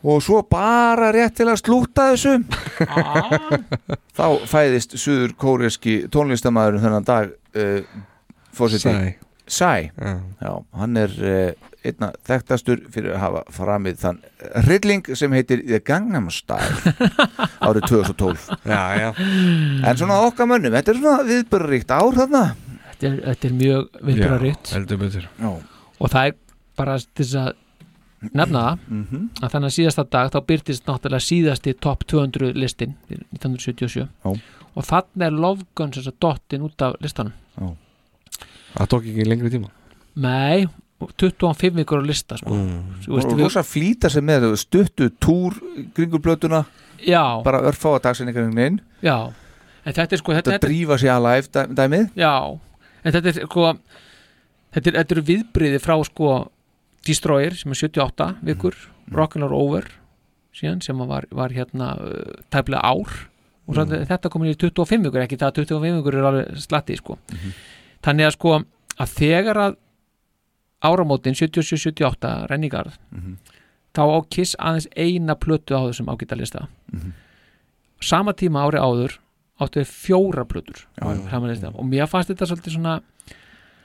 S3: Og svo bara rétt til að slúta þessu
S5: Ah.
S3: Þá fæðist suður kóreski eh, tónlistamæðurinn þennan dag uh, Fórseti
S4: Psy.
S3: Sæ Já, hann er uh, einna þekktastur fyrir að hafa framið þann hrylling sem heitir The Gangnam Style árið 2012
S4: já, já.
S3: en svona okkar mönnum, þetta er svona viðbörrikt ár þarna
S5: þetta er, þetta er mjög viðbjöraritt
S4: Já, heldur betur
S5: og það er bara til þess að nefna það
S4: Mhm.
S5: að þannig að síðasta dag þá byrtist náttúrulega síðasti top 200 listin fyrir 1977
S3: Já.
S5: og þannig er Love Guns þess að dottin út af listanum
S4: Það tók ekki lengri tíma
S5: Nei, 25 vikur á lista sko. Þú veist,
S3: og
S5: við-
S3: rosa flýta sem með þetta, stuttu túr kringur blötuna
S5: Já.
S3: bara örfá að dagsinningarinn inn
S5: Já, en þetta er sko þetta,
S3: þetta drífa sér að live dæ- dæmið
S5: Já, en þetta er sko þetta er, þetta er viðbriði frá sko Destroyer sem er 78
S3: Mhm.
S5: vikur Rock'n'Roll Over síðan sem var, var hérna uh, tæplega ár og
S3: Mhm.
S5: svo
S23: Mm.
S5: þetta komin í 25 vikur ekki það að 25 vikur er alveg slatti sko
S3: Mhm.
S5: þannig að sko að þegar að áramótin 77-78 renningar
S3: Mhm.
S5: þá á Kiss aðeins eina plötu á þessum ágættalista
S3: Mhm.
S5: sama tíma ári áður áttu við fjóra plötur já, já, og mér fannst þetta svolítið svona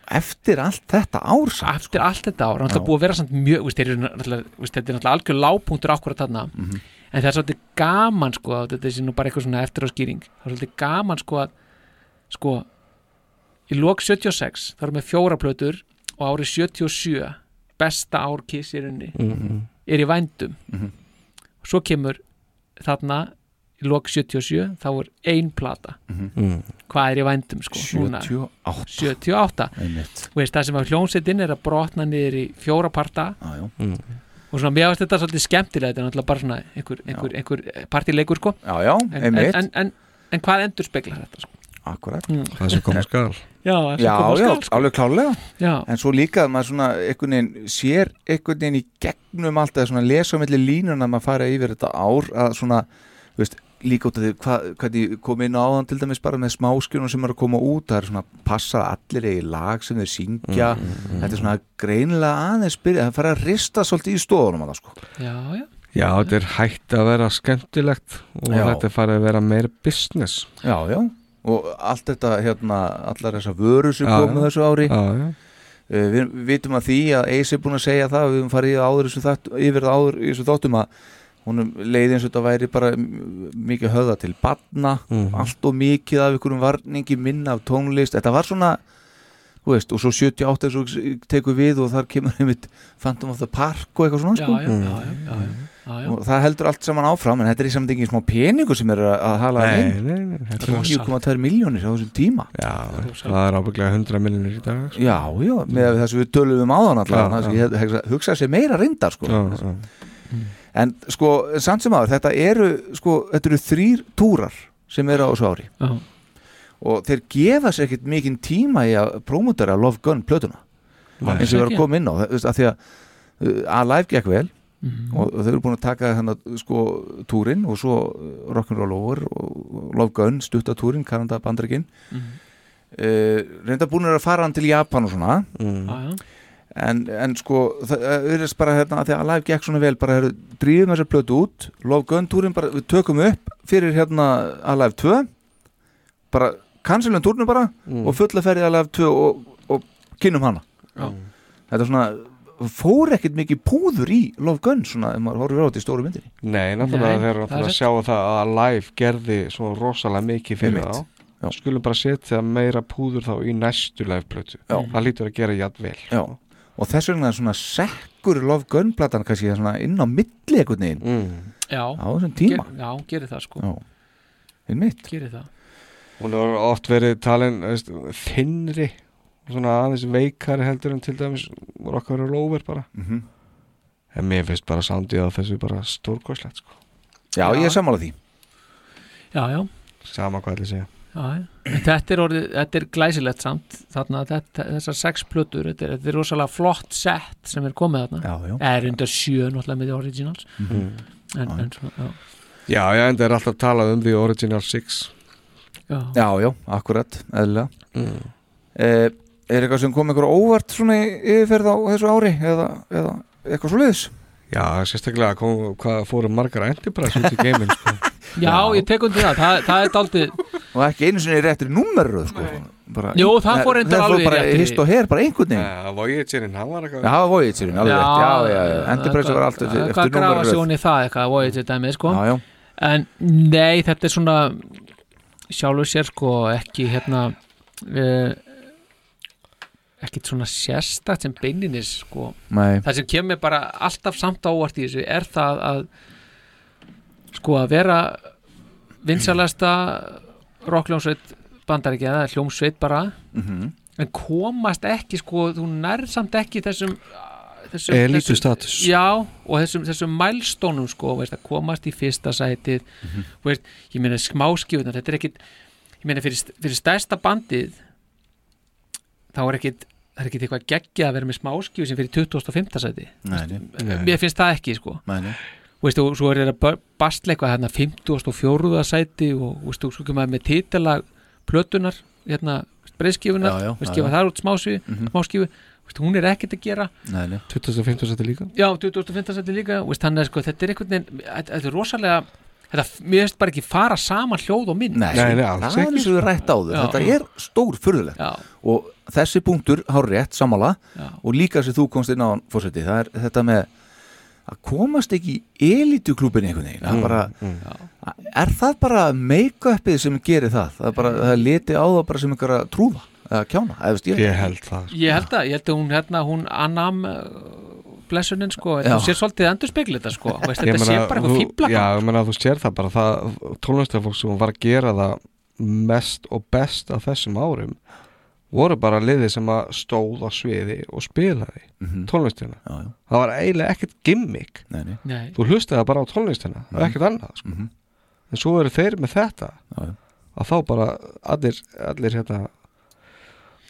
S3: eftir allt þetta ár
S5: samt, eftir allt þetta ár, hann er
S3: Já.
S5: búið að vera samt mjög veist, þeir eru náttúrulega- veist, þetta er náttúrulega algjör lágpunktur akkurat þarna
S3: Mhm.
S5: en það er svolítið gaman sko að þetta sé nú bara eitthvað svona eftir á skýring það er svolítið gaman sko að sko í lok 76 þá erum við fjóra plötur og árið 77 besta ár kiss í rauninni
S4: Mhm.
S5: er í vændum
S4: Mhm.
S5: svo kemur þarna í lok 77 þá er ein plata
S3: Mhm.
S4: Mm.
S5: hvað er í vændum sko núna?
S3: 78.
S5: 78
S3: Einmitt.
S5: Þú veist, það sem að hljómsveitin er að brotna niður í fjóra parta
S3: ah,
S4: mm.
S5: og svona mér varst þetta svolítið skemmtilega þetta er náttúrulega bara svona einhver, einhver, einhver partileikur sko
S3: Já, já,
S5: en, en,
S3: einmitt.
S5: en, en, en hvað endur spekla þetta sko
S3: akkurat
S5: Mm.
S4: Það sem kom að skal
S5: Já, það sem
S3: já,
S5: kom að
S3: já,
S5: skal, sko.
S3: alveg klálega
S5: Já.
S3: en svo líka að maður svona einhvern veginn sér einhvern veginn í gegnum allt eða svona lesa á milli línuna að maður fara yfir þetta ár að svona, þú veist, líka út af því hvað, hvað ég kom inn á þann til dæmis bara með smáskjunum sem er að koma út það er svona passa allir í lag sem þeir syngja
S4: Mm, mm, mm.
S3: þetta er svona greinilega aðeins byrja, það fara að rista svolítið í stofunum að það sko
S5: Já, já
S4: Já, þetta er hægt að vera skemmtilegt og
S3: Já.
S4: þetta er farið að vera meira business
S3: Já, já og allt þetta, hérna, allar þessar vöru sem
S4: Já,
S3: komu
S4: já.
S3: þessu ári
S4: Já, já.
S3: Eh, við vitum að því að Ace er búin að segja það við höfum farið í það áður í þessu þátt, yfir það áður í þessu þáttum að honum leiði eins og þetta væri bara m- mikið höða til batna
S4: Mhm.
S3: allt og mikið af einhverjum varningi minna af tónlist, þetta var svona þú veist, og svo 78 svo tekur við og þar kemur einmitt Phantom of the Park og eitthvað svona
S5: Já,
S3: sko.
S5: já, já, já, já, já, já, já.
S3: og það heldur allt saman áfram en þetta er í samt engin smá peningur sem er að- að hala
S4: Nei,
S3: inn.
S4: nei, nei, þetta er rosalegt.
S3: 3,2 miljónir á þessum tíma
S4: Já, Það er ábygglega 100 miljonir í dag sko.
S3: Já, já, með það sem við tölum um áðan
S4: Já,
S3: allavega, þannig að
S4: já.
S3: ég hef- hef- hugsa sér meira reyndar sko.
S4: Já,
S3: en sko, samt sem áður þetta eru, sko, þetta eru þrýr túrar sem eru á þessu ári
S5: Já.
S3: og þeir gefa sér ekkert mikinn tíma í að prómutara Love Gun plötuna
S4: Nei.
S3: eins og við erum að
S4: Ekki.
S3: koma inn á það, þú veist, af því að uh, Alive gekk vel
S4: Mhm.
S3: og, og þau eru búin að taka hennar sko túrin og svo uh, Rock'n'Roll Over og Love Gun, stuttatúrin Kanada bandrygin mm
S5: Mhm.
S3: reynda búin að fara hann til Japan og svona
S4: mm.
S3: Ah,
S5: Já, já.
S3: en, en sko það það er bara hérna að því að Alive gekk svona vel bara heru, drífum þessar plötu út Love Gun túrin bara, við tökum upp fyrir hérna Alive 2 bara cancelum túrinu bara
S4: Mm.
S3: og fulla ferði Alive 2 og, og kynum hana
S5: Já.
S3: Mm. þetta er svona fór ekkert mikið púður í Love Gun svona, ef maður horfir á þetta í stóru myndinni
S4: Nei, náttúrulega
S3: Nei,
S4: þeir eru
S3: það er
S4: náttúrulega að sjá það að Live gerði svo rosalega mikið fyrir
S3: Einmitt.
S4: þá Skulum bara setja meira púður þá í næstu Live plötu Það lítur að gera jafnvel
S3: Já. og þess vegna er svona sekkur Love Gun platan kannski svona inn á milli einhvern veginn
S4: mm.
S5: Já.
S3: á þessum tíma
S5: Ger, já, gerir það sko
S3: Já. einmitt
S5: gerir það
S4: Hún hefur oft verið talin veist, þinnri og svona aðeins veikari heldur en til dæmis Rockar og Lover bara
S3: Mhm.
S4: en mér finnst bara soundið á þessu bara stórkoslegt sko.
S3: Já, ég er sammála því
S5: Já, já,
S4: Sama hvað ætli að segja
S5: já, já. En Þetta er, orðið, þetta er glæsilegt samt þarna, að þetta, þessar sex plötur þetta er, þetta er rosalega flott sett sem er komið þarna
S3: já, já.
S5: er undir sjö náttúrulega með The originals
S4: Mhm.
S5: en, en svona, já
S4: Já, já, en það er alltaf talað um The Original Six
S5: Já.
S3: já, já, akkurat, eðlilega eh, er eitthvað sem kom einhver óvart svona í yfirferð á þessu ári eða, eða eitthvað svo liðis
S4: Já, sérstaklega kom, hvað fóru margar Enterprise út í geiminn sko.
S5: Já, ég tek undir það, það, það er daldið
S3: og ekki einu sinni réttir númeruð sko. bara,
S5: Jú, það fór reyndar
S3: það fór
S5: alveg
S3: bara
S5: rétt í-
S3: hist og her, bara einhvern veginn
S4: Það var ég tjörinn, hann var
S3: Já,
S4: eitthvað
S3: það var Voyagerinn, alveg rétt, já, já, já, Enterprise var allt eftir,
S5: eftir
S3: eftir
S5: Hvað grafa
S3: númeraröð.
S5: sig hún í það eitthvað, Voyager dæmið sko
S3: Já, já.
S5: En nei, þetta er svona sjálfur sér sko ekki hérna uh, ekkit svona sérstakt sem beininis sko
S3: Nei.
S5: Það sem kemur bara alltaf samt ávart í þessu er það að sko að vera vinsalasta rockljónsveit bandaríkja eða hljómsveit bara
S4: Mhm.
S5: en komast ekki sko, þú nærð samt ekki þessum þessum,
S4: Elítu
S5: þessum-
S4: status.
S5: já, og þessum, þessum mælstónum sko, veist, að komast í fyrsta sætið
S4: Mhm.
S5: veist, ég meina smáskjöfunar þetta er ekkit, ég meina fyrir, st- fyrir stærsta bandið þá er ekkit það er ekkit eitthvað geggja að vera með smáskjöfu sem fyrir 25. sæti
S3: Nei, nei.
S5: Þú veist, mér finnst það ekki sko
S3: Nei, nei.
S5: Þú veist, og svo er þetta bastla eitthvað hérna 54. sæti og þú veist, og svo kemur maður með titela plötunar hérna breyðskifunar,
S3: Já, já,
S5: þú veist,
S3: já,
S5: gefa
S3: já.
S5: þar út smáskjöfu
S3: Mhm.
S5: smáskjöfu, þú veist, hún er ekkit að gera
S4: 2015 seti líka
S5: Já, 2015 sæti líka og veist, þannig að sko, þetta er einhvern veginn þetta þetta er rosalega, þetta, mér finnst bara ekki fara saman hljóð og mynd
S3: það er eins og við rætt áður,
S5: Já.
S3: þetta er stór furðulegt og þessi punktur hár rétt sammála
S5: Já.
S3: og líka sem þú komst inn á fórseti, það er þetta með að komast ekki í elituklúbin einhvern veginn, það er
S4: Mm,
S3: bara er það bara make-upið sem gerir það, það er bara, það leti á það bara sem einhverja trúfa, eða kjána eða veist,
S4: Ég held það
S5: Ég held að, ég held að hún hérna, hún annam uh, blessunin sko,
S4: Já.
S5: hún sé svolítið endur spekla þetta sko, veist,
S4: Ég
S5: þetta sé
S4: meina,
S5: bara eitthvað
S4: þú-
S5: fíbla
S4: Já, ég meina, þú sér það bara það tónlistafólk sem var að gera það mest og best af þessum árum voru bara liðið sem að stóð á sviði og spilaði tónlistina
S3: Mhm. já, já.
S4: það var eiginlega ekkert gimmick
S3: nei, nei.
S5: Nei.
S4: þú hlustaði bara á tónlistina og
S3: Mhm.
S4: ekkert annað sko. en svo eru þeir með þetta
S3: Já, já.
S4: að þá bara allir, allir hérna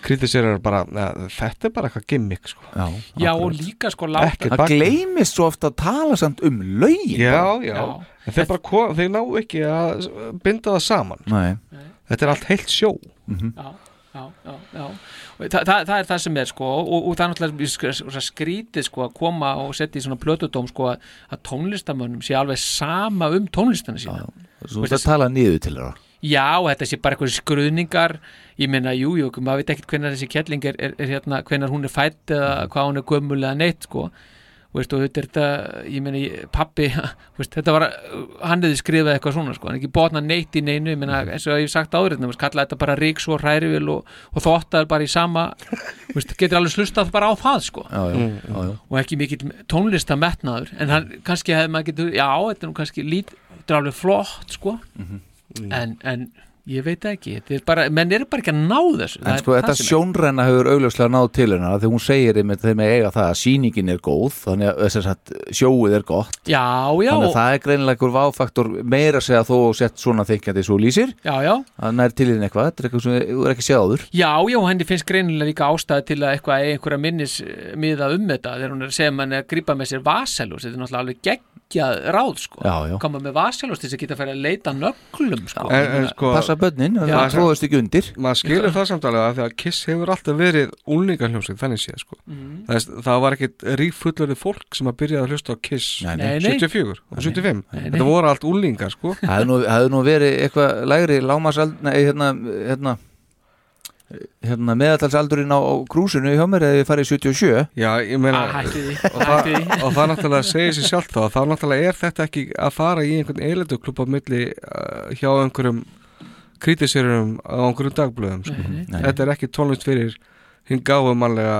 S4: kritiserar bara neða, þetta er bara eitthvað gimmick sko.
S3: já,
S5: Já, og líka sko
S4: Ekkert
S3: það
S4: bakgrunn.
S3: gleymist svo ofta að tala samt um lögin
S4: Já,
S3: bara.
S4: já, En þeir, bara, ko- þeir ná ekki að binda það saman
S3: Nei.
S4: Þetta er allt heilt sjó
S5: já, já, já, já. Og Þa, það, það er það sem er sko og, og það er náttúrulega sk- sk- skrítið sko að koma og setja í svona plötudóm sko að, að tónlistamönnum sé alveg sama um tónlistana sína
S3: Svo þetta tala niður til þeirra
S5: Já, þetta sé bara eitthvað skruðningar ég meina, jú, jú, maður veit ekkert hvenær þessi kettling er, er, er hérna, hvenær hún er fætt eða hvað hún er gömul eða neitt sko. Þú veist, og þetta er þetta, ég meina ég- pabbi, þú veist, þetta var hann hefði skrifað eitthvað svona, sko, hann ekki botna neitt í neinu, ég meina, eins og ég hef sagt áður þú veist, kallaði þetta bara ríks og hrærivil og, og þóttaður bara í sama þú veist, getur alveg slustað bara á það, sko
S3: já, já, já, já.
S5: og ekki mikill tónlistametnaður en hann, kannski hefði maður getur já, þetta er nú kannski lít, þetta er alveg flott sko
S3: Mhm.
S5: en, en ég veit það ekki, þetta er bara menn eru bara ekki að ná þessu það
S3: En
S5: er
S3: sko
S5: það
S3: þetta
S5: sem er.
S3: sjónræna hefur augljóslega náð til hennar þegar hún segir einmitt þeim að eiga það að sýningin er góð þannig að þess að sjóið er gott
S5: já, já,
S3: þannig að það er greinilega einhver váfaktor meira að segja þó og sett svona þykjandi svo lýsir
S5: já, já
S3: að nær til henni eitthvað, þetta er eitthvað sem þú er ekki séð áður
S5: Já, já, henni finnst greinilega líka ástæði til að eitthvað eigi einhverja minnis miða um þetta þegar hún er að segja að mann er að grípa með sér vaselús þetta er náttúrulega alveg geggjað ráð sko.
S3: Já, já.
S5: koma með vaselús til þess að geta að færa að leita að nöglum sko.
S4: En- en sko-
S3: Passa börnin,
S4: Já.
S3: það tróðast ekki undir
S4: Maður skilur það samt alveg að því að Kiss hefur alltaf verið úlingarhljómsveit þannig séð sko.
S3: Mhm.
S4: það, er- það var ekkit rífullurði fólk sem að byrjaði að hlusta á Kiss
S3: Nei, nei. Nei, nei.
S4: 74 og 75
S3: Nei, nei.
S4: Þetta voru allt úlingar sko.
S3: Það hefði nú, hefði nú verið eitthvað lægri lámasald, nei, hérna, hérna, hérna meðatalsaldurinn á, á krúsinu hjá mér eða ég farið í 77
S4: Já, ég meina
S3: Ah, hættu því,
S4: og, það,
S3: hættu því.
S4: og það náttúrulega segir sér sjálf þá þá náttúrulega er þetta ekki að fara í einhvern eilenduklub á milli uh, hjá einhverjum krítiserum á einhverjum dagblöðum sko.
S5: Nei, nei.
S4: þetta er ekki tónlist fyrir hinn gáum allega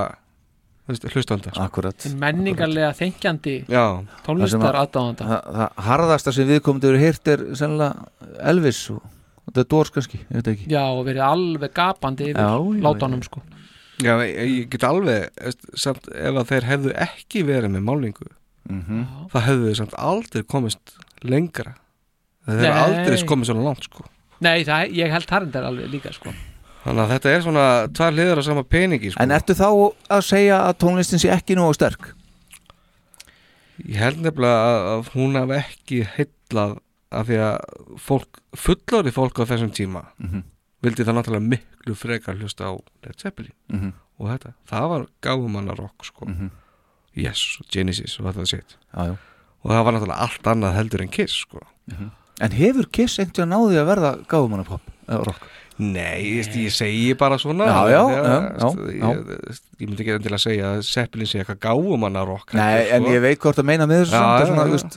S4: hlustanda sko.
S3: Akkurat
S5: menningarlega þengjandi
S4: Já.
S5: tónlistar aðdáðanda
S3: það, það harðasta sem viðkomandi eru heyrt er sennilega Elvis og, og The Doors kannski, ég veit ekki
S5: Já, og verið alveg gapandi
S3: Já,
S5: yfir
S3: já,
S5: látanum sko
S4: Já, ég, ég get alveg veist, samt, ef að þeir hefðu ekki verið með málningu
S3: Mhm.
S4: það hefðu þeir samt aldrei komist lengra þeir hefðu
S5: Nei.
S4: aldrei komist svona langt sko.
S5: Nei, það, ég held tarindar alveg líka sko
S4: þannig að þetta er svona tvær hliðar á sama peningi sko.
S3: En ertu þá að segja að tónlistin sé ekki nógu sterk?
S4: Ég held nefnilega að, að hún hafi ekki heillað af því að fólk, fullori fólk á þessum tíma
S3: Mhm.
S4: vildi það náttúrulega miklu frekar hlusta á Led Zeppelin
S3: Mhm.
S4: og þetta, það var gáfumanna rock sko, Yes og Genesis og þetta sitt
S3: já, já.
S4: og það var náttúrulega allt annað heldur en Kiss sko
S3: En hefur Kiss einhvern veginn náði að verða gáfumannapopp?
S4: eða rock Nei, ég, ég segi bara svona
S3: Já, já,
S4: Ég-
S3: já, já,
S4: ég,
S3: já.
S4: Ég, ég myndi ekki endilega segja að Seppelin sé eitthvað gáum hann að rock
S3: Nei,
S4: heldur,
S3: en
S4: sko.
S3: ég veit hvort að meina með þessu
S4: Já,
S3: samt,
S4: já,
S3: er svona,
S4: já.
S3: þú veist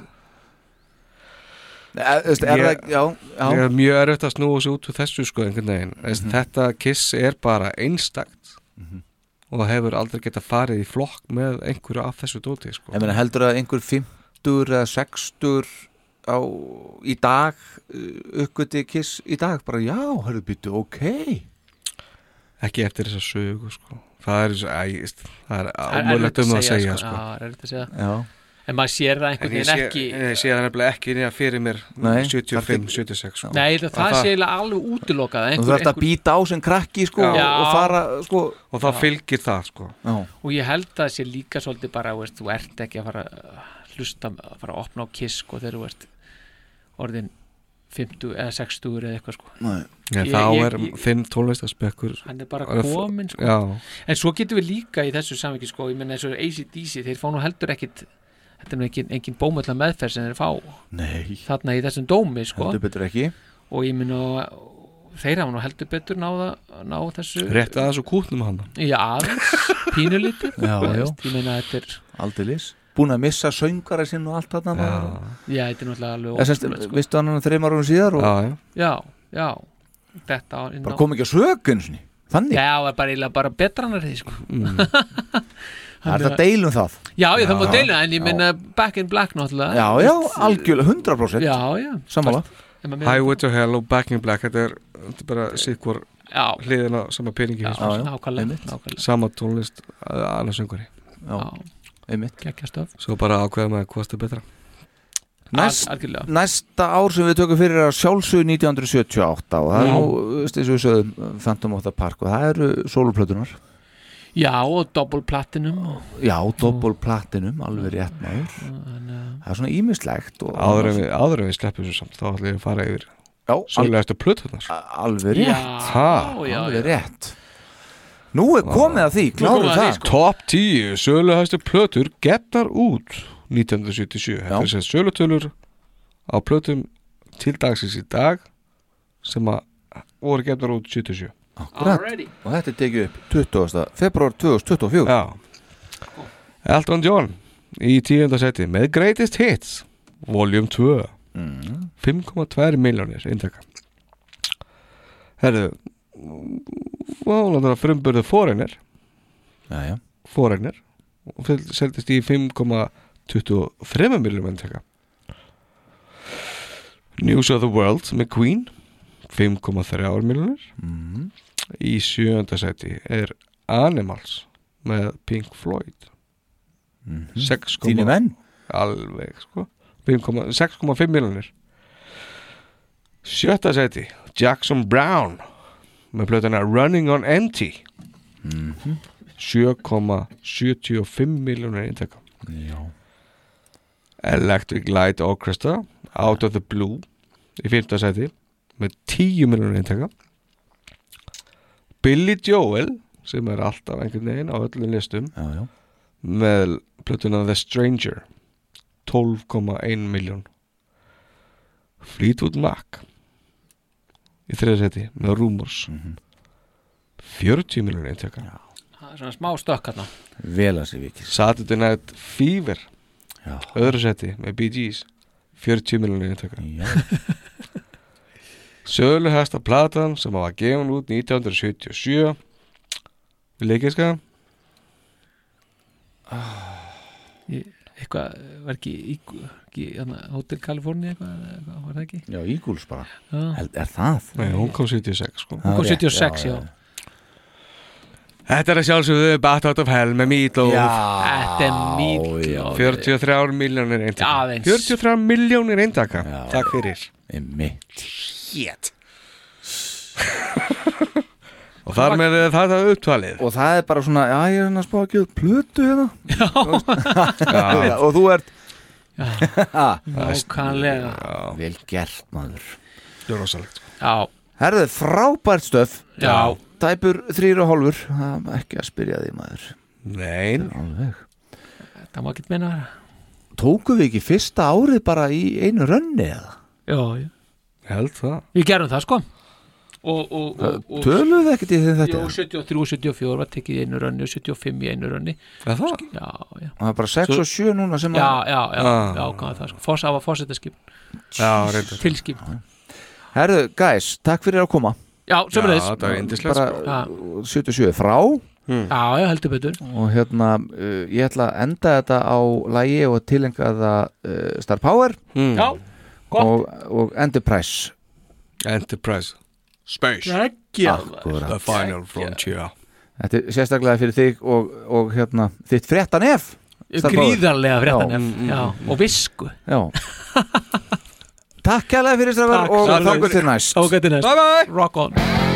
S3: Er- þú veist, er
S4: Ég-
S3: það- já, já. Mhm.
S4: Ég er mjög erfitt að snúa sig út úr þessu sko einhvern veginn mm Þetta kiss er bara einstakt og hefur aldrei geta farið í flokk með einhverju af þessu dóti sko
S3: Ég meina heldur að einhver 50 eða 60 á, í dag uh, uppgöti kiss í dag bara já, hörðu býttu, ok
S4: Ekki eftir þess að sögu sko Það er, æ, ég veist, það er
S3: Það
S5: er
S4: ámöðlegt
S5: erfitt
S4: um
S5: að
S4: að
S5: segja,
S4: segja
S5: sko.
S4: sko
S5: Já, það er erfitt að segja. En maður sér það einhvern
S4: En ég
S5: veginn
S4: sé- eh,
S5: ekki-
S4: en Ég sé það nefnilega ekki nýja fyrir mér
S3: Nei,
S4: 75, 76 sko.
S5: Nei, ég held að
S4: Að
S5: það sé eiginlega alveg útilokað að
S3: Þú
S5: einhver-
S3: þarft að
S5: einhver-
S3: býta á sem krakki sko
S5: Já.
S3: og fara sko
S4: Og það
S5: Já.
S4: fylgir það sko
S3: Já.
S5: og ég held að það sé líka svolítið bara veist, þú ert ekki að fara að hlusta að fara að opna á kiss sko, þegar þú ert orðin 50 eða 60 eða eitthvað sko.
S4: Nei. Nei, þá er þinn tónlistarspekkur
S5: hann er bara
S4: er f-
S5: komin sko.
S4: Já.
S5: en svo getum við líka í þessu samviki sko, ég menn eins og ACDC þeir fá nú heldur ekkit þetta er nú engin, engin bómölda meðferð sem þeir fá
S3: Nei.
S4: Sko.
S5: þarna í þessum dómi sko.
S3: Heldur betur ekki.
S5: og ég menn og þeir hafa nú heldur betur náða, náða þessu
S4: Rétt að þessu kútnum hann
S5: Já, aðeins, pínulítið
S3: Já,
S5: þú
S3: já.
S5: veist, Ég meina þetta er
S3: Aldeilis Búin að missa söngara sinn og allt þarna maður.
S5: Já, þetta er náttúrulega alveg
S3: Eða semst,
S5: ótrúlegt, sko.
S3: Vistu hann hann þreymar árum síðar og
S4: já,
S5: Já, já Þetta var
S3: bara kom ekki að sökun sinni Þannig
S5: Já, það var bara, eiginlega bara betra hann að því sko.
S3: Það er það að deilum það
S5: Já, já, það má
S3: Já.
S5: deila En ég
S3: Já.
S5: meina back in black náttúrulega
S3: Já, já, algjörlega 100%
S5: Já, já
S3: Sammála
S5: Ef maður meina-
S4: Highway to Hell og Back in Black þetta er, þetta er bara sikkur hliðin á sama peningi
S5: Já,
S4: finnst mér.
S5: já, nákvæmlega, Einmitt. nákvæmlega.
S4: sama tónlist að- annar söngari
S3: Já, einmitt
S5: Kekjastöf
S4: Svo bara ákveða með hvað það betra
S3: Næst,
S5: Algjörlega.
S3: næsta ár sem við tökum fyrir er að sjálfsögðu 1978 og það er
S5: Já.
S3: nú, þú veist, eins og við sögðum Phantom of the Park og það eru sóluplötunar
S5: Já, og double platinum og...
S3: Já, doppel platinum, alveg rétt maður Það er svona ímislegt og
S4: áður en við, áður en við sleppum þessu samt þá ætlum við að fara yfir svolítið eftir plötunar
S3: Alveg rétt
S4: já,
S3: Alveg rétt Nú er komið að því, sko. klárum það
S4: Top 10 söluhæstu plötur getnar út 1977 Þetta er sér sölutölur á plötum til dagsins í dag sem að voru getnar út 77
S3: Akkurat. Og þetta er tekið upp 20. februar 2024
S4: Já Elton John í tíundasetti með Greatest Hits Volume 2 5,2 miljónir inntaka Herðu og hann er frumburðu Foreigner
S3: Jæja.
S4: Foreigner og fel- seldist í 5,23 miljónum inntaka News of the World með Queen 5,3 miljónir
S3: Mhm.
S4: í sjöndasæti er Animals með Pink Floyd 6,
S3: Mhm. Þínir menn?
S4: alveg sko 5,- 6,5 miljonir sjötta seti Jackson Brown með plötuna Running on Empty 7,75 miljonir inntaka
S3: Já.
S4: Electric Light Orchestra Out of the Blue í fymta seti með 10 miljonir inntaka Billy Joel sem er alltaf einhvern veginn á öllum listum
S3: já, já.
S4: með plötuna The Stranger 12,1 miljón Fleetwood Mac í þriðarsæti með Rumors 40 miljonir eintaka
S5: Það er svona smá stökk hérna
S3: Vel að sér vikið
S4: Saturday Night Fever já. öðru seti með Bee Gees 40 miljonir eintaka Sölu hæsta platan sem hafa gefin út 1977 Leikiska
S5: Ég- Eitthvað var ekki, ekki, ekki hérna, Hotel California eitthvað, eitthvað var það ekki?
S3: Já, Eagles bara
S5: Já.
S3: Held- Er það?
S4: Nei, hún kom 76 sko
S5: Hún kom 76, já,
S4: Þetta er að sjálfsögðu Bat Out of Hell með Meatloaf
S5: Þetta er Meatloaf.
S4: 43 miljónir eintaka
S5: Aðeins.
S4: 43 miljónir eintaka Takk fyrir
S3: Mitt
S5: Shit
S4: Og þar með það er upptalið
S3: Og það er bara svona, já ég er hérna að spá ekki út plötu hérna
S4: Já.
S3: Já, Og þú ert
S5: Nákvæmlega.
S3: Vel gert maður
S4: Það er rosalegt
S5: Já
S3: Herðu, frábært stöf
S5: Já.
S3: Tæpur þrýr og hálfur Það er ekki að spyrja því maður
S4: Nein
S3: Alveg
S5: Það má ekki meina það
S3: Tókum við ekki fyrsta árið bara í einu rönni eða?
S5: Já, já
S4: Held það
S5: Við gerum það sko og, og, og, og
S3: Töluðu ekkert í þetta?
S5: Jó, 73, 74 var tekið í einu rönni og 75 í einu rönni
S3: Er það?
S5: Já, já
S3: Það er bara 6 og 7 núna sem
S5: Já,
S3: að-
S5: já, já,
S3: Ah.
S5: já, hvað er það sko Foss hafa fósetaskip
S3: Já, reyndar.
S5: Tilskip
S3: Herðu, guys, takk fyrir að koma
S5: Já, sömuleiðis.
S3: þetta
S5: Já, þetta
S3: var
S5: var yndislegt, sko.
S3: Bara uh, 77 frá
S5: Já, já, heldur betur
S3: Og hérna, uh, ég ætla að enda þetta á lægi og tilenga það uh, Star Power
S4: Hmm.
S5: Já, gott
S3: og, og Enterprise
S4: Enterprise Space
S5: Gekkja,
S3: Akkurat.
S4: The final frontier
S3: Þetta er sérstaklega fyrir þig og, og hérna, þitt fréttan ef
S5: Ah, Gríðarlega
S3: mm,
S5: fréttanef Já, og visku
S3: Já Takk kærlega fyrir strafar og þangum til næst
S5: Þangum til næst
S4: Bye bye
S5: Rock on